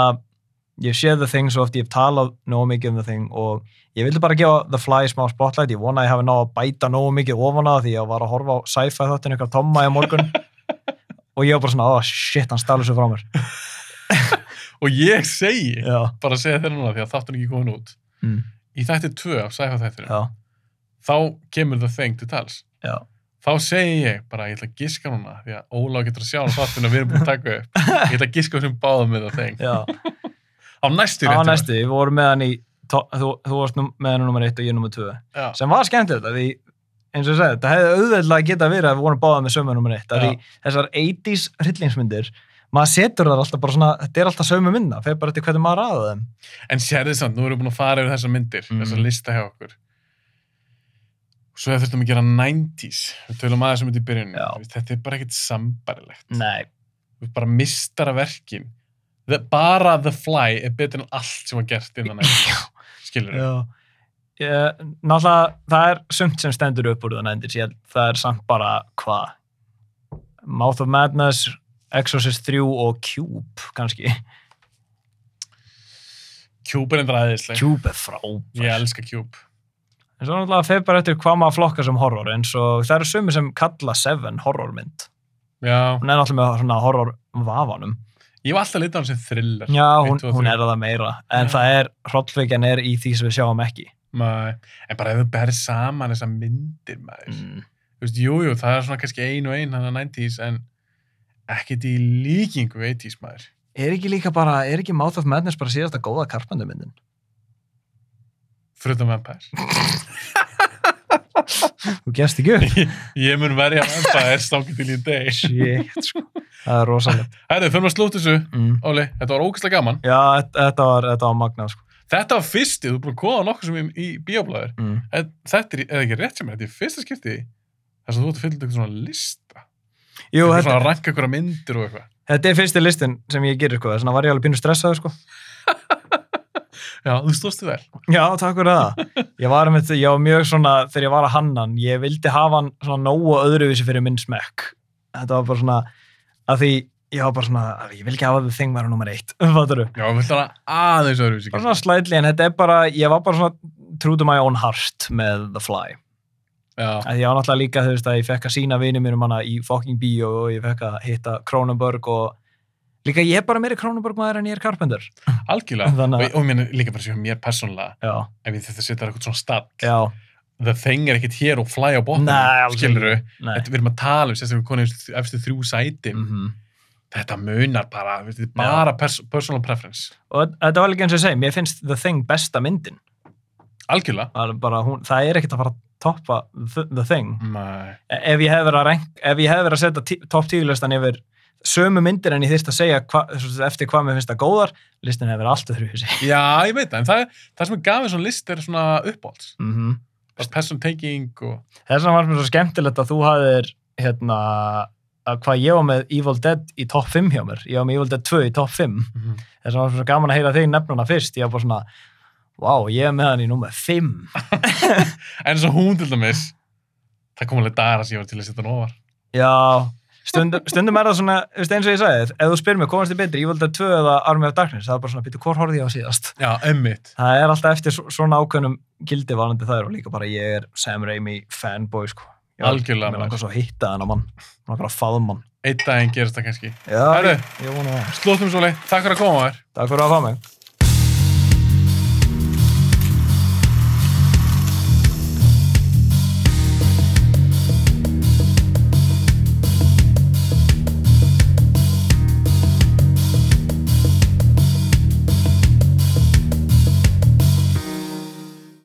Speaker 2: ég sé The Thing svo oft, ég hef talað nógu mikið um The Thing og ég vildi bara gefa The Fly smá spotlight, ég vona að ég hafi náð að bæta nógu mikið ofan á það því ég var að horfa á sci-fi þáttinn ykkur Tomma í morgun og ég var bara svona, oh shit, hann stalur svo frá mér
Speaker 1: Og ég segi,
Speaker 2: já,
Speaker 1: bara að segja þér núna því að þáttur ekki komin út
Speaker 2: mm,
Speaker 1: í þætti 2 af sæfa þættir
Speaker 2: já,
Speaker 1: þá kemur það þeng til tals
Speaker 2: já
Speaker 1: þá segi ég bara ég ætla að giska núna því að Ólaf getur að sjá hann þáttun að við erum búin að taka upp ég ætla að giska sem báðum með það þeng
Speaker 2: Já,
Speaker 1: á næstu
Speaker 2: á
Speaker 1: réttu.
Speaker 2: næstu, við vorum með hann í to- þú, þú varst nú- með hann nummer eitt og ég nummer tvö
Speaker 1: Já.
Speaker 2: sem var skemmtilegt að því eins og ég sagði, það hefði auðveldlega geta verið að við vorum báða með sömu nummer eitt að því þessar 80s hryllingsmyndir maður setur þar alltaf bara svona, þetta er alltaf sömu mynda fyrir bara eftir hvernig maður aða þeim
Speaker 1: en sérðið samt, nú erum við búin að fara yfir þessar myndir
Speaker 2: Mm.
Speaker 1: þessar lista hjá okkur svo þurftum að gera 90s við tölum aðeins um þetta í byrjunni
Speaker 2: Já.
Speaker 1: Þú veist, þetta er bara ekkit sambarilegt
Speaker 2: Nei,
Speaker 1: við bara mistar að verkin The, bara The Fly er betur en allt sem var gert
Speaker 2: [laughs]
Speaker 1: innan
Speaker 2: Já.
Speaker 1: skilur við
Speaker 2: já ég, Náttúrulega, það er sumt sem stendur upp úr það nændir ég, það er samt bara hvað Mouth of Madness, Exorcist 3 og Cube kannski
Speaker 1: Cube er endur aðeinsleg.
Speaker 2: [laughs] Cube er frábært.
Speaker 1: Ég elska Cube.
Speaker 2: En svo náttúrulega fer bara eftir hvað maður flokkar sem horror eins og það eru sumi sem kalla Seven horrormynd.
Speaker 1: Já,
Speaker 2: Hún er náttúrulega með svona horror vafanum.
Speaker 1: ég var alltaf að lita hann sem thriller.
Speaker 2: Já,
Speaker 1: Eitt,
Speaker 2: hún,
Speaker 1: tvö,
Speaker 2: hún
Speaker 1: þrjú.
Speaker 2: er það meira. En
Speaker 1: Já.
Speaker 2: það er, hrollvekjan er í því sem við sjáum ekki.
Speaker 1: Nei, en bara ef þú berð saman þessar myndir, maður.
Speaker 2: Mm.
Speaker 1: Þú veist, jú, jú, það er svona kannski ein og ein hann að 90s, en ekkert í líkingu 80s, maður.
Speaker 2: Er ekki líka bara, er ekki Mouth of Madness bara síðasta góða karpendumyndin?
Speaker 1: Fröðum
Speaker 2: [laughs]
Speaker 1: Vampire.
Speaker 2: Þú gefst ekki upp.
Speaker 1: Ég- ég mun verja Vampire stangið til í deg.
Speaker 2: [laughs] Shit, sko. Það er rosalegt.
Speaker 1: Herðu, fyrir maður slútt þessu,
Speaker 2: Mm.
Speaker 1: Óli, þetta var ógæslega gaman.
Speaker 2: Já, þetta- þetta var, þetta var magnað, sko.
Speaker 1: Þetta var fyrsti, þú er búin að koma á nokkuð sem í, í bíóblæður.
Speaker 2: Mm.
Speaker 1: En þetta er, eða ekki rétt sem er, þetta er fyrsta skipti þar sem þú ert að fylgja eitthvað svona lista.
Speaker 2: Jú,
Speaker 1: eitthvað
Speaker 2: þetta,
Speaker 1: svona að ranka einhverja myndir og eitthvað.
Speaker 2: þetta er fyrsti listin sem ég gerir, sko. Þannig var ég alveg pínu stressaður, sko.
Speaker 1: Já, þú stóðstu vel.
Speaker 2: Já, takk fyrir það. Ég var, með, ég var mjög svona, þegar ég var að hanna hann, ég vildi hafa hann svona nógu öðruvísi fyrir minn smekk. Þetta var bara svona, að því ég var bara svona, að ég vil ekki hafa þið þing vera nummer eitt, [laughs] fattur
Speaker 1: Já, við ætlum að aðeins öðruvísi.
Speaker 2: Bara svona slæðli, en þetta er bara, ég var bara svona true to my own heart með The Fly.
Speaker 1: Já,
Speaker 2: Að ég var náttúrulega líka, þú veist, að ég fekk að sína vinið mér um hana í fucking bíó og ég fekk að hitta Kronenberg og líka ég er bara meiri Kronenberg maður en ég er Carpenter.
Speaker 1: algjörlega.
Speaker 2: Þannig að-
Speaker 1: Og, og mér líka bara sem mér persónlega,
Speaker 2: Já,
Speaker 1: ef ég þetta setja eitthvað svona stall.
Speaker 2: já,
Speaker 1: The thing er ekkit hér og fly á botnum.
Speaker 2: Nei, alls ekki.
Speaker 1: Skilurðu?
Speaker 2: nei.
Speaker 1: Þetta við erum að tala um, sérstaklega konið eftir þrjú sætim.
Speaker 2: Mhm.
Speaker 1: Þetta munar bara, við veitum, bara pers personal preference.
Speaker 2: Og þetta var líka eins og ég segi, mér finnst The Thing besta myndin.
Speaker 1: Algjörlega.
Speaker 2: Það er, bara, hún, það er ekkert að fara að toppa The, the Thing. E,
Speaker 1: Nei.
Speaker 2: Ef ég hef verið að, rank, ef ég hef verið að setja tí, topp tíðlistan yfir sömu myndir en ég þyrst að segja hva, eftir hvað mér finnst það góðar, listin hefur verið allt öðru húsi.
Speaker 1: Já, ég veit það, en það, það sem er gafið svona list er svona uppáhalds.
Speaker 2: Mm -hmm.
Speaker 1: Bara person taking og...
Speaker 2: Þess vegna var mér svo skemmtilegt að þú hafðir hérna, að hvað ég var með Evil Dead í topp 5 hjá mér. Ég var með Evil Dead 2 í topp 5. Þess vegna var mér svo gaman að heyra þig nefnuna fyrst. Ég var bara svona, vá, ég er með hann í nummer 5.
Speaker 1: En eins og hún til dæmis, það kom alveg dagar að ég var til að setja hann ofar.
Speaker 2: Já, stundum, stundum er það svona, þú veist, eins og ég sagði, ef þú spyrir mig, komast þið betri, ég vildi að tvö eða Army of Darkness, það er bara svona, býttu, hvort horfði ég á síðast?
Speaker 1: Já, emmitt.
Speaker 2: Það er alltaf eftir svo- svona ákveðnum gildi varandi það er og líka bara ég er Sam Raimi fanboy, sko. Ég var-
Speaker 1: Algjörlega,
Speaker 2: Mér
Speaker 1: maður.
Speaker 2: langar svo að hitta þennan mann, mér langar að faða mann.
Speaker 1: Eitt daginn gerist það kannski.
Speaker 2: Já,
Speaker 1: Herru.
Speaker 2: ég, ég vona það.
Speaker 1: Slóttum svo leið, takk fyrir að koma þér.
Speaker 2: Takk fyrir að fá mig.